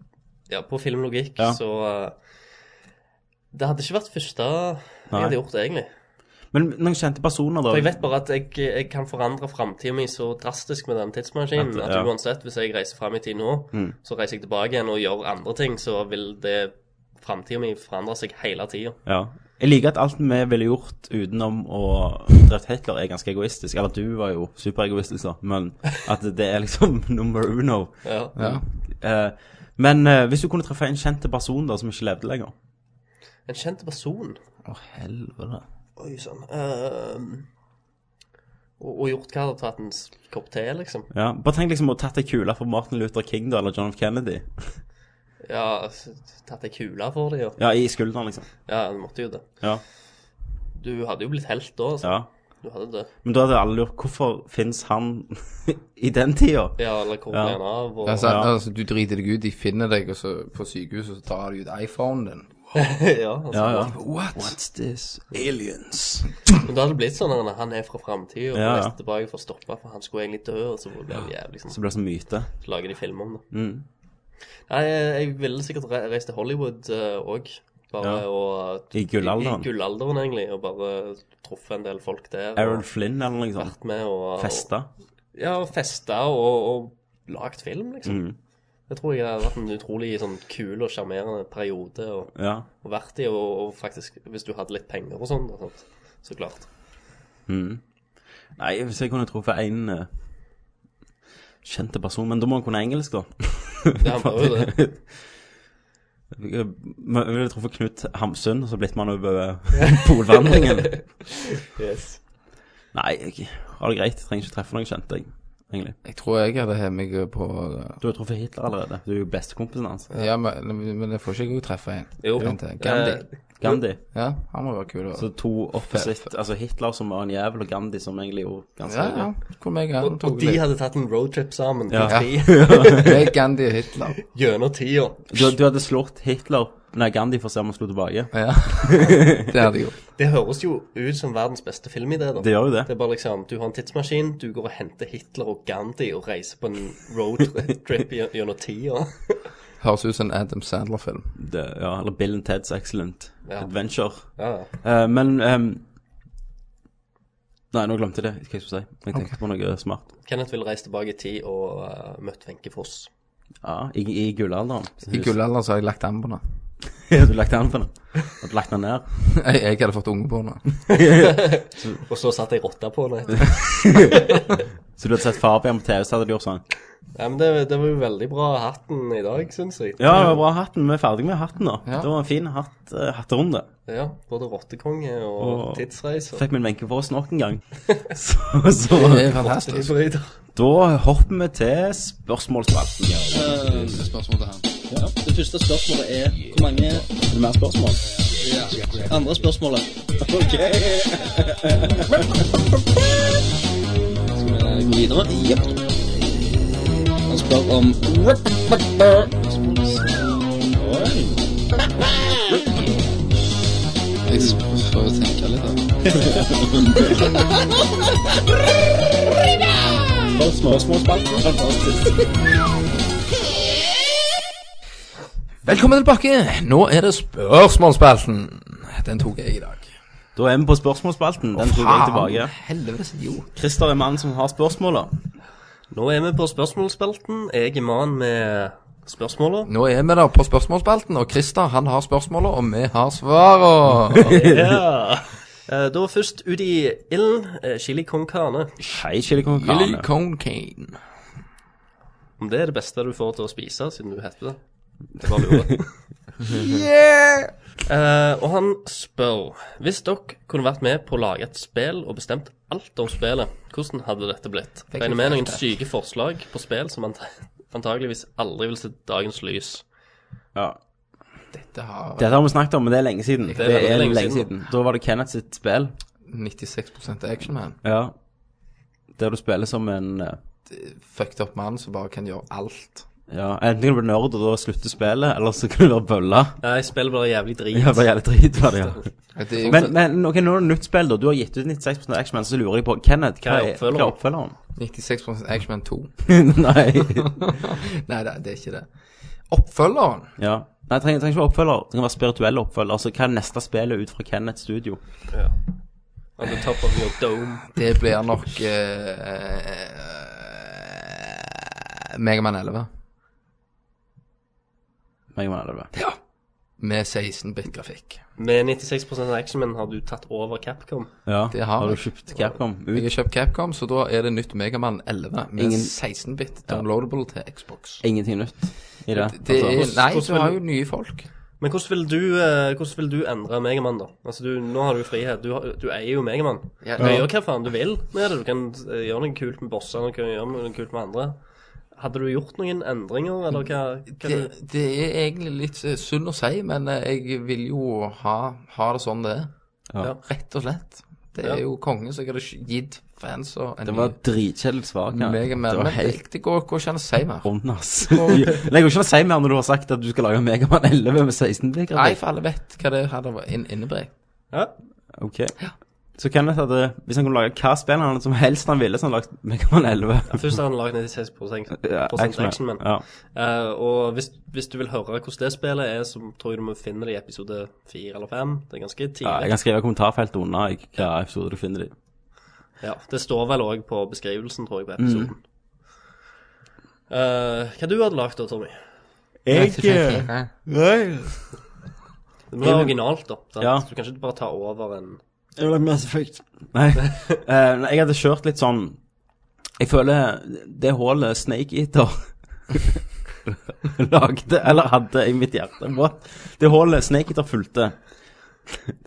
Speaker 5: Ja, på filmlogikk,
Speaker 1: Ja.
Speaker 5: så eh, Det hadde ikke vært første jeg
Speaker 1: Nei.
Speaker 5: hadde gjort, egentlig.
Speaker 1: Men noen kjente personer, da?
Speaker 5: For jeg vet bare at jeg, jeg kan forandre framtida mi så drastisk med den tidsmaskinen
Speaker 1: At-
Speaker 5: at,
Speaker 1: ja. Mm.
Speaker 5: uansett, hvis jeg reiser fram i tid nå, så reiser jeg tilbake igjen og gjør andre ting, så vil det framtida mi forandre seg hele tida.
Speaker 1: Ja. Jeg liker at alt vi ville gjort utenom å drept Hitler, er ganske egoistisk. Eller du var jo superegoistisk, da, men at det er liksom number uno.
Speaker 5: Ja.
Speaker 6: Ja.
Speaker 1: Eh, men eh, hvis du kunne treffe en kjent person da som ikke levde lenger
Speaker 5: En kjent person
Speaker 1: Å, helvete.
Speaker 5: Oi sann. ehm, og, og gjort hva? Tatt en s- kopp te, liksom?
Speaker 1: Ja, Bare tenk liksom å tatt ei kule for Martin Luther King da, eller John F. Kennedy.
Speaker 5: Ja, s- tatt ei kule for dem, og
Speaker 1: Ja, i skulderen, liksom.
Speaker 5: Ja, du måtte jo det.
Speaker 1: Ja.
Speaker 5: Du hadde jo blitt helt da, altså.
Speaker 1: ja.
Speaker 5: Du hadde det.
Speaker 1: Men da hadde alle lurt hvorfor fins han i den tida?
Speaker 5: Ja, eller hvor
Speaker 1: Ja.
Speaker 5: ble han av? Og...
Speaker 6: Det er sant,
Speaker 1: Ja.
Speaker 6: altså, du driter deg ut, de finner deg og så på sykehuset, og så tar de ut iPhonen din.
Speaker 5: ja, altså.
Speaker 6: What?
Speaker 1: What's this? Aliens.
Speaker 5: Men det hadde blitt sånn at han er fra framtida, og
Speaker 1: Ja, ja.
Speaker 5: reiste tilbake for å stoppe, for han skulle egentlig dø, og så ble han jævlig sånn.
Speaker 1: Så ble det sånn myte.
Speaker 5: Så lager de film om det.
Speaker 1: Mm.
Speaker 5: Nei, jeg ville sikkert re- reist til Hollywood òg. bare
Speaker 1: Ja.
Speaker 5: og
Speaker 1: I gullalderen.
Speaker 5: I, i gullalderen, egentlig, og bare truffet en del folk der.
Speaker 1: Aaron
Speaker 5: og
Speaker 1: Flynn eller noe sånt.
Speaker 5: vært med og
Speaker 1: Festa.
Speaker 5: Ja, og festa og, og lagt film, liksom.
Speaker 1: Mm.
Speaker 5: Det tror jeg har vært en utrolig sånn kul og sjarmerende periode å
Speaker 1: Ja.
Speaker 5: å vært i, og, og faktisk, hvis du hadde litt penger og sånn, da, sant? så klart.
Speaker 1: Nei, hvis jeg kunne truffet en eh, kjente person Men da må han kunne engelsk, da.
Speaker 5: Ja, han var jo det.
Speaker 1: Jeg ville truffet Knut Hamsun, og så blitt man over eh, polvandringen.
Speaker 5: Yes.
Speaker 1: Nei, jeg har det greit. Jeg trenger ikke treffe noen kjente, jeg, egentlig.
Speaker 6: Jeg tror jeg hadde hevet meg på eh,
Speaker 1: Du har truffet Hitler allerede. Du er jo bestekompisen hans.
Speaker 6: Ja, men, men jeg får ikke jeg òg treffe en.
Speaker 5: Jo.
Speaker 6: Vent til.
Speaker 5: Eh,
Speaker 6: Gandhi.
Speaker 1: Gandhi.
Speaker 6: Ja, han må være kul.
Speaker 1: Eh, Så
Speaker 6: Også.
Speaker 1: to opposite Altså Hitler som var en jævel, og Gandhi som egentlig jo ganske
Speaker 6: Ja, ja. Hvor meg han
Speaker 5: Og
Speaker 6: tok
Speaker 5: de
Speaker 6: litt.
Speaker 5: hadde tatt en roadtrip sammen
Speaker 1: Ja.
Speaker 5: på tid,
Speaker 6: Meg, Gandhi og Hitler.
Speaker 5: gjennom tida.
Speaker 1: Du, du hadde slått Hitler Nei, Gandhi for å se om han slo tilbake.
Speaker 6: Ja. Det hadde jeg gjort.
Speaker 5: Det høres jo ut som verdens beste filmidé, da.
Speaker 1: Det gjør jo det.
Speaker 5: Det er bare liksom, du har en tidsmaskin, du går og henter Hitler og Gandhi og reiser på en roadtrip gjen- gjennom tida.
Speaker 6: Høres ut som en Adam Sandler-film.
Speaker 1: det ja, eller Bill and Ted's Excellent
Speaker 5: Ja.
Speaker 1: Adventure.
Speaker 5: Ja, ja.
Speaker 1: Eh, men ehm, Nei, nå glemte jeg det. Hva jeg skulle si. Jeg tenkte på noe smart.
Speaker 5: Kenneth vil reise tilbake i tid og eh, møtt Wenche Foss.
Speaker 1: Ja, I, i gullalderen.
Speaker 6: I gullalderen så har jeg lagt an på henne.
Speaker 1: du lagt an på den? Har du lagt den ned?
Speaker 6: Jeg, jeg hadde fått unge på henne.
Speaker 5: Og så satt jeg rotta på henne.
Speaker 1: Så du hadde sett Fabian på TV, så hadde du gjort sånn.
Speaker 5: Ja, men det, det var jo veldig bra hatten i dag, syns jeg.
Speaker 1: Ja, det var bra hatten. Vi er ferdig med hatten nå.
Speaker 6: Ja.
Speaker 1: Det var en fin hatt, eh, hatterunde.
Speaker 5: Ja, både rottekonge og
Speaker 1: Og-
Speaker 5: tidsreiser.
Speaker 1: Fikk min Wenche Foss nok en gang. Så, så
Speaker 6: Det er fantastisk.
Speaker 5: Hybrider.
Speaker 1: da hopper vi til spørsmålsspalten.
Speaker 6: Spørsmål til han.
Speaker 10: Det første spørsmålet er hvor mange Er det mer spørsmål? Andre spørsmålet. OK. Skal vi gå videre? Jepp. Han spør om Oi.
Speaker 6: Jeg s- prøver å tenke litt. da.
Speaker 10: Spørsmålsspalten. Fantastisk.
Speaker 6: Velkommen tilbake. Nå er det spørsmålsspalten. Den tok jeg i dag.
Speaker 1: Da er vi på spørsmålsspalten. Den tok jeg tilbake.
Speaker 6: Helvetes idiot.
Speaker 1: Christer er mannen som har spørsmåla.
Speaker 5: Nå er vi på spørsmålsspelten. Jeg er mannen med spørsmåla.
Speaker 6: Nå er vi da på spørsmålsspalten, og Christer han har spørsmålet, og vi har svaret.
Speaker 5: Ja. Eh, Da først ut i ilden. eh, Chili con carne.
Speaker 1: Hei, Chili Con
Speaker 6: Billy
Speaker 1: Carne.
Speaker 6: Conkane.
Speaker 5: Om det er det beste du får til å spise, siden du heter det. Det bare lurer. yeah! og han spør Hvis dere kunne vært med på å lage et spill og bestemt alt om spillet, hvordan hadde dette blitt?
Speaker 6: Det er
Speaker 5: Regner med
Speaker 6: kult,
Speaker 5: noen
Speaker 6: det.
Speaker 5: syke forslag på spill som ant antageligvis aldri vil se dagens lys.
Speaker 1: Ja.
Speaker 6: Dette har
Speaker 1: Dette har vi snakket om, men det er lenge siden. Det
Speaker 5: er veldig
Speaker 1: er
Speaker 5: lenge
Speaker 1: lenge
Speaker 5: siden.
Speaker 1: siden. Da var det Kenneth sitt spill.
Speaker 6: 96 action, man.
Speaker 1: Ja. Der du spiller som en eh,
Speaker 6: Fucked up mann som bare kan gjøre alt.
Speaker 1: Ja, enten kan du bli nerd og da slutte spillet, eller så kan du være bølla.
Speaker 5: Nei, spillet blir jævlig drit.
Speaker 1: Ja, det er jævlig drit hva det gjør.
Speaker 6: Det er jo
Speaker 1: Men, men ok, nå er det nytt spill, da. Du har gitt ut 96 X-Men, så lurer jeg på Kenneth, hva
Speaker 5: Hva er
Speaker 1: er hva er oppfølgeren?
Speaker 6: 96 action, man 2.
Speaker 1: Nei.
Speaker 6: Nei, det, det er ikke det. Oppfølgeren
Speaker 1: Ja. Nei, det trenger, trenger ikke være oppfølger. Det kan være spirituell oppfølger. Altså, hva er neste spillet ut fra Kenneth Studio?
Speaker 5: On the top of your dome.
Speaker 6: Det blir nok eh, uh, Megaman 11
Speaker 1: Meg og Manel, det.
Speaker 6: med 16-bit-grafikk.
Speaker 5: Med 96 action, men har du tatt over Capcom?
Speaker 1: Ja.
Speaker 6: Det har
Speaker 1: har du
Speaker 6: jeg.
Speaker 1: kjøpt Capcom?
Speaker 6: Jeg
Speaker 1: Ut.
Speaker 6: har kjøpt Capcom, så da er det nytt Megaman 11 med
Speaker 1: Ingen-
Speaker 6: 16-bit downloadable til Xbox.
Speaker 1: Ingenting nytt i det?
Speaker 6: Det er,
Speaker 1: altså.
Speaker 6: nei,
Speaker 5: hvordan
Speaker 6: du har
Speaker 5: vil-
Speaker 6: jo nye folk.
Speaker 5: Men hvordan vil du, eh, hvordan vil du endre Megaman, da? Altså, du, Nå har du jo frihet. Du, har- du eier jo Megaman.
Speaker 6: Ja.
Speaker 5: Du gjør hva faen du vil med det. Du kan eh, gjøre noe kult med bossene, du kan gjøre noe kult med andre. Hadde du gjort noen endringer, eller hva? hva
Speaker 6: Det,
Speaker 5: du,
Speaker 6: det er egentlig litt eh, synd å si, men eh, jeg vil jo ha, ha det sånn det er.
Speaker 1: Ja.
Speaker 6: Rett og slett. Det er
Speaker 5: Ja.
Speaker 6: jo kongen som hadde gitt fans og en
Speaker 1: Det var dritkjedelig svar.
Speaker 6: ny Megaman.
Speaker 1: Det var
Speaker 6: men
Speaker 1: helt
Speaker 6: det går går ikke an å si mer.
Speaker 1: bånn, ass. Nei, jeg går ikke an å si mer når du har sagt at du skal lage Megaman 11 med 16 blikk.
Speaker 6: Nei, for alle vet hva det hadde vært inn- innebært.
Speaker 5: ja,
Speaker 1: Ok. Så Kenneth hadde, hvis han kunne lage hva spill han som helst han ville, så hadde han lagd Megaman 11.
Speaker 5: først har han lagd 96
Speaker 1: Ja,
Speaker 5: prosent
Speaker 1: X-Men.
Speaker 5: action, men.
Speaker 1: Ja.
Speaker 5: Eh, og hvis, hvis du vil høre hvordan det spillet er, så tror jeg du må finne det i episode 4 eller 5. Det er ganske tidlig.
Speaker 1: ja, jeg kan skrive i kommentarfeltet unna i hva episode du finner det i.
Speaker 5: Ja, det står vel òg på beskrivelsen, tror jeg,
Speaker 1: Mm.
Speaker 5: på episoden. Eh, hva du hadde lagd da, Tommy?
Speaker 1: eh,
Speaker 6: Jeg
Speaker 5: Det må være originalt, da. sant?
Speaker 1: Ja.
Speaker 5: Du kan ikke bare ta over en
Speaker 10: Jeg vil ha Mass Effect.
Speaker 1: Nei. Eh, nei, jeg hadde kjørt litt sånn Jeg føler det hullet Snake Eater lagde, eller hadde i mitt hjerte What? Det hullet Snake Eater fulgte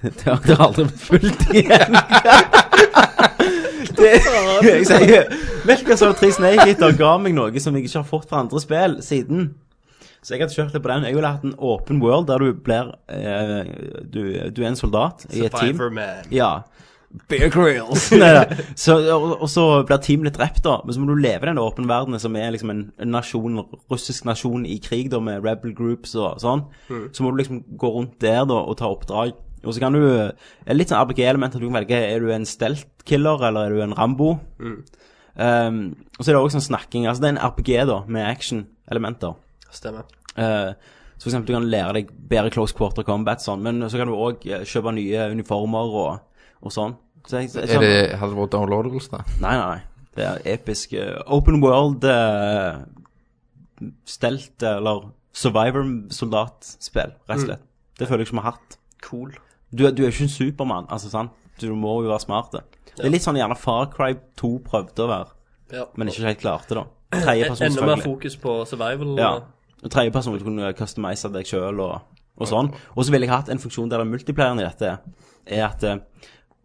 Speaker 1: Det, det har det har aldri blitt fulgt igjen. det, jeg sier Melka som tre Snake Eater ga meg noe som jeg ikke har fått fra andre spill siden. Så jeg hadde kjørt litt på den. Jeg ville hatt en open world der du blir eh, du, du er en soldat i et team.
Speaker 5: Survivor Man.
Speaker 1: Ja. Bear Grylls. Nei, da. så, og, og så blir teamet litt drept, da. Men så må du leve i den åpne verdenen som er liksom en, en nasjon, russisk nasjon i krig, da, med rebel groups og sånn. Så må du liksom gå rundt der, da, og ta oppdrag. Og så kan du eh, Litt sånn RPG-element at du kan velge er du en stelt-killer, eller er du en Rambo? Um, og så er det òg sånn snakking. Altså det er en RPG, da, med action-elementer.
Speaker 5: Stemmer.
Speaker 1: Eh, så for eksempel du kan lære deg bedre close quarter combat sånn, men så kan du òg kjøpe nye uniformer og, og sånn. Så jeg, så jeg,
Speaker 6: Er det, hadde det vært downloadables, da?
Speaker 1: Nei, nei, nei. Det er episk eh, open world eh, stelt eller survivor-soldatspill, rett og slett. Det føler jeg ikke vi har hatt.
Speaker 5: Cool.
Speaker 1: Du, er- du er jo ikke en supermann, altså sant? Du må jo være smart. Det er litt sånn gjerne Far Cry 2 prøvde å være.
Speaker 5: Ja.
Speaker 1: men ikke helt klarte det. Tredjeperson,
Speaker 5: Enda mer
Speaker 1: selvfølgelig.
Speaker 5: fokus på survival.
Speaker 1: Ja. Og tredjeperson du kunne customise deg sjøl og, og sånn. Og så ville jeg hatt en funksjon der den multiplayeren i dette er at eh,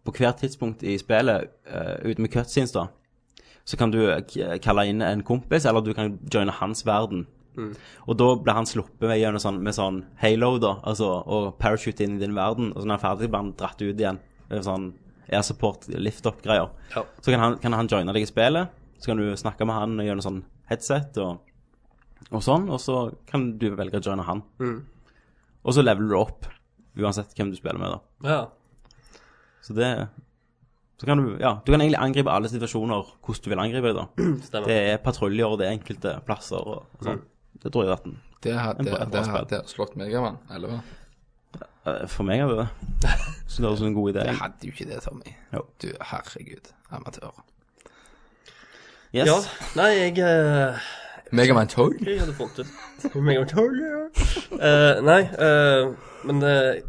Speaker 1: på hvert tidspunkt i spillet, eh, ute med cutscenes, da, så kan du eh, k- kalle inn en kompis, eller du kan joine hans verden. Og da blir han sluppet med gjennom sånn, med sånn halo, da, altså, og parachute inn i din verden. Og så når han er ferdig, blir han dratt ut igjen. med Sånn air support, lift up-greier.
Speaker 5: Ja.
Speaker 1: Så kan han, kan han joine deg i spillet, så kan du snakke med han gjennom sånn headset og, og sånn, og så kan du velge å joine han. Og så leveler du opp, uansett hvem du spiller med, da.
Speaker 5: ja.
Speaker 1: Så det Så kan du Ja, du kan egentlig angripe alle situasjoner hvordan du vil angripe det, da.
Speaker 5: Stemmer. Mm.
Speaker 1: Det er patruljer, og det er enkelte plasser og, og sånn. Det tror jeg hadde vært en
Speaker 6: Det hadde,
Speaker 1: En bra- bra
Speaker 6: det
Speaker 1: spill.
Speaker 6: hadde slått Megaman 11.
Speaker 1: eh, For meg hadde det det. Så det høres ut som en god idé.
Speaker 6: Jeg hadde jo ikke det, Tommy.
Speaker 1: Jo.
Speaker 6: Du, herregud, amatør.
Speaker 1: Yes.
Speaker 5: ja. Nei, jeg eh,
Speaker 6: Megaman 12?
Speaker 5: Jeg hadde fått ut. Meg og Talia. Eh, nei, eh, men eh,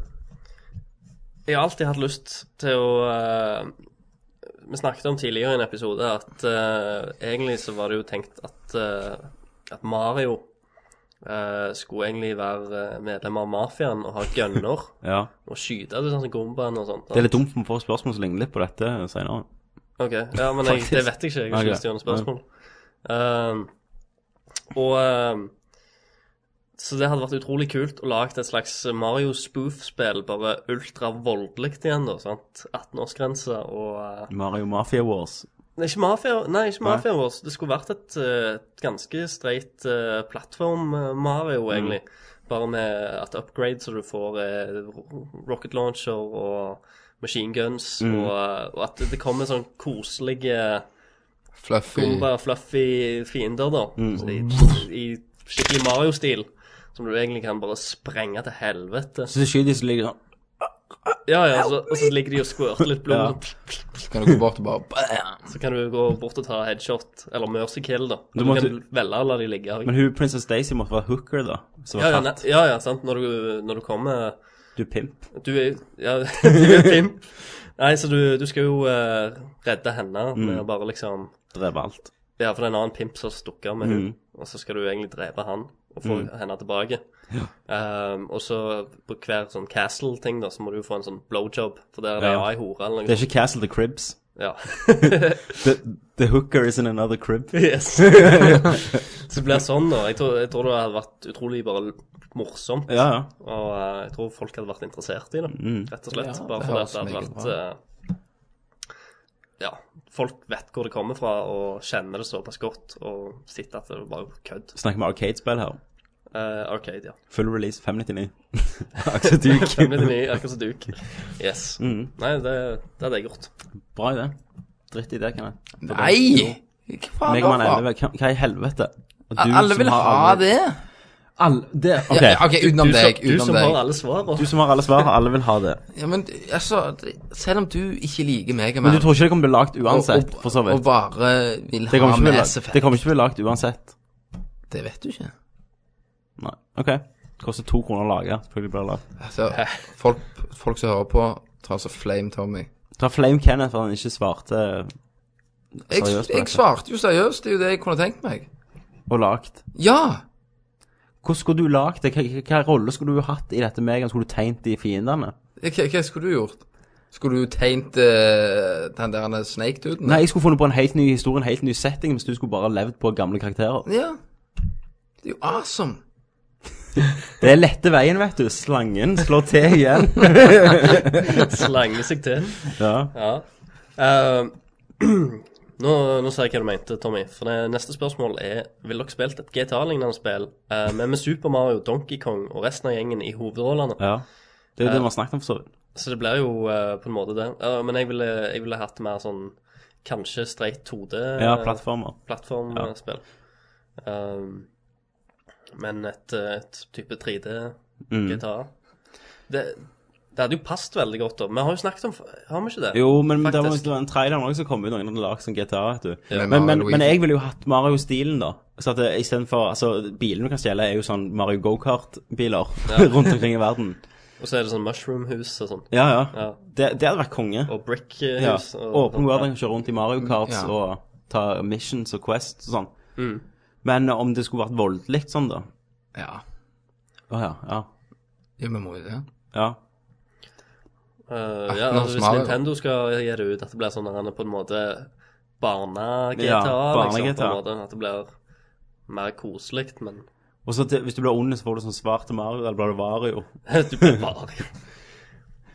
Speaker 5: jeg har alltid hatt lyst til å eh, Vi snakket om tidligere i en episode at eh, egentlig så var det jo tenkt at, eh, at Mario eh, skulle egentlig være eh, medlem av mafiaen og ha gønner
Speaker 1: ja.
Speaker 5: og skyte det sånn som Gombaen og sånt.
Speaker 1: Det er litt dumt om vi får spørsmål som ligner litt på dette senere.
Speaker 5: Ok, ja, men jeg, det vet jeg ikke. Jeg har
Speaker 1: Ok.
Speaker 5: ikke lyst til å gjøre noe spørsmål. Ehm, og ehm, Så det hadde vært utrolig kult å lage et slags Mario spoof-spill, bare ultravoldelig igjen, da. sant? 18-årsgrense og eh,
Speaker 1: Mario Mafia Wars.
Speaker 5: Nei, ikke Mafia, nei, ikke mafia Wars. Det skulle vært et, eh, et ganske streit eh, plattform-Mario, egentlig. Bare med at upgrades og du får eh, ro- rocket launcher og machine guns, og, eh, og at det kommer sånn koselige
Speaker 6: Fluffy?
Speaker 5: Gomba fluffy fiender, da.
Speaker 1: Mm.
Speaker 5: Så I, I skikkelig Mario-stil. Som du egentlig kan bare sprenge til helvete.
Speaker 1: Så det skyter så ligger det sånn
Speaker 5: Ja, ja, så, Og så ligger de og squirter litt blod.
Speaker 1: Ja.
Speaker 6: Så kan du gå bort og bare bam!
Speaker 5: Så kan du gå bort og ta headshot, eller mercy kill, da.
Speaker 1: Du
Speaker 5: Du,
Speaker 1: måtte-
Speaker 5: kan velge å la de ligge.
Speaker 1: Men hun Princess Daisy måtte være hooker, da. Som
Speaker 5: ja,
Speaker 1: var
Speaker 5: ja,
Speaker 1: tatt.
Speaker 5: ne- ja, ja, sant. Når du, når du kommer
Speaker 1: Du pimp.
Speaker 5: Du er ja, du er pimp. Nei, så du, du skal jo eh, redde henne
Speaker 1: Mm.
Speaker 5: med å bare liksom
Speaker 1: Dreper alt.
Speaker 5: Ja, for det er en annen pimp som stukker av med hun,
Speaker 1: Mm.
Speaker 5: og så skal du egentlig drepe han og få henne tilbake. Ehm, og så på hver sånn castle-ting, da, så må du jo få en sånn blowjob, for der er det
Speaker 1: Ja.
Speaker 5: ei hore eller
Speaker 1: Det
Speaker 5: noe
Speaker 1: er ikke Castle the Cribs.
Speaker 5: sånt. Ja.
Speaker 1: The, the hooker is in another crib.
Speaker 5: Yes. så det blir sånn, da. Jeg tror, jeg tror det hadde vært utrolig bare morsomt.
Speaker 1: Ja, Mm. ja.
Speaker 5: Og eh, jeg tror folk hadde vært interessert i det, rett og slett.
Speaker 6: Ja,
Speaker 5: bare
Speaker 6: det
Speaker 5: fordi
Speaker 6: høres
Speaker 5: at det hadde
Speaker 6: meget
Speaker 5: vært eh, Ja, folk vet hvor det kommer fra, og kjenner det såpass godt, og sitter at det er bare kødd.
Speaker 1: Snakker med arcade-spill her.
Speaker 5: Eh, Arcade, ja.
Speaker 1: Full release 599. Akse Duke.
Speaker 5: Hvem er det nye? Akkurat som Duke. Yes.
Speaker 6: Mm.
Speaker 5: Nei, det, det hadde jeg gjort.
Speaker 1: Bra idé. Dritt idé, kan jeg.
Speaker 6: Nei! Hva faen
Speaker 1: Megaman
Speaker 6: da, faen?
Speaker 1: 11, hva- hva i helvete? Og du
Speaker 6: Alle
Speaker 1: som
Speaker 6: vil
Speaker 1: har
Speaker 6: ha
Speaker 1: alle-
Speaker 6: det.
Speaker 1: Alle, det ok.
Speaker 6: Ja, ok, utenom
Speaker 5: Du som-
Speaker 6: deg.
Speaker 5: du
Speaker 6: Utenom
Speaker 5: som har
Speaker 6: deg.
Speaker 5: alle svarene.
Speaker 1: Du som har alle svar, alle vil ha det.
Speaker 6: Ja, men altså, det- selv om du ikke liker Megaman
Speaker 1: Men du tror ikke det kommer til å bli lagt uansett, for så
Speaker 6: Og
Speaker 1: vidt?
Speaker 6: bare vil
Speaker 1: Det kommer ikke til å
Speaker 6: ha med
Speaker 1: bli
Speaker 6: SF.
Speaker 1: lagt- det kommer ikke til å bli lagt uansett.
Speaker 6: Det vet du ikke.
Speaker 1: Nei. OK. Koster to kroner å lage. Selvfølgelig blir det lagt.
Speaker 6: Altså, folk, folk som hører på, tar så flame Tommy.
Speaker 1: Ta Flame Kenneth for han ikke svarte
Speaker 6: Jeg,
Speaker 1: Seriøst på
Speaker 6: jeg
Speaker 1: dette?
Speaker 6: svarte jo seriøst. Det er jo det jeg kunne tenkt meg.
Speaker 1: og lagt.
Speaker 6: Ja!
Speaker 1: Hvordan skulle du lagd det? Hva- Hva rolle skulle du hatt i dette Megan? Skulle du tegnet de fiendene?
Speaker 6: Hva, hva skulle du gjort? Skulle du tegnet eh, den der Snake-duden?
Speaker 1: Nei, jeg skulle funnet på en helt ny historie, en helt ny setting, hvis du skulle bare levd på gamle karakterer.
Speaker 6: Ja. Det er jo awesome.
Speaker 1: Det er lette veien, vet du. Slangen slår til igjen.
Speaker 5: Slange seg til.
Speaker 1: Ja.
Speaker 5: Eh, nå, nå sa jeg hva du mente, Tommy. For det neste spørsmål er Vil dere spilt et GTA-lignende spill, eh, men med Super Mario, Donkey Kong og resten av gjengen i hovedrollene?
Speaker 1: ja. Det er jo det vi har snakket om, for så vidt.
Speaker 5: Så det blir jo eh, på en måte det. Eh, men jeg ville, jeg ville hatt mer sånn kanskje streit 2D-plattformspill.
Speaker 1: Ja, plattformer.
Speaker 5: Um, men et, eh, et type
Speaker 1: Mm.
Speaker 5: 3D-GTA. Det, det hadde jo passet veldig godt, da. Vi har jo snakket om Har vi ikke det?
Speaker 1: Jo, men det var,
Speaker 5: Faktisk.
Speaker 1: det var en trailer også som kom ut, noen hadde lagd som GTA, vet du.
Speaker 6: Ja.
Speaker 1: Men, men,
Speaker 6: Mario
Speaker 1: men
Speaker 6: Luigi.
Speaker 1: jeg ville jo hatt Mario-stilen, da. Så at det- i stedet for, altså, Bilene du kan stjele, er jo sånn Mario Go-Kart-biler rundt omkring i verden.
Speaker 5: Og så er det sånn mushroom-hus og sånn.
Speaker 1: Ja, ja.
Speaker 5: Ja.
Speaker 1: Det, det hadde vært konge. Ja.
Speaker 5: Og sånn. brick-hus.
Speaker 1: Åpen World, den kan kjøre rundt i Mario Karts
Speaker 6: Ja.
Speaker 1: og ta missions og quests og sånn. Men om det skulle vært voldelig sånn, da
Speaker 6: Ja.
Speaker 1: Å ja, ja.
Speaker 6: Ja, vi må jo det.
Speaker 1: Ja.
Speaker 5: Eh, ja,
Speaker 6: 18 års
Speaker 5: altså, hvis
Speaker 6: Mario.
Speaker 5: Nintendo skal gi det ut, at det blir sånn at han er på en måte barne-GTA,
Speaker 1: Ja,
Speaker 5: liksom, på
Speaker 1: barne-GTA.
Speaker 5: en måte, at det blir mer koselig, men
Speaker 1: Og så til, hvis du blir ond, så får du sånn svarte Mario, eller blir du Vario.
Speaker 5: du blir bare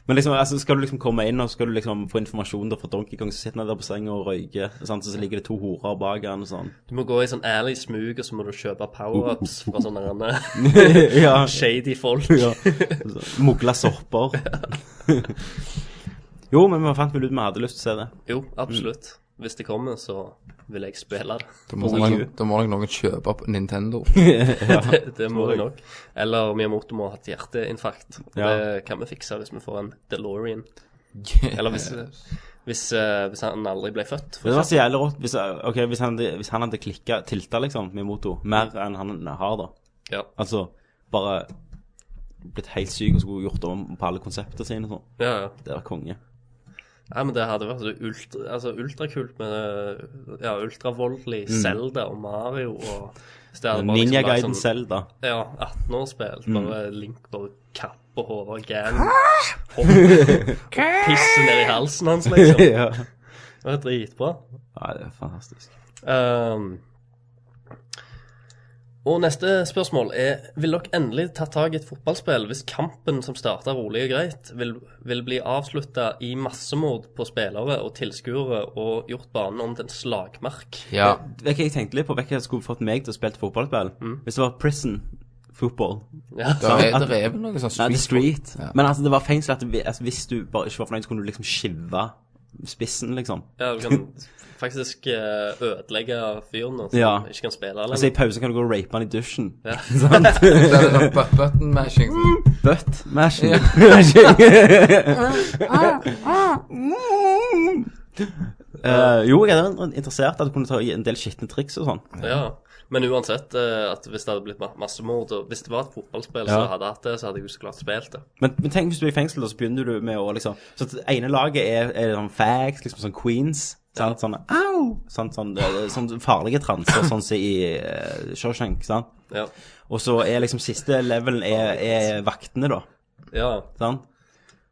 Speaker 1: Men liksom, altså, skal du liksom komme inn og skal du liksom få informasjon der fra Donkey Kong, så sitter han der på senga og røyker, sant? så, så ligger det to horer bak han og sånn.
Speaker 5: Du må gå i sånn alley smug, og så må du kjøpe power-ups fra sånne andre
Speaker 1: ja,
Speaker 5: shady folk.
Speaker 1: ja. Mugla sopper. jo, men vi fant vel ut vi hadde lyst til å se det.
Speaker 5: Jo, absolutt. Hvis det kommer, så vil jeg spille det.
Speaker 6: Da må,
Speaker 1: På Wii U.
Speaker 6: nok, da må nok noen kjøpe opp Nintendo.
Speaker 5: Det, det må
Speaker 1: tror
Speaker 5: jeg
Speaker 1: jeg.
Speaker 5: nok. Eller Miyamoto må ha hatt hjerteinfarkt. og
Speaker 1: Ja.
Speaker 5: Det kan vi fikse hvis vi får en DeLorean. Eller hvis, hvis, eh, hvis han aldri ble født.
Speaker 1: Det var så jævlig rått hvis, ok, hvis, han, hvis han hadde klikka, tilta liksom, med moto, mer enn han har, da.
Speaker 5: Ja.
Speaker 1: Altså bare blitt helt syk og skulle gjort om på alle konseptene sine og sånn.
Speaker 5: Ja, ja.
Speaker 1: Det var konge.
Speaker 5: Nei, men det hadde vært så ultra, altså ultrakult med eh, ja, ultravoldelig Zelda og Mario og hvis det hadde bare liksom
Speaker 1: Mm. Ninja Mm.
Speaker 5: vært
Speaker 1: Guiden
Speaker 5: sånn-
Speaker 1: selv, da.
Speaker 5: Ja, 18-årsspill. Bare Link bare kapper hodet av gang. Hopper. Pisser ned i halsen hans, liksom.
Speaker 1: ja.
Speaker 5: Det var dritbra.
Speaker 1: Nei, det er fantastisk.
Speaker 5: Ehm, og neste spørsmål er Vil dere endelig ta tak i et fotballspill hvis kampen som starta rolig og greit, vil, vil bli avslutta i massemord på spillere og tilskuere og gjort banen om til en slagmark?
Speaker 6: Ja. Mm.
Speaker 1: Vet du hva jeg tenkte litt på? Vet du hva jeg skulle fått meg til å spille fotballspill? Hvis det var prison football.
Speaker 5: Ja,
Speaker 6: Det er, det er vel noe sånn
Speaker 1: Nei,
Speaker 6: street.
Speaker 1: The Street.
Speaker 6: Ja.
Speaker 1: Men altså, det var fengsel at vi- altså, hvis du bare ikke var fornøyd, så kunne du liksom skive spissen, liksom.
Speaker 5: ja du kan faktisk eh, ødelegge fyren nå, som
Speaker 1: Ja.
Speaker 5: ikke kan spille
Speaker 1: Altså, i
Speaker 5: lenger.
Speaker 1: pausen kan du gå og rape han i dusjen.
Speaker 6: Det er sånn bu- button mashing. sånn.
Speaker 1: Butt mashing.
Speaker 6: Ja.
Speaker 1: Eh, jo, jeg er interessert i at du kunne ta i en del skitne triks og sånn.
Speaker 5: Ja, men uansett, eh, at hvis det hadde blitt ma- massemord, og hvis det var et fotballspill som
Speaker 1: Ja.
Speaker 5: hadde hatt det, så hadde jeg jo så klart spilt det.
Speaker 1: Men, men tenk hvis du er i fengsel, da, så begynner du med å liksom Så at det ene laget er, er sånn fags, liksom sånn Queens. Sant? Sånn au! Sant? Sånn, det- det- sånn farlige transer, sånn som i eh, Shawshank. Sant?
Speaker 5: Ja,
Speaker 1: Og så er liksom siste levelen er, er vaktene, da.
Speaker 5: ja.
Speaker 1: Sant?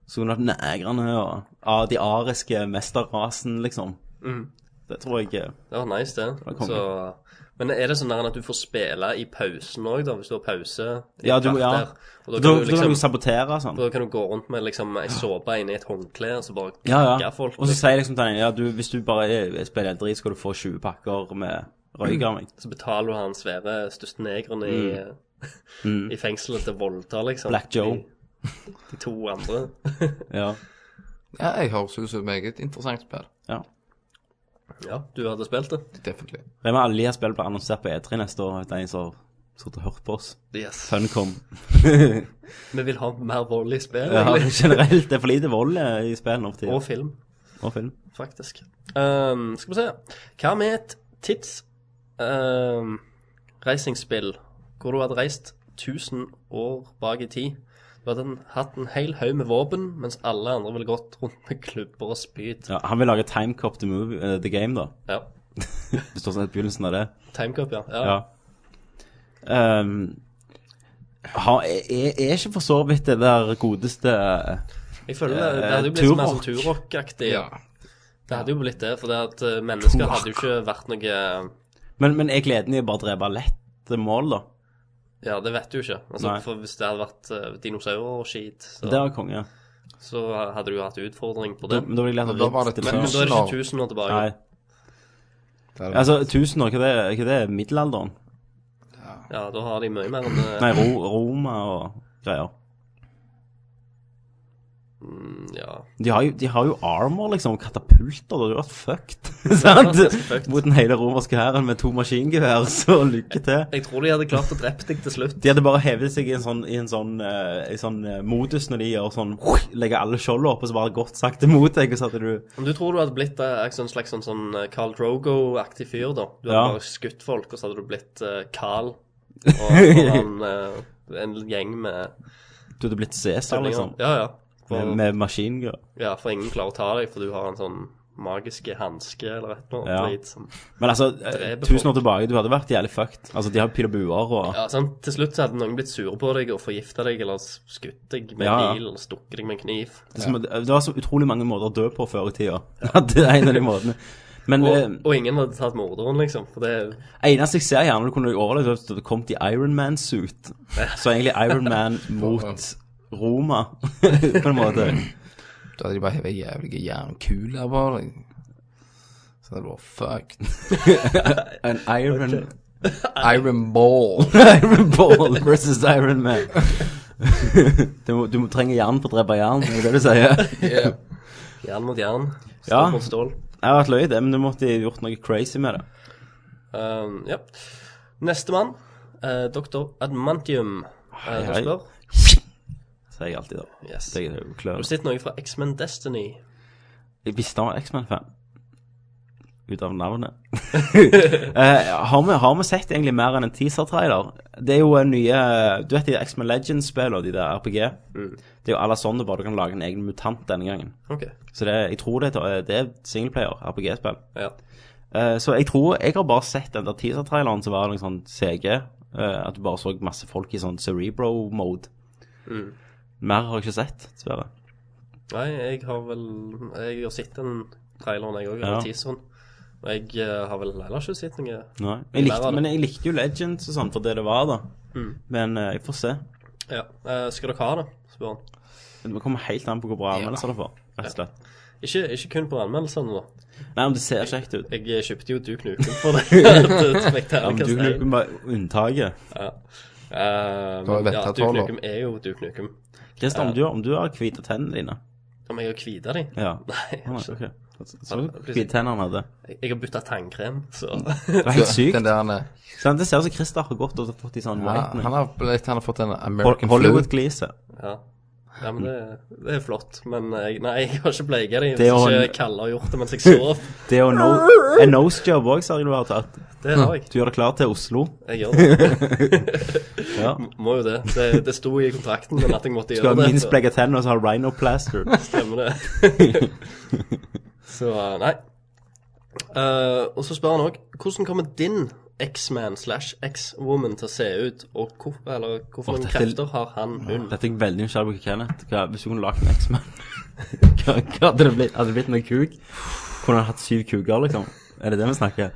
Speaker 1: Så kunne du hatt negrene og ah, de ariske mesterrasen, liksom.
Speaker 5: Mm.
Speaker 1: Det tror jeg eh,
Speaker 5: det var nice det.
Speaker 1: var konge.
Speaker 5: Så, men er det sånn der at du får spille i pausen òg, da, hvis du har pause? i
Speaker 1: Ja,
Speaker 5: et
Speaker 1: du må- ja.
Speaker 5: kvarter?
Speaker 1: Da
Speaker 5: Og da
Speaker 1: da
Speaker 5: kan
Speaker 1: kan
Speaker 5: du
Speaker 1: du jo
Speaker 5: liksom
Speaker 1: sabotere og sånn.
Speaker 5: da kan du gå rundt med liksom ei såpe inni et håndkle og så bare
Speaker 1: Ja, ja.
Speaker 5: knakke folk.
Speaker 1: Og så
Speaker 5: liksom.
Speaker 1: sier liksom den ene ja, du, hvis du bare eh, spiller helt drit, skal du få 20 pakker med
Speaker 5: Mm.
Speaker 1: røyk av meg.
Speaker 5: Så betaler du han svære, største negeren i, i fengselet til å voldta, liksom.
Speaker 1: Mm. Black Joe.
Speaker 5: De, de to andre.
Speaker 1: Ja.
Speaker 6: Ja, jeg høres ut som et meget interessant spill.
Speaker 1: ja.
Speaker 5: Ja, du hadde spilt det?
Speaker 6: Definitely.
Speaker 1: Rema Alias spill blir annonsert på E3 neste år. vet du, en som satt og hørt på oss.
Speaker 5: Yes.
Speaker 1: Funcom.
Speaker 5: Vi vil ha mer vold i spill,
Speaker 1: Ja,
Speaker 5: egentlig.
Speaker 1: generelt. Det er for lite vold eh, i spill nå for tiden.
Speaker 5: Og film,
Speaker 1: Og film.
Speaker 5: faktisk. Ehm, skal vi se. Hva med et tidsreisingspill hvor du hadde reist 1000 år bak i tid? Du hadde en, hatt en hel haug med våpen, mens alle andre ville gått rundt med klubber og spyd.
Speaker 1: Ja, han vil lage Timecop the, movie, eh, the Game, da.
Speaker 5: Ja.
Speaker 1: Det står sånn i begynnelsen av det.
Speaker 5: Timecup, ja. ja.
Speaker 1: Ja. Ehm, ha, er, er ikke for så vidt det der godeste
Speaker 5: Jeg føler det, det
Speaker 1: Eh,
Speaker 5: hadde jo blitt mer
Speaker 1: Turok.
Speaker 5: sånn Turok-aktig.
Speaker 6: Ja.
Speaker 5: Det hadde jo blitt det, for det at eh, mennesker hadde jo ikke vært noe eh,
Speaker 1: Men, men er gleden i å bare drepe lette mål, da?
Speaker 5: Ja, det vet du ikke. Altså,
Speaker 1: Nei.
Speaker 5: for hvis det hadde vært eh, dinosaurer og skit, så,
Speaker 1: Det er konge.
Speaker 5: så hadde du jo hatt utfordring på
Speaker 1: Da,
Speaker 5: det.
Speaker 1: men da vil jeg lære
Speaker 6: Men da var det
Speaker 5: Men, men da er det
Speaker 6: Tusen år.
Speaker 5: ikke 1000 år tilbake.
Speaker 1: Nei.
Speaker 6: Det er det.
Speaker 1: Altså, 1000 år, hva det er hva det? er? Middelalderen?
Speaker 5: Ja, da har de mye mer enn eh,
Speaker 1: Nei, Ro, Roma og greier.
Speaker 5: eh, ja.
Speaker 1: De har, jo, de har jo armor, liksom, og katapulter. Det hadde vært fucked. Sant?
Speaker 5: ganske fucked.
Speaker 1: Mot den hele romerske hæren med to maskingevær, så lykke til.
Speaker 5: Jeg tror de hadde klart å drepe deg til slutt.
Speaker 1: De hadde bare hevet seg i en sånn, i en sånn, eh, i sånn eh, modus når de gjør sånn Legger alle skjoldene opp, og så bare godt sakte mot deg, og så hadde du
Speaker 5: Om du tror du hadde blitt eh, en sånn slags sånn, sånn eh, Carl Drogo-aktig fyr, da. Du hadde
Speaker 1: Ja.
Speaker 5: bare skutt folk, og så hadde du blitt eh, Carl. Og foran eh, en gjeng med
Speaker 1: Du hadde blitt Cæsar,
Speaker 5: tullinger.
Speaker 1: liksom.
Speaker 5: Ja, ja. For,
Speaker 1: Med, med maskingevær.
Speaker 5: ja, for ingen klarer å ta deg, for du har en sånn magiske hanske eller et eller annet
Speaker 1: Ja.
Speaker 5: drit som
Speaker 1: Men altså, eh,
Speaker 5: Dreper
Speaker 1: tusen år
Speaker 5: folk.
Speaker 1: tilbake, du hadde vært jævlig fucked. Altså, de har pil og buer og
Speaker 5: Ja, sant? Til slutt så hadde noen blitt sure på deg og forgifta deg eller skutt deg med
Speaker 1: Ja, ja.
Speaker 5: bil eller stukket deg med en kniv.
Speaker 1: det, er som- det var så utrolig mange måter å dø på før i tida. det er en av de måtene. Men
Speaker 5: Og,
Speaker 1: eh,
Speaker 5: og ingen hadde tatt morderen, liksom. For det
Speaker 1: eneste jeg ser gjerne du kunne overlevd, var at det kom til Iron Man-suit. Så egentlig Iron Man mot Roma, på en måte.
Speaker 6: Da hadde de bare hevet jævlige jernkuler på deg. Så hadde det vært fucked.
Speaker 1: En Iron,
Speaker 6: Iron Ball.
Speaker 1: Iron Ball versus Iron Man. Du, må- du må trenge jern for å drepe jern, er det det du sier?
Speaker 5: jern mot jern, stål
Speaker 1: Ja.
Speaker 5: mot stål.
Speaker 1: Jeg har vært løy, i det, men du måtte gjort noe crazy med det.
Speaker 5: Um, ja. Nestemann, uh, doktor Admantium. Uh, du
Speaker 1: hei.
Speaker 5: spør?
Speaker 1: Sier jeg alltid, da.
Speaker 5: Yes.
Speaker 1: Det er jo klør.
Speaker 5: Har du sett noe fra X-Men Destiny?
Speaker 1: Jeg visste han var X-Man-fan. Ut av navnet. Eh, har, vi, har vi sett egentlig mer enn en teaser-trailer? Det er jo en nye Du vet de X-Man Legends-spillene, de der RPG? Det er jo alle sånne, bare du kan lage en egen mutant denne gangen.
Speaker 5: Ok,
Speaker 1: Så det, jeg tror det, er- eh, det er singleplayer-RPG-spill.
Speaker 5: ja.
Speaker 1: Eh, så jeg tror Jeg har bare sett den der teaser-traileren som var noe sånn CG. eh, at du bare så masse folk i sånn cerebro-mode. Mer har jeg ikke sett, dessverre.
Speaker 5: Nei, jeg har vel Jeg har sett den traileren, jeg òg,
Speaker 1: Ja.
Speaker 5: eller teaseren. Og jeg eh, har vel ellers ikke sett noe.
Speaker 1: Nei. Jeg
Speaker 5: Lærer
Speaker 1: likte,
Speaker 5: det.
Speaker 1: men jeg likte jo Legends og sånn for det det var, da.
Speaker 5: Mm.
Speaker 1: Men eh, jeg får se.
Speaker 5: Ja. eh, skal dere ha det? spør han.
Speaker 1: Det kommer helt an på hvor bra anmeldelser det får. Rett og slett.
Speaker 5: Ikke, ikke kun på anmeldelsene, da.
Speaker 1: Nei, om det ser kjekt ut.
Speaker 5: Jeg eh, kjøpte jo Duke Nukem for det. Spektakulært.
Speaker 1: Ja, men du lukker bare unntaket.
Speaker 5: Um,
Speaker 6: Du har jo
Speaker 5: ja,
Speaker 6: ventet
Speaker 5: Duke
Speaker 6: tolv år.
Speaker 5: Nukem er jo Duke Nukem.
Speaker 1: Christer, om, du- om du har hvite tennene dine
Speaker 5: Om jeg har kvita de?
Speaker 1: Ja.
Speaker 5: Nei,
Speaker 1: Nei,
Speaker 5: altså,
Speaker 1: ok. Så hvite tenner han hadde.
Speaker 5: jeg jeg har bytta tannkrem, så
Speaker 1: Det var helt sykt.
Speaker 6: Den der, han er-
Speaker 1: Sant? Det ser ut som Christer har gått og fått i sånn
Speaker 6: ja, han,
Speaker 1: whitening.
Speaker 6: har, blitt- han har fått en American flu.
Speaker 1: Hollywood-glise.
Speaker 5: ja. ja men det, det er flott. Men jeg, nei, jeg har ikke bleika de.
Speaker 1: Det er
Speaker 5: Hvis
Speaker 1: jo en-
Speaker 5: ikke Kalle har gjort det mens jeg sov.
Speaker 1: Det er jo no, en nosejob òg, ser jeg du har tatt.
Speaker 5: Det har jeg.
Speaker 1: Du gjør deg klar til Oslo.
Speaker 5: Jeg gjør det.
Speaker 1: Ja.
Speaker 5: Må jo det. Det, det sto i kontrakten men at jeg måtte
Speaker 1: Du
Speaker 5: gjøre
Speaker 1: har
Speaker 5: det.
Speaker 1: minst
Speaker 5: så
Speaker 1: bleke tenner og så har rhino plaster.
Speaker 5: Stemmer det. så nei. Eh, og så spør han òg hvordan kommer din X-man slash X-woman til å se ut, og hvor, eller
Speaker 1: Åh,
Speaker 5: hvorfor noen
Speaker 1: dette er-
Speaker 5: krefter har han hun?
Speaker 1: Dette er jeg veldig nysgjerrig på, Kenneth. Hva, hvis du kunne lagd en X-Man, hva, hva hadde det blitt? Hadde det blitt med kuk? Kunne han hatt syv kuker, liksom? Er det det vi snakker?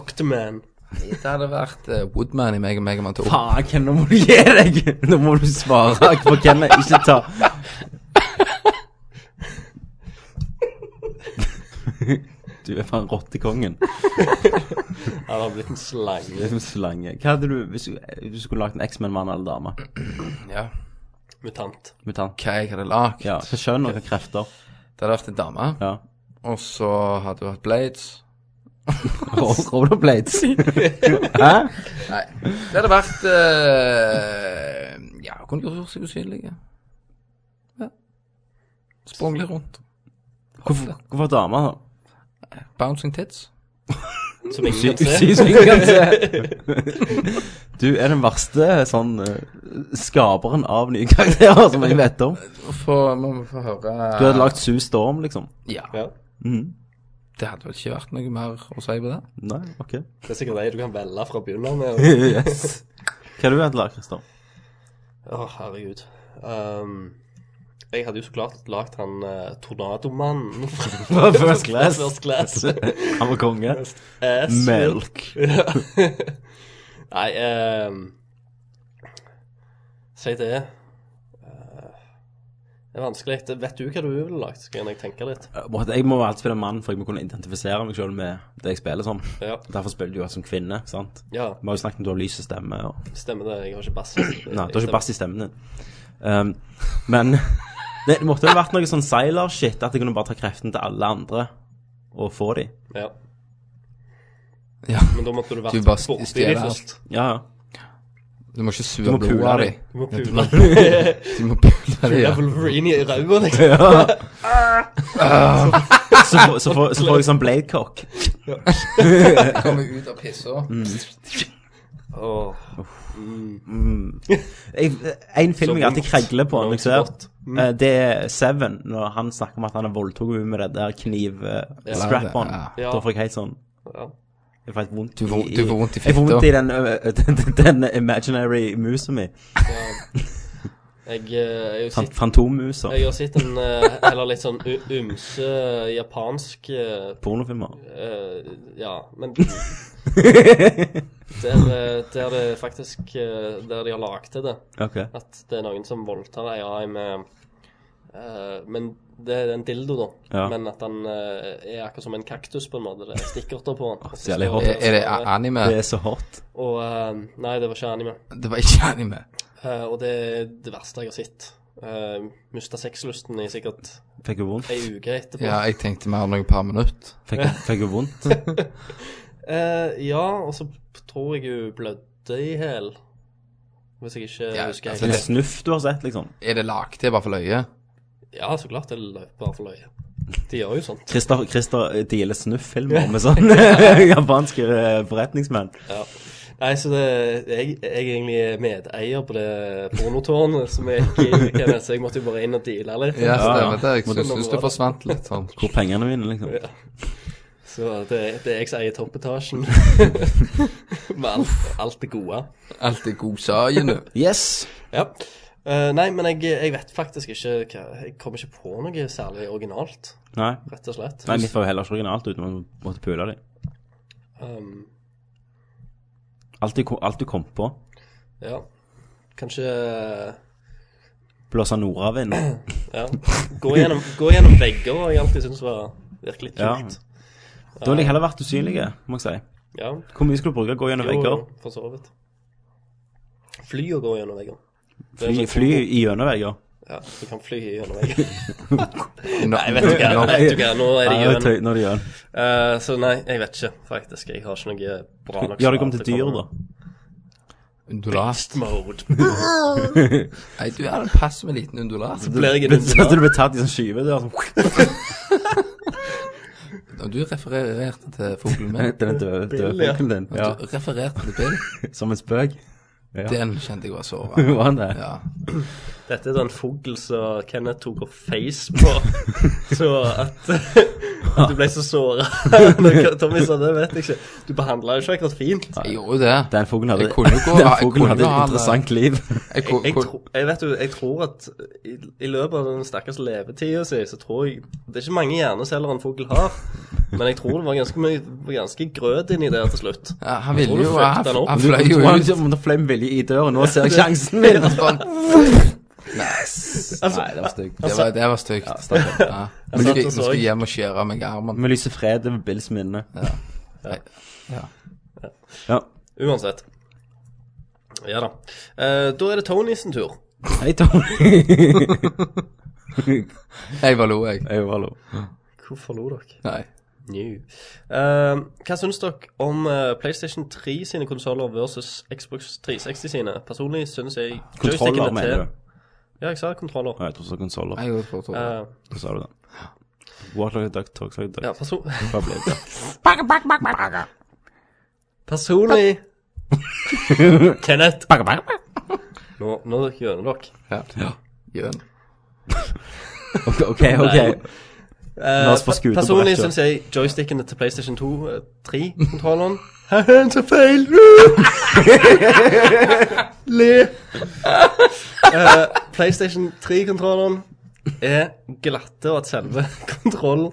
Speaker 5: Octoman.
Speaker 6: Det hadde vært eh, Woodman i Mega Mega Man 2.
Speaker 1: Faen, Ken, nå må du gi deg! Nå må du svare på Kenneth, ikke ta Du er faen rottekongen.
Speaker 5: Han har blitt en slange.
Speaker 1: Det er som slange. Hva hadde du hvis du, hvis du skulle lagd en X-Man-mann eller -dame?
Speaker 6: Ja.
Speaker 5: Mutant.
Speaker 1: Mutant.
Speaker 6: Hva jeg hadde lagd?
Speaker 1: Ja, Hva skjønn og hva krefter?
Speaker 6: Det hadde vært en dame.
Speaker 1: Ja.
Speaker 6: Og så hadde hun hatt blades.
Speaker 1: Rollerblades. Hæ?
Speaker 6: Nei. Det hadde vært eh, Ja, hun kunne gjort seg usynlig. Ja. Sprunget litt rundt.
Speaker 1: Hvorfor, hvorfor dame, da?
Speaker 6: Bouncing tits.
Speaker 5: Som ingen kan se.
Speaker 1: Du er den verste sånn eh, skaperen av nye karakterer som jeg vet om.
Speaker 6: Få, må vi få høre
Speaker 1: Du hadde lagd Sue Storm, liksom.
Speaker 6: Ja.
Speaker 5: Ja.
Speaker 6: Det hadde vel ikke vært noe mer å si på det?
Speaker 1: Nei, ok.
Speaker 5: Det er sikkert ei du kan velge fra begynnelsen med.
Speaker 1: Hva du hadde lagd, Christer?
Speaker 5: Å, herregud. Ehm, jeg hadde jo så klart lagd han eh, Tornadomannen fra
Speaker 1: First class.
Speaker 5: First Class.
Speaker 1: Han var konge.
Speaker 5: Ass.
Speaker 1: Melk.
Speaker 5: Eh, Nei ehm, Si det. Eh, det er vanskelig. Det, vet du hva du ville lagd? Skal jeg tenke litt?
Speaker 1: Måtte- Jeg må jo alltid spille mann for jeg må kunne identifisere meg selv med det jeg spiller som.
Speaker 5: Ja.
Speaker 1: Derfor spiller du jo som kvinne, sant?
Speaker 5: ja,
Speaker 1: Vi har jo snakket om du har lys i stemme. Og...
Speaker 5: stemmer det. Jeg har ikke bass.
Speaker 1: Nei, du har ikke bass i stemmen din. Um, men det måtte jo vært noe sånn Sailor-shit, at jeg kunne bare ta kreften til alle andre og få de.
Speaker 5: Ja.
Speaker 6: Ja.
Speaker 5: Men da måtte du
Speaker 6: Du
Speaker 5: vært
Speaker 6: bare
Speaker 5: borti de
Speaker 6: stjeler alt.
Speaker 5: først.
Speaker 1: Ja, ja.
Speaker 6: Du må ikke
Speaker 1: Du
Speaker 6: sue
Speaker 1: må
Speaker 6: blodet
Speaker 1: pule
Speaker 6: av
Speaker 1: dem.
Speaker 6: dem.
Speaker 5: Du må pule.
Speaker 6: Du må pule dem.
Speaker 5: Ja.
Speaker 6: Ja.
Speaker 5: Wolverine i ræva, liksom.
Speaker 1: Så, får- så, får- så får jeg sånn bladecock.
Speaker 5: Mm.
Speaker 6: Kommer ut av pissa.
Speaker 5: Åh.
Speaker 1: Mm. Jeg, en film
Speaker 5: Mm. Så
Speaker 1: jeg alltid
Speaker 5: vondt. Mm.
Speaker 1: kregler på når jeg
Speaker 5: Så
Speaker 1: ser,
Speaker 5: godt.
Speaker 1: eh, det er Seven, når han snakker om at han har voldtatt henne med det der
Speaker 5: Ja.
Speaker 1: kniv-strap-on.
Speaker 5: Ja.
Speaker 1: Da får jeg helt sånn
Speaker 5: Ja.
Speaker 1: Jeg får helt vondt
Speaker 6: Du får- du får vondt i
Speaker 1: Jeg får vondt
Speaker 6: fitta.
Speaker 1: i den, ø, ø, den, den, den imaginary musa mi.
Speaker 5: Jeg, eh, jeg, har
Speaker 1: Fan,
Speaker 5: sett,
Speaker 1: Fantommusa.
Speaker 5: jeg har sett en eh, heller litt sånn u- ymse japansk eh,
Speaker 1: Pornofilmer.
Speaker 5: eh, Ja, men der, eh, der det faktisk eh, Der de har lagd det.
Speaker 1: Ok.
Speaker 5: At det er noen som voldtar ei AI med eh, Men det er en dildo, da.
Speaker 1: Ja.
Speaker 5: Men at han eh, er akkurat som en kaktus, på en måte. Det er stikkerter på han.
Speaker 1: så jævlig hot.
Speaker 6: Er, er det a- anime?
Speaker 1: Det er så hot.
Speaker 5: Og, eh, nei, det var ikke anime.
Speaker 6: Det var ikke anime.
Speaker 5: Eh, og det er det verste jeg har sett. Uh, Mista sexlysten i sikkert
Speaker 1: Fikk hun vondt?
Speaker 5: ei uke etterpå.
Speaker 6: Ja, jeg tenkte mer noe par minutter.
Speaker 1: Fikk hun- Fikk hun vondt?
Speaker 5: Eh, ja, og så tror jeg hun blødde i hæl. Hvis jeg ikke
Speaker 6: Ja,
Speaker 5: husker
Speaker 6: altså
Speaker 1: Det
Speaker 5: helt.
Speaker 1: er snuff du har sett, liksom.
Speaker 6: Er det lagt i hvert fall øye?
Speaker 5: Ja, så klart det er lø- bare for løye. De gjør jo sånt.
Speaker 1: Christer, Christer eh, dealer snuff-filmer med sånne japanske eh, forretningsmenn.
Speaker 5: Ja. Nei, så det, jeg, jeg er egentlig medeier på det pornotårnet som jeg gikk inn i, Kenneth, så jeg måtte jo bare inn og deale litt.
Speaker 6: Ja, stemmer det. Jeg
Speaker 5: Må du-
Speaker 6: syns syns det forsvant litt sånn.
Speaker 1: Hvor pengene mine, liksom.
Speaker 5: Så det, det er jeg som eier toppetasjen. Med alt, alt det gode.
Speaker 6: Alt er godsaken, du.
Speaker 1: Yes!
Speaker 5: Ja. Eh, nei, men jeg, jeg vet faktisk ikke hva Jeg kommer ikke på noe særlig originalt,
Speaker 1: Nei.
Speaker 5: rett og slett.
Speaker 1: Nei, mitt var jo heller ikke originalt uten å måtte pule dem.
Speaker 5: Um,
Speaker 1: Alt, du kom- alt du kom på.
Speaker 5: ja. Kanskje
Speaker 1: Blåse nordavind.
Speaker 5: Ja. Gå gjennom, gå gjennom vegger har jeg alltid syntes var virkelig
Speaker 1: Ja.
Speaker 5: kult.
Speaker 1: Da ville jeg heller vært usynlig, må jeg si.
Speaker 5: Ja.
Speaker 1: Hvor mye skal du bruke? Gå gjennom
Speaker 5: Jo,
Speaker 1: vegger?
Speaker 5: jo, for så vidt. Fly og gå gjennom vegger. Det er
Speaker 1: Fly,
Speaker 5: en sånn
Speaker 1: fly
Speaker 5: kombo.
Speaker 1: i gjennom vegger?
Speaker 5: Ja, du kan fly gjennom vegger.
Speaker 6: Nei,
Speaker 5: Jeg vet ikke, jeg vet ikke, nå er det
Speaker 1: Nei,
Speaker 5: gjennom.
Speaker 1: tøy- når det gjør.
Speaker 5: Eh, så nei, jeg vet ikke, faktisk. Jeg har ikke noe bra nok
Speaker 1: Gjør det kom
Speaker 5: svar
Speaker 1: til dyr, da.
Speaker 6: Undulat.
Speaker 5: Mode.
Speaker 6: Nei, du er en passiv liten undulat.
Speaker 5: Blir jeg en
Speaker 1: Så
Speaker 5: undulat?
Speaker 1: du blir tatt i sånn skyve der, sånn
Speaker 6: Og Du refererte til fuglen min.
Speaker 1: Den døde
Speaker 5: Bill, ja.
Speaker 1: fuglen din. Ja,
Speaker 6: Du refererte til Bill.
Speaker 1: som en spøk.
Speaker 6: Den kjente jeg var såra.
Speaker 1: Var han det?
Speaker 6: Ja.
Speaker 5: Dette er den fugl som Kenneth tok og face på. Så at, at du ble så såra. Tommy sa det, vet jeg ikke. Du behandla jo ikke akkurat fint.
Speaker 6: Jeg gjorde jo det.
Speaker 1: Den fuglen hadde,
Speaker 6: Jeg kunne jo gå-
Speaker 1: den
Speaker 6: jeg
Speaker 1: fuglen
Speaker 6: kunne
Speaker 1: hadde
Speaker 6: jo
Speaker 1: et
Speaker 6: ha-
Speaker 1: interessant liv.
Speaker 6: Jeg,
Speaker 5: Jeg,
Speaker 6: ko-
Speaker 5: jeg,
Speaker 6: ko-
Speaker 5: tro, jeg vet jo, jeg tror at i, i løpet av den stakkars levetida si, så tror jeg Det er ikke mange hjerneceller en fugl har, men jeg tror det var ganske mye ganske grøt inni der til slutt.
Speaker 6: ja, han
Speaker 5: tror
Speaker 6: ville
Speaker 5: du
Speaker 6: jo
Speaker 5: fucked
Speaker 6: Han,
Speaker 5: den opp.
Speaker 6: han
Speaker 1: Du-
Speaker 6: fløy
Speaker 1: du
Speaker 6: jo
Speaker 1: tror
Speaker 6: ut.
Speaker 1: han- om Det fløy med vilje i døren, nå ser jeg sjansen min!
Speaker 5: Altså,
Speaker 1: Nei, det var stygt.
Speaker 6: Det var, det var stygt. Ja, Nå skal, nå skal jeg hjem og skjære meg i armen.
Speaker 1: Vi lyser fred over Bills minne.
Speaker 6: Ja.
Speaker 1: Ja.
Speaker 5: uansett. Ja da. Eh, da er det Tony sin tur.
Speaker 1: Hei, Tony.
Speaker 6: Jeg var lo, jeg.
Speaker 1: Jeg var hallo.
Speaker 5: Hvorfor lo dere?
Speaker 6: Nei.
Speaker 5: New. Eh, hva syns dere om eh, PlayStation 3 sine konsoller versus Xbox 360 sine? Personlig syns jeg
Speaker 1: Kontroller,
Speaker 5: joystickene
Speaker 1: mener
Speaker 5: til-
Speaker 1: du?
Speaker 5: Ja, jeg sa kontroller.
Speaker 1: Å, jeg tror du sa konsoller.
Speaker 6: Jeg gjorde det for å
Speaker 5: Eh,
Speaker 1: Så sa du det. Walk like a duck, talk like a duck.
Speaker 5: ja, perso
Speaker 1: Hva ble det?
Speaker 5: personlig Kenneth. Nå, nå gjør dere.
Speaker 6: Ja. Gjøn.
Speaker 1: Ok, ok. ok.
Speaker 5: Eh,
Speaker 1: La oss få skute på
Speaker 5: personlig
Speaker 1: rett kjøl.
Speaker 5: syns jeg joystickene til PlayStation 2 eh, 3-kontrolleren Haha, så feil! Le. Eh, PlayStation 3-kontrolleren er glatte, og at selve kontroll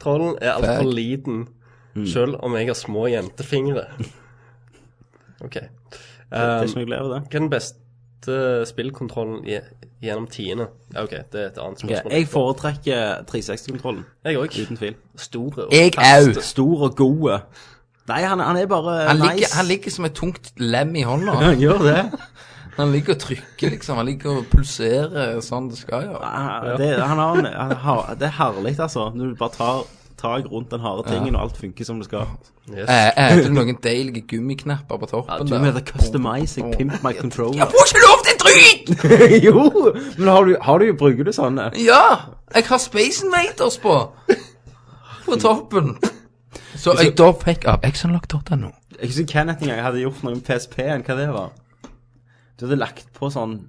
Speaker 5: kontrollen er altfor
Speaker 6: Fuck.
Speaker 5: liten,
Speaker 1: Mm.
Speaker 5: selv om jeg har små jentefingre. OK.
Speaker 1: Det er
Speaker 5: Um,
Speaker 1: ikke noe glede av det.
Speaker 5: hva er den beste spillkontrollen i, gjennom tiende? Ja, OK, det er et annet
Speaker 1: Ok,
Speaker 5: spørsmål.
Speaker 1: Jeg foretrekker 360-kontrollen,
Speaker 5: Jeg òg.
Speaker 1: uten tvil.
Speaker 5: Store og
Speaker 6: Jeg au!
Speaker 5: faste.
Speaker 1: Stor og god. Nei, han, han er bare
Speaker 6: Han
Speaker 1: nice.
Speaker 6: ligger, han ligger som et tungt lem i hånda.
Speaker 1: Han gjør det.
Speaker 6: Han ligger og trykker, liksom. Han ligger og pulserer sånn det skal gjøre.
Speaker 1: Han- det, han har, en- han har, det er herlig, altså. Når du bare tar tak rundt den harde tingen, og alt funker som det skal.
Speaker 5: Yes.
Speaker 6: Eh, eh, det er noen deilige gummiknapper på
Speaker 1: Ja,
Speaker 6: toppen
Speaker 1: du
Speaker 6: der.
Speaker 1: mener customizing, pimp my controller.
Speaker 6: Jeg får ikke lov til drit!
Speaker 1: jo! Men har du, har du, bruker du sånne?
Speaker 6: Ja! Jeg har Space Invaders på. På toppen. Så jeg sånn da fikk av exonlock.no.
Speaker 1: Jeg husker Kenneth en gang hadde gjort noe med PSP-en, hva det var. Du hadde lagt på sånn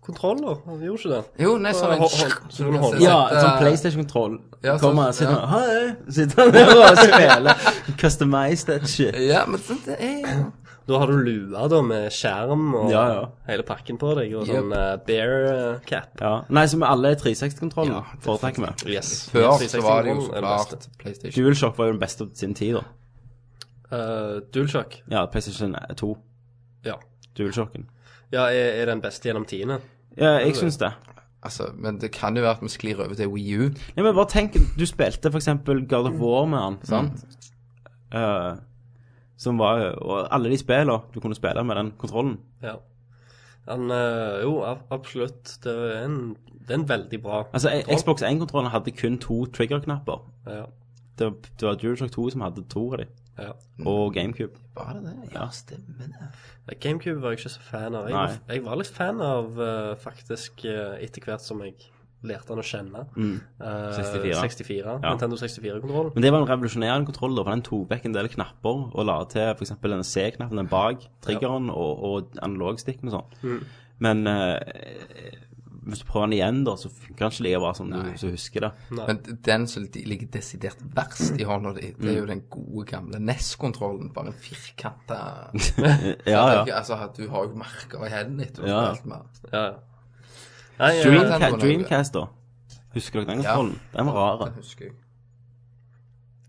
Speaker 5: Kontroller? Han gjorde ikke det.
Speaker 1: Jo, nei, sånn en-
Speaker 5: Hå- hå- så du kan holde.
Speaker 1: Ja, sånn PlayStation-kontroll.
Speaker 5: Ja,
Speaker 1: Kommer
Speaker 5: sånn-
Speaker 1: han og sitter
Speaker 5: ja.
Speaker 1: han Hei! Sitter han der og spiller. Customize that shit.
Speaker 6: Ja, men sånn det er
Speaker 5: Da har du lua da med skjerm og
Speaker 1: Ja, ja.
Speaker 5: hele pakken på deg, og
Speaker 1: Yep.
Speaker 5: sånn eh, bear eh, cap.
Speaker 1: Ja. Nei, så vi alle er 360-kontrollen foretrekker vi.
Speaker 5: Yes.
Speaker 6: Før så var det jo
Speaker 5: 360-kontrollen
Speaker 6: så
Speaker 5: er
Speaker 6: klart
Speaker 5: beste.
Speaker 6: PlayStation.
Speaker 1: DualShock var jo den beste på sin tid, da.
Speaker 5: Eh, DualShock.
Speaker 1: Ja, PlayStation 2.
Speaker 5: Ja.
Speaker 1: DualShocken.
Speaker 5: Ja, er, er den beste gjennom tiende?
Speaker 1: Ja, jeg syns det.
Speaker 6: Altså, men det kan jo være at vi sklir over til Wii U.
Speaker 1: Nei, men bare tenk, du spilte for eksempel God of War med han, sant? Eh, som var jo Og alle de spillene du kunne spille med den kontrollen.
Speaker 5: Ja. Han, eh, jo, ab- absolutt. Det er en, det er en veldig bra
Speaker 1: Altså, e-
Speaker 5: kontroll.
Speaker 1: Xbox 1-kontrollen hadde kun to trigger-knapper.
Speaker 5: Ja.
Speaker 1: Det, var- det var DualShock 2 som hadde to av de.
Speaker 5: Ja.
Speaker 1: Og GameCube.
Speaker 6: Var det det? Ja, stemmer det.
Speaker 5: Eh, GameCube var jeg ikke så fan av. Jeg,
Speaker 1: Nei.
Speaker 5: var, jeg var litt fan av eh, faktisk eh, etter hvert som jeg lærte han å kjenne.
Speaker 1: Mm.
Speaker 5: Eh,
Speaker 1: 64.
Speaker 5: 64
Speaker 1: Ja.
Speaker 5: Nintendo 64-kontroll.
Speaker 1: Men det var en revolusjonerende kontroll, da, for den tok vekk en del knapper og la til f.eks. den C-knappen den bak triggeren og, og analogstikken og sånn.
Speaker 5: Mm.
Speaker 1: Men eh, hvis du prøver den igjen, da, så funker den ikke like bra som du som husker det.
Speaker 6: Men den som de ligger desidert verst i hånda di, det er
Speaker 1: Mm.
Speaker 6: jo den gode gamle NES-kontrollen. Bare en firkanta
Speaker 1: ja.
Speaker 6: Altså, at du har jo merker i hendene etter du
Speaker 1: Ja,
Speaker 6: har
Speaker 1: ja.
Speaker 6: spilt med.
Speaker 5: Ja. Nei, eh,
Speaker 1: Dreamca
Speaker 6: Nintendo-
Speaker 1: Dreamcast, da. Husker dere den kontrollen? Den var rar.
Speaker 6: Den husker jeg.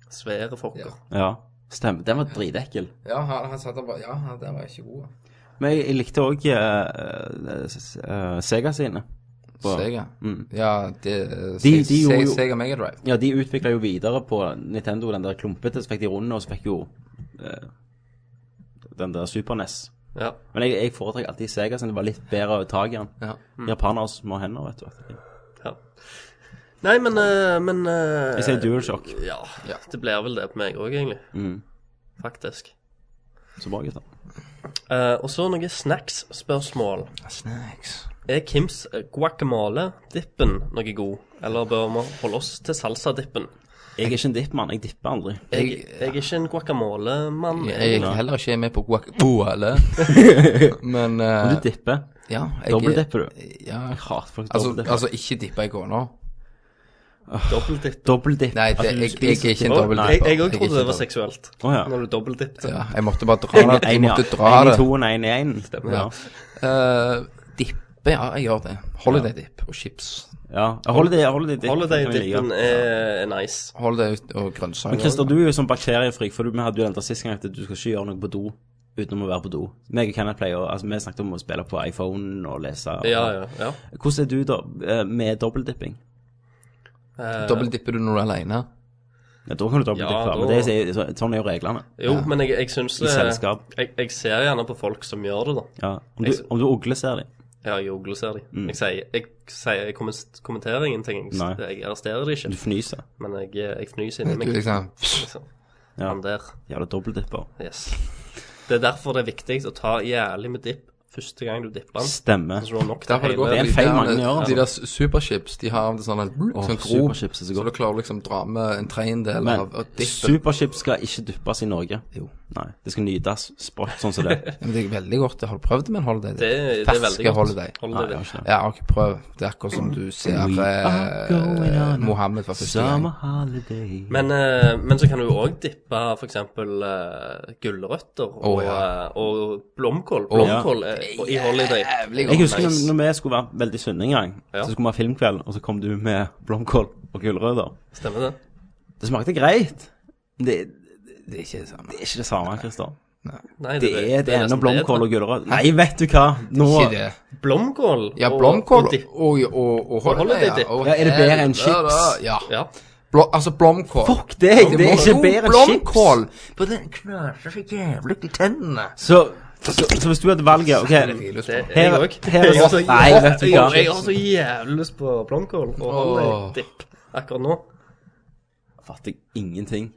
Speaker 5: Svære fokker.
Speaker 1: Ja, stemmer. Den var dritekkel.
Speaker 6: Ja, han, han satt der bare Ja, han- den var ikke god.
Speaker 1: Men jeg, jeg likte eh, òg Sega sine. På-
Speaker 6: Sega?
Speaker 1: Mm.
Speaker 6: Ja, det
Speaker 1: De,
Speaker 6: Se-
Speaker 1: de gjorde
Speaker 6: Se-
Speaker 1: jo,
Speaker 6: Sega Mega Drive.
Speaker 1: Ja, de utvikla jo videre på Nintendo den der klumpete, så fikk de runde, og så fikk jo eh, den der Super NES.
Speaker 5: Ja.
Speaker 1: Men jeg, jeg foretrekker alltid Sega, siden det var litt bedre tak i den.
Speaker 6: Ja.
Speaker 1: Japanere har små hender, vet du.
Speaker 5: Nei, men, eh, men eh,
Speaker 1: Jeg sier DualShock.
Speaker 5: Ja, det blir vel det på meg òg, egentlig.
Speaker 1: Mm.
Speaker 5: Faktisk.
Speaker 1: Så bra, gutter.
Speaker 5: Eh, og så noen snacks-spørsmål.
Speaker 6: Snacks.
Speaker 5: Er Kims guacamole-dippen noe god, eller bør vi holde oss til salsa-dippen?
Speaker 1: Jeg er ikke en dippmann. Jeg dipper aldri.
Speaker 5: Jeg, jeg er ikke en guacamole-mann.
Speaker 6: Jeg er heller ikke med på guacamole, men eh,
Speaker 1: Men du dipper.
Speaker 6: ja, jeg-
Speaker 1: Dobbeldipper du.
Speaker 6: Ja.
Speaker 1: Jeg hater folk
Speaker 6: Altså,
Speaker 1: dobbeltdipper.
Speaker 6: altså ikke dippe i kåna.
Speaker 5: Dobbeltdipp.
Speaker 1: Dobbeltdipp.
Speaker 6: Nei, det,
Speaker 1: At Altså, du
Speaker 6: jeg,
Speaker 1: spiser
Speaker 6: jeg er ikke en
Speaker 1: Å,
Speaker 6: dobbeldipper.
Speaker 5: Jeg jeg òg
Speaker 6: er
Speaker 5: trodde det
Speaker 6: ikke
Speaker 5: var
Speaker 6: en
Speaker 5: seksuelt.
Speaker 1: Å, ja.
Speaker 5: Når du dobbeltdippet.
Speaker 6: dobbel- Ja, jeg måtte bare dra det. Jeg
Speaker 1: En
Speaker 6: måtte dra
Speaker 1: en i
Speaker 6: det.
Speaker 1: to og en i én. Stemmer. Ja.
Speaker 6: Eh, dippe, ja, jeg gjør det. Holiday-dipp og chips.
Speaker 1: ja. Holiday, holiday dipp. kan jeg like.
Speaker 5: Holiday-dippen er nice.
Speaker 6: Holiday og grønnsaker.
Speaker 1: Men Christer, du er jo sånn bakteriefrik, for du- vi hadde jo den der sist gang at du skal ikke gjøre noe på do utenom å være på do. Meg og Kenneth pleier å altså, Vi snakket om å spille på iPhone og lese. Og,
Speaker 5: Ja, ja. ja.
Speaker 1: Hvordan er du da eh, med dobbeltdipping?
Speaker 5: Eh,
Speaker 6: Dobbeldipper du når du er aleine?
Speaker 1: Ja, da kan du dobbeltdippe,
Speaker 5: Ja, da-
Speaker 1: men det er, så- sånn er jo reglene.
Speaker 5: jo, men jeg, jeg syns
Speaker 1: I selskap.
Speaker 5: Jeg, jeg ser gjerne på folk som gjør det, da.
Speaker 1: Ja. Om, du, om du ugler, ser de.
Speaker 5: Ja, jeg ogleser de. Jeg sier Jeg, sier, jeg kommen- kommenterer ingenting. Jeg,
Speaker 1: Nei.
Speaker 5: jeg arresterer de ikke.
Speaker 1: Du fnyser.
Speaker 5: Men jeg, eh, jeg fnyser inni
Speaker 6: Du
Speaker 5: meg.
Speaker 6: liksom
Speaker 5: Liksom.
Speaker 1: Ja.
Speaker 5: Han der.
Speaker 1: Jævla dobbeltdipper.
Speaker 5: Yes. Det er derfor det er viktig å ta jævlig med dipp første gang du dipper den.
Speaker 1: Stemmer.
Speaker 5: Så du har nok til
Speaker 6: Derfor det går
Speaker 5: hele
Speaker 1: er en
Speaker 6: fordi
Speaker 1: feil
Speaker 6: de der-
Speaker 1: mange gjør, altså.
Speaker 6: De der su- superchips, de har det sånn en sånn grop,
Speaker 1: superchips er så
Speaker 6: så,
Speaker 1: godt.
Speaker 6: du klarer å liksom dra med en tredjedel
Speaker 1: Men
Speaker 6: av av dippen.
Speaker 1: superchips skal ikke duppes i Norge.
Speaker 6: Jo.
Speaker 1: Nei. Det skal nytes sprått sånn som det.
Speaker 6: Men det er veldig godt. Jeg har prøvd med en holiday.
Speaker 5: Det, er- det er veldig
Speaker 6: Ferske
Speaker 5: godt.
Speaker 6: holiday.
Speaker 5: Holiday
Speaker 1: Nei, jeg har
Speaker 5: dip.
Speaker 1: ikke det.
Speaker 6: Ja, ok, prøv. Det er akkurat som du ser
Speaker 1: are going
Speaker 6: eh,
Speaker 1: on a
Speaker 6: Mohammed for første
Speaker 1: Summer
Speaker 6: gang.
Speaker 1: holiday.
Speaker 5: Men, eh, men så kan du jo òg dippe f.eks. Uh, gulrøtter og,
Speaker 6: Å, ja.
Speaker 5: eh, og blomkål. Blomkål eh, og i holiday.
Speaker 6: Jævlig
Speaker 1: Jeg husker
Speaker 5: Nice.
Speaker 1: når, når vi skulle være veldig sunne en gang,
Speaker 5: Ja.
Speaker 1: så skulle vi ha filmkveld, og så kom du med blomkål og gulrøtter.
Speaker 5: Stemmer det?
Speaker 1: Det smakte greit. men Det,
Speaker 6: Det er ikke det samme.
Speaker 1: det er ikke det samme, Christer.
Speaker 5: Nei,
Speaker 1: Det er det ene
Speaker 5: nesten
Speaker 1: blomkål og gulrøtter. Nei, vet du hva! Nå
Speaker 6: Ikke det.
Speaker 5: Blomkål
Speaker 6: Ja,
Speaker 5: og-
Speaker 6: blomkål
Speaker 5: og dipp.
Speaker 6: og, og, og
Speaker 5: holiday
Speaker 6: holiday.
Speaker 5: dip.
Speaker 6: og
Speaker 1: Ja, er det bedre enn
Speaker 6: helvete,
Speaker 1: chips?
Speaker 6: Ja.
Speaker 5: Ja.
Speaker 6: Blå, altså blomkål.
Speaker 1: Fuck deg! Det er ikke bedre enn chips.
Speaker 6: blomkål. For den knaser så jævlig i tennene.
Speaker 1: Så, så, så hvis du hadde valget OK.
Speaker 5: Det
Speaker 6: Det,
Speaker 5: er jeg
Speaker 1: Her-
Speaker 5: òg.
Speaker 1: her-
Speaker 5: Jeg har så-
Speaker 1: Nei, vet du
Speaker 5: jeg har-
Speaker 1: hva.
Speaker 5: Jeg har så jævlig lyst på blomkål og holiday-dipp akkurat nå.
Speaker 1: Fatter jeg ingenting.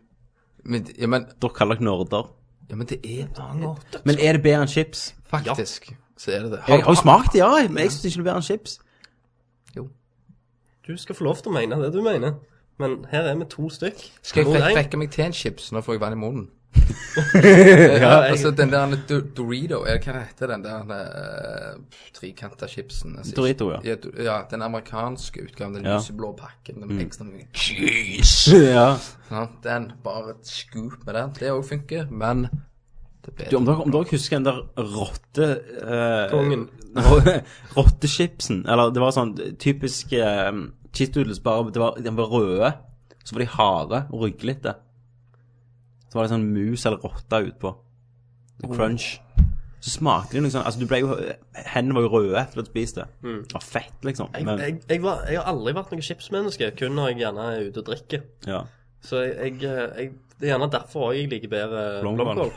Speaker 6: men, ja, men,
Speaker 1: Dere kaller dere nerder.
Speaker 6: ja, men det er faen godt.
Speaker 1: Men er det bedre enn chips?
Speaker 6: Faktisk så er det det.
Speaker 1: Jeg har jo smakt det, ja, men jeg syns ikke det er bedre enn chips.
Speaker 5: Du skal få lov til å mene det du mener, men her er vi to stykk.
Speaker 6: Skal
Speaker 5: Mot
Speaker 6: jeg
Speaker 5: en.
Speaker 6: trekke meg til en chips? Nå får jeg vann i munnen. ja,
Speaker 1: jeg-
Speaker 6: altså den der Do- Dorito eh, Hva heter den der eh, trikanta chipsen? Altså,
Speaker 1: Dorito, ja.
Speaker 6: Ja, do- ja. Den amerikanske utgaven, den
Speaker 1: Ja.
Speaker 6: lyseblå pakken. Den
Speaker 1: Mm.
Speaker 6: ekstra mye cheese!
Speaker 1: Ja.
Speaker 6: Sånn, den, bare et scoop med den. Det òg funker, men det er bedre.
Speaker 1: Du, om, dere, om dere husker den der rotte... eh,
Speaker 6: Kongen.
Speaker 1: Rottechipsen. Eller det var sånn typisk uh, cheese doodles, bare det var, den var røde. Så var de harde og ryglete. Så var det sånn mus eller rotte utpå. Sånn
Speaker 5: Oh.
Speaker 1: Crunch. Så smakte de noe sånn Altså, du ble jo Hendene var jo røde etter at du spiste. Det
Speaker 5: Mm.
Speaker 1: var fett, liksom.
Speaker 5: Jeg,
Speaker 1: Men
Speaker 5: jeg, jeg, var, jeg har aldri vært noe chipsmenneske, kun når jeg gjerne er ute og drikker.
Speaker 1: ja.
Speaker 5: Så jeg, jeg, jeg, det er gjerne derfor også jeg liker bedre
Speaker 1: Blomkål.
Speaker 5: blomkål.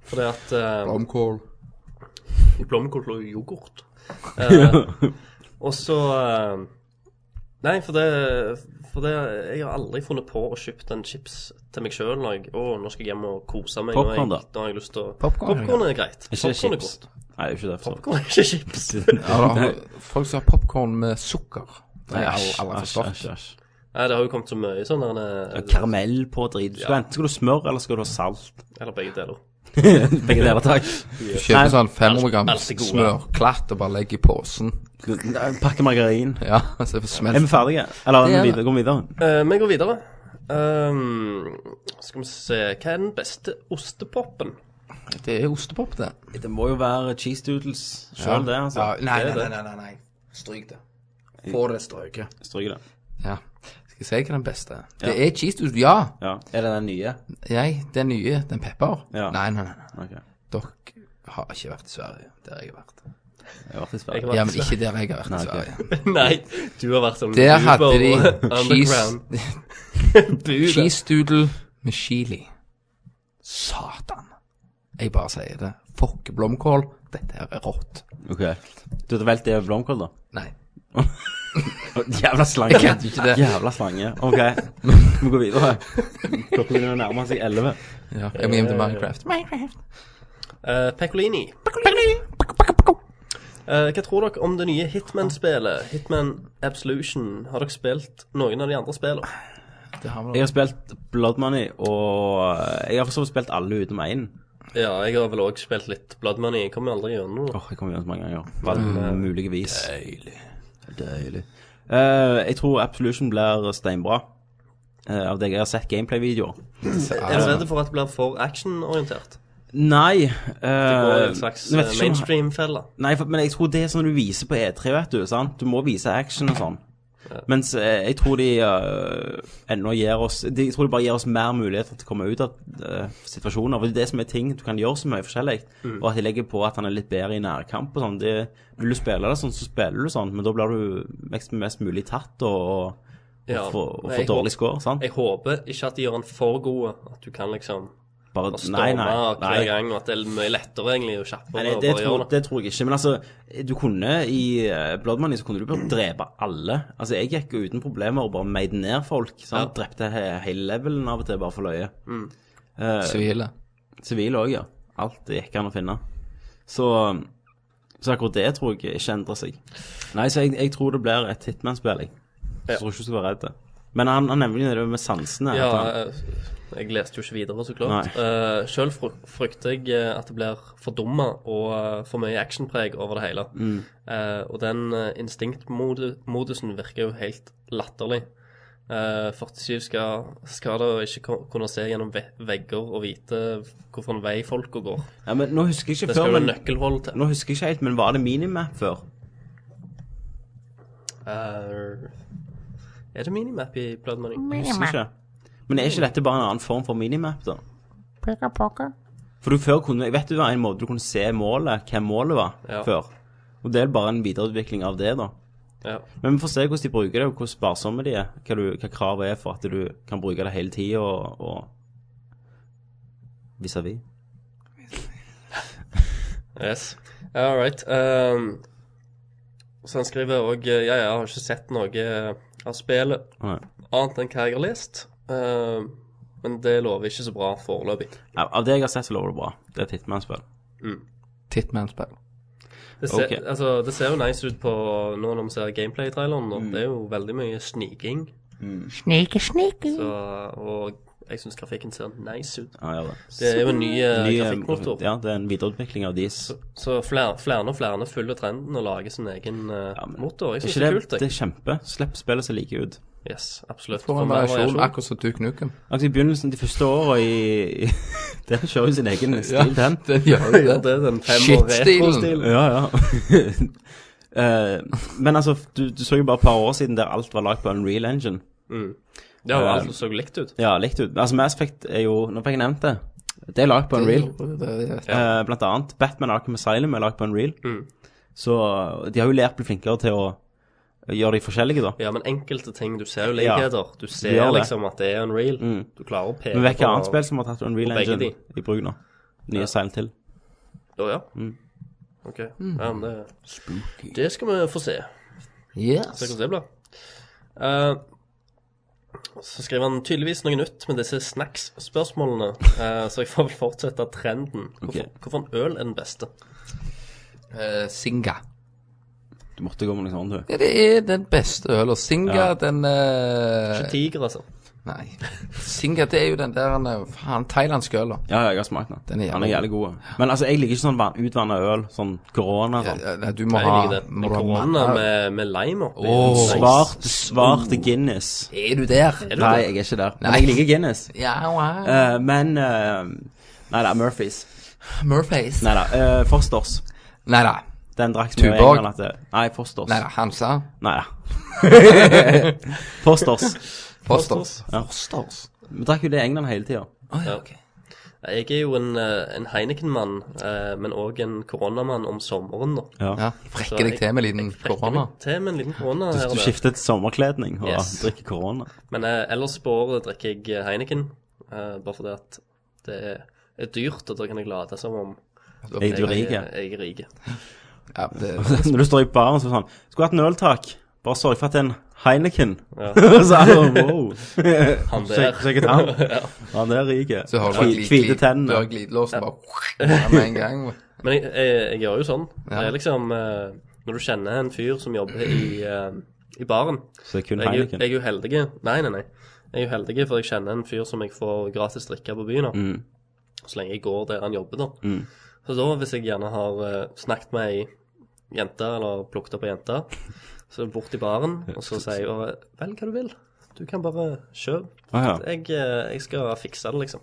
Speaker 5: Fordi at eh,
Speaker 6: Blomkål.
Speaker 5: Blomkål og yoghurt. Eh, og så eh, Nei, for det, for det Jeg har aldri funnet på å kjøpe en chips til meg sjøl når jeg å, nå skal jeg hjem og kose meg.
Speaker 1: Popcorn, da.
Speaker 5: nå, har jeg, nå har jeg lyst til å
Speaker 6: Popcorn, ja.
Speaker 5: Popcorn er greit.
Speaker 1: Ikke
Speaker 5: Popcorn er
Speaker 1: chips.
Speaker 5: godt.
Speaker 1: Nei, det er ikke det. for så vidt.
Speaker 5: Popcorn er ikke chips.
Speaker 6: Ja, da, har- folk som har popkorn med sukker. Det har jeg
Speaker 1: Æsj,
Speaker 6: aldri
Speaker 1: æsj,
Speaker 6: forstått.
Speaker 1: æsj, æsj.
Speaker 5: Nei, det har jo kommet så mye sånn der
Speaker 1: Ja,
Speaker 5: eh,
Speaker 1: Karamell på drit. Skal du enten skal du ha smør, eller skal du ha salt?
Speaker 5: Eller begge deler.
Speaker 1: Begge deler, takk.
Speaker 6: Du kjøper sånn 500 gram
Speaker 5: Alt er gode.
Speaker 6: smørklatt og bare legger i posen.
Speaker 1: Pakke margarin.
Speaker 6: Ja, så
Speaker 1: Er vi
Speaker 6: smelter
Speaker 1: ferdige? Eller
Speaker 6: Det er
Speaker 1: vi
Speaker 6: det.
Speaker 1: videre, går vi videre?
Speaker 5: Eh, Vi går videre. Ehm, skal vi se Hva er den beste ostepopen?
Speaker 6: Det er ostepop, det.
Speaker 1: Det må jo være cheese doodles sjøl, det. altså.
Speaker 6: Ja, nei,
Speaker 5: Det
Speaker 6: nei,
Speaker 5: er det.
Speaker 6: nei, nei, nei. Stryk det. Få det strøket.
Speaker 1: Stryk det.
Speaker 6: Ja. Skal jeg si hva den beste er? Det er cheese doodle, ja.
Speaker 1: Ja. Er det den nye?
Speaker 6: Jeg, den nye, den pepper.
Speaker 1: Ja.
Speaker 6: Nei, nei, nei. nei.
Speaker 1: Ok.
Speaker 6: Dere har ikke vært i Sverige, der jeg har vært.
Speaker 1: Jeg har vært i Sverige.
Speaker 5: har vært
Speaker 6: Ja,
Speaker 5: i
Speaker 6: men ikke der jeg har vært i
Speaker 1: Nei, ok.
Speaker 6: Sverige.
Speaker 5: Nei, du har vært som
Speaker 6: Der hadde
Speaker 5: Uber
Speaker 6: de
Speaker 5: underground.
Speaker 6: cheese,
Speaker 5: Buber.
Speaker 6: cheese doodle med chili. Satan. Jeg bare sier det. Fuck blomkål. Dette her er rått.
Speaker 1: Ok. Du hadde valgt det over blomkål, da?
Speaker 6: Nei.
Speaker 1: Å, Jævla slange.
Speaker 6: Jeg kan ikke det.
Speaker 1: Jævla slange. Ok, vi går videre. Klokka begynner å nærme seg elleve.
Speaker 6: Ja, jeg må hjem til Minecraft.
Speaker 1: Eh.
Speaker 5: Eh, Pecolini. Eh, hva tror dere om det nye Hitman-spillet? Hitman Absolution. Har dere spilt noen av de andre spillene?
Speaker 6: Det har vi
Speaker 1: Jeg
Speaker 6: da.
Speaker 1: har spilt Blood Money, og jeg har for så vidt spilt alle utenom én.
Speaker 5: Ja, jeg har vel òg spilt litt Blood Money. Jeg kommer aldri gjennom det.
Speaker 1: Åh, jeg kommer gjennom så mange ganger. På alle mulige vis. Mm. Deilig. Deilig. Eh, jeg tror Absolution blir steinbra. eh, av deg jeg har sett gameplay-videoer.
Speaker 5: Er du redd for at det blir for actionorientert?
Speaker 1: Nei eh,
Speaker 5: Det går i en slags
Speaker 1: jeg vet ikke
Speaker 5: eh,
Speaker 1: om-
Speaker 5: mainstream-felle.
Speaker 1: Nei, for, men jeg tror det er sånn du viser på E3, vet du. sant? Du må vise action og sånn. Mens eh, jeg tror de eh, ennå gir oss de, Jeg tror de bare gir oss mer muligheter til å komme ut av eh, situasjoner. For det er det som er ting. Du kan gjøre så mye forskjellig.
Speaker 5: Mm.
Speaker 1: Og at de legger på at han er litt bedre i nærkamp og sånn. det- Vil du spille det sånn, så spiller du sånn. Men da blir du mest, mest mulig tatt og, og,
Speaker 5: Ja,
Speaker 1: og får- og
Speaker 5: men
Speaker 1: får
Speaker 5: jeg
Speaker 1: dårlig
Speaker 5: håper-
Speaker 1: score. sant?
Speaker 5: Jeg håper ikke at de gjør den for god, at du kan liksom
Speaker 1: Bare,
Speaker 5: bare
Speaker 1: nei,
Speaker 5: storme
Speaker 1: nei.
Speaker 5: hver
Speaker 1: nei.
Speaker 5: gang, og at det er mye lettere egentlig og
Speaker 1: Nei,
Speaker 5: kjappere
Speaker 1: det,
Speaker 5: å
Speaker 1: det,
Speaker 5: bare
Speaker 1: tror,
Speaker 5: gjøre det.
Speaker 1: det tror jeg ikke. Men altså, du kunne i eh, Blood Money så kunne du bare drepe alle. Altså, jeg gikk jo uten problemer og bare made ned folk. Sant? Drepte he hele levelen av og til bare for løye.
Speaker 6: Sivile.
Speaker 1: Sivile òg, ja. Alt det gikk an å finne. Så, så akkurat det tror jeg ikke endrer seg. Nei, så jeg, jeg tror det blir et Hitman-spill, jeg. Så
Speaker 5: Ja.
Speaker 1: Jeg tror ikke du skal være redd. Men han, han nevner jo det med sansene.
Speaker 5: Ja,
Speaker 1: at han-
Speaker 5: eh, jeg leste jo ikke videre, så klart. Uh, Sjøl frykter jeg eh, at det blir for dumme og eh, for mye actionpreg over det hele.
Speaker 1: Mm.
Speaker 5: Eh, og den eh, instinktmodusen virker jo helt latterlig. Eh, 47 skal, skal da ikke ko- kunne se gjennom ve vegger og vite hvilken vei folka går.
Speaker 1: ja, men nå husker jeg ikke
Speaker 5: Det
Speaker 1: før,
Speaker 5: skal jo
Speaker 1: men
Speaker 5: nøkkelhold til.
Speaker 1: nå husker jeg ikke helt, men var det minimap før?
Speaker 5: Eh, er det minimap i Blood Money?
Speaker 1: Jeg husker ikke. Men er ikke dette bare en annen form for minimap, da? For du før kunne, jeg vet du det var en måte du kunne se målet, hvem målet var,
Speaker 5: Ja.
Speaker 1: før. Og det er bare en videreutvikling av det, da.
Speaker 5: Ja.
Speaker 1: Men vi får se hvordan de bruker det, og hvor sparsomme de er. Hva, du, hva kravet er for at du kan bruke det hele tida og, og vis-à-vis.
Speaker 5: Yes. All right. ehm, så han skriver òg Ja, jeg har ikke sett noe eh, av spillet
Speaker 1: Nei.
Speaker 5: annet enn hva jeg har lest. ehm, men det lover ikke så bra foreløpig.
Speaker 1: Av av det jeg har sett, så lover det bra. Det er et Hitman-spill.
Speaker 6: Tittman-spill.
Speaker 5: Det, ser-
Speaker 1: Ok.
Speaker 5: altså, det ser jo nice ut på nå når vi ser gameplay-traileren. nå. Det er jo veldig mye sniking. Snike, snike. Så, og jeg syns grafikken ser nice ut.
Speaker 1: Ja, gjør det.
Speaker 5: Det er jo en ny, eh,
Speaker 1: Ny, eh,
Speaker 5: grafikkmotor.
Speaker 1: Ja, det er en videreutvikling av deres.
Speaker 5: Så flere, flere og flere følger trenden og lager sin egen eh, motor. Jeg
Speaker 1: Det er ikke
Speaker 5: syns det er
Speaker 1: det,
Speaker 5: kult,
Speaker 1: det er
Speaker 5: jeg.
Speaker 1: kjempe. Slipp spillet seg like ut.
Speaker 5: Yes, absolutt.
Speaker 6: Får en
Speaker 5: Mer
Speaker 6: variasjon,
Speaker 1: sånn.
Speaker 5: variasjon.
Speaker 6: akkurat som Duke Nukem.
Speaker 1: Altså, I begynnelsen de første åra i Der kjører jo sin egen stil, den.
Speaker 6: den gjør jo det.
Speaker 5: Det er den fem år
Speaker 6: Shit-stilen.
Speaker 1: Ja, ja. Eh, men altså, du, du så jo bare et par år siden der alt var lagd på Unreal Engine.
Speaker 5: Det har jo alt så likt ut.
Speaker 1: Ja, likt ut. Altså, Mass Effect er jo Nå fikk jeg nevnt det. Det er lagd på Unreal. Eh, blant annet Batman Arkham Asylum er lagd på Unreal.
Speaker 5: Mm.
Speaker 1: Så eh, de har jo lært å bli flinkere til å gjøre de forskjellige, da.
Speaker 5: Ja, men enkelte ting Du ser jo likheter. Du ser
Speaker 1: gjør det.
Speaker 5: liksom at det er unreal. Du klarer å peke
Speaker 1: Men vet hvilket
Speaker 5: på-
Speaker 1: annet spill som har tatt Unreal
Speaker 5: på begge
Speaker 1: Engine i bruk nå? Nye Silent Hill.
Speaker 5: Å ja. OK. Ja, men det Det skal vi få se. Se
Speaker 6: Yes.
Speaker 5: hvordan det blir. Eh, så skriver han tydeligvis noe nytt med disse snacks-spørsmålene. eh, så jeg får vel fortsette trenden. Hvorfor, hvorfor en øl er den beste?
Speaker 6: Eh, Singa.
Speaker 1: Du måtte gå med noe sånt, du.
Speaker 6: Ja, det er den beste øla. Singa, den eh,
Speaker 5: Ikke tiger, altså.
Speaker 6: Nei. Singa, det er jo den der eh, faen thailandske øla.
Speaker 1: Ja, ja, jeg har smakt den.
Speaker 6: Den er
Speaker 1: Han er
Speaker 6: jævlig
Speaker 1: jævlig god. Men altså, jeg liker ikke sånn utvanna øl, sånn korona og sånn.
Speaker 6: Ja, Nei, du må
Speaker 5: Jeg liker
Speaker 6: ha
Speaker 5: det.
Speaker 6: må
Speaker 5: En
Speaker 6: du ha
Speaker 5: korona
Speaker 6: mandag.
Speaker 5: med, med lime oppi.
Speaker 6: Åh. Oh.
Speaker 5: Nice.
Speaker 1: Svart, svart Guinness.
Speaker 6: Er du der?
Speaker 1: Nei, jeg er ikke der. Men jeg liker Guinness.
Speaker 6: Ja, wow.
Speaker 1: Eh, men eh, Nei da, Murphys.
Speaker 6: Murphys.
Speaker 1: Nei da, eh, Fosters.
Speaker 6: Nei da.
Speaker 1: Den drakk vi jo en
Speaker 6: Tuborg.
Speaker 1: gang. at det- Nei, Fosters.
Speaker 6: Nei da. Hansa.
Speaker 1: Nei da. Fosters.
Speaker 6: Fosters.
Speaker 1: Ja.
Speaker 6: Fosters.
Speaker 1: Vi drakk jo det i England hele tida.
Speaker 6: Å ja, ok.
Speaker 5: Jeg er jo en, eh, en Heineken-mann, eh, men òg en koronamann om sommeren, da.
Speaker 6: Ja, Frekker deg til med en liten korona.
Speaker 5: Til med en liten korona her
Speaker 1: Du
Speaker 5: og der.
Speaker 1: skifter til sommerkledning og
Speaker 5: Yes.
Speaker 1: drikker korona.
Speaker 5: Men eh, ellers på året drikker jeg Heineken, eh, bare fordi at det er, er dyrt, og da kan jeg late som om
Speaker 1: Er du rik?
Speaker 5: jeg, eh,
Speaker 1: ja?
Speaker 5: jeg er rik.
Speaker 6: Ja, det,
Speaker 1: Når du står i baren så er det sånn Skulle hatt en øl, takk. Bare sørg for at det er en Heineken. så er det sånn, wow.
Speaker 5: Han der.
Speaker 1: Sjekk sjekk ut han. Han er rik.
Speaker 6: så har du bare
Speaker 1: Hvi- Hvite
Speaker 6: Du har
Speaker 1: tenner.
Speaker 6: glidelåsen bare ja, med en gang.
Speaker 5: Men jeg, jeg, jeg gjør jo sånn.
Speaker 6: Ja.
Speaker 5: Det er liksom eh, Når du kjenner en fyr som jobber i, eh, i baren
Speaker 1: Så det er kun
Speaker 5: jeg, er jo-
Speaker 1: Heineken.
Speaker 5: jeg er jo heldig Nei, nei, nei. Jeg er jo heldig, for jeg kjenner en fyr som jeg får gratis drikke på byen av.
Speaker 1: Mm.
Speaker 5: Så lenge jeg går der han jobber, da. Så da, hvis jeg gjerne har eh, snakket med ei jente, eller plukket opp ei jente, så er jeg bort i baren, og så sier jeg bare Velg hva du vil. Du kan bare kjøpe.
Speaker 1: Ah, ja.
Speaker 5: Jeg, eh, jeg skal fikse det, liksom.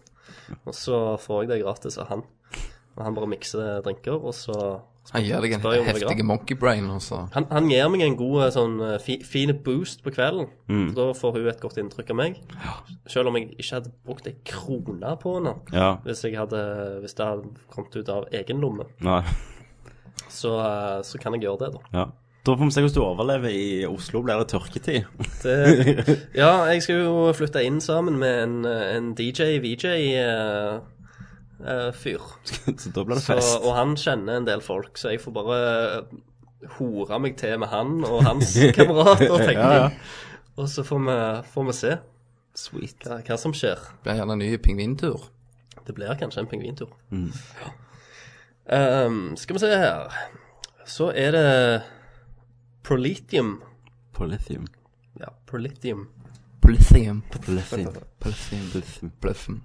Speaker 5: Og så får jeg det gratis av han. Og han bare mikser drinker, og så
Speaker 6: Han gir deg en
Speaker 5: Spør jo om det går.
Speaker 6: heftig monkey brain, og så
Speaker 5: han, han gir meg en god eh, sånn eh, fi, fin boost på kvelden.
Speaker 1: Mm.
Speaker 5: Så da får hun et godt inntrykk av meg. Selv om jeg ikke hadde brukt ei krone på henne
Speaker 1: Ja.
Speaker 5: hvis, jeg hadde, hvis det hadde kommet ut av egen lomme,
Speaker 1: Nei.
Speaker 5: så, eh, så kan jeg gjøre det, da.
Speaker 1: Ja. Da får vi se hvordan du overlever i Oslo. Blir det tørketid?
Speaker 5: Det, ja, jeg skal jo flytte inn sammen med en, eh, en DJ-VJ-fyr.
Speaker 1: så da blir det fest.
Speaker 5: eh, og han kjenner en del folk, så jeg får bare eh, hore meg til med han og hans kamerater, tenker jeg.
Speaker 1: Ja, ja.
Speaker 5: Og så får vi, får vi se
Speaker 1: Sweet.
Speaker 5: hva, hva som skjer.
Speaker 6: blir det gjerne en ny pingvintur.
Speaker 5: Det blir kanskje en pingvintur. Ja. Um, skal vi se her Så er det Prolithium.
Speaker 1: Polythium.
Speaker 5: Ja, Prolithium.
Speaker 6: Blithium.
Speaker 1: Polythium.
Speaker 6: Blithium.
Speaker 1: Polythium.
Speaker 6: Blithium.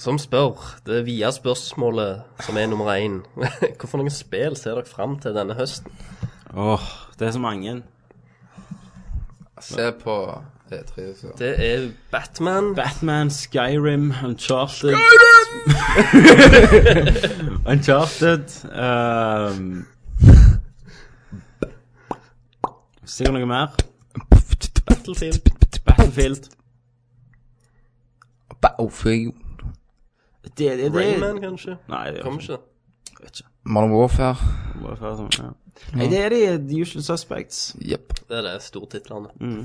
Speaker 5: Som spør, det er via spørsmålet som er nummer én. Hvorfor noen spill ser dere fram til denne høsten?
Speaker 1: Åh, det er så mange.
Speaker 6: Se på eh, E3. så-
Speaker 5: Det er Batman.
Speaker 1: Batman, Skyrim, Uncharted Uncharted ehm, Sikkert noe mer.
Speaker 5: Battlefield.
Speaker 1: Battlefield.
Speaker 6: Battlefield.
Speaker 1: Det, det, det.
Speaker 5: Rayman, kanskje?
Speaker 1: Nei, det
Speaker 5: Kommer ikke.
Speaker 6: Modern Warfare.
Speaker 1: Bare før sånn, ja. Nei, det er de the usual suspects.
Speaker 6: Jepp.
Speaker 5: Det er det stortitlene.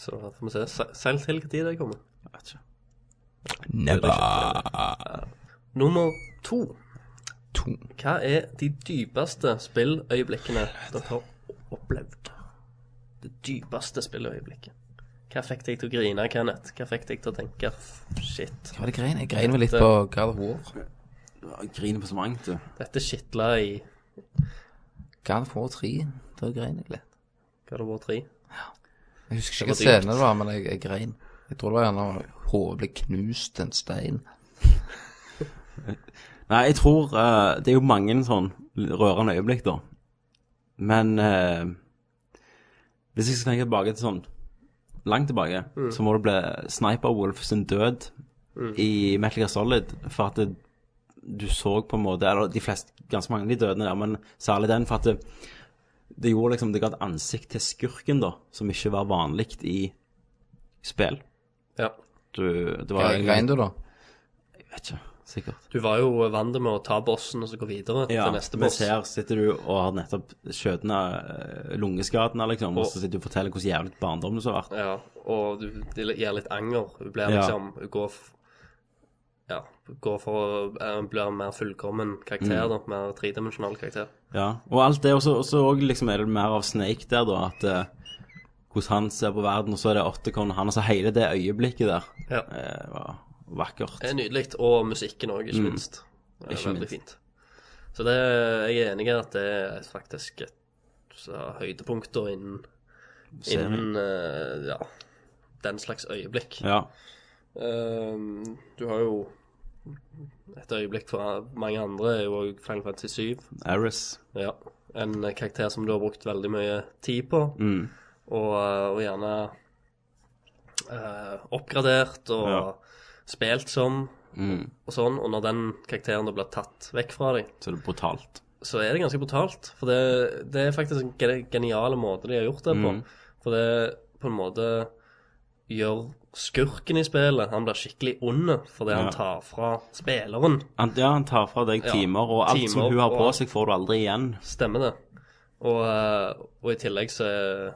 Speaker 5: Så får vi se. Se- Seil til når det kommer.
Speaker 6: Never.
Speaker 5: Nummer to.
Speaker 6: To.
Speaker 5: Hva er de dypeste spilløyeblikkene dere har opplevd? Det dypeste spilløyeblikket. Hva fikk deg til å grine, Kenneth? Hva fikk deg til å tenke shit?
Speaker 6: Hva var det grein? Jeg grein vel litt på God of War.
Speaker 1: Jeg griner på så mangt, du.
Speaker 5: Dette skitla i
Speaker 6: God of War 3. Da grein jeg litt.
Speaker 5: God of War 3.
Speaker 6: Jeg husker
Speaker 5: Det
Speaker 6: ikke
Speaker 5: var
Speaker 6: scenen det var, men jeg, jeg grein. Jeg tror det var gjerne hodet ble knust en stein.
Speaker 1: Nei, jeg tror eh, Det er jo mange sånn rørende øyeblikk, da. Men eh, hvis jeg skal tenke tilbake til sånn langt tilbake, så må det bli Sniper Wolf sin død i Metal Gear Solid. For at det, du så på en måte Eller de fleste, ganske mange av de dødene der, men særlig den. For at det, det gjorde liksom Det ga et ansikt til skurken, da, som ikke var vanlig i spill.
Speaker 5: Ja.
Speaker 1: Du, det var
Speaker 6: Grein du, da?
Speaker 1: Jeg vet ikke. Sikkert.
Speaker 5: Du var jo vant med å ta bossen og så gå videre
Speaker 1: Ja,
Speaker 5: til neste boss.
Speaker 1: mens her sitter du og har nettopp skjøtene lungeskadene, liksom, og
Speaker 5: Og-
Speaker 1: så sitter du og forteller hvordan jævlig barndommen så har vært.
Speaker 5: Ja, og du, det gir litt anger. Hun blir
Speaker 1: Ja.
Speaker 5: liksom Hun går, f- ja, hun går for å eh, bli en mer fullkommen karakter,
Speaker 1: Mm.
Speaker 5: da. Mer tredimensjonal karakter.
Speaker 1: Ja, og alt det, og så- og så og liksom er det mer av Snake der, da, at eh, hvordan han ser på verden, og så er det Ottercon, og han, altså hele det øyeblikket der,
Speaker 5: Ja.
Speaker 1: eh, var vakkert.
Speaker 5: Det er nydelig. Og musikken òg, ikke
Speaker 1: Mm.
Speaker 5: minst. Det er
Speaker 1: Ikke
Speaker 5: veldig
Speaker 1: minst.
Speaker 5: fint. Så det, jeg er enig i at det er faktisk et så, høydepunkt da innen,
Speaker 1: Serien.
Speaker 5: innen eh, ja, den slags øyeblikk.
Speaker 1: Ja,
Speaker 5: Ehm, du har jo et øyeblikk fra mange andre, er jo også Final Fantasy 7.
Speaker 1: Eris.
Speaker 5: Ja. En karakter som du har brukt veldig mye tid på,
Speaker 1: Mm.
Speaker 5: og, og gjerne eh, oppgradert og
Speaker 1: Ja.
Speaker 5: spilt som
Speaker 1: Mm.
Speaker 5: og sånn. Og når den karakteren da blir tatt vekk fra deg,
Speaker 1: Så det er brutalt.
Speaker 5: så er det ganske brutalt. For det, det er faktisk en ge- geniale måte de har gjort det på.
Speaker 1: Mm.
Speaker 5: For det på en måte gjør skurken i spillet Han blir skikkelig ond fordi
Speaker 1: Ja.
Speaker 5: han tar fra spilleren.
Speaker 1: Han, ja, han tar fra deg
Speaker 5: Ja,
Speaker 1: timer, og alt som
Speaker 5: timer,
Speaker 1: hun har på
Speaker 5: og-
Speaker 1: seg får du aldri igjen.
Speaker 5: Stemmer det. Og, eh, og i tillegg så,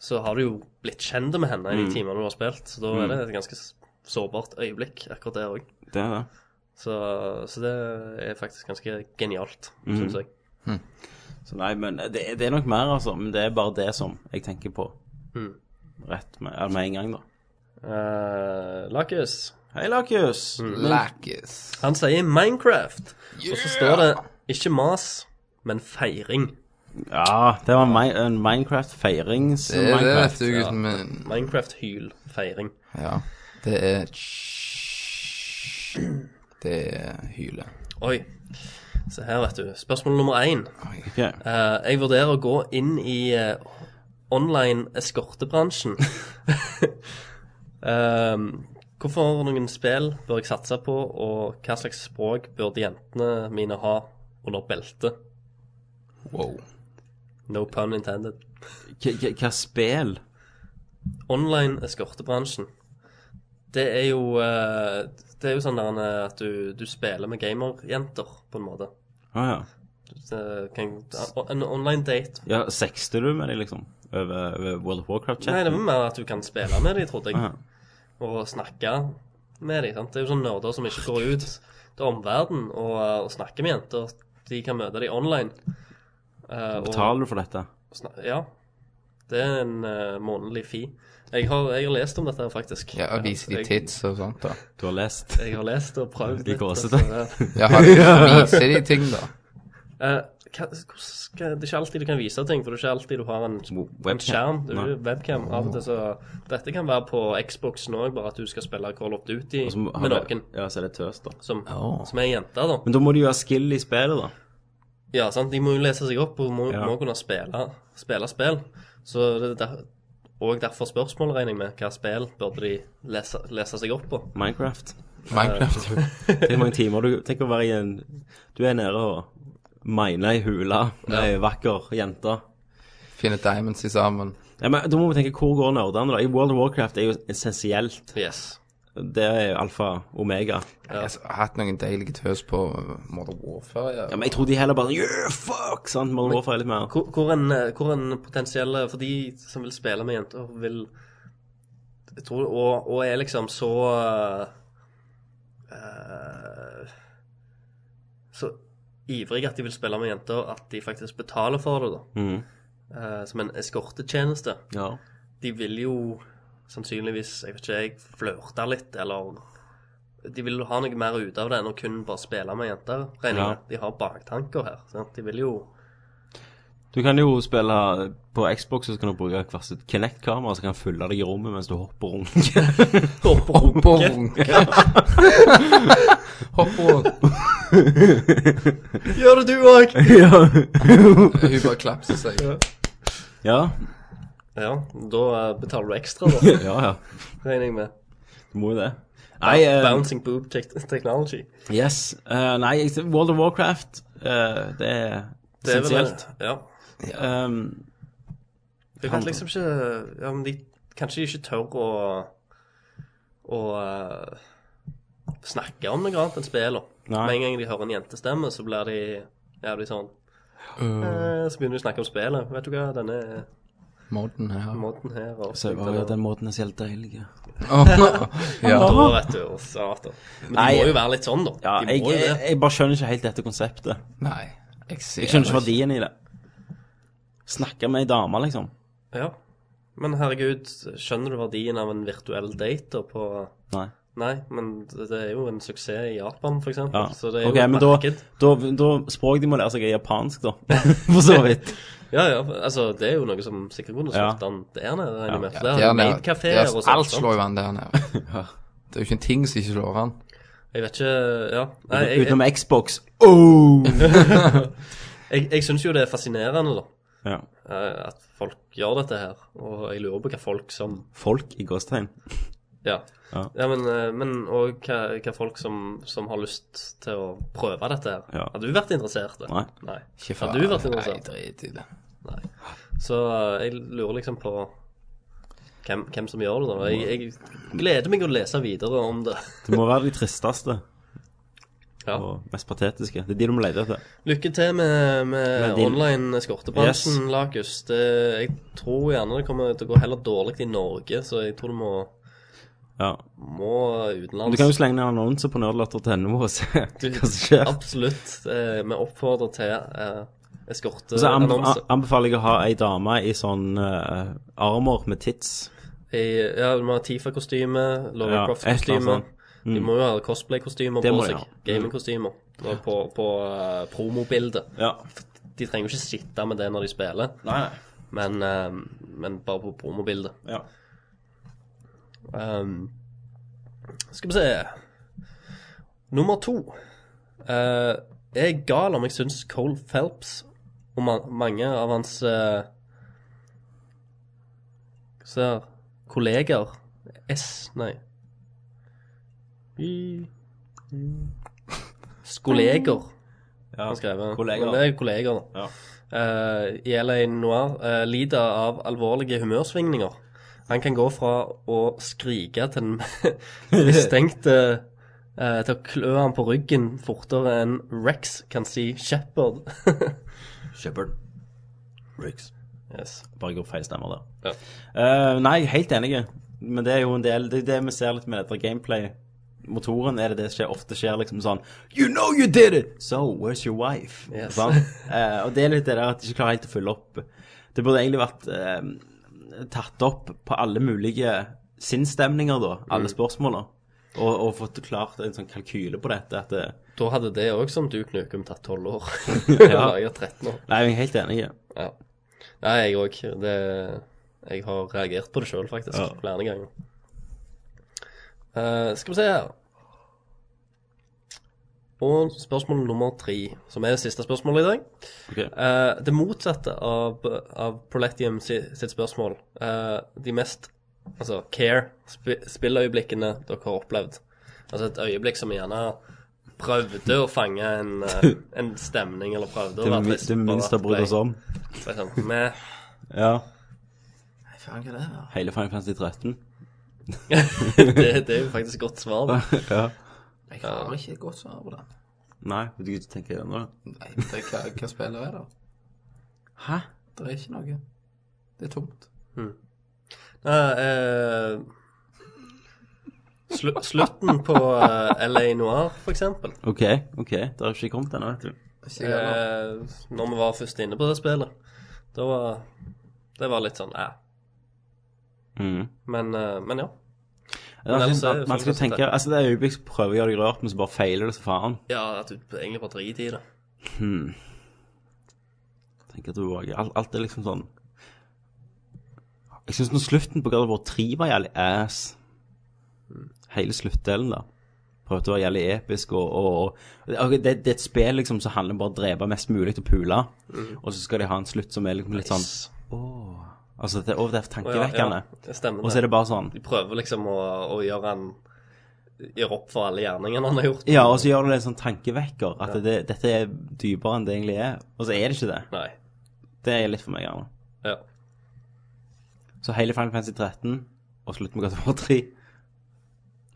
Speaker 5: så har du jo blitt kjent med henne i
Speaker 1: Mm.
Speaker 5: de timene du har spilt, så da er det et ganske sårbart øyeblikk akkurat der òg.
Speaker 1: Det er det.
Speaker 5: Så, så det er faktisk ganske genialt,
Speaker 1: Mm.
Speaker 5: syns jeg.
Speaker 1: Så nei, men det, det er nok mer, altså. Men det er bare det som jeg tenker på
Speaker 5: Mm.
Speaker 1: rett med, eller med en gang, da.
Speaker 5: Uh, Lakis,
Speaker 1: Hei, Lakius.
Speaker 6: Mm. Lackis.
Speaker 5: han sier Minecraft, og så står det ikke mas, men feiring.
Speaker 1: Ja, det var en Mi- en Minecraft-feirings
Speaker 6: Det er det, vet
Speaker 1: Minecraft.
Speaker 6: du, gutten min.
Speaker 5: Minecraft-hyl, feiring.
Speaker 6: Ja. Det er tss. Det er hyle.
Speaker 5: Oi. Se her, vet du. Spørsmål nummer én.
Speaker 1: Ok.
Speaker 5: Eh, jeg vurderer å gå inn i eh, online eskortebransjen. Ehm, hvorfor noen spill bør jeg satse på, og hva slags språk burde jentene mine ha under beltet?
Speaker 6: Wow.
Speaker 5: No pun intended.
Speaker 1: K- k- Hva spill?
Speaker 5: Online eskortebransjen. Det er jo eh, Det er jo sånn der eh, at du, du spiller med gamerjenter, på en måte.
Speaker 1: Å ja.
Speaker 5: Det kan, en online date.
Speaker 1: ja. Sexter du med dem, liksom? Over, over World of
Speaker 5: Nei, det
Speaker 1: Warcraft-chatten?
Speaker 5: var mer at du kan spille med dem, trodde jeg.
Speaker 1: Aha.
Speaker 5: og snakke med dem. Sant? Det er jo sånne nerder som ikke går ut til omverdenen og, eh, og snakker med jenter. De kan møte dem online. Eh,
Speaker 1: Betaler du for dette?
Speaker 5: og sna- ja. Det er en eh, månedlig fee. Jeg har, jeg har lest om dette, her, faktisk.
Speaker 6: Ja, og viser de
Speaker 5: Jeg-
Speaker 6: tits og sånt, da.
Speaker 1: Du har lest?
Speaker 5: Jeg har lest og prøvd.
Speaker 1: De
Speaker 5: litt,
Speaker 1: gåsete.
Speaker 5: altså, det-
Speaker 6: Ja, viser de ting, da?
Speaker 5: Eh, hva, hvordan skal, det er ikke alltid du kan vise ting, for det er ikke alltid du har en, en
Speaker 1: webcam.
Speaker 5: skjerm. Det er jo
Speaker 1: Nei.
Speaker 5: webcam av og til, så dette kan være på Xboxen òg, bare at du skal spille Call of Duty
Speaker 1: Som har-
Speaker 5: med noen
Speaker 1: Ja, så er det tøs, da.
Speaker 5: som, som er jenter, da.
Speaker 1: Men da må du jo ha skill i spillet, da.
Speaker 5: Ja, sant? de må jo lese seg opp og må,
Speaker 1: Ja.
Speaker 5: må kunne spille, spille spill. Så det er der, og derfor spørsmål regner jeg med. Hva spill burde de lese, lese seg opp på?
Speaker 1: Minecraft.
Speaker 6: Minecraft.
Speaker 1: Det er mange timer du Tenk å være i en Du er nede og miner ei hule med ei vakker jente.
Speaker 6: Finne diamonds i sammen.
Speaker 1: Ja, men da må vi tenke hvor går nerdene, da? I World of Warcraft er jo essensielt.
Speaker 5: Yes.
Speaker 1: Det er jo alfa omega.
Speaker 6: Altså, jeg har hatt noen deilige tøs på Modern Warfare. Ja.
Speaker 1: Ja, men jeg tror de heller bare Yeah, fuck! Sant? Modern Warfare er litt mer
Speaker 5: Hvor, hvor, en, eh, hvor en potensiell eh, For de som vil spille med jenter, vil jeg tror, og, og er liksom så eh, Så ivrige at de vil spille med jenter at de faktisk betaler for det, da.
Speaker 1: Mhm.
Speaker 5: Eh, som en eskortetjeneste.
Speaker 1: Ja.
Speaker 5: de vil jo sannsynligvis, jeg vet ikke jeg, flørte litt, eller De vil ha noe mer ut av det enn å kun bare spille med jenter, regner jeg
Speaker 1: Ja.
Speaker 5: med. De har baktanker her. Sant? De vil jo
Speaker 1: Du kan jo spille på Xbox, så kan du bruke hvert sitt Kinect-kamera, så kan følge deg i rommet mens du hopper og runker.
Speaker 5: hopper
Speaker 6: og runker. hopper og
Speaker 5: Gjør det du òg!
Speaker 1: ja.
Speaker 6: Hun bare klapser seg.
Speaker 1: ja.
Speaker 5: Ja, da eh, betaler du ekstra, da.
Speaker 1: Ja, ja.
Speaker 5: Regner jeg med.
Speaker 1: Du må jo det. Nei, eh,
Speaker 5: Bouncing boob tech technology.
Speaker 1: yes. Eh, nei, jeg- World of Warcraft, eh, det er
Speaker 5: Det er vel
Speaker 1: essensielt.
Speaker 5: Ja.
Speaker 1: Um,
Speaker 5: Du kan liksom ikke Ja, men de kanskje de ikke tør å å eh, snakke om noe annet enn spiller.
Speaker 1: Nei.
Speaker 5: Med en gang de hører en jentestemme, så blir de jævlig sånn
Speaker 1: Øh.
Speaker 5: eh, Så begynner de å snakke om spillet. Vet du hva, denne
Speaker 6: Modden her.
Speaker 5: måten her og
Speaker 1: så, å, ja, den måten er så helt deilig. ja.
Speaker 5: ja.
Speaker 6: ja.
Speaker 5: Da, vet du, og satan. Men de
Speaker 1: Nei,
Speaker 5: må jo være litt sånn, da.
Speaker 1: Ja,
Speaker 5: de
Speaker 1: jeg,
Speaker 5: må jo
Speaker 1: jeg,
Speaker 5: det.
Speaker 1: jeg bare skjønner ikke helt dette konseptet.
Speaker 6: Nei. Jeg, ser
Speaker 1: Jeg skjønner
Speaker 6: det
Speaker 1: ikke verdien i det. Snakke med ei dame, liksom.
Speaker 5: Ja. Men herregud, skjønner du verdien av en virtuell date da på
Speaker 1: Nei.
Speaker 5: Nei, men det det er jo en suksess i Japan, for eksempel.
Speaker 1: Ja.
Speaker 5: Så det er
Speaker 1: ok,
Speaker 5: jo
Speaker 1: men
Speaker 5: et
Speaker 1: da,
Speaker 5: marked.
Speaker 1: da, da Språk de må lære seg, er japansk, da. For så vidt.
Speaker 5: Ja, ja, altså det er jo noe som sikkert kunne slått an der nede, regner jeg med.
Speaker 6: Ja,
Speaker 5: For der
Speaker 6: der
Speaker 5: er
Speaker 6: nede-
Speaker 5: maidkafeer
Speaker 6: der-
Speaker 5: og sånt.
Speaker 6: Alt
Speaker 5: sant?
Speaker 6: slår jo an der nede. Det er jo ikke en ting som ikke slår an.
Speaker 5: Jeg vet ikke Ja. Nei, jeg, jeg,
Speaker 1: Utenom Xbox. Oh!
Speaker 5: jeg, jeg syns jo det er fascinerende, da.
Speaker 1: Ja.
Speaker 5: eh, At folk gjør dette her. Og jeg lurer på hva folk som
Speaker 1: Folk i gåstegn.
Speaker 5: Ja.
Speaker 1: Ja.
Speaker 5: ja men, eh, men og hva, hva folk som, som har lyst til å prøve dette her.
Speaker 1: Ja.
Speaker 5: Har du vært interessert? da?
Speaker 1: Nei.
Speaker 5: Nei.
Speaker 6: Ikke
Speaker 5: Har du vært
Speaker 6: Nei,
Speaker 5: interessert?
Speaker 6: drit i det.
Speaker 5: Så eh, jeg lurer liksom på hvem, hvem som gjør det, da. Jeg,
Speaker 1: Mm.
Speaker 5: jeg gleder meg å lese videre om det.
Speaker 1: Det må være de tristeste
Speaker 5: Ja.
Speaker 1: og mest patetiske. Det er de du må lete etter.
Speaker 5: Lykke til med, med
Speaker 1: din-
Speaker 5: online eskortebransjen, Lakus. Det, jeg tror gjerne det kommer til å gå heller dårlig i Norge, så jeg tror du må,
Speaker 1: Ja.
Speaker 5: må utenlands.
Speaker 1: Du kan jo slenge ned annonser på nerdlatter.no og se hva som skjer.
Speaker 5: Absolutt. Eh, vi oppfordrer til eh,
Speaker 1: Og så anbe
Speaker 5: eskorteannonse.
Speaker 1: anbefaler jeg å ha ei dame i sånn eh, armor med tits.
Speaker 5: I- Ja, du må ha Tifa-kostyme, Lara
Speaker 1: Ja, et eller
Speaker 5: Croft-kostyme.
Speaker 1: annet sånt. Mm.
Speaker 5: De må jo ha cosplay-kostymer
Speaker 1: Det
Speaker 5: på
Speaker 1: må de
Speaker 5: seg.
Speaker 1: ha. Mm.
Speaker 5: Gaming-kostymer. Og På, på eh, promobildet.
Speaker 1: Ja.
Speaker 5: De trenger jo ikke sitte med det når de spiller,
Speaker 1: Nei,
Speaker 5: men, eh, men bare på promobildet.
Speaker 1: Ja.
Speaker 5: Ehm, skal vi se Nummer to. Eh, jeg er gal om jeg syns Cole Phelps og ma mange av hans eh, Hva skal vi se her kolleger S Nei. I- Skoleger,
Speaker 1: Ja.
Speaker 5: har han skrevet.
Speaker 1: Kolleger.
Speaker 5: Men det er jo kolleger, da.
Speaker 1: Ja.
Speaker 5: Eh, I LA Noir eh, lider av alvorlige humørsvingninger. Han kan gå fra å skrike til den mistenkte eh, til å klø han på ryggen fortere enn Rex kan si Shepherd.
Speaker 1: Shepherd. Riggs.
Speaker 5: yes.
Speaker 1: Bare går feil stemmer der.
Speaker 5: Ja.
Speaker 1: Eh, nei, helt enig. Men det er jo en del Det er det vi ser litt med dette gameplay-motoren. Er det det som skjer, ofte skjer liksom sånn You know you did it! So where's your wife?
Speaker 5: Yes.
Speaker 1: Sant? Eh, og det er litt det der at de ikke klarer helt å følge opp. Det burde egentlig vært eh, tatt opp på alle mulige sinnsstemninger, da. Alle spørsmåla. Og, og fått klart en sånn kalkyle på dette. At eh, det,
Speaker 5: Da hadde det òg, som du, Knukum, tatt tolv år.
Speaker 1: Ja.
Speaker 5: Jeg er 13 år.
Speaker 1: nei, jeg er helt enig.
Speaker 5: Ja. Nei, jeg òg. Det Jeg har reagert på det sjøl, faktisk.
Speaker 1: Ja.
Speaker 5: Flere ganger. Eh, skal vi se her Og spørsmål nummer tre, som er det siste spørsmålet i dag.
Speaker 1: Ok.
Speaker 5: Eh, det motsatte av, av Proletium si, sitt spørsmål. Eh, de mest altså, care sp spilløyeblikkene dere har opplevd. Altså et øyeblikk som gjerne prøvde å fange en, eh, en stemning, eller prøvde å
Speaker 1: Det,
Speaker 5: være
Speaker 1: mi- det minste jeg bryr oss om.
Speaker 5: For eksempel med
Speaker 1: Ja.
Speaker 6: Nei, faen, hva er det der?
Speaker 1: Hele Final Fantasy 13.
Speaker 5: det, det er jo faktisk et godt svar. da.
Speaker 1: ja.
Speaker 6: Jeg har ikke et godt svar på det.
Speaker 1: Nei, du kan ikke tenke gjennom det.
Speaker 6: Nei, det, hva, hva spiller er det?
Speaker 1: Hæ?
Speaker 6: Det er ikke noe. Det er tomt.
Speaker 5: Nei, eh, slu, slutten på eh, LA Noir, for eksempel.
Speaker 1: OK, ok, det har ikke kommet ennå, vet du.
Speaker 6: Ikke jeg heller.
Speaker 5: Eh, når vi var først inne på det spillet. Da var det var litt sånn eh.
Speaker 1: Mm.
Speaker 5: Men, eh, men ja.
Speaker 1: Man,
Speaker 5: ellers er
Speaker 1: skal,
Speaker 5: det
Speaker 1: man skal
Speaker 5: faktisk
Speaker 1: tenke,
Speaker 5: dette.
Speaker 1: altså Det er øyeblikk som prøver å gjøre deg rørt, men så bare feiler det så faen.
Speaker 5: Ja, at du egentlig bare driter i det.
Speaker 1: tenker du òg. Alt, alt er liksom sånn Jeg syns nå slutten på God of War 3 var jævlig ass. Hele sluttdelen, da. Prøvde å være jævlig episk og, og, og ok, det, det er et spill liksom som handler om bare å drepe mest mulig og pule,
Speaker 5: Mm.
Speaker 1: og så skal de ha en slutt som er liksom litt sånn åh. Altså, det, og det er tankevekkende.
Speaker 5: Å, ja, ja, det stemmer
Speaker 1: og så er
Speaker 5: det.
Speaker 1: det bare sånn
Speaker 5: De prøver liksom å, å gjøre han Gjøre opp for alle gjerningene han har gjort.
Speaker 1: Ja, og så gjør du det en sånn tankevekker, at det, dette er dypere enn det egentlig er. Og så er det ikke det.
Speaker 5: Nei.
Speaker 1: Det er litt for meg gjerne.
Speaker 5: Ja.
Speaker 1: Så hele Final Fantasy 13 og slutten med God of War 3.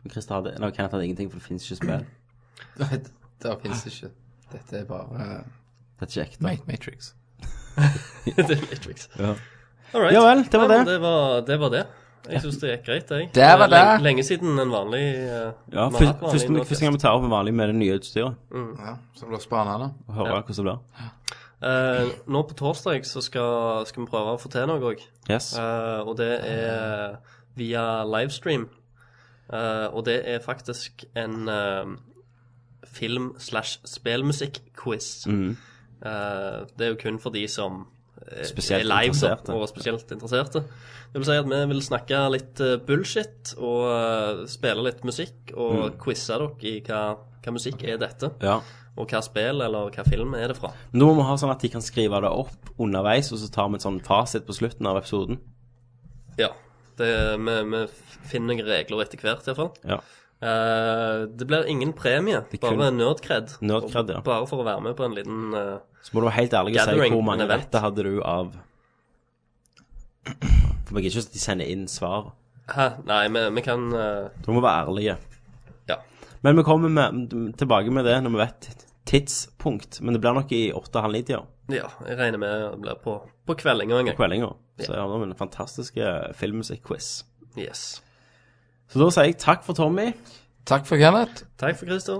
Speaker 1: Men Christer hadde, nei, Kenneth hadde ingenting, for det finnes ikke spill.
Speaker 6: Nei, det fins ikke. Dette er bare eh,
Speaker 1: Det er kjekt. da.
Speaker 6: Ma- Matrix.
Speaker 5: det er Matrix.
Speaker 1: Ja.
Speaker 5: All right.
Speaker 1: Ja vel, det var
Speaker 5: Nei,
Speaker 1: det.
Speaker 5: men Det var det. Var det. Jeg syns det gikk greit, jeg.
Speaker 6: Det var
Speaker 5: er lenge-
Speaker 6: det.
Speaker 5: Lenge siden en vanlig eh,
Speaker 1: Ja,
Speaker 5: vi har
Speaker 1: først,
Speaker 5: hatt vanlig
Speaker 1: første,
Speaker 5: nå
Speaker 1: første gang vi tar opp en vanlig med det nye utstyret,
Speaker 6: Ja, så blir det spennende.
Speaker 1: og hører hvordan det blir.
Speaker 5: Eh, nå på torsdag så skal, skal vi prøve å få til noe òg.
Speaker 1: Yes.
Speaker 5: Eh, og det er via livestream. Eh, og det er faktisk en eh, film-slash-spelmusikk-quiz.
Speaker 1: Mm.
Speaker 5: Eh, det er jo kun for de som eh,
Speaker 1: Spesielt
Speaker 5: er live da,
Speaker 1: interesserte.
Speaker 5: og spesielt interesserte. Det vil si at vi vil snakke litt eh, bullshit og eh, spille litt musikk og
Speaker 1: Mm.
Speaker 5: quize dere i hva, hva musikk er dette,
Speaker 1: Ja.
Speaker 5: og hva spill eller hva film er det fra.
Speaker 1: Men da må vi ha sånn at de kan skrive det opp underveis, og så tar vi en sånn fasit på slutten av episoden.
Speaker 5: Ja. Det, vi, vi finner noen regler etter hvert, iallfall.
Speaker 1: Ja.
Speaker 5: Eh, det blir ingen premie,
Speaker 1: Det er kun-
Speaker 5: bare nerdcred.
Speaker 1: Nerdcred, ja.
Speaker 5: Og Bare for å være med på en liten eh,
Speaker 1: Så må du være helt ærlig og si
Speaker 5: Gathering,
Speaker 1: hvor mange
Speaker 5: men jeg vet.
Speaker 1: rette hadde du av For vi gidder ikke at de sender inn svar.
Speaker 5: Hæ? Nei, vi, vi kan eh,
Speaker 1: Du må være ærlige.
Speaker 5: Ja.
Speaker 1: Men vi kommer med, tilbake med det når vi vet tidspunkt. Men det blir nok i åtte-halv-ni-tida.
Speaker 5: Ja, jeg regner med det blir på, på kveldinga en gang.
Speaker 1: Kveldinga. Så har vi en fantastisk eh, filmmusikk-quiz.
Speaker 5: Yes.
Speaker 1: Så da sier jeg takk for Tommy.
Speaker 6: Takk for Kenneth.
Speaker 5: Takk for Christer.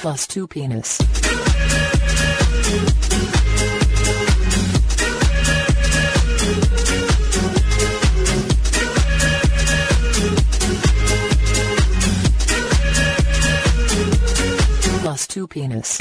Speaker 11: Plus two penis. Plus two penis.